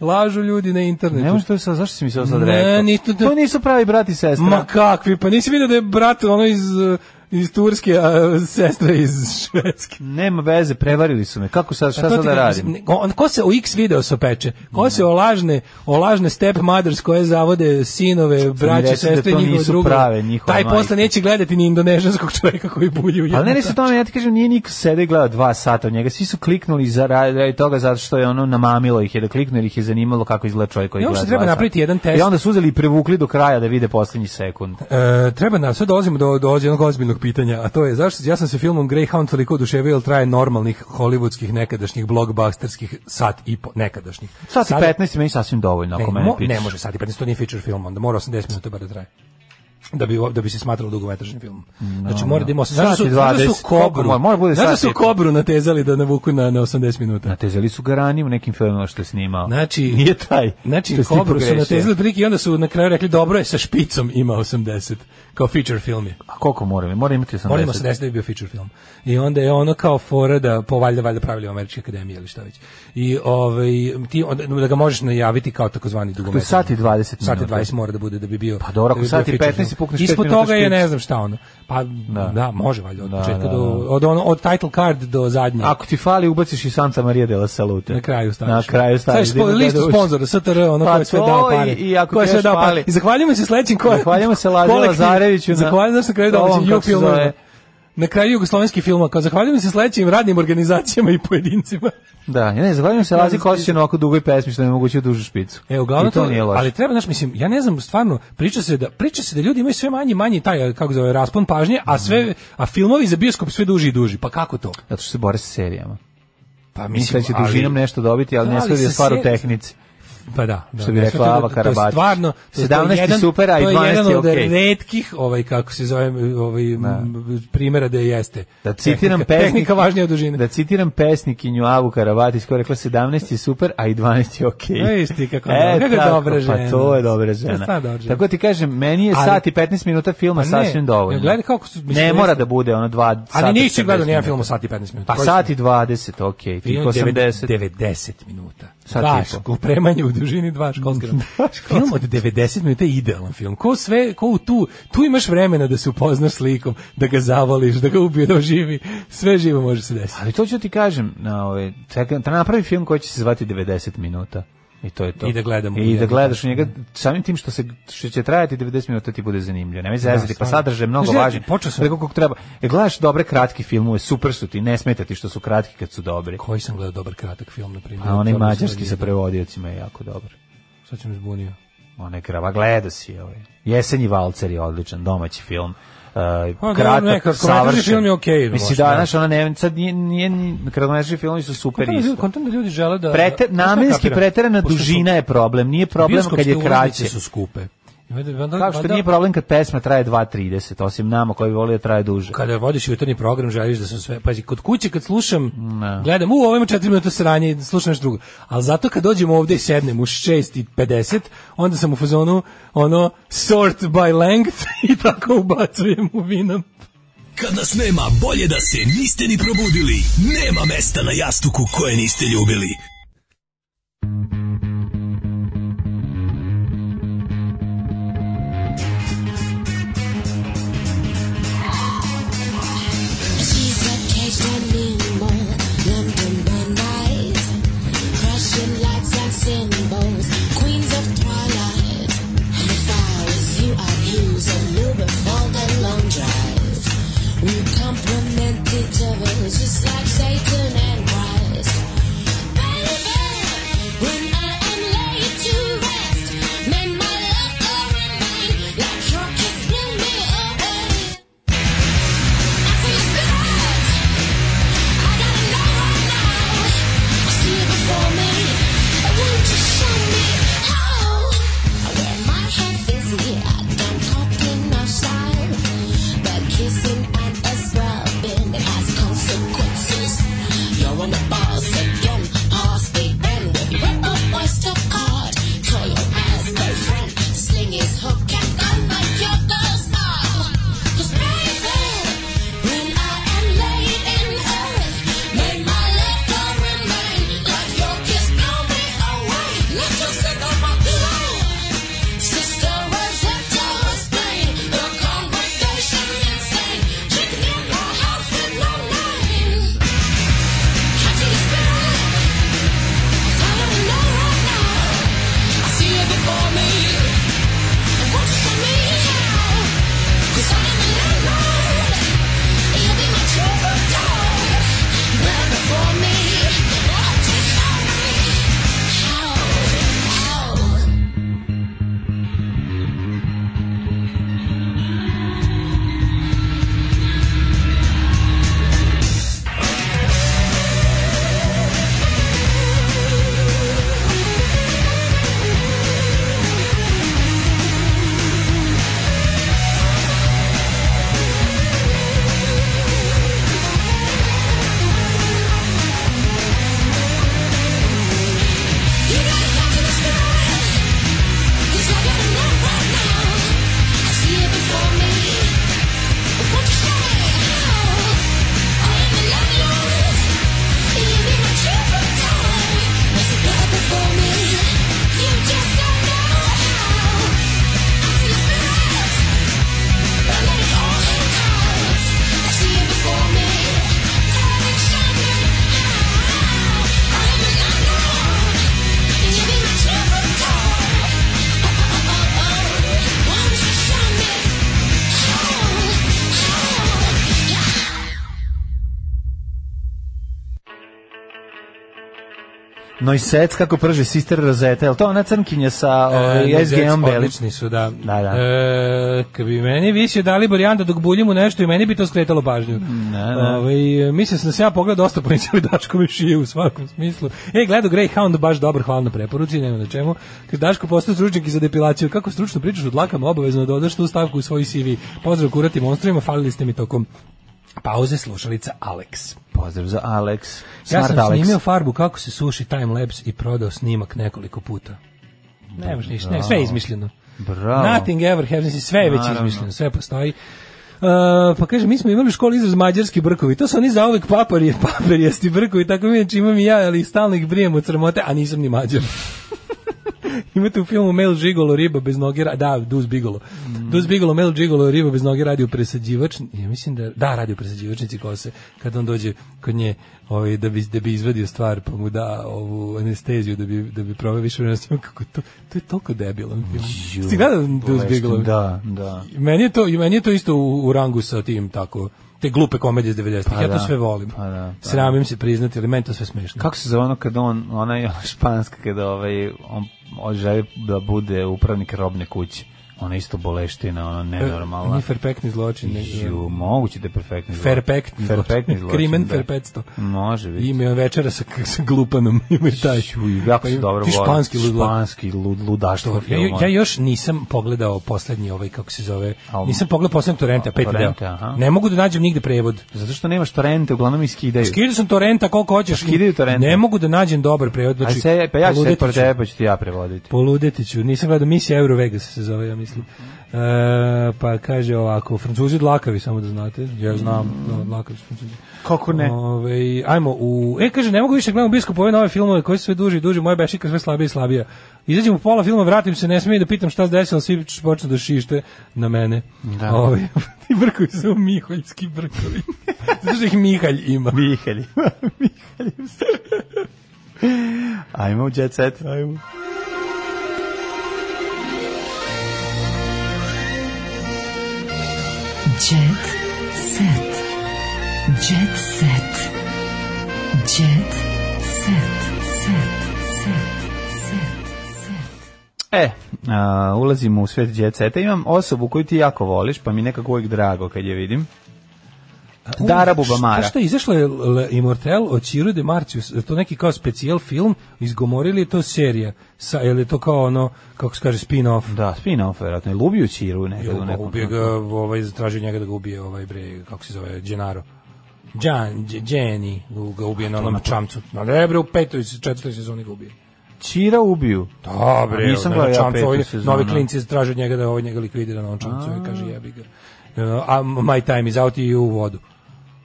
Speaker 5: Lažu ljudi na internetu.
Speaker 6: Ne možeš to sad, zašto si mi se ovo sad
Speaker 5: Ne,
Speaker 6: rekao?
Speaker 5: niti to-
Speaker 6: To nisu pravi brat i sestra.
Speaker 5: Ma kakvi, pa nisi vidio da je brat ono iz, eh, iz Turske, a sestra iz Švedske.
Speaker 6: Nema veze, prevarili su me. Kako sad,
Speaker 5: A
Speaker 6: šta
Speaker 5: Pa to
Speaker 6: sad
Speaker 5: ti
Speaker 6: da
Speaker 5: kažem,
Speaker 6: radim?
Speaker 5: ne, on- Ko se u X video sopeče? Ko se o lažne, o lažne step mothers koje zavode sinove, braće,
Speaker 6: reci da
Speaker 5: sestre,
Speaker 6: to
Speaker 5: njihove
Speaker 6: nisu
Speaker 5: drugove?
Speaker 6: prave njihove
Speaker 5: Taj
Speaker 6: majke.
Speaker 5: posle neće gledati ni indonežanskog čoveka koji bulji u jednu
Speaker 6: Ali ne, ne se tome, ja ti kažem, nije niko sede i gledao dva sata od njega, svi su kliknuli za ra- radi toga zato što je ono namamilo ih je da kliknu jer ih je zanimalo kako izgleda čovjek koji
Speaker 5: I
Speaker 6: gleda
Speaker 5: ono što
Speaker 6: dva
Speaker 5: treba
Speaker 6: sata.
Speaker 5: napraviti jedan test.
Speaker 6: I onda su uzeli i prevukli do kraja da vide posljednji sekund.
Speaker 5: E, treba nam, sad dolazimo do, do jednog ozbiljnog pitanja, a to je zašto ja sam se filmom Greyhound toliko oduševio, jer traje normalnih hollywoodskih nekadašnjih blockbusterskih sat i po, nekadašnjih.
Speaker 6: Sat i
Speaker 5: Sad-
Speaker 6: 15 je meni sasvim dovoljno,
Speaker 5: ne,
Speaker 6: ako mene
Speaker 5: mo-
Speaker 6: pitaš.
Speaker 5: ne može sat i 15, to nije feature film, onda mora 80 minuta bar da traje. Da bi, da bi se smatralo dugometražnim filmom. znači mora da ima 80. Znaš da su,
Speaker 6: Sat i
Speaker 5: znaš da su
Speaker 6: 20, koliko
Speaker 5: kobru,
Speaker 6: mora? Mora bude
Speaker 5: znaš da
Speaker 6: sat i
Speaker 5: su
Speaker 6: po.
Speaker 5: kobru natezali da navuku na, na 80 minuta.
Speaker 6: Natezali su ga ranije u nekim filmima što je snimao.
Speaker 5: Znači,
Speaker 6: Nije taj.
Speaker 5: Znači,
Speaker 6: što si ti
Speaker 5: kobru su
Speaker 6: pogrešio.
Speaker 5: natezali prilike i onda su na kraju rekli dobro je sa špicom ima 80, kao feature film je.
Speaker 6: A koliko mora? Mora imati 80.
Speaker 5: Moramo se desiti da bi bio feature film. I onda je ono kao fora da po valjda valjda pravili u Američke akademije ili šta već. I ovaj ti onda, da ga možeš najaviti kao takozvani
Speaker 6: To je
Speaker 5: dugometražni.
Speaker 6: sat i 20
Speaker 5: Sat i
Speaker 6: minuta.
Speaker 5: 20 mora da bude da bi bio.
Speaker 6: Pa dobro,
Speaker 5: da
Speaker 6: ako
Speaker 5: bi bio
Speaker 6: sat i
Speaker 5: feature
Speaker 6: 15
Speaker 5: film.
Speaker 6: i pukneš pet
Speaker 5: Ispod
Speaker 6: minuta
Speaker 5: toga je
Speaker 6: špic.
Speaker 5: ne znam šta ono. Pa da, može valjda od
Speaker 6: Da,
Speaker 5: početka
Speaker 6: da,
Speaker 5: do
Speaker 6: da.
Speaker 5: od ono od title card do zadnje.
Speaker 6: Ako ti fali, ubaciš i Santa Maria de la Salute.
Speaker 5: Na kraju staviš.
Speaker 6: Na kraju staviš.
Speaker 5: Staviš po
Speaker 6: da
Speaker 5: listu
Speaker 6: uči.
Speaker 5: sponzora, STR, ono
Speaker 6: Pa
Speaker 5: ko je sve
Speaker 6: to
Speaker 5: dao pare.
Speaker 6: i- i ako
Speaker 5: Ko je
Speaker 6: ti
Speaker 5: sve
Speaker 6: još
Speaker 5: dao pare.
Speaker 6: fali-
Speaker 5: I zahvaljujemo se sledećim ko
Speaker 6: Zahvaljujemo se Lazi
Speaker 5: kolektiv-
Speaker 6: Lazareviću na-
Speaker 5: Zahvaljujemo se na kraju
Speaker 6: ovom,
Speaker 5: dobro,
Speaker 6: kako
Speaker 5: ju
Speaker 6: se zove.
Speaker 5: Na kraju jugoslovenski film, kao zahvaljujemo se sledećim radnim organizacijama i pojedincima.
Speaker 6: Da, ne, zahvaljujem se Lazi
Speaker 5: znam što
Speaker 6: Kosiću na ovako dugoj pesmi što je moguće dužu špicu.
Speaker 5: E, uglavnom
Speaker 6: I to nije loše.
Speaker 5: ali treba, znaš, mislim, ja ne znam, stvarno, priča se da, priča se da ljudi imaju sve manji, manji taj, kako zove, raspon pažnje, a
Speaker 6: Mhm.
Speaker 5: sve, a filmovi za bioskop sve duži i duži, pa kako to?
Speaker 6: Zato što se bore sa serijama.
Speaker 5: Pa
Speaker 6: Mislim da će dužinom nešto dobiti, ali
Speaker 5: Da,
Speaker 6: ne
Speaker 5: ali
Speaker 6: sve je
Speaker 5: sa
Speaker 6: stvar u
Speaker 5: seri-
Speaker 6: tehnici.
Speaker 5: Pa da, da
Speaker 6: Što bi
Speaker 5: ne,
Speaker 6: rekla
Speaker 5: to je-
Speaker 6: Ava
Speaker 5: To je
Speaker 6: Karabačić.
Speaker 5: stvarno, to je- to je
Speaker 6: 17
Speaker 5: jedan-
Speaker 6: super, a i 12
Speaker 5: To je
Speaker 6: je
Speaker 5: jedan
Speaker 6: okej.
Speaker 5: od retkih, ovaj, kako se zove, ovaj, m, primjera da jeste.
Speaker 6: Da citiram
Speaker 5: tehnika,
Speaker 6: pesnik-
Speaker 5: tehnika važnija od dužine.
Speaker 6: Da citiram pesnikinju Avu Karavatić koja je rekla 17 je super, a i 12 je okej.
Speaker 5: E, vidiš ti kako je
Speaker 6: E,
Speaker 5: dobro, kako je
Speaker 6: tako,
Speaker 5: dobra žena.
Speaker 6: Pa to je dobra
Speaker 5: To je
Speaker 6: žena.
Speaker 5: stvarno dobra žena.
Speaker 6: Tako ti kažem, meni je
Speaker 5: Ali-
Speaker 6: sat i 15 minuta filma
Speaker 5: Pa ne,
Speaker 6: sasvim dovoljno.
Speaker 5: ja gledaj kako su- mislim,
Speaker 6: ne
Speaker 5: jeste-
Speaker 6: mora da bude ono 2 sata.
Speaker 5: Ali nisi
Speaker 6: 40
Speaker 5: gledao nijedan
Speaker 6: minuta.
Speaker 5: film u sati 15 minuta.
Speaker 6: Pa
Speaker 5: Koji
Speaker 6: sat
Speaker 5: su-
Speaker 6: i 20, okej. Okay.
Speaker 5: Film
Speaker 6: Tih 80.
Speaker 5: 90 minuta.
Speaker 6: Sat
Speaker 5: Dva
Speaker 6: i po.
Speaker 5: ško- premanje u dužini dva školska. film od 90 minuta je idealan film. Ko sve, ko u tu, tu imaš vremena da se upoznaš s likom, da ga zavoliš, da ga ubije, da živi. Sve živo može se desiti.
Speaker 6: Ali to ću ti kažem, na ove, čekaj, da napravi film koji će se zvati 90 minuta. I to je to.
Speaker 5: I da gledamo u
Speaker 6: I da
Speaker 5: njega.
Speaker 6: gledaš u njega, samim tim što se što će trajati 90 minuta ti bude zanimljivo. Nemoj zezati, pa
Speaker 5: Da, stvarno.
Speaker 6: sadržaj je mnogo
Speaker 5: Znaš, ja
Speaker 6: važan.
Speaker 5: počeo sam-
Speaker 6: Preko kog treba. E, gledaš dobre kratke filmove, super su ti, ne smeta ti što su kratki kad su dobri.
Speaker 5: Koji sam gledao dobar kratak film, na primjer.
Speaker 6: A onaj
Speaker 5: Crno
Speaker 6: mađarski
Speaker 5: snage.
Speaker 6: sa prevodiocima je jako dobar.
Speaker 5: Sad sam zbunio.
Speaker 6: Onaj krava, gledao si ovaj. Jesenji valcer je odličan, domaći film. Uh,
Speaker 5: dobro, Pa, da, ne,
Speaker 6: kratak,
Speaker 5: kratkometražni
Speaker 6: savršen.
Speaker 5: film je okej,
Speaker 6: Mislim,
Speaker 5: možda,
Speaker 6: da,
Speaker 5: da.
Speaker 6: znaš, ona ne, sad nije, nije, nije kratkometražni filmovi su super
Speaker 5: Kontam da
Speaker 6: isto.
Speaker 5: ljudi- Kontam da ljudi žele da...
Speaker 6: Prete,
Speaker 5: Znaš šta
Speaker 6: namenski
Speaker 5: kapiram?
Speaker 6: preterana
Speaker 5: Pošto su-
Speaker 6: dužina je problem, nije problem kad je
Speaker 5: Bioskopske
Speaker 6: kraće.
Speaker 5: ulaznice su pa da. skupe. I onda- onda-
Speaker 6: Kao što
Speaker 5: onda-
Speaker 6: nije problem kad pesma traje 2.30, osim nama koji voli da traje duže.
Speaker 5: kada vodiš jutarnji program želiš da se sve pazi kod kuće kad slušam gledam u ovo ima 4 minuta sranje i slušam nešto drugo ali zato kad dođem ovde i sednem u 6 i 50 onda sam u fazonu ono sort by length i tako ubacujem u vinam
Speaker 9: Kad nas nema, bolje da se niste ni probudili. Nema mesta na jastuku koje niste ljubili.
Speaker 2: She's a caged animal, London by night, crushing lights and symbols, queens of twilight. And if I was you, I'd use a Uber for the long drive. We complement each other just like Satan and Christ. Baby,
Speaker 6: Noisec, kako prže Sister Rosetta, je li to ona crnkinja sa
Speaker 5: Noisec,
Speaker 6: ovaj, SGM Beli?
Speaker 5: Odlični su, da.
Speaker 6: Da, da.
Speaker 5: E, kad bi meni visio Dalibor Janda dok buljim u nešto i meni bi to skretalo pažnju.
Speaker 6: Da, da.
Speaker 5: Ovaj, mislim sam da se ja pogleda dosta policali Daško mi šije u svakom smislu. E, gledao Greyhound, baš dobar, hvala na preporuci, nema na čemu. Kad Daško postao stručnjak i za depilaciju, kako stručno pričaš o dlakama, obavezno dodaš tu stavku u svoj CV. Pozdrav kurati monstrima, falili ste mi tokom pauze slušalica Alex.
Speaker 6: Pozdrav za Alex.
Speaker 5: Ja
Speaker 6: Smart
Speaker 5: sam
Speaker 6: Alex.
Speaker 5: snimio farbu kako se suši time-lapse i prodao snimak nekoliko puta. Nemaš ništa, ne,
Speaker 6: Da.
Speaker 5: sve je izmišljeno.
Speaker 6: Bravo.
Speaker 5: Nothing ever happens, sve je već
Speaker 6: Naravno.
Speaker 5: izmišljeno, sve postoji. Uh, pa kaže, mi smo imali u školi izraz mađarski brkovi, to su oni zauvek paparije, paperijasti brkovi, tako mi znači imam i ja, ali stalno ih brijem od sramote, a nisam ni mađar. Imate u filmu Mel Gigolo, riba bez noge, ra- da, Duz Bigolo. Duz Bigolo, Mel Gigolo, riba bez noge, radi u presađivač, ja mislim da, da, radi u presađivačnici kose, kad on dođe kod nje ovaj, da, bi, da bi izvadio stvar, pa mu da ovu anesteziju, da bi, da bi probao više vremena s njom, kako to, to je toliko debilan film. Ste gledali Duz Bigolo?
Speaker 6: Da, da.
Speaker 5: Meni je to, i meni je to isto u, u rangu sa tim, tako, te glupe komedije iz 90-ih,
Speaker 6: Pa
Speaker 5: ja
Speaker 6: da,
Speaker 5: to sve volim.
Speaker 6: pa da, pa
Speaker 5: Sramim se priznati, ali meni to sve smešno.
Speaker 6: Kako se zove ono kada on, ona je španska, kada ovaj, on, on želi da bude upravnik robne kuće. Ona je isto boleština, ona
Speaker 5: E,
Speaker 6: nenormalna.
Speaker 5: Ni perfektni zločin. ne-
Speaker 6: Ju, moguće da je perfektni zločin.
Speaker 5: Ferpektni zločin.
Speaker 6: Perfektni zločin,
Speaker 5: Krimen
Speaker 6: da.
Speaker 5: ferpetsto.
Speaker 6: Može biti.
Speaker 5: Ime je večera sa, sa glupanom, ima i taj.
Speaker 6: Ju, jako
Speaker 5: Pa
Speaker 6: se
Speaker 5: ima-
Speaker 6: dobro
Speaker 5: ti
Speaker 6: volim.
Speaker 5: španski ludlak.
Speaker 6: Španski lud, ludaštvo
Speaker 5: Ja,
Speaker 6: film.
Speaker 5: ja još nisam pogledao poslednji ovaj, kako se zove,
Speaker 6: Album.
Speaker 5: nisam pogledao poslednji Torrenta, peti deo.
Speaker 6: Torrente, aha.
Speaker 5: Ne mogu da nađem nigde prevod.
Speaker 6: Zato što nemaš torrente, uglavnom iskidaju.
Speaker 5: Skidao sam Torrenta koliko hoćeš.
Speaker 6: Skidaju Torrenta.
Speaker 5: Ne mogu da nađem dobar prevod. Znači,
Speaker 6: Aj se, pa ja ću se
Speaker 5: poludeti
Speaker 6: pored
Speaker 5: ću.
Speaker 6: tebe, pa ću ti ja prevoditi.
Speaker 5: Poludeti ću. Nisam gledao Misija Euro Vegas se zove, ja mislim. E, pa kaže ovako, Francuzi dlakavi, samo da znate. Ja znam, da, dlakavi su Francuzi.
Speaker 6: Kako ne?
Speaker 5: Ovaj, ajmo u... E, kaže, ne mogu više gledam biskup ove nove filmove koji su sve duži i duži, moja bešika sve slabije i slabija. Izađem u pola filma, vratim se, ne smijem da pitam šta se desilo, svi počnu da šište na mene.
Speaker 6: Da.
Speaker 5: Ovaj, ti brkovi su Miholjski brkovi. Zato što ih Mihalj ima.
Speaker 6: Mihalj. Mihalj. Ajmo u jet set. Ajmo.
Speaker 4: Jet set. Jet set. Jet set. Set. Set. Set. Set.
Speaker 6: E, a, ulazimo u svet jet seta. Imam osobu koju ti jako voliš, pa mi je nekako uvijek drago kad je vidim. Dara
Speaker 5: Šta,
Speaker 6: Bubamara.
Speaker 5: šta Pa je izašlo je Le Immortel od Ciro de Marcius, je to neki kao specijal film, izgomorili je to serija, sa, je li to kao ono, kako se kaže, spin-off?
Speaker 6: Da, spin-off, vjerojatno. Ili ubiju Čiru
Speaker 5: Je
Speaker 6: nekada
Speaker 5: li
Speaker 6: u
Speaker 5: ga
Speaker 6: nekom.
Speaker 5: ubio pa ga, ovaj, zatražio njega da ga ubije, ovaj bre, kako se zove, Gennaro. Gian, Đe- Geni ga ubije na onom čamcu. Na ne bre, u petoj, četvrtoj sezoni ga ubije.
Speaker 6: Čira ubiju.
Speaker 5: Da, bre,
Speaker 6: Nisam
Speaker 5: na
Speaker 6: gledao ja
Speaker 5: čamcu,
Speaker 6: petu
Speaker 5: ovaj,
Speaker 6: sezonu.
Speaker 5: novi klinci zatražio od njega da ovaj njega likvidira na onom čamcu i kaže jebi ga. Uh, a my time is out i u vodu.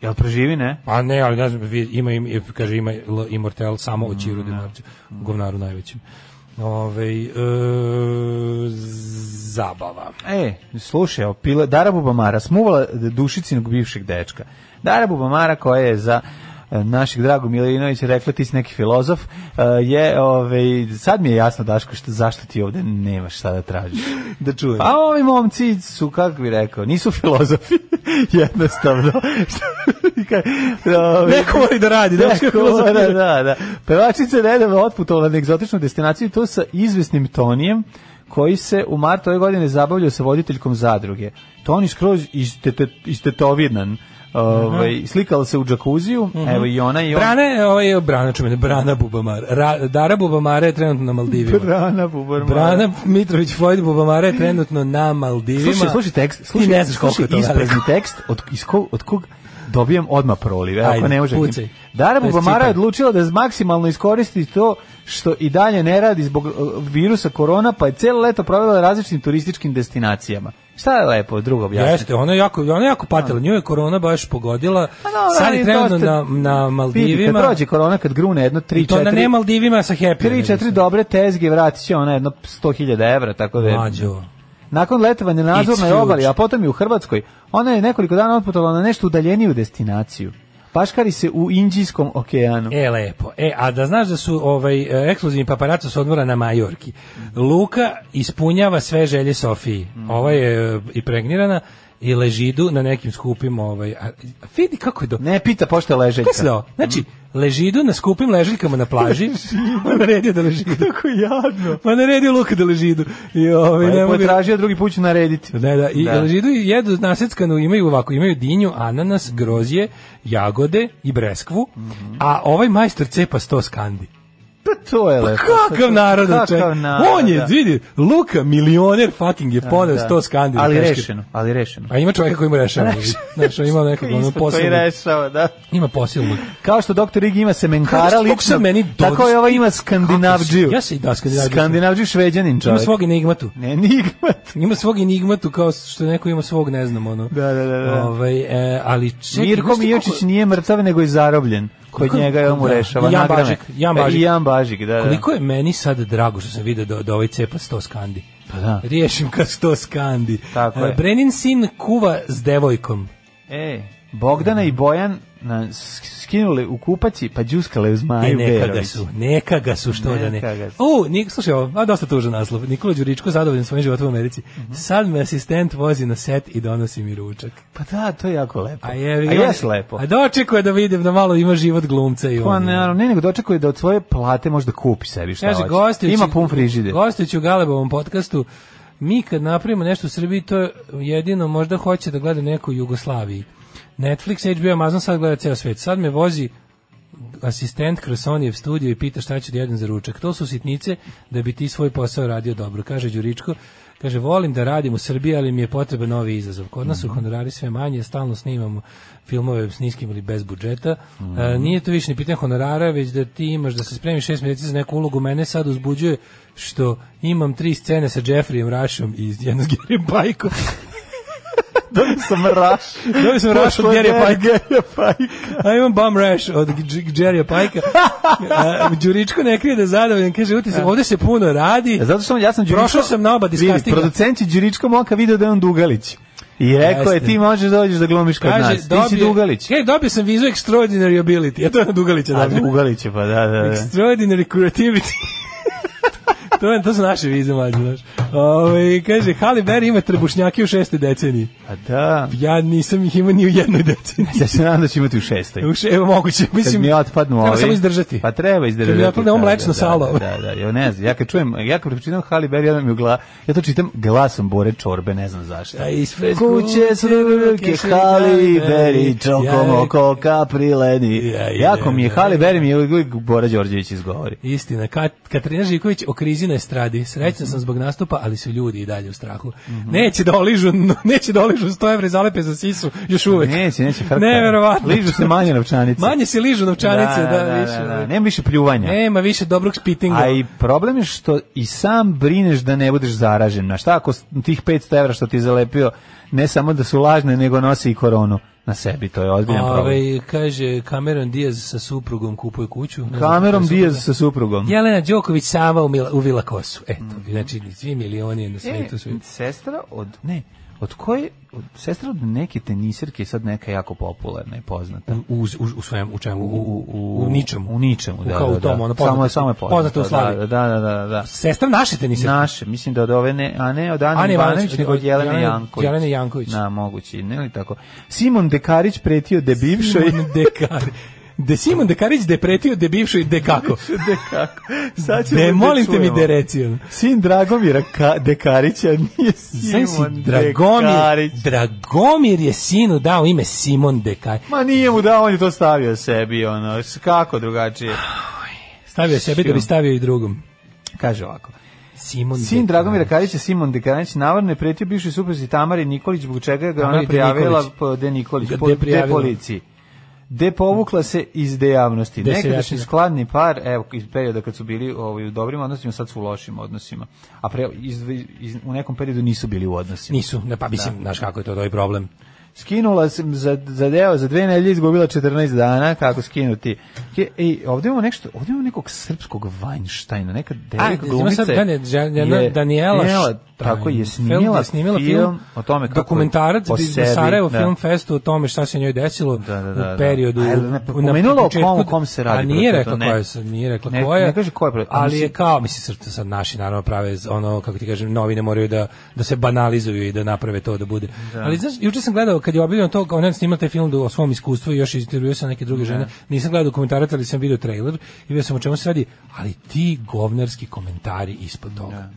Speaker 6: Jel preživi, ne?
Speaker 5: Pa ne, ali ne znam, vi- ima, im- im- kaže, ima L Immortel samo od Čiru de Marcio,
Speaker 6: Mm.
Speaker 5: govnaru najvećem. Ove, e, zabava.
Speaker 6: E, slušaj, evo, pila, Dara Bubamara smuvala dušicinog bivšeg dečka. Dara Bubamara koja je za e, našeg dragog Milinovića rekla ti si neki filozof e, je ovaj sad mi je jasno Daško što, zašto ti ovde nemaš šta da tražiš
Speaker 5: Da čujem.
Speaker 6: pa ovi momci su kako bi rekao nisu filozofi jednostavno I ka- ovaj,
Speaker 5: Neko voli da radi, da,
Speaker 6: Neko, da, da, da, da. Pevačica nedavno otputovala na egzotičnu destinaciju i to sa izvesnim Tonijem koji se u martu ove godine zabavljao sa voditeljkom zadruge. Toni skroz istete, istetovidan.
Speaker 5: Mhm.
Speaker 6: Ovaj, slikala se u džakuziju, evo i ona i on.
Speaker 5: Brane, ovaj, Brana čumene, Brana Bubamara. Ra, Dara Bubamara je trenutno na Maldivima.
Speaker 6: Brana Bubar.
Speaker 5: Brana Mitrović Floyd Bubamara je trenutno na Maldivima.
Speaker 6: Slušaj, slušaj tekst, slušaj,
Speaker 5: Ti ne znaš koliko je to
Speaker 6: slušaj
Speaker 5: veliko.
Speaker 6: isprazni tekst od, iz kog, od kog dobijam odmah proliv. Evo,
Speaker 5: Ajde,
Speaker 6: ako ne može.
Speaker 5: pucaj.
Speaker 6: Dara
Speaker 5: To je
Speaker 6: Bubamara je
Speaker 5: citat.
Speaker 6: odlučila da maksimalno iskoristi to što i dalje ne radi zbog uh, virusa korona, pa je cijelo leto provela na različnim turističkim destinacijama. Šta je lepo, drugo objasniti?
Speaker 5: Jeste, ona je jako, ona je jako patila, nju je korona baš pogodila.
Speaker 6: Pa dobro,
Speaker 5: Sad
Speaker 6: ali
Speaker 5: je trenutno
Speaker 6: dosta-
Speaker 5: na, na
Speaker 6: Vidi, kad
Speaker 5: Maldivima.
Speaker 6: prođe korona, kad grune jedno
Speaker 5: I
Speaker 6: 3
Speaker 5: to na ne
Speaker 6: 4
Speaker 5: Maldivima sa happy.
Speaker 6: 3 4 dobre tezge vratit će ona jedno 100.000 evra, tako da je-
Speaker 5: Mlađo.
Speaker 6: Nakon letovanja na
Speaker 5: It's
Speaker 6: nadzornoj
Speaker 5: huge.
Speaker 6: obali, a potom i u Hrvatskoj, ona je nekoliko dana otputovala na nešto udaljeniju destinaciju. Paškari se u Indijskom okeanu.
Speaker 5: E, lepo. E, a da znaš da su ovaj, e, ekskluzivni paparaco su odmora na Majorki. Luka ispunjava sve želje Sofiji. Ova je e, i pregnirana i ležidu na nekim skupim ovaj a, a vidi kako je do
Speaker 6: Ne pita pošto je leželjka.
Speaker 5: Kako se dao? Znači, ležidu na skupim ležiljkama na plaži, ma naredio da ležidu. Tako jadno. Ma naredio Luka da ležidu. I ovaj,
Speaker 6: Pa
Speaker 5: ne
Speaker 6: je
Speaker 5: mogu-
Speaker 6: potražio, drugi put ću narediti.
Speaker 5: Ne, da, i
Speaker 6: Da.
Speaker 5: ležidu i jedu naseckanu, imaju ovako, imaju dinju, ananas, grozje, jagode i breskvu,
Speaker 6: Mhm.
Speaker 5: a ovaj majstor cepa sto skandi.
Speaker 6: Pa to je lepo.
Speaker 5: Kakav narod,
Speaker 6: Kakav
Speaker 5: čekaj.
Speaker 6: narod,
Speaker 5: On je,
Speaker 6: da.
Speaker 5: vidi, Luka, milioner fucking je poneo
Speaker 6: Da.
Speaker 5: sto skandi. na
Speaker 6: Ali
Speaker 5: teške-
Speaker 6: rešeno, ali rešeno.
Speaker 5: A ima čovjeka koji mu rešava. Znaš, on ima nekog ono
Speaker 6: Isto to i
Speaker 5: posilnog.
Speaker 6: rešao, da.
Speaker 5: Ima posilnog.
Speaker 6: Kao što doktor Ig ima semenkara
Speaker 5: Kako- kako
Speaker 6: lično,
Speaker 5: sam meni
Speaker 6: tako
Speaker 5: dođe-
Speaker 6: je ovaj ima skandinavđiju.
Speaker 5: Ja se i da, skandinavđiju sam.
Speaker 6: Skandinavđiju šveđanin
Speaker 5: Ima
Speaker 6: čovjek.
Speaker 5: svog enigmatu.
Speaker 6: Ne, enigmat.
Speaker 5: Ima svog enigmatu kao što neko ima svog, ne znam, ono.
Speaker 6: Da, da, da, da.
Speaker 5: Ovaj, e, ali čekaj, znaš ti
Speaker 6: Mirko
Speaker 5: koliko-
Speaker 6: Mijočić nije mrtav, nego je zarobljen. Kod
Speaker 5: Koliko-
Speaker 6: njega je on mu
Speaker 5: da.
Speaker 6: rešava.
Speaker 5: I Jan
Speaker 6: nagrame.
Speaker 5: Bažik, Jan
Speaker 6: E,
Speaker 5: Bažik.
Speaker 6: I Jan Bažik, da, da.
Speaker 5: Koliko je meni sad drago što sam vidio da, da ovaj cepa sto skandi.
Speaker 6: Pa da.
Speaker 5: Riješim kad sto skandi.
Speaker 6: Tako je.
Speaker 5: E, Brenin sin kuva s devojkom.
Speaker 6: E, Bogdana i Bojan na, s- skinuli u kupaći, pa džuskale uz
Speaker 5: E,
Speaker 6: Maju
Speaker 5: neka ga
Speaker 6: Berović.
Speaker 5: su, neka ga su, što da
Speaker 6: Neka
Speaker 5: ne.
Speaker 6: ga su.
Speaker 5: U, nik, slušaj, ovo, a dosta tužan naslov. Nikola Đuričko zadovoljan svojim životom u Americi.
Speaker 6: Mhm.
Speaker 5: Sad me asistent vozi na set i donosi mi ručak.
Speaker 6: Pa da, to je jako lepo.
Speaker 5: A je,
Speaker 6: a jes lepo.
Speaker 5: A dočekuje da vidim da malo ima život glumca i
Speaker 6: Pa
Speaker 5: on.
Speaker 6: naravno, ne, nego dočekuje da od svoje plate može da kupi sebi šta
Speaker 5: Kaže,
Speaker 6: hoće.
Speaker 5: gostujući,
Speaker 6: Ima pun frižide.
Speaker 5: Gostujući u Galebovom podcastu, mi kad napravimo nešto u Srbiji, to jedino možda hoće da gleda neko u Jugoslaviji. Netflix, HBO, Amazon sad gleda ceo svet. Sad me vozi asistent kroz Sonijev studio i pita šta ću da jedem za ručak. To su sitnice da bi ti svoj posao radio dobro, kaže Đuričko. Kaže, volim da radim u Srbiji, ali mi je potreban novi izazov. Kod nas su honorari sve manje, stalno snimamo filmove s niskim ili bez budžeta. E, nije to više ni pitanje honorara, već da ti imaš da se spremiš šest mjeseci za neku ulogu. Mene sad uzbuđuje što imam tri scene sa Jeffreyem Rushom i jednu s Gerim Pajkom.
Speaker 6: Dobio sam raš.
Speaker 5: Dobio sam raš od
Speaker 6: Pošto je
Speaker 5: Gerija Pajka.
Speaker 6: Gerija Pajka.
Speaker 5: A imam bum rash od Dž- Jerrya Pajka. A, Đuričko ne krije da je zadovoljan, kaže utisak, ovde se puno radi.
Speaker 6: E, Zato što ja sam Đuričko...
Speaker 5: Prošao sam na oba
Speaker 6: Vidi,
Speaker 5: diskastinga.
Speaker 6: Producent je Đuričko Moka video da je on Dugalić. I rekao je,
Speaker 5: Jeste.
Speaker 6: ti možeš da dođeš da glumiš kod nas. Ti si Dugalić.
Speaker 5: Hej, dobio sam vizu extraordinary ability. Ja to je na Dugalića
Speaker 6: A
Speaker 5: dobio.
Speaker 6: Dugalić je, pa da, da, da.
Speaker 5: Extraordinary creativity. to, je, to su naše vize, mlađe, znaš. Ove, kaže, Halle Berry ima trebušnjake u šestoj deceniji.
Speaker 6: A da.
Speaker 5: Ja nisam ih imao ni u jednoj deceniji.
Speaker 6: Ja se nadam da će imati u šestoj.
Speaker 5: U še- Evo, moguće. Mislim,
Speaker 6: Kad mi otpadnu
Speaker 5: treba
Speaker 6: ovi.
Speaker 5: samo izdržati.
Speaker 6: Pa treba izdržati.
Speaker 5: Kad mi otpadne ovo
Speaker 6: da,
Speaker 5: mlečno
Speaker 6: da,
Speaker 5: salo.
Speaker 6: Da, da, da, ja ne znam. Ja kad čujem, ja kad pročitam Halle Berry, ja mi u gla, ja to čitam glasom Bore Čorbe, ne znam zašto.
Speaker 5: A ispred
Speaker 6: Kuće su ruke Halle Berry, čokom oko kaprileni.
Speaker 5: Ja, ja,
Speaker 6: Jako mi je
Speaker 5: ja,
Speaker 6: Halle Berry, mi je uvijek Bora Đorđević izgovori.
Speaker 5: Istina, Kat, Katarina Živković o krizi na estradi. Srećna sam zbog nastupa, ali su ljudi i dalje u strahu. Neće da oližu, neće da oližu 100 evra i zalepe za sisu, još uvek.
Speaker 6: Neće, neće. frka.
Speaker 5: Neverovatno.
Speaker 6: Ližu se manje novčanice.
Speaker 5: Manje se ližu novčanice, da, više.
Speaker 6: Nema više pljuvanja.
Speaker 5: Nema više dobrog spitinga.
Speaker 6: A i problem je što i sam brineš da ne budeš zaražen. Na šta ako s- tih 500 evra što ti je zalepio, ne samo da su lažne, nego nose i koronu na sebi. To je ozbiljan problem.
Speaker 5: Ove, Ovaj, kaže, Cameron Diaz sa suprugom kupuje kuću. Ne znam
Speaker 6: Kamerom
Speaker 5: koja je da. supruga.
Speaker 6: Diaz sa suprugom.
Speaker 5: Jelena Đoković sama u, Mila, u Vila Kosu. Eto, znači, svi milioni na
Speaker 6: E,
Speaker 5: svetu su.
Speaker 6: sestra od... Ne, od koje... Od, sestra od neke tenisirke je sad neka jako popularna i poznata.
Speaker 5: u, u, u svem, u čemu, u, u, u, ničemu.
Speaker 6: U ničemu, da.
Speaker 5: kao
Speaker 6: da,
Speaker 5: u tom,
Speaker 6: da.
Speaker 5: ono,
Speaker 6: Samo je-
Speaker 5: poznata-
Speaker 6: samo je
Speaker 5: poznata u slavi.
Speaker 6: Da, da, da, da, da.
Speaker 5: Sestra naše tenise.
Speaker 6: Naše, mislim da od ove ne, a ne od Ane,
Speaker 5: Ane
Speaker 6: Ivanović,
Speaker 5: Ivanović,
Speaker 6: nego od Jelene Janković.
Speaker 5: Jelene Janković.
Speaker 6: Na, mogući, ne li tako. Simon Dekarić pretio de bivšoj.
Speaker 5: Simon Dekar. De Simon Dekarić de pretio de bivšoj de kako.
Speaker 6: de kako? Sad ćemo
Speaker 5: De,
Speaker 6: da
Speaker 5: molim te mi
Speaker 6: čujemo.
Speaker 5: de reci. ono.
Speaker 6: Sin Dragomira Ka Dekarića nije
Speaker 5: Znaš
Speaker 6: Simon
Speaker 5: si, Dragomir,
Speaker 6: Dekarić.
Speaker 5: Dragomir je sinu dao ime Simon Dekarić.
Speaker 6: Ma nije mu da, on je to stavio sebi, ono, s- kako drugačije.
Speaker 5: Stavio je sebe da bi stavio i drugom.
Speaker 6: Kaže ovako.
Speaker 5: Simon
Speaker 6: Sin
Speaker 5: Dekarić.
Speaker 6: Dragomira Karića, Simon Dekarić, navarno je pretio bivšoj supruzi Tamari Nikolić, zbog čega ga je
Speaker 5: Tamari
Speaker 6: ona
Speaker 5: De
Speaker 6: prijavila
Speaker 5: Nikolić.
Speaker 6: po- De Nikolić,
Speaker 5: De
Speaker 6: po- de
Speaker 5: prijavila.
Speaker 6: policiji. De povukla se iz de javnosti.
Speaker 5: De se
Speaker 6: Nekadašnji
Speaker 5: jačina.
Speaker 6: skladni par, evo, iz perioda kad su bili ovaj, u dobrim odnosima, sad su u lošim odnosima. A pre, iz, iz- u nekom periodu nisu bili u odnosima. Da.
Speaker 5: Nisu, ne, pa mislim, znaš kako je to, to je problem.
Speaker 6: Skinula sam za, za deo, za dve nedelje izgubila 14 dana, kako skinuti. Ke- I ovdje imamo nešto, ovdje imamo nekog srpskog Weinsteina, Pa neka
Speaker 5: A,
Speaker 6: devojka
Speaker 5: ima
Speaker 6: glumica.
Speaker 5: sad da Danje- Danje- Danje- Danijela
Speaker 6: Danijela,
Speaker 5: Štajn-
Speaker 6: tako je, snimila,
Speaker 5: Feld je snimila film,
Speaker 6: o tome kako je
Speaker 5: dokumentarac
Speaker 6: po
Speaker 5: iz
Speaker 6: sebi,
Speaker 5: Sarajevo
Speaker 6: da.
Speaker 5: Film Festu o tome šta se njoj desilo
Speaker 6: Da, da, da,
Speaker 5: u periodu.
Speaker 6: da. A je li ne- pomenula o
Speaker 5: početku-
Speaker 6: kom- o kom se radi
Speaker 5: A
Speaker 6: protiv
Speaker 5: nije rekla
Speaker 6: toga?
Speaker 5: koja
Speaker 6: Ne.
Speaker 5: je, sad, nije rekla
Speaker 6: Ne-
Speaker 5: ko je.
Speaker 6: ne kaže ko je protiv- a
Speaker 5: Ali je
Speaker 6: mislim-
Speaker 5: kao, mislim, srpsko sad naši naravno prave z- ono, kako ti kažem, novine moraju da, da se banalizuju i da naprave to da bude. Ali znaš, juče sam gledao, kad je objavljeno to, ona je snimala taj film o svom iskustvu i još intervjuo sam neke
Speaker 6: Da.
Speaker 5: druge žene, nisam gledao dokumentarac, ali sam video trailer i vidio sam o čemu se radi, ali ti govnarski komentari ispod toga.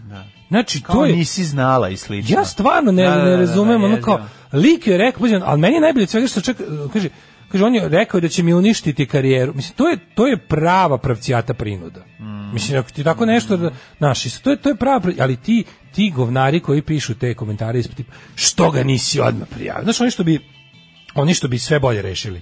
Speaker 5: Znači,
Speaker 6: Da, Kao
Speaker 5: to je...
Speaker 6: nisi znala i slično.
Speaker 5: Ja stvarno ne,
Speaker 6: Da, da, da,
Speaker 5: ne
Speaker 6: da,
Speaker 5: razumem, ono
Speaker 6: jezivo.
Speaker 5: kao, lik je rekao, pazi, ali meni je najbolje od svega što čak, kaže, kaže, on je rekao da će mi uništiti karijeru. Mislim, to je, to je prava pravcijata prinuda.
Speaker 6: Mm.
Speaker 5: Mislim, ako ti tako nešto, da, znaš, isto, to je, to je prava, prav- ali ti, ti govnari koji pišu te komentare ispod, tipa, što ga nisi odmah prijavio? Znaš, oni što bi, oni što bi sve bolje rešili.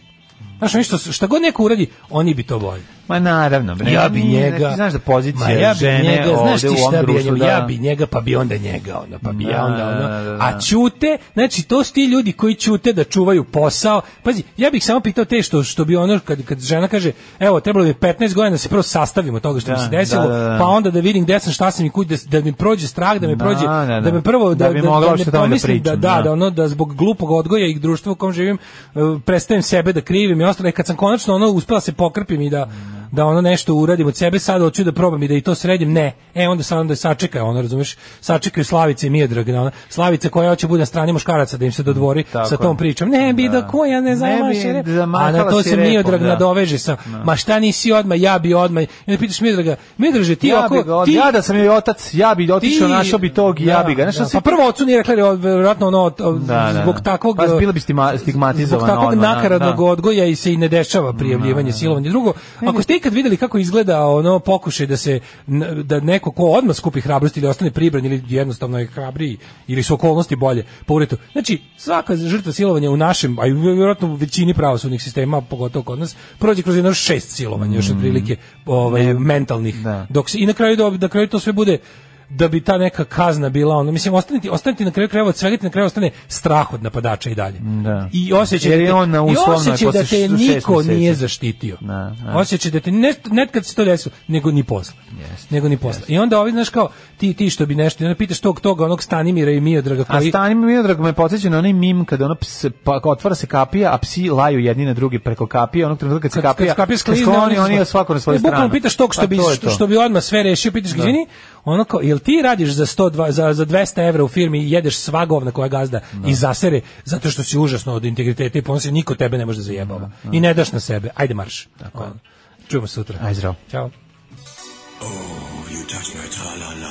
Speaker 5: Znaš, oni što, šta god neko uradi, oni bi to bolje.
Speaker 6: Ma naravno, bre.
Speaker 5: Ja bi
Speaker 6: Nije,
Speaker 5: njega.
Speaker 6: Ti znaš da
Speaker 5: Ma
Speaker 6: pozicija
Speaker 5: ja bi
Speaker 6: žene
Speaker 5: njega,
Speaker 6: ovde
Speaker 5: znaš ti
Speaker 6: u ovom
Speaker 5: šta bi ja
Speaker 6: društvu,
Speaker 5: njega,
Speaker 6: da.
Speaker 5: ja bi njega pa bi onda njega, ono, pa bi ja
Speaker 6: Da,
Speaker 5: onda ono.
Speaker 6: da, da, da.
Speaker 5: A ćute, znači to su ti ljudi koji ćute da čuvaju posao. Pazi, ja bih samo pitao te što što bi ono kad kad žena kaže, evo, trebalo bi 15 godina da se prvo sastavimo od toga što mi
Speaker 6: Da,
Speaker 5: se desilo,
Speaker 6: da, da, da.
Speaker 5: pa onda da vidim gde sam, šta sam i kud da, da mi prođe strah, da me
Speaker 6: Da,
Speaker 5: prođe,
Speaker 6: da,
Speaker 5: da,
Speaker 6: da.
Speaker 5: me prvo
Speaker 6: Da
Speaker 5: da
Speaker 6: bi mogla uopšte o tome da
Speaker 5: pomislim da,
Speaker 6: pričam,
Speaker 5: da,
Speaker 6: da.
Speaker 5: da ono da zbog glupog odgoja i društva u kom živim eh, prestajem sebe da krivim i ostalo E, kad sam konačno ono uspela se pokrpim i da da ono nešto uradim od sebe sad hoću da probam i da i to sredim ne e onda sad onda sačekaj ono razumeš sačekaju Slavice i Miodrag ona Slavica koja hoće bude na strani muškaraca da im se dodvori
Speaker 6: Mm, Tako
Speaker 5: sa
Speaker 6: je.
Speaker 5: tom pričom ne bi da,
Speaker 6: Da.
Speaker 5: koja ne
Speaker 6: Ne bi
Speaker 5: zamaše rep. a
Speaker 6: zamahala
Speaker 5: na to
Speaker 6: si
Speaker 5: se Miodrag
Speaker 6: repom, da.
Speaker 5: nadoveže sa ma šta nisi odma ja bi odma i onda pitaš Miodraga Miodraže ti
Speaker 6: ja bi
Speaker 5: ako
Speaker 6: ga, od-
Speaker 5: ti
Speaker 6: ja da sam joj otac, ja bi otišao,
Speaker 5: ti-
Speaker 6: našao bi tog i ja bi ga. Znaš,
Speaker 5: da,
Speaker 6: da,
Speaker 5: pa prvo ocu nije rekla, jer je verovatno ono, od- od-
Speaker 6: Da, da,
Speaker 5: zbog
Speaker 6: da.
Speaker 5: takvog...
Speaker 6: Pa bila bi
Speaker 5: eh,
Speaker 6: stigma- stigmatizovana
Speaker 5: Zbog takvog
Speaker 6: odmah, da,
Speaker 5: nakaradnog
Speaker 6: da.
Speaker 5: odgoja i se i ne dešava prijavljivanje, silovanje. Drugo, ako ste ikad videli kako izgleda ono pokušaj da se, n- da neko ko odmah skupi hrabrost ili ostane pribran ili jednostavno je hrabriji ili su okolnosti bolje po uretu. Znači, svaka žrtva silovanja u našem, a i vjerojatno u većini pravosudnih sistema, pogotovo kod nas, prođe kroz jedno šest silovanja, još otprilike ovaj, mentalnih.
Speaker 6: Mm. da.
Speaker 5: Dok se, I na kraju, do- na kraju to sve bude da bi ta neka kazna bila ono mislim ostane ti, ostane ti na kraju krajeva od svega ti na kraju ostane strah od napadača i dalje
Speaker 6: Da.
Speaker 5: i osjećaj
Speaker 6: Jer
Speaker 5: da
Speaker 6: je
Speaker 5: te-
Speaker 6: on na
Speaker 5: i
Speaker 6: uslovnoj
Speaker 5: osjećaj
Speaker 6: posle
Speaker 5: da te
Speaker 6: šest- šest
Speaker 5: niko
Speaker 6: meseci.
Speaker 5: nije zaštitio
Speaker 6: Da, da.
Speaker 5: osjećaj da te ne, ne kad se to desilo nego ni posle nego ni posle i onda ovi znaš kao ti ti što bi nešto i onda pitaš tog toga onog Stanimira i Miodraga
Speaker 6: A
Speaker 5: koji
Speaker 6: stani mi Miodrag me podsjeća na onaj mim kada ono ps, pa, otvara se kapija, a psi laju jedni na drugi preko kapije, onog trenutka kad se kapija,
Speaker 5: se kapija sklizne,
Speaker 6: skloni,
Speaker 5: oni-
Speaker 6: oni je svako na svoju
Speaker 5: E,
Speaker 6: stranu.
Speaker 5: Bukvalno pitaš tog što
Speaker 6: Pa
Speaker 5: bi
Speaker 6: to je
Speaker 5: što,
Speaker 6: to.
Speaker 5: što bi odmah sve rešio, pitaš da. izvini, ono kao, jel ti radiš za 100 za za 200 evra u firmi i jedeš sva govna koja gazda
Speaker 6: Da.
Speaker 5: i zasere zato što si užasno od integriteta i ponosi niko tebe ne može da zajebava i ne daš na sebe. Ajde marš. Tako. Čujemo se sutra.
Speaker 6: Aj, zdravo.
Speaker 5: Ćao.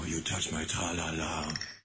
Speaker 10: Oh, you touch my tra-la-la.